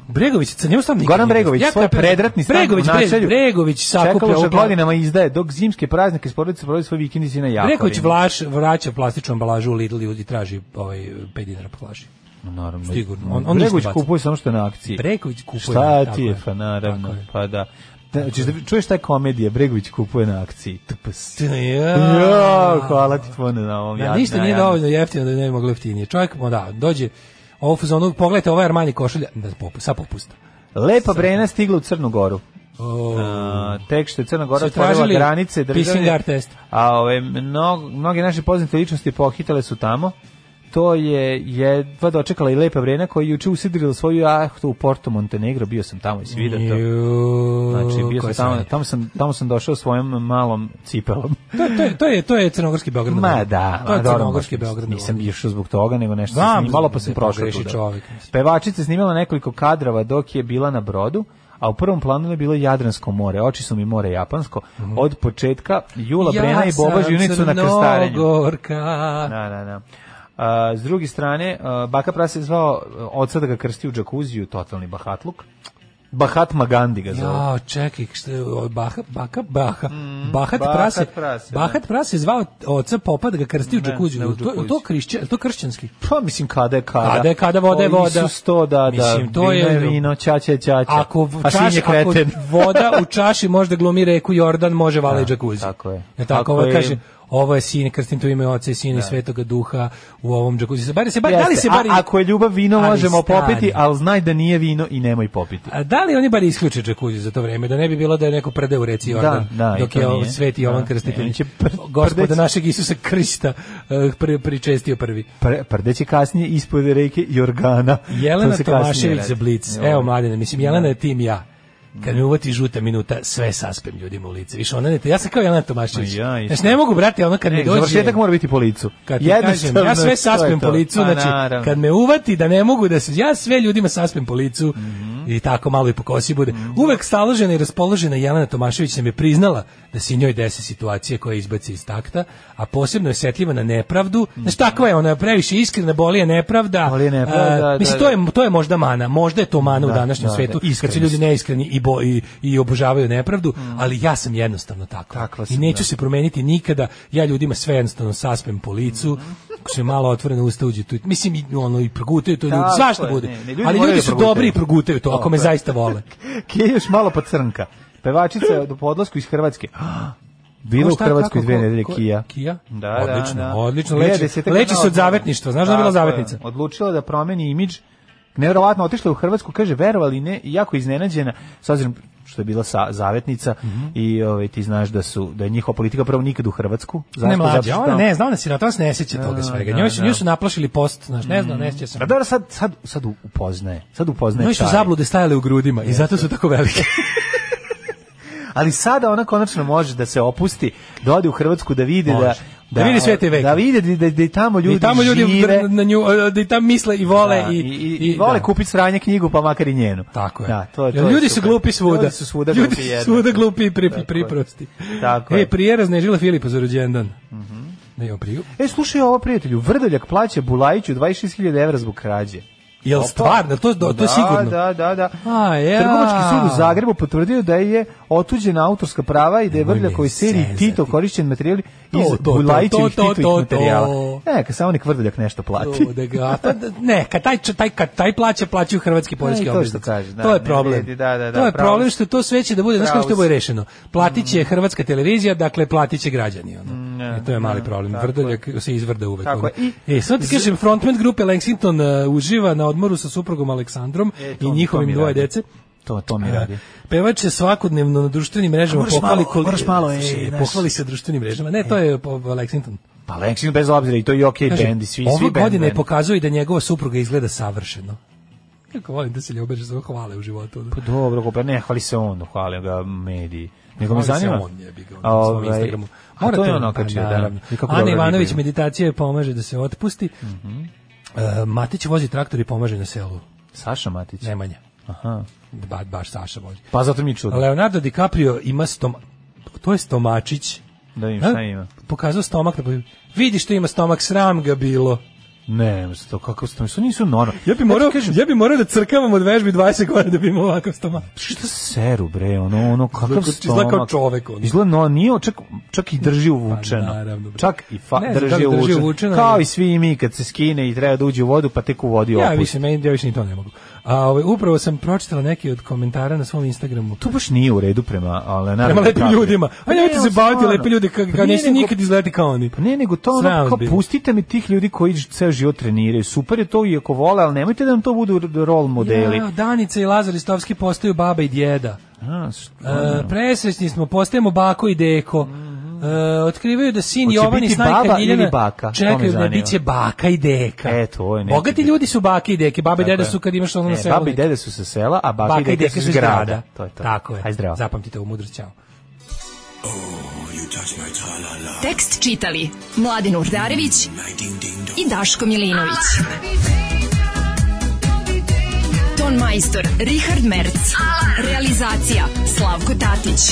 Speaker 7: Bregović, sa njemu stan nikad
Speaker 6: Goran
Speaker 7: nije bio.
Speaker 6: Bregović,
Speaker 7: Ja
Speaker 6: svoj
Speaker 7: kapiram-
Speaker 6: predratni stan
Speaker 7: Bregović,
Speaker 6: u
Speaker 7: Bre-
Speaker 6: Načelju.
Speaker 7: Bregović sakuplja
Speaker 6: Čekalo
Speaker 7: u
Speaker 6: je godinama izdaje, dok zimske praznike s porodicom provodi svoj vikendici na Jakovini.
Speaker 7: Bregović Vlaš vraća plastičnu ambalažu u Lidl i traži ovaj 5 dinara po flaši.
Speaker 6: Naravno.
Speaker 7: Pa Sigurno. On, on
Speaker 6: Bregović
Speaker 7: ništa baca.
Speaker 6: kupuje samo što je na akciji.
Speaker 7: Bregović kupuje,
Speaker 6: Šta
Speaker 7: tako
Speaker 6: ti je,
Speaker 7: je,
Speaker 6: pa naravno,
Speaker 7: tako je.
Speaker 6: pa da. Da, ćeš da vi- čuješ taj komedije, Bregović kupuje na akciji. Tps.
Speaker 7: Ja.
Speaker 6: Jo, hvala ti puno na ovom.
Speaker 7: Da,
Speaker 6: jadna,
Speaker 7: ništa nije
Speaker 6: jadna.
Speaker 7: dovoljno jeftino da bi ne bi moglo jeftinije. Čovjek, ma da, dođe ovo fazonu, pogledajte, ovaj Armani košulja, da, popu, sa popusta.
Speaker 6: Lepa Brena stigla u Crnu Goru.
Speaker 7: O,
Speaker 6: A, tek što je Crna Gora
Speaker 7: Su
Speaker 6: otvorila
Speaker 7: tražili
Speaker 6: granice
Speaker 7: pissing
Speaker 6: države,
Speaker 7: art test.
Speaker 6: a ove, mnog, mnoge naše poznate ličnosti pohitale su tamo. To je jedva dočekala i Lepa Brena koja je juče usidrila svoju jahtu u Porto Montenegro, bio sam tamo i svi to.
Speaker 7: Ju,
Speaker 6: Znači, bio sam
Speaker 7: koje
Speaker 6: tamo,
Speaker 7: sranje.
Speaker 6: tamo sam, tamo sam došao svojom malom cipelom.
Speaker 7: To, to, je, to, je, to je crnogorski Beograd.
Speaker 6: Ma da,
Speaker 7: to
Speaker 6: ma
Speaker 7: je
Speaker 6: dobro,
Speaker 7: crnogorski
Speaker 6: možda
Speaker 7: Beograd.
Speaker 6: Nisam išao zbog toga, nego nešto
Speaker 7: Znam,
Speaker 6: sam snimalo, pa
Speaker 7: znam,
Speaker 6: sam
Speaker 7: da
Speaker 6: prošao
Speaker 7: pogreši
Speaker 6: tuda.
Speaker 7: čovjek, mislim.
Speaker 6: Pevačica je snimala nekoliko kadrava dok je bila na brodu, a u prvom planu je bilo Jadransko more, oči su mi more japansko,
Speaker 7: Mhm.
Speaker 6: od početka Jula Brena i Boba Žunicu na krstarenju.
Speaker 7: Crnogorka.
Speaker 6: Da, da, da. A, s druge strane, a, baka prase je zvao a, oca da ga krsti u džakuziju, totalni bahatluk. Bahatma Gandhi ga zove.
Speaker 7: Ja, čekaj, šta je, o, Baha, Baka, Baha, Bahat
Speaker 6: Mm, Bahat
Speaker 7: prase,
Speaker 6: prase, da.
Speaker 7: Bahat prase je zvao oca popa da ga krsti u
Speaker 6: Ne,
Speaker 7: džakuziju,
Speaker 6: ne u
Speaker 7: Jel to, jel to,
Speaker 6: džakuziju.
Speaker 7: krišće, jel to kršćanski?
Speaker 6: Pa mislim kada je kada.
Speaker 7: Kada je kada, voda je
Speaker 6: O,
Speaker 7: voda.
Speaker 6: Isus to da, da.
Speaker 7: Mislim, to
Speaker 6: vino
Speaker 7: je-
Speaker 6: je vino, čača je čača.
Speaker 7: Ako, v-
Speaker 6: a sin
Speaker 7: čaš,
Speaker 6: je
Speaker 7: ako
Speaker 6: pa kreten.
Speaker 7: voda u čaši može da glumi reku Jordan, može vala i džakuzi.
Speaker 6: tako je.
Speaker 7: Jel tako,
Speaker 6: Ako
Speaker 7: ovo
Speaker 6: je-
Speaker 7: kaže, ovo je sin, krstim tu ime oca i sina i svetoga duha u ovom džakuzi. Bari se, bar, da li se
Speaker 6: Jeste,
Speaker 7: bar...
Speaker 6: a, ako je ljubav vino
Speaker 7: Ali
Speaker 6: možemo
Speaker 7: stani.
Speaker 6: popiti, ali znaj da nije vino i nemoj popiti.
Speaker 7: A da li oni bar isključe džakuzi za to vreme, da ne bi bilo da je neko prde u reci Jordan,
Speaker 6: Da, da, i
Speaker 7: dok
Speaker 6: to
Speaker 7: je ovo
Speaker 6: nije.
Speaker 7: sveti Jovan
Speaker 6: Da,
Speaker 7: krstitelj.
Speaker 6: ne, on će pr-
Speaker 7: Gospoda
Speaker 6: prdeći.
Speaker 7: našeg Isusa Krista eh, pri- pričestio prvi.
Speaker 6: Pre, prdeći kasnije ispod reke Jorgana.
Speaker 7: Jelena
Speaker 6: To se kasnije
Speaker 7: Tomašević
Speaker 6: radi.
Speaker 7: za Blic.
Speaker 6: Joj.
Speaker 7: Evo mladene, mislim Jelena je tim ja. Kad me uvati žuta minuta, sve saspem ljudima u lice. Više ona ne, ja sam kao Jelena Tomašević.
Speaker 6: Ma ja isto.
Speaker 7: Znaš, ne mogu, brate, ono kad mi
Speaker 6: Ne,
Speaker 7: dođe...
Speaker 6: završetak mora biti po licu.
Speaker 7: Kad ti kažem, ja sve
Speaker 6: to je
Speaker 7: saspem
Speaker 6: to.
Speaker 7: po licu,
Speaker 6: Pa,
Speaker 7: znači,
Speaker 6: naravno.
Speaker 7: kad me uvati da ne mogu da se, ja sve ljudima saspem po licu,
Speaker 6: Mhm.
Speaker 7: i tako malo i po kosi bude. Uvek staložena i raspoložena Jelena Tomašević nam je priznala da se i njoj desi situacija koja izbaci iz takta, a posebno je osjetljiva na nepravdu. Znaš, takva je ona, previše iskrena, boli je nepravda.
Speaker 6: Boli je nepravda,
Speaker 7: A,
Speaker 6: da,
Speaker 7: mislim,
Speaker 6: da.
Speaker 7: to je, to je možda mana, možda je to mana
Speaker 6: Da,
Speaker 7: u današnjem
Speaker 6: da,
Speaker 7: svetu,
Speaker 6: da,
Speaker 7: kad su
Speaker 6: iskrenost.
Speaker 7: ljudi neiskreni i, bo, i, i obožavaju nepravdu,
Speaker 6: Mm.
Speaker 7: ali ja sam jednostavno tako. I neću se promeniti nikada, ja ljudima sve jednostavno saspem po licu,
Speaker 6: Mm-hmm.
Speaker 7: ako se malo otvoreno usta uđe tu, mislim, i, ono, i progutaju to ljudi,
Speaker 6: Tako
Speaker 7: svašta
Speaker 6: je,
Speaker 7: bude.
Speaker 6: ne, ne, ljudi
Speaker 7: ali ljudi
Speaker 6: moraju
Speaker 7: su
Speaker 6: progutaju.
Speaker 7: dobri i progutaju to, ako me
Speaker 6: Dobro.
Speaker 7: zaista vole.
Speaker 6: Kje je još malo pa crnka. Pevačica je po odlasku iz Hrvatske. Bila
Speaker 7: Ko,
Speaker 6: u
Speaker 7: šta,
Speaker 6: Hrvatskoj
Speaker 7: kako,
Speaker 6: dve
Speaker 7: ko,
Speaker 6: nedelje
Speaker 7: ko-
Speaker 6: Kija.
Speaker 7: Kija?
Speaker 6: Da,
Speaker 7: Odlično,
Speaker 6: da, da.
Speaker 7: odlično.
Speaker 6: Bila je
Speaker 7: Leči-
Speaker 6: desetak
Speaker 7: leči se
Speaker 6: godina
Speaker 7: od zavetništva. Znaš da je bila
Speaker 6: Tako
Speaker 7: zavetnica?
Speaker 6: Odlučila da promeni imidž. Neverovatno otišla je u Hrvatsku, kaže verovali ne, i jako iznenađena s obzirom što je bila sa, zavetnica
Speaker 7: Mhm.
Speaker 6: i ovaj ti znaš da su da je njihova politika prvo nikad u Hrvatsku.
Speaker 7: Ne
Speaker 6: Zato
Speaker 7: mlađa,
Speaker 6: što-
Speaker 7: ona ne zna, ona si na to ne sjeća
Speaker 6: Da,
Speaker 7: toga svega.
Speaker 6: da,
Speaker 7: Njoj su,
Speaker 6: da.
Speaker 7: nju su naplašili post, znaš, ne zna, ne sjeća se.
Speaker 6: Pa dobro, sad, sad, sad upoznaje. Sad upoznaje
Speaker 7: Njoj su
Speaker 6: čare.
Speaker 7: zablude stajale u grudima i zato su tako velike.
Speaker 6: Ali sada ona konačno može da se opusti, da ode u Hrvatsku da vidi da
Speaker 7: Može. Da vidi sve te veke.
Speaker 6: Da vidi da, da, da i tamo ljudi,
Speaker 7: I tamo ljudi
Speaker 6: žive.
Speaker 7: dr- na nju, e, da i tam misle i vole
Speaker 6: Da,
Speaker 7: i,
Speaker 6: i, i vole
Speaker 7: da.
Speaker 6: kupiti sranje knjigu, pa makar i njenu. Tako
Speaker 7: je.
Speaker 6: Da, to, to
Speaker 7: Jer
Speaker 6: je
Speaker 7: ljudi su
Speaker 6: super.
Speaker 7: glupi svuda.
Speaker 6: Ljudi su svuda
Speaker 7: Ljudi
Speaker 6: glupi
Speaker 7: su
Speaker 6: jednako.
Speaker 7: svuda glupi i pri,
Speaker 6: Tako je.
Speaker 7: priprosti.
Speaker 6: Tako
Speaker 7: E,
Speaker 6: je. Mhm.
Speaker 7: prije raznežila Filipa za rođendan. Ne, on priju.
Speaker 6: E, slušaj ovo, prijatelju, Vrdoljak plaća Bulajiću 26.000 evra zbog krađe.
Speaker 7: Jel
Speaker 6: Opa.
Speaker 7: stvarno? To- to je
Speaker 6: Da,
Speaker 7: sigurno.
Speaker 6: Da, da, da.
Speaker 7: A, ja.
Speaker 6: Trgovački sud u Zagrebu potvrdio da je otuđena autorska prava i da je
Speaker 7: Nemoj me
Speaker 6: Vrljakovi seriji
Speaker 7: zezati.
Speaker 6: Tito korišćen materijal
Speaker 7: To,
Speaker 6: iz
Speaker 7: to, to,
Speaker 6: Bulajićevih
Speaker 7: to, to,
Speaker 6: Titovih
Speaker 7: to, to.
Speaker 6: materijala. Neka, samo nek Vrdoljak nešto plati.
Speaker 7: Da ga, pa da- ne, kad taj, č- taj, kad taj plaća, plaćaju hrvatski
Speaker 6: E,
Speaker 7: poreski
Speaker 6: to što
Speaker 7: obveznici.
Speaker 6: kažeš, da,
Speaker 7: to je
Speaker 6: ne
Speaker 7: problem.
Speaker 6: vrijedi, da, da, da,
Speaker 7: to je
Speaker 6: pravo
Speaker 7: problem
Speaker 6: si.
Speaker 7: što to sve će da bude, znaš
Speaker 6: Pravo
Speaker 7: kako što bude
Speaker 6: si.
Speaker 7: rešeno. Platit će hrvatska televizija, dakle platit će građani. Ono. E, to je mali
Speaker 6: Mm, ne,
Speaker 7: problem.
Speaker 6: tako
Speaker 7: Vrdoljak se izvrda uvek.
Speaker 6: Tako
Speaker 7: ono.
Speaker 6: je. I-
Speaker 7: e, sad ti kažem, frontman grupe Lexington e, uživa na odmoru sa suprugom Aleksandrom
Speaker 6: E, to-
Speaker 7: i
Speaker 6: to mi
Speaker 7: njihovim dvoje
Speaker 6: radi.
Speaker 7: dece.
Speaker 6: To, to mi radi.
Speaker 7: Pevač se svakodnevno na društvenim mrežama
Speaker 6: Moraš
Speaker 7: pohvali,
Speaker 6: malo, moraš malo, e,
Speaker 7: Slušaj,
Speaker 6: znaš. E.
Speaker 7: pohvali se društvenim mrežama. Ne, to je po- Lexington.
Speaker 6: Pa Lexington bez obzira i to je okej
Speaker 7: Kaže,
Speaker 6: okay bend i svi,
Speaker 7: Ove
Speaker 6: svi bend
Speaker 7: godine
Speaker 6: bend.
Speaker 7: pokazuje da njegova supruga izgleda savršeno. Kako volim da se ljubeže za hvale u životu. ono.
Speaker 6: Pa dobro, ko- pa ne, hvali se on, hvali ga mediji. Nego me
Speaker 7: Hvali se
Speaker 6: zanima.
Speaker 7: on, jebi ga, on
Speaker 6: A,
Speaker 7: na svom
Speaker 6: ovaj,
Speaker 7: Instagramu.
Speaker 6: A to je
Speaker 7: Morate-
Speaker 6: ono
Speaker 7: pa
Speaker 6: kačio, da.
Speaker 7: naravno.
Speaker 6: I kako
Speaker 7: Ana
Speaker 6: dobro Mhm.
Speaker 7: Ivanović
Speaker 6: vibraju.
Speaker 7: meditacija joj pomaže da se otpusti. E, Matić vozi traktor i pomaže na selu.
Speaker 6: Saša Matić.
Speaker 7: Nemanja.
Speaker 6: Aha.
Speaker 7: Ba, baš Saša vozi.
Speaker 6: Pa zato mi je čudno.
Speaker 7: Leonardo DiCaprio ima stom... To je stomačić.
Speaker 6: Da vidim
Speaker 7: A?
Speaker 6: šta ima.
Speaker 7: Pokazao stomak. na- Vidi što ima stomak, sram ga bilo.
Speaker 6: Ne, to kako ste, to nisu normalni.
Speaker 7: Ja bi morao, ja bi morao da crkavam od vežbi 20 godina da bi imao ovakav stomak.
Speaker 6: Šta seru bre, ono, ono kakav
Speaker 7: Izgleda-
Speaker 6: stomak.
Speaker 7: izgleda kao čovek, ono.
Speaker 6: Izgleda, no, nije, čak, čak i drži uvučeno.
Speaker 7: Pa naravno, bre.
Speaker 6: čak i fa,
Speaker 7: Ne znam da
Speaker 6: drži,
Speaker 7: li drži
Speaker 6: uvučeno.
Speaker 7: uvučeno,
Speaker 6: Kao
Speaker 7: ali-
Speaker 6: i svi mi kad se skine i treba da uđe u vodu, pa tek u vodi
Speaker 7: Ja
Speaker 6: opusti.
Speaker 7: više, meni, ja više ni to ne mogu. A, ovaj, upravo sam pročitala neki od komentara na svom Instagramu.
Speaker 6: To baš nije u redu prema a, Leonardo
Speaker 7: Prema lepim
Speaker 6: DiCaprio.
Speaker 7: ljudima. A nemojte
Speaker 6: Pa Ne, ono,
Speaker 7: se baviti
Speaker 6: stvarno.
Speaker 7: lepi ljudi, ka,
Speaker 6: Pa
Speaker 7: ka
Speaker 6: nije
Speaker 7: niste
Speaker 6: nego-
Speaker 7: nikad izgledati kao oni.
Speaker 6: Pa ne, nego to ono,
Speaker 7: Sram vas
Speaker 6: kao,
Speaker 7: bilo.
Speaker 6: pustite mi tih ljudi koji ceo život treniraju. Super je to iako vole, ali nemojte da nam to budu r- rol modeli.
Speaker 7: Ja, Danica i Lazar Istovski postaju baba i djeda.
Speaker 6: A, što-
Speaker 7: E, presrećni smo, postajemo bako i deko. E, otkrivaju da sin
Speaker 6: Mhm. Hoće
Speaker 7: Jovan i
Speaker 6: biti
Speaker 7: snajka
Speaker 6: baba ili
Speaker 7: Ljiljana
Speaker 6: baka? To me
Speaker 7: čekaju da
Speaker 6: zanima.
Speaker 7: biće baka i deka.
Speaker 6: E, to je neki
Speaker 7: Bogati
Speaker 6: bit.
Speaker 7: ljudi su bake i deke, babe i
Speaker 6: Tako
Speaker 7: deda
Speaker 6: je.
Speaker 7: su kad imaš ono na
Speaker 6: Ne,
Speaker 7: selu.
Speaker 6: babi i
Speaker 7: neki.
Speaker 6: dede su sa sela, a baka,
Speaker 7: Baka i deka su iz grada.
Speaker 6: To je to.
Speaker 7: Tako je.
Speaker 6: Aj zdravo.
Speaker 7: Zapamtite ovu mudrost, ćao.
Speaker 5: Tekst čitali Mladin Urdarević i Daško Milinović. Ton majstor Richard Merc. Realizacija Slavko Tatić.